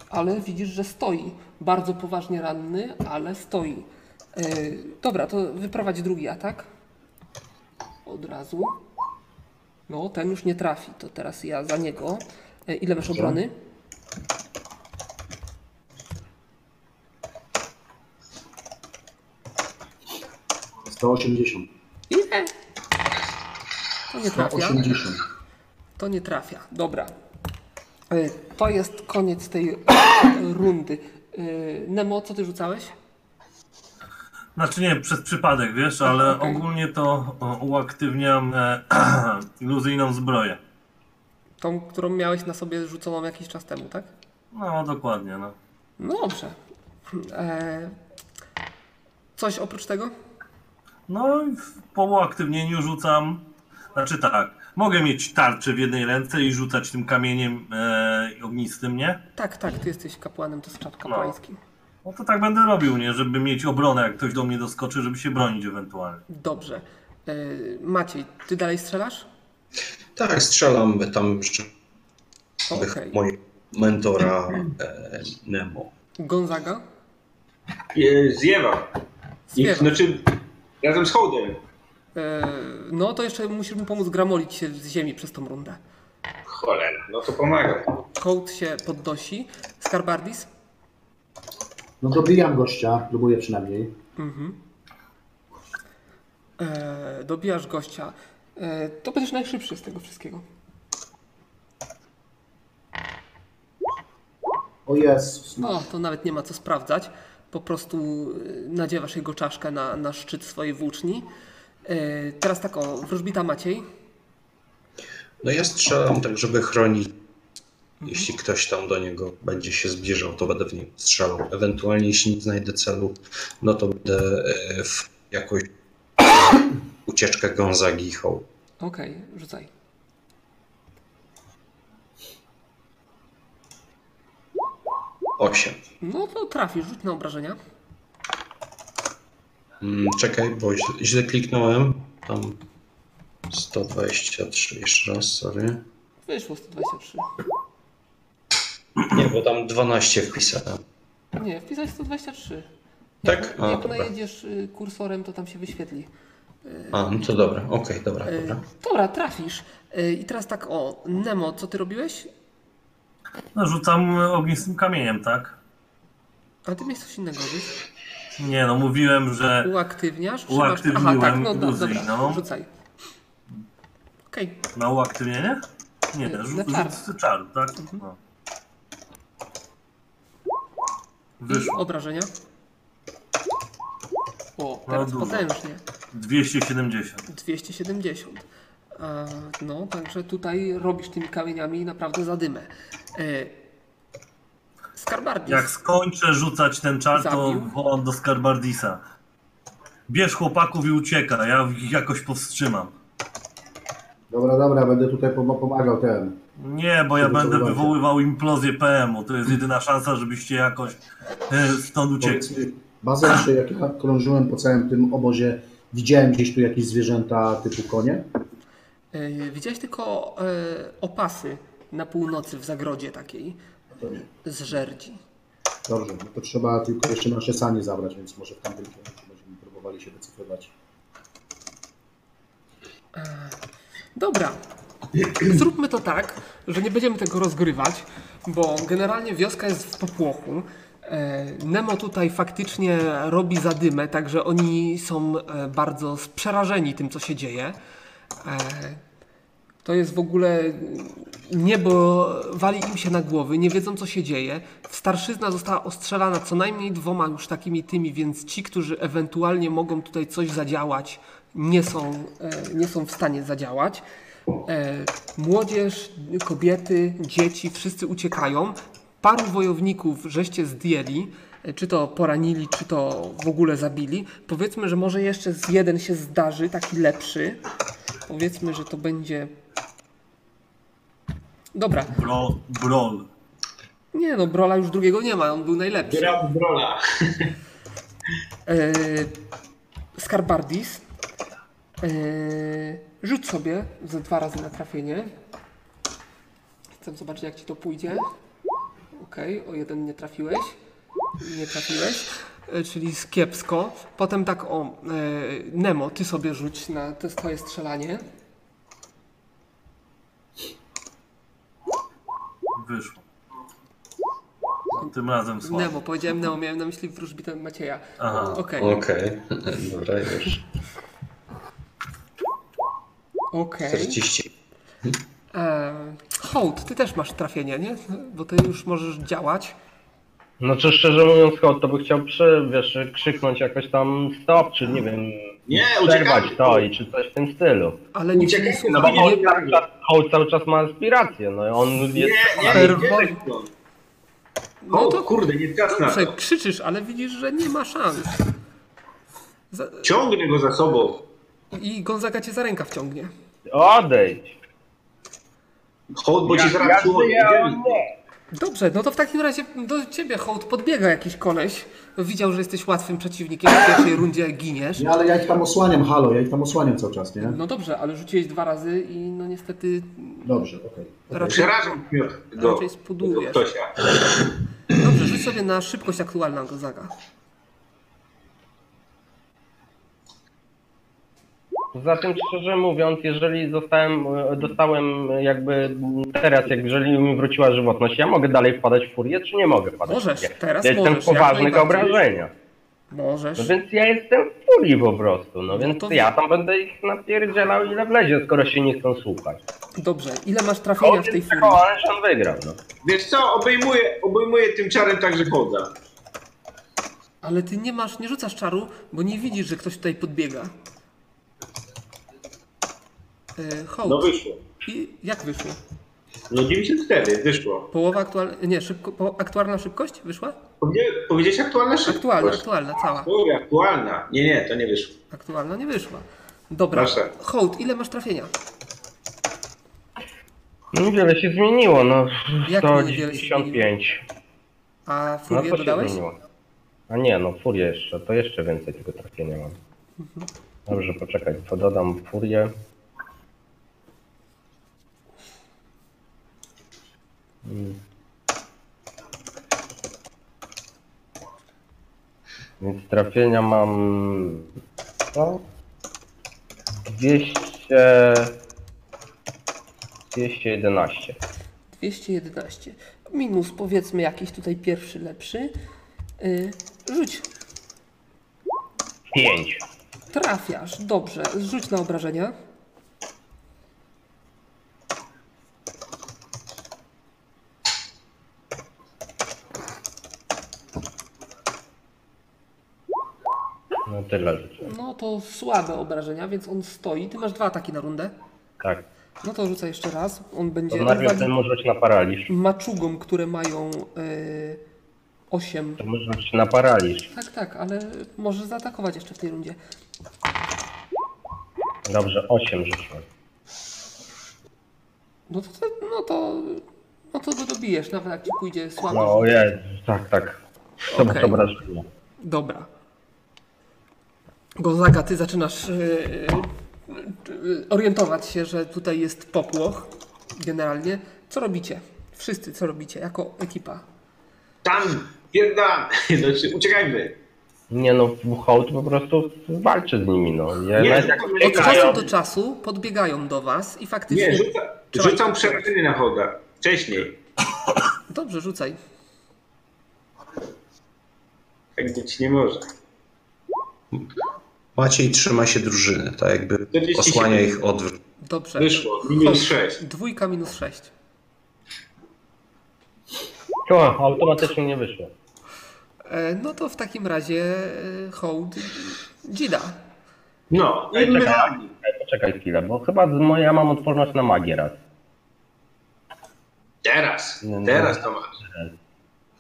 [SPEAKER 1] Ale widzisz, że stoi. Bardzo poważnie ranny, ale stoi. Yy, dobra, to wyprowadź drugi atak. Od razu. No, ten już nie trafi. To teraz ja za niego. Yy, ile masz
[SPEAKER 6] Dobrze.
[SPEAKER 1] obrony?
[SPEAKER 6] no. 180.
[SPEAKER 1] Ile? To nie trafia.
[SPEAKER 6] 180.
[SPEAKER 1] To nie trafia. Dobra. Yy, to jest koniec tej rundy. Yy, Nemo, co ty rzucałeś?
[SPEAKER 5] Znaczy nie, przez przypadek, wiesz, ale
[SPEAKER 1] Okej.
[SPEAKER 5] ogólnie to o, uaktywniam e, iluzyjną zbroję.
[SPEAKER 1] Tą, którą miałeś na sobie rzuconą jakiś czas temu, tak?
[SPEAKER 5] No, dokładnie, no.
[SPEAKER 1] No dobrze. E, coś oprócz tego?
[SPEAKER 5] No i w- po uaktywnieniu rzucam. Znaczy tak, mogę mieć tarczę w jednej ręce i rzucać tym kamieniem e, ognistym, nie?
[SPEAKER 1] Tak, tak, ty jesteś kapłanem, to jest czat kapłański.
[SPEAKER 5] No to tak będę robił, nie? Żeby mieć obronę, jak ktoś do mnie doskoczy, żeby się bronić ewentualnie.
[SPEAKER 1] Dobrze. E, Maciej, ty dalej strzelasz?
[SPEAKER 7] Tak, strzelam tam jeszcze
[SPEAKER 1] O, Okej.
[SPEAKER 7] mojego mentora e, Nemo.
[SPEAKER 1] Gonzaga?
[SPEAKER 11] E, Zjewam. I-
[SPEAKER 1] Zwiewa.
[SPEAKER 11] Znaczy, razem z hołdem.
[SPEAKER 1] E, no to jeszcze musisz mu pomóc gramolić się z ziemi przez tą rundę.
[SPEAKER 11] Cholera, no to pomagam.
[SPEAKER 1] Hołd się podnosi. Skarbardis?
[SPEAKER 6] No dobijam gościa, próbuję przynajmniej.
[SPEAKER 1] Mhm. E, dobijasz gościa. E, to będziesz najszybszy z tego wszystkiego.
[SPEAKER 6] O Jezus, no.
[SPEAKER 1] No, to nawet nie ma co sprawdzać. Po prostu y, nadziewasz jego czaszkę na, na szczyt swojej włóczni. Y, Teraz tak o, wróżbita Maciej.
[SPEAKER 7] No ja strzelam tak, żeby chronić. Jeśli ktoś tam do niego będzie się zbliżał, to będę w nim strzelał. Ewentualnie, jeśli nie znajdę celu, no to będę e, w jakąś ucieczkę Gonzagi hoł.
[SPEAKER 1] Okej, rzucaj.
[SPEAKER 7] Osiem.
[SPEAKER 1] No to trafisz, rzuć na obrażenia.
[SPEAKER 7] Mm, Czekaj, bo źle, źle kliknąłem. Tam 123, jeszcze raz, sorry.
[SPEAKER 1] Wyszło 123.
[SPEAKER 7] Nie, bo tam 12 wpisałem.
[SPEAKER 1] Nie, wpisałeś 123.
[SPEAKER 7] Tak? A,
[SPEAKER 1] Jak
[SPEAKER 7] dobra.
[SPEAKER 1] najedziesz y, kursorem, to tam się wyświetli.
[SPEAKER 7] A, no to dobra, okej, dobra,
[SPEAKER 1] Y,
[SPEAKER 7] dobra.
[SPEAKER 1] Dobra, trafisz. Y, I teraz tak o, Nemo, co ty robiłeś?
[SPEAKER 5] No rzucam e, ognistym kamieniem, tak?
[SPEAKER 1] A ty miałeś coś innego robić?
[SPEAKER 5] Nie no, mówiłem, że
[SPEAKER 1] Uaktywniasz? Trzymasz- Aha,
[SPEAKER 5] Uaktywniłem
[SPEAKER 1] tak, no do- dobra,
[SPEAKER 5] iluzyjną.
[SPEAKER 1] rzucaj. Okej.
[SPEAKER 5] na uaktywnienie? Nie,
[SPEAKER 1] Na
[SPEAKER 5] rzu-
[SPEAKER 1] czar.
[SPEAKER 5] rzut z czaru, tak? No.
[SPEAKER 1] I
[SPEAKER 5] Wyszło.
[SPEAKER 1] obrażenia. O, teraz
[SPEAKER 5] No, dużo.
[SPEAKER 1] potężnie.
[SPEAKER 5] 270.
[SPEAKER 1] 270. E, No, także tutaj robisz tymi kamieniami naprawdę zadymę. E, Skarbardis.
[SPEAKER 5] Jak skończę rzucać ten czar, to
[SPEAKER 1] Zabił.
[SPEAKER 5] wołam do Skarbardisa. Bierz chłopaków i ucieka, ja ich jakoś powstrzymam.
[SPEAKER 6] Dobra, dobra, będę tutaj pom- pomagał ten.
[SPEAKER 5] Nie, bo ja
[SPEAKER 6] Żeby to
[SPEAKER 5] będę
[SPEAKER 6] uważać.
[SPEAKER 5] wywoływał implozję PM-u. To jest jedyna szansa, żebyście jakoś e, stąd uciekli.
[SPEAKER 6] Powiedz mi, Bazel, czy jak ja krążyłem po całym tym obozie, widziałem gdzieś tu jakieś zwierzęta typu konie?
[SPEAKER 1] E, Widziałeś tylko e, opasy na północy w zagrodzie takiej z żerdzi.
[SPEAKER 6] Dobrze, no to trzeba tylko jeszcze nasze sanie zabrać, więc może w tamtym kierunku będziemy próbowali się wycofywać.
[SPEAKER 1] Dobra. Zróbmy to tak, że nie będziemy tego rozgrywać, bo generalnie wioska jest w popłochu. E, Nemo tutaj faktycznie robi zadymę, także oni są e, bardzo przerażeni tym, co się dzieje. E, To jest w ogóle niebo wali im się na głowy, nie wiedzą co się dzieje. Starszyzna została ostrzelana co najmniej dwoma już takimi tymi, więc ci, którzy ewentualnie mogą tutaj coś zadziałać, nie są, e, nie są w stanie zadziałać. E, Młodzież, kobiety, dzieci, wszyscy uciekają. Paru wojowników żeście zdjęli, e, czy to poranili, czy to w ogóle zabili. Powiedzmy, że może jeszcze z jeden się zdarzy, taki lepszy. Powiedzmy, że to będzie. Dobra.
[SPEAKER 5] Bro, brol.
[SPEAKER 1] Nie no, Brola już drugiego nie ma, on był najlepszy.
[SPEAKER 11] Grab Brola.
[SPEAKER 1] E, Skarbardis. E, rzuć sobie ze dwa razy na trafienie. Chcę zobaczyć, jak ci to pójdzie. Okej, o jeden nie trafiłeś. Nie trafiłeś, e, czyli z kiepsko. Potem tak o, e, Nemo, ty sobie rzuć na to twoje strzelanie.
[SPEAKER 5] Wyszło. Tym razem słabo.
[SPEAKER 1] Nemo, powiedziałem Nemo, miałem na myśli wróżbitę Macieja.
[SPEAKER 5] Aha,
[SPEAKER 1] Okej.
[SPEAKER 7] Okej, dobra, już.
[SPEAKER 1] Okej.
[SPEAKER 7] 40.
[SPEAKER 1] E, Hołd, ty też masz trafienie, nie? Bo ty już możesz działać.
[SPEAKER 8] No czy szczerze mówiąc, Hołd, to by chciał przy, wiesz, krzyknąć jakoś tam stop, czy nie wiem,
[SPEAKER 11] Nie,
[SPEAKER 8] przerwać
[SPEAKER 11] uciekajcie.
[SPEAKER 8] to i czy coś w tym stylu.
[SPEAKER 1] Ale nikt nie
[SPEAKER 11] Uciekajcie,
[SPEAKER 1] słucha.
[SPEAKER 11] no bo
[SPEAKER 1] nie,
[SPEAKER 11] oni-
[SPEAKER 8] Cały czas- Hołd cały czas ma aspiracje, no i on jest...
[SPEAKER 11] Nie, nie, nie, nie, nie, nie.
[SPEAKER 1] no
[SPEAKER 11] O
[SPEAKER 1] to
[SPEAKER 11] kurde, nie teraz na
[SPEAKER 1] dobrze,
[SPEAKER 11] to.
[SPEAKER 1] krzyczysz, ale widzisz, że nie ma szans. Za,
[SPEAKER 11] Ciągnę go za sobą.
[SPEAKER 1] I Gonzaga cię za rękaw ciągnie.
[SPEAKER 8] Odejdź!
[SPEAKER 11] Hołd, bo ci
[SPEAKER 4] Ja, ja
[SPEAKER 11] zaraz
[SPEAKER 4] żyję, a on
[SPEAKER 11] przyłożę.
[SPEAKER 4] nie.
[SPEAKER 1] Dobrze, no to w takim razie do ciebie, Hołd, podbiega jakiś koleś. Widział, że jesteś łatwym przeciwnikiem, w pierwszej rundzie giniesz.
[SPEAKER 6] Nie, ale ja ich tam osłaniam, halo, ja ich tam osłaniam cały czas, nie?
[SPEAKER 1] No dobrze, ale rzuciłeś dwa razy i no niestety
[SPEAKER 6] Dobrze, okej.
[SPEAKER 1] raczej,
[SPEAKER 11] Przerażam go.
[SPEAKER 1] raczej spudujesz.
[SPEAKER 11] Ktośa.
[SPEAKER 1] Dobrze, rzuć sobie na szybkość aktualną, Gonzaga.
[SPEAKER 8] Zatem szczerze mówiąc, jeżeli zostałem, e, dostałem e, jakby m, teraz, jak jeżeli mi wróciła żywotność, ja mogę dalej wpadać w furię, czy nie mogę wpadać
[SPEAKER 1] Możesz,
[SPEAKER 8] w furię?
[SPEAKER 1] teraz
[SPEAKER 8] ja jestem
[SPEAKER 1] możesz,
[SPEAKER 8] w
[SPEAKER 1] jak
[SPEAKER 8] poważnych
[SPEAKER 1] najbardziej.
[SPEAKER 8] obrażeniach.
[SPEAKER 1] Możesz.
[SPEAKER 8] No więc ja jestem w furii po prostu, no
[SPEAKER 1] No
[SPEAKER 8] więc
[SPEAKER 1] to-
[SPEAKER 8] ja tam będę ich napierdzielał ile wlezie, skoro się nie chcą słuchać.
[SPEAKER 1] Dobrze, ile masz
[SPEAKER 8] Hołd
[SPEAKER 1] trafienia w
[SPEAKER 8] jest
[SPEAKER 1] tej furii?
[SPEAKER 8] przekonany, że on wygrał, no.
[SPEAKER 11] Wiesz co, obejmuję, obejmuję tym czarem także Hołda.
[SPEAKER 1] Ale ty nie masz, nie rzucasz czaru, bo nie widzisz, że ktoś tutaj podbiega. Yy, hołd.
[SPEAKER 11] No wyszło.
[SPEAKER 1] I jak wyszło?
[SPEAKER 11] No 94, wyszło.
[SPEAKER 1] Połowa aktualna, nie, szybko, po, aktualna szybkość wyszła?
[SPEAKER 11] Powiedzia- Powiedziałeś aktualna szybkość?
[SPEAKER 1] Aktualna, aktualna, cała.
[SPEAKER 11] Dobra, aktualna. Nie, nie, to nie wyszło.
[SPEAKER 1] Aktualna nie wyszła. Dobra,
[SPEAKER 11] Proszę.
[SPEAKER 1] hołd, ile masz trafienia?
[SPEAKER 8] No Niewiele się zmieniło, no.
[SPEAKER 1] Jak niewiele się
[SPEAKER 8] 195.
[SPEAKER 1] A
[SPEAKER 8] No
[SPEAKER 1] furię
[SPEAKER 8] co się
[SPEAKER 1] dodałeś?
[SPEAKER 8] zmieniło? A nie, no furię jeszcze, to jeszcze więcej tego trafienia mam.
[SPEAKER 1] Mhm.
[SPEAKER 8] Dobrze, poczekaj, to dodam furię. Mm. Więc trafienia mam... no, Co? 200... 211.
[SPEAKER 1] 211. Minus powiedzmy jakiś tutaj pierwszy lepszy. Yy, rzuć.
[SPEAKER 8] 5.
[SPEAKER 1] Trafiasz, dobrze. Rzuć na obrażenia.
[SPEAKER 8] No tyle rzeczy.
[SPEAKER 1] No to słabe obrażenia, więc on stoi. Ty masz dwa ataki na rundę.
[SPEAKER 8] Tak.
[SPEAKER 1] No to rzucę jeszcze raz. On
[SPEAKER 8] To
[SPEAKER 1] będzie
[SPEAKER 8] najpierw
[SPEAKER 1] uwagi
[SPEAKER 8] ten może być na paraliż.
[SPEAKER 1] maczugom, które mają y, 8.
[SPEAKER 8] To może być na paraliż.
[SPEAKER 1] Tak, tak, ale może zaatakować jeszcze w tej rundzie.
[SPEAKER 8] Dobrze, 8 rzuciłem.
[SPEAKER 1] No to, to- no to, no to go dobijesz, nawet jak ci pójdzie słabo.
[SPEAKER 8] No ojej, tak, tak. To
[SPEAKER 1] Okej.
[SPEAKER 8] okay. obrażenia.
[SPEAKER 1] Dobra. Gonzaga, ty zaczynasz y, orientować się, że tutaj jest popłoch generalnie. Co robicie? Wszyscy, co robicie jako ekipa?
[SPEAKER 2] Tam, pierda, znaczy, uciekajmy.
[SPEAKER 8] Nie no, hołd po prostu walczy z nimi, no. Ja
[SPEAKER 2] Nie,
[SPEAKER 8] nawet
[SPEAKER 2] to
[SPEAKER 8] jak
[SPEAKER 2] nie
[SPEAKER 1] Od
[SPEAKER 2] Biegają.
[SPEAKER 1] czasu do czasu podbiegają do was i faktycznie...
[SPEAKER 2] Nie, rzuca, rzucam przerażenie na Hołda. Wcześniej.
[SPEAKER 1] Dobrze, rzucaj.
[SPEAKER 2] Tak być nie może.
[SPEAKER 3] Maciej trzyma się drużyny, tak jakby
[SPEAKER 2] 47.
[SPEAKER 3] osłania ich odwrót.
[SPEAKER 1] Dobrze.
[SPEAKER 2] Wyszło, minus
[SPEAKER 1] Chodź.
[SPEAKER 2] 6.
[SPEAKER 1] Dwójka minus sześć.
[SPEAKER 8] to automatycznie nie wyszło.
[SPEAKER 1] E, No to w takim razie e, hołd dzida.
[SPEAKER 2] No,
[SPEAKER 8] Ej,
[SPEAKER 2] i my
[SPEAKER 8] czekaj.
[SPEAKER 2] rani.
[SPEAKER 8] Ej, Poczekaj chwilę, bo chyba z moja mam odporność na magię raz.
[SPEAKER 2] Teraz,
[SPEAKER 8] No, no.
[SPEAKER 2] teraz to masz.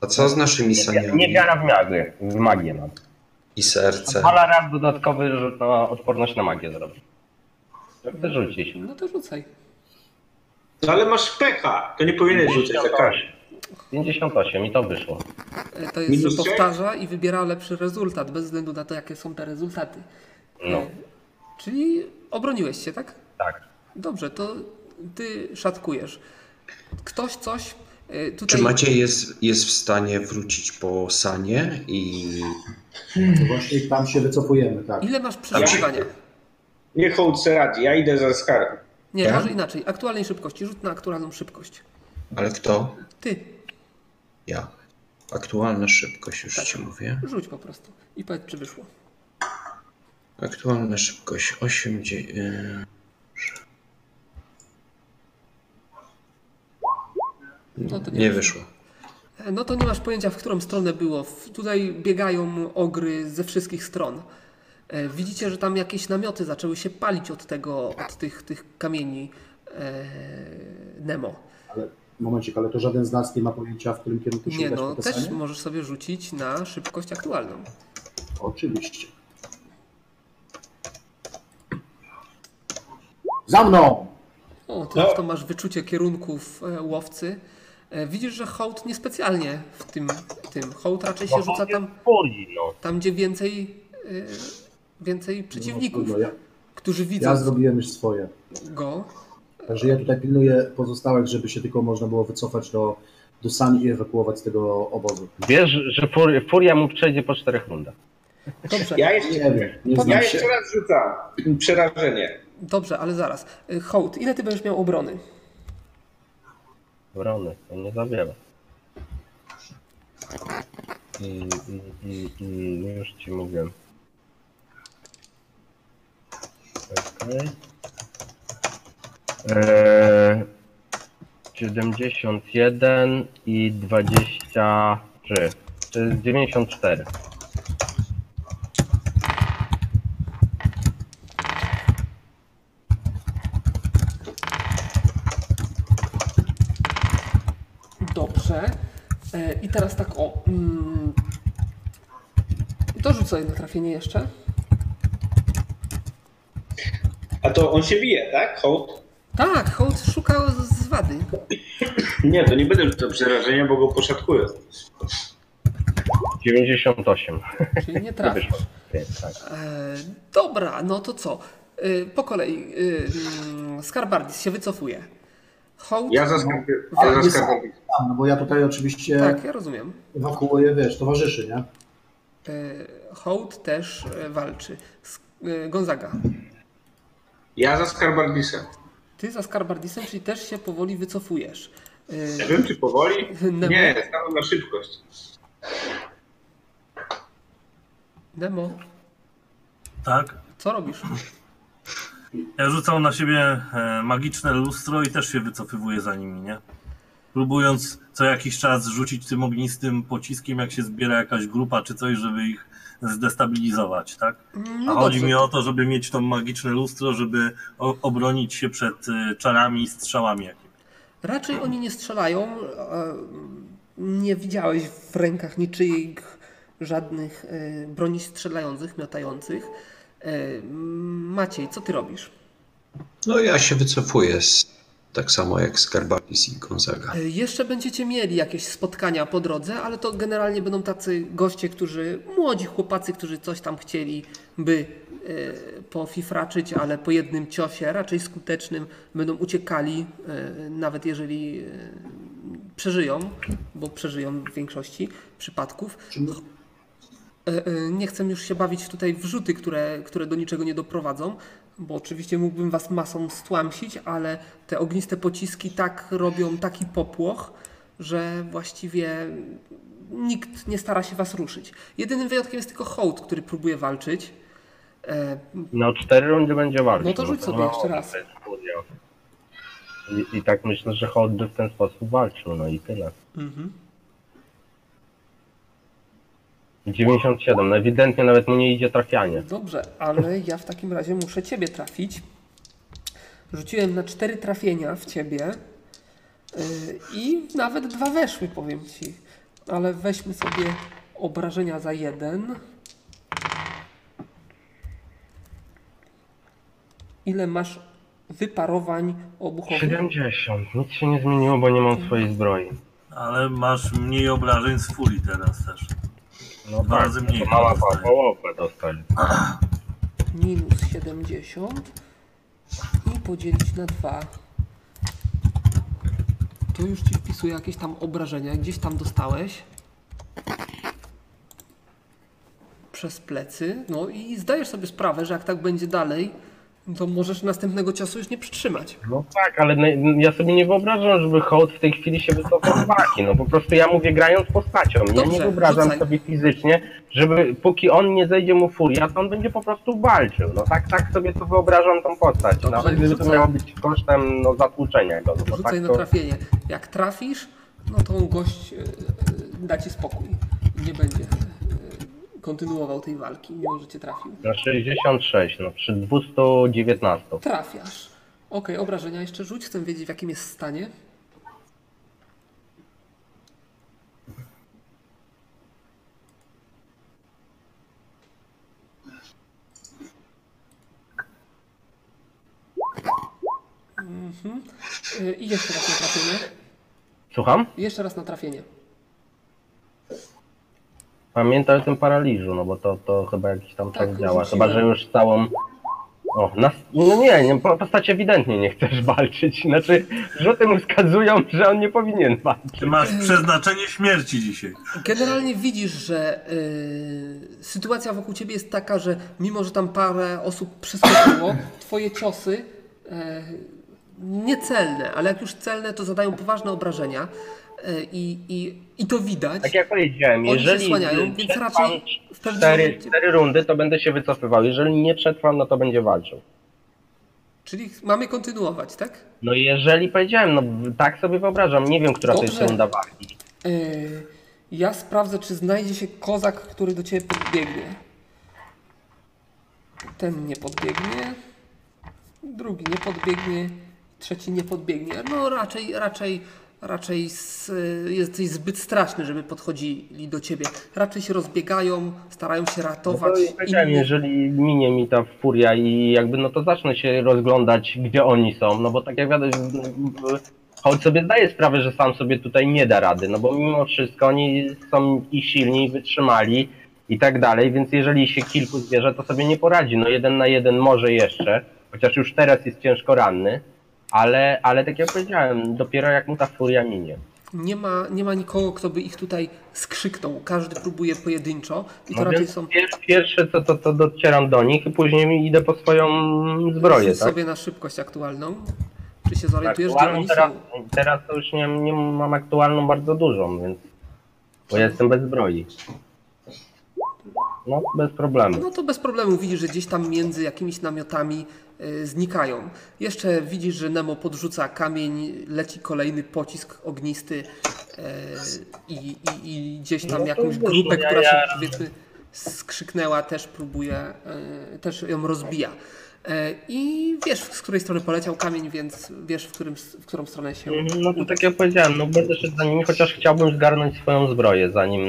[SPEAKER 3] A co z naszymi
[SPEAKER 8] Nie
[SPEAKER 3] saniami
[SPEAKER 8] wiara w magię, w magię mam.
[SPEAKER 3] i sercem?
[SPEAKER 8] Ale raz dodatkowy rzut na odporność na magię zrobię. Wyrzucić.
[SPEAKER 1] No to rzucaj.
[SPEAKER 2] No ale masz pecha, to nie powinieneś rzucać za karę.
[SPEAKER 8] 58 i to wyszło.
[SPEAKER 1] E, To jest,
[SPEAKER 2] Minus
[SPEAKER 1] że
[SPEAKER 2] sześć?
[SPEAKER 1] powtarza i wybiera lepszy rezultat, bez względu na to, jakie są te rezultaty. E,
[SPEAKER 8] No,
[SPEAKER 1] Czyli obroniłeś się, tak?
[SPEAKER 8] tak.
[SPEAKER 1] Dobrze, to ty szatkujesz. Ktoś coś e, tutaj...
[SPEAKER 3] Czy Maciej jest, jest w stanie wrócić po sanie i
[SPEAKER 6] To właśnie tam się wycofujemy, tak.
[SPEAKER 1] Ile masz przeszukiwania?
[SPEAKER 2] Nie Hołd se radzi, ja idę za skarb.
[SPEAKER 1] Nie,
[SPEAKER 3] Ja?
[SPEAKER 1] może inaczej. Aktualnej szybkości. Rzut na aktualną szybkość.
[SPEAKER 3] Ale kto?
[SPEAKER 1] Ty,
[SPEAKER 3] Ja. Aktualna szybkość, już
[SPEAKER 1] Tak.
[SPEAKER 3] ci mówię.
[SPEAKER 1] rzuć po prostu i powiedz, czy wyszło.
[SPEAKER 3] Aktualna szybkość 8, dzie- y,
[SPEAKER 1] No to
[SPEAKER 3] nie wyszło.
[SPEAKER 1] No to nie masz pojęcia, w którą stronę było. W- Tutaj biegają ogry ze wszystkich stron. E, Widzicie, że tam jakieś namioty zaczęły się palić od tego, od tych, tych kamieni e, Nemo.
[SPEAKER 6] Momencik, ale to żaden z nas nie ma pojęcia, w którym kierunku się
[SPEAKER 1] Nie
[SPEAKER 6] udać
[SPEAKER 1] no,
[SPEAKER 6] po te
[SPEAKER 1] też
[SPEAKER 6] sanie?
[SPEAKER 1] możesz sobie rzucić na szybkość aktualną.
[SPEAKER 6] Oczywiście. Za mną!
[SPEAKER 1] O, ty to masz wyczucie kierunków e, łowcy. E, Widzisz, że hołd niespecjalnie w tym, tym. Hołd raczej się rzuca tam,
[SPEAKER 8] Kurzi, no.
[SPEAKER 1] tam gdzie więcej, e, więcej przeciwników,
[SPEAKER 6] No, ja,
[SPEAKER 1] którzy
[SPEAKER 6] ja
[SPEAKER 1] widzą
[SPEAKER 6] zrobiłem już swoje.
[SPEAKER 1] go.
[SPEAKER 6] Także ja tutaj pilnuję pozostałych, żeby się tylko można było wycofać do, do sani i ewakuować z tego obozu.
[SPEAKER 8] Wiesz, że fur, furia mu przejdzie po czterech rundach.
[SPEAKER 1] Dobrze.
[SPEAKER 2] Ja jeszcze,
[SPEAKER 6] Nie wiem, nie znam
[SPEAKER 2] ja
[SPEAKER 6] się.
[SPEAKER 2] jeszcze raz rzucam. Przerażenie.
[SPEAKER 1] Dobrze, ale zaraz. Y, Hołd, ile ty będziesz miał obrony?
[SPEAKER 8] Brony, to nie za wiele. Mm, mm, mm, mm, już ci mówię. Czekaj. Eee, 71 i 23. To jest 94.
[SPEAKER 1] Dobrze. E, I teraz tak o. Mm, dorzuć sobie na trafienie jeszcze.
[SPEAKER 2] A to on się bije, tak? Hołd?
[SPEAKER 1] Tak, hołd szukał z- z wady.
[SPEAKER 2] Nie, to nie będę rzucał przerażenia, bo go poszatkuję.
[SPEAKER 8] 98.
[SPEAKER 1] Czyli nie trafisz.
[SPEAKER 8] Nie, tak.
[SPEAKER 1] E, dobra, no to co? E, po kolei. E, Skarbardis się wycofuje. Hołd.
[SPEAKER 2] Ja za skarb. Ja za
[SPEAKER 1] Jest-
[SPEAKER 2] skarb.
[SPEAKER 6] Tam, no bo ja tutaj oczywiście
[SPEAKER 1] Tak, ja rozumiem.
[SPEAKER 6] ewakuuję, wiesz, towarzyszy, nie?
[SPEAKER 1] E, hołd też e, walczy. Sk- e, Gonzaga.
[SPEAKER 2] Ja za skarbardisem.
[SPEAKER 1] Ty za Skarbardisem, czyli też się powoli wycofujesz. E,
[SPEAKER 2] Nie wiem, czy powoli?
[SPEAKER 1] Nemo.
[SPEAKER 2] Nie, stanął na szybkość.
[SPEAKER 1] Nemo,
[SPEAKER 5] Tak?
[SPEAKER 1] co robisz?
[SPEAKER 5] Ja rzucam na siebie e, magiczne lustro i też się wycofywuję za nimi, nie? Próbując co jakiś czas rzucić tym ognistym pociskiem, jak się zbiera jakaś grupa czy coś, żeby ich zdestabilizować, tak? A
[SPEAKER 1] No
[SPEAKER 5] chodzi
[SPEAKER 1] dobrze.
[SPEAKER 5] mi o to, żeby mieć to magiczne lustro, żeby o, obronić się przed y, czarami i strzałami jakimiś.
[SPEAKER 1] Raczej oni nie strzelają. e, Nie widziałeś w rękach niczyich żadnych e, broni strzelających, miotających. E, Maciej, co ty robisz?
[SPEAKER 3] No ja się wycofuję z, tak samo jak Skarbakis i Gonzaga.
[SPEAKER 1] E, Jeszcze będziecie mieli jakieś spotkania po drodze, ale to generalnie będą tacy goście, którzy, młodzi chłopacy, którzy coś tam chcieliby e, pofifraczyć, ale po jednym ciosie, raczej skutecznym, będą uciekali, e, nawet jeżeli e, przeżyją, bo przeżyją w większości przypadków. E, e, Nie chcę już się bawić tutaj w rzuty, które, które do niczego nie doprowadzą, bo oczywiście mógłbym was masą stłamsić, ale te ogniste pociski tak robią taki popłoch, że właściwie nikt nie stara się was ruszyć. Jedynym wyjątkiem jest tylko hołd, który próbuje walczyć. E,
[SPEAKER 8] No cztery rundy będzie walczył.
[SPEAKER 1] No to rzuć sobie
[SPEAKER 8] ma
[SPEAKER 1] jeszcze
[SPEAKER 8] on
[SPEAKER 1] raz.
[SPEAKER 8] bez udziału. I, I tak myślę, że Hołd by w ten sposób walczył, no i tyle.
[SPEAKER 1] Mhm.
[SPEAKER 8] 97, no ewidentnie nawet mu nie idzie trafianie.
[SPEAKER 1] Dobrze, ale ja w takim razie muszę ciebie trafić. Rzuciłem na cztery trafienia w ciebie yy, i nawet dwa weszły, powiem ci. Ale weźmy sobie obrażenia za jeden. Ile masz wyparowań obuchowych?
[SPEAKER 8] 70, nic się nie zmieniło, bo nie
[SPEAKER 1] Tak.
[SPEAKER 8] mam swojej zbroi.
[SPEAKER 5] No, Ale masz mniej obrażeń z fuli teraz też.
[SPEAKER 8] No
[SPEAKER 5] Dwa
[SPEAKER 8] tak,
[SPEAKER 5] razy mniej.
[SPEAKER 8] to Mała
[SPEAKER 5] dostaje.
[SPEAKER 8] połowę dostali.
[SPEAKER 1] minus 70 i podzielić na 2. To już ci wpisuję jakieś tam obrażenia, gdzieś tam dostałeś. Przez plecy. No i zdajesz sobie sprawę, że jak tak będzie dalej, to możesz następnego ciosu już nie przytrzymać.
[SPEAKER 8] No tak, ale no, ja sobie nie wyobrażam, żeby Hołd w tej chwili się wycofał z walki. No po prostu ja mówię grając postacią. Ja nie
[SPEAKER 1] Dobrze,
[SPEAKER 8] wyobrażam
[SPEAKER 1] rzucaj.
[SPEAKER 8] sobie fizycznie, żeby póki on nie zejdzie mu furia, to on będzie po prostu walczył. No tak, tak sobie to wyobrażam tą postać.
[SPEAKER 1] Dobrze,
[SPEAKER 8] Nawet gdyby to
[SPEAKER 1] rzucaj.
[SPEAKER 8] miało być kosztem no, zatłuczenia go. No, bo
[SPEAKER 1] Rzucaj
[SPEAKER 8] tak
[SPEAKER 1] na
[SPEAKER 8] to...
[SPEAKER 1] trafienie. Jak trafisz, no to gość e, e, da ci spokój. Nie będzie e, kontynuował tej walki, mimo że cię trafił.
[SPEAKER 8] No 66, no przy 219.
[SPEAKER 1] Trafiasz. Okej, obrażenia jeszcze rzuć. Chcę wiedzieć, w jakim jest stanie. Mhm. Y, I jeszcze raz na trafienie.
[SPEAKER 8] Słucham?
[SPEAKER 1] Jeszcze raz na trafienie.
[SPEAKER 8] Pamiętaj o tym paraliżu, no bo to, to chyba jakiś tam czas
[SPEAKER 1] Tak,
[SPEAKER 8] działa.
[SPEAKER 1] rzuciłem.
[SPEAKER 8] Chyba, że już całą. O, nas... no nie, nie, po- postać ewidentnie nie chcesz walczyć. Znaczy, rzuty mu wskazują, że on nie powinien walczyć.
[SPEAKER 5] Ty masz przeznaczenie śmierci dzisiaj. Znaczy,
[SPEAKER 1] Generalnie widzisz, że y, sytuacja wokół ciebie jest taka, że mimo, że tam parę osób przeskoczyło, twoje ciosy y, niecelne, ale jak już celne, to zadają poważne obrażenia y, i, i, i to widać.
[SPEAKER 8] Tak jak powiedziałem,
[SPEAKER 1] Oni się
[SPEAKER 8] jeżeli
[SPEAKER 1] słaniają, więc
[SPEAKER 8] przetrwam
[SPEAKER 1] raczej w pewnym
[SPEAKER 8] cztery,
[SPEAKER 1] momencie-
[SPEAKER 8] cztery rundy, to będę się wycofywał. Jeżeli nie przetrwam, no to będzie walczył.
[SPEAKER 1] Czyli mamy kontynuować, tak?
[SPEAKER 8] No i jeżeli powiedziałem, no tak sobie wyobrażam, nie wiem, która to jest
[SPEAKER 1] Dobrze.
[SPEAKER 8] runda walki.
[SPEAKER 1] Y, ja sprawdzę, czy znajdzie się kozak, który do ciebie podbiegnie. Ten nie podbiegnie, drugi nie podbiegnie, trzeci nie podbiegnie. No raczej, raczej, raczej s- y, jesteś zbyt straszny, żeby podchodzili do ciebie. Raczej się rozbiegają, starają się
[SPEAKER 8] No
[SPEAKER 1] ratować.
[SPEAKER 8] to i powiedziałem,
[SPEAKER 1] inni.
[SPEAKER 8] jeżeli minie mi ta furia i jakby no to zacznę się rozglądać, gdzie oni są, no bo tak jak wiadomo, choć sobie zdaję sprawę, że sam sobie tutaj nie da rady, no bo mimo wszystko oni są i silni, i wytrzymali i tak dalej, więc jeżeli się kilku zwierzę, to sobie nie poradzi, no jeden na jeden może jeszcze, chociaż już teraz jest ciężko ranny, ale, ale tak jak powiedziałem, dopiero jak mu ta furia minie.
[SPEAKER 1] Nie ma, nie ma nikogo, kto by ich tutaj skrzyknął. Każdy próbuje pojedynczo i to
[SPEAKER 8] No
[SPEAKER 1] raczej
[SPEAKER 8] więc
[SPEAKER 1] są
[SPEAKER 8] pier- pierwsze co to, to docieram do nich i później idę po swoją zbroję,
[SPEAKER 1] Rzuć
[SPEAKER 8] tak?
[SPEAKER 1] sobie na szybkość aktualną. Czy się
[SPEAKER 8] Tak,
[SPEAKER 1] zorientujesz, gdzie
[SPEAKER 8] aktualną
[SPEAKER 1] oni
[SPEAKER 8] teraz,
[SPEAKER 1] są?
[SPEAKER 8] teraz to już nie, nie mam aktualną bardzo dużą, więc. Bo ja jestem bez zbroi. No, bez problemu.
[SPEAKER 1] No to bez problemu widzisz, że gdzieś tam między jakimiś namiotami y, znikają. Jeszcze widzisz, że Nemo podrzuca kamień, leci kolejny pocisk ognisty y, i, i, i gdzieś tam
[SPEAKER 8] No to
[SPEAKER 1] jakąś
[SPEAKER 8] wiesz,
[SPEAKER 1] grupę,
[SPEAKER 8] ja-
[SPEAKER 1] która się
[SPEAKER 8] ja-
[SPEAKER 1] powiedzmy skrzyknęła, też próbuje, y, też ją rozbija. Y, I wiesz, z której strony poleciał kamień, więc wiesz, w, którym, w którą stronę się
[SPEAKER 8] Mhm, No to
[SPEAKER 1] uda.
[SPEAKER 8] tak jak powiedziałem, no będę szedł za nimi, chociaż chciałbym zgarnąć swoją zbroję, zanim.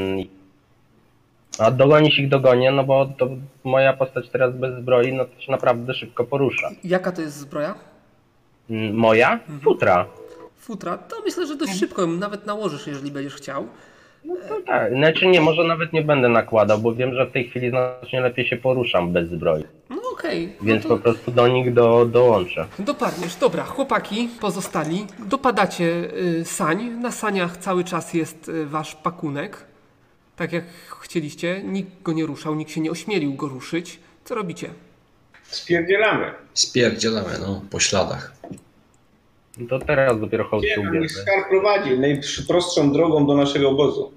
[SPEAKER 8] A dogonić ich dogonię, no bo to moja postać teraz bez zbroi, no to się naprawdę szybko porusza.
[SPEAKER 1] Jaka to jest zbroja?
[SPEAKER 8] Mm, Moja?
[SPEAKER 1] Mhm.
[SPEAKER 8] Futra.
[SPEAKER 1] Futra? To myślę, że dość szybko ją nawet nałożysz, jeżeli będziesz chciał.
[SPEAKER 8] No tak, znaczy nie, może nawet nie będę nakładał, bo wiem, że w tej chwili znacznie lepiej się poruszam bez zbroi.
[SPEAKER 1] No Okej,
[SPEAKER 8] Więc
[SPEAKER 1] no
[SPEAKER 8] po
[SPEAKER 1] to
[SPEAKER 8] prostu do nich do, dołączę.
[SPEAKER 1] dopadniesz. Dobra, chłopaki pozostali. Dopadacie y, sań. Na saniach cały czas jest y, wasz pakunek. Tak jak chcieliście. Nikt go nie ruszał, nikt się nie ośmielił go ruszyć. Co robicie?
[SPEAKER 2] Spierdzielamy.
[SPEAKER 7] Spierdzielamy, no, po śladach.
[SPEAKER 8] To teraz dopiero hołd się
[SPEAKER 2] Wiem, niech
[SPEAKER 8] ubierze.
[SPEAKER 2] Skar prowadzi najprostszą drogą do naszego obozu.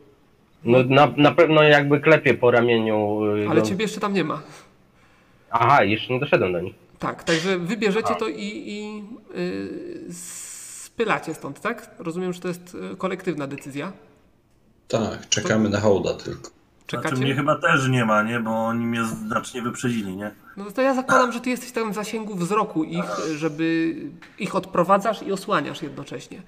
[SPEAKER 8] No na, na pewno jakby klepie po ramieniu. y,
[SPEAKER 1] Ale
[SPEAKER 8] no-
[SPEAKER 1] ciebie jeszcze tam nie ma.
[SPEAKER 8] Aha, jeszcze nie doszedłem do nich.
[SPEAKER 1] Tak, także wybierzecie to i, i y, spylacie stąd, tak? Rozumiem, że to jest y, kolektywna decyzja.
[SPEAKER 7] Tak, czekamy na hołda tylko.
[SPEAKER 5] Znaczy mnie
[SPEAKER 1] Czekacie.
[SPEAKER 5] chyba też nie ma, nie? Bo oni mnie znacznie wyprzedzili, nie?
[SPEAKER 1] No to ja zakładam, że ty jesteś tam w zasięgu wzroku ich, żeby ich odprowadzasz i osłaniasz jednocześnie.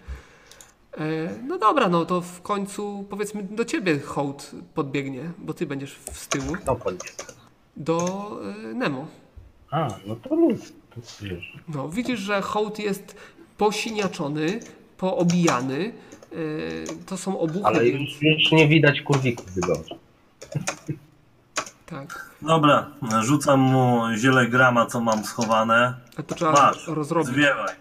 [SPEAKER 1] E, No dobra, no to w końcu powiedzmy do ciebie hołd podbiegnie, bo ty będziesz w- z tyłu
[SPEAKER 8] No podnie.
[SPEAKER 1] do e, Nemo.
[SPEAKER 8] A, no to luz. To wiesz.
[SPEAKER 1] No, widzisz, że hołd jest posiniaczony, poobijany. e, To są obuchy,
[SPEAKER 8] Ale
[SPEAKER 1] więc
[SPEAKER 8] już, już nie widać kurwików wyglądu.
[SPEAKER 1] tak.
[SPEAKER 5] Dobra, rzucam mu ziele grama, co mam schowane.
[SPEAKER 1] A to trzeba
[SPEAKER 5] Masz,
[SPEAKER 1] rozrobić.
[SPEAKER 5] zwiewaj.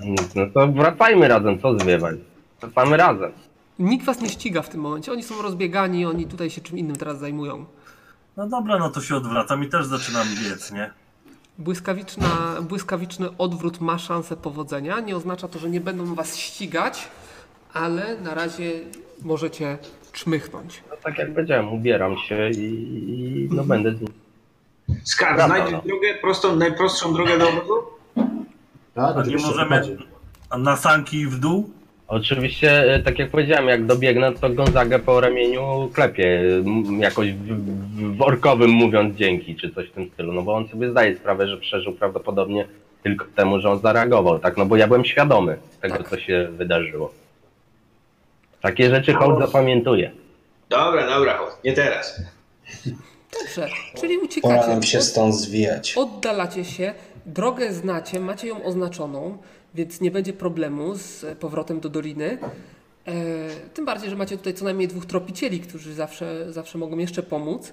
[SPEAKER 8] Nic, No to wracajmy razem, co zwiewaj. Wracamy razem.
[SPEAKER 1] Nikt was nie ściga w tym momencie. Oni są rozbiegani, oni tutaj się czym innym teraz zajmują.
[SPEAKER 5] No dobra, no to się odwracam i też zaczynam biec, nie?
[SPEAKER 1] Błyskawiczna, błyskawiczny odwrót ma szansę powodzenia. Nie oznacza to, że nie będą was ścigać, ale na razie możecie czmychnąć.
[SPEAKER 8] No tak jak powiedziałem, ubieram się i, i no będę z nim.
[SPEAKER 11] Skar,
[SPEAKER 8] Dobra,
[SPEAKER 11] znajdziesz
[SPEAKER 8] no.
[SPEAKER 11] drogę, prostą, najprostszą drogę do obozu?
[SPEAKER 6] Tak,
[SPEAKER 5] A nie
[SPEAKER 6] oczywiście,
[SPEAKER 5] możemy
[SPEAKER 6] najbardziej.
[SPEAKER 5] a na sanki w dół?
[SPEAKER 8] Oczywiście, e, tak jak powiedziałem, jak dobiegnę, to Gonzagę po ramieniu klepie, m, jakoś w, w, w orkowym mówiąc dzięki, czy coś w tym stylu, no bo on sobie zdaje sprawę, że przeżył prawdopodobnie tylko temu, że on zareagował, tak, no bo ja byłem świadomy tego,
[SPEAKER 1] Tak.
[SPEAKER 8] co się wydarzyło. Takie rzeczy hołd zapamiętuje.
[SPEAKER 11] Dobra, dobra, chodź, nie teraz.
[SPEAKER 1] Dobrze, czyli
[SPEAKER 7] Pora
[SPEAKER 1] uciekacie.
[SPEAKER 7] nam się stąd zwijać.
[SPEAKER 1] Oddalacie się, drogę znacie, macie ją oznaczoną, więc nie będzie problemu z powrotem do doliny. E, tym bardziej, że macie tutaj co najmniej dwóch tropicieli, którzy zawsze, zawsze mogą jeszcze pomóc.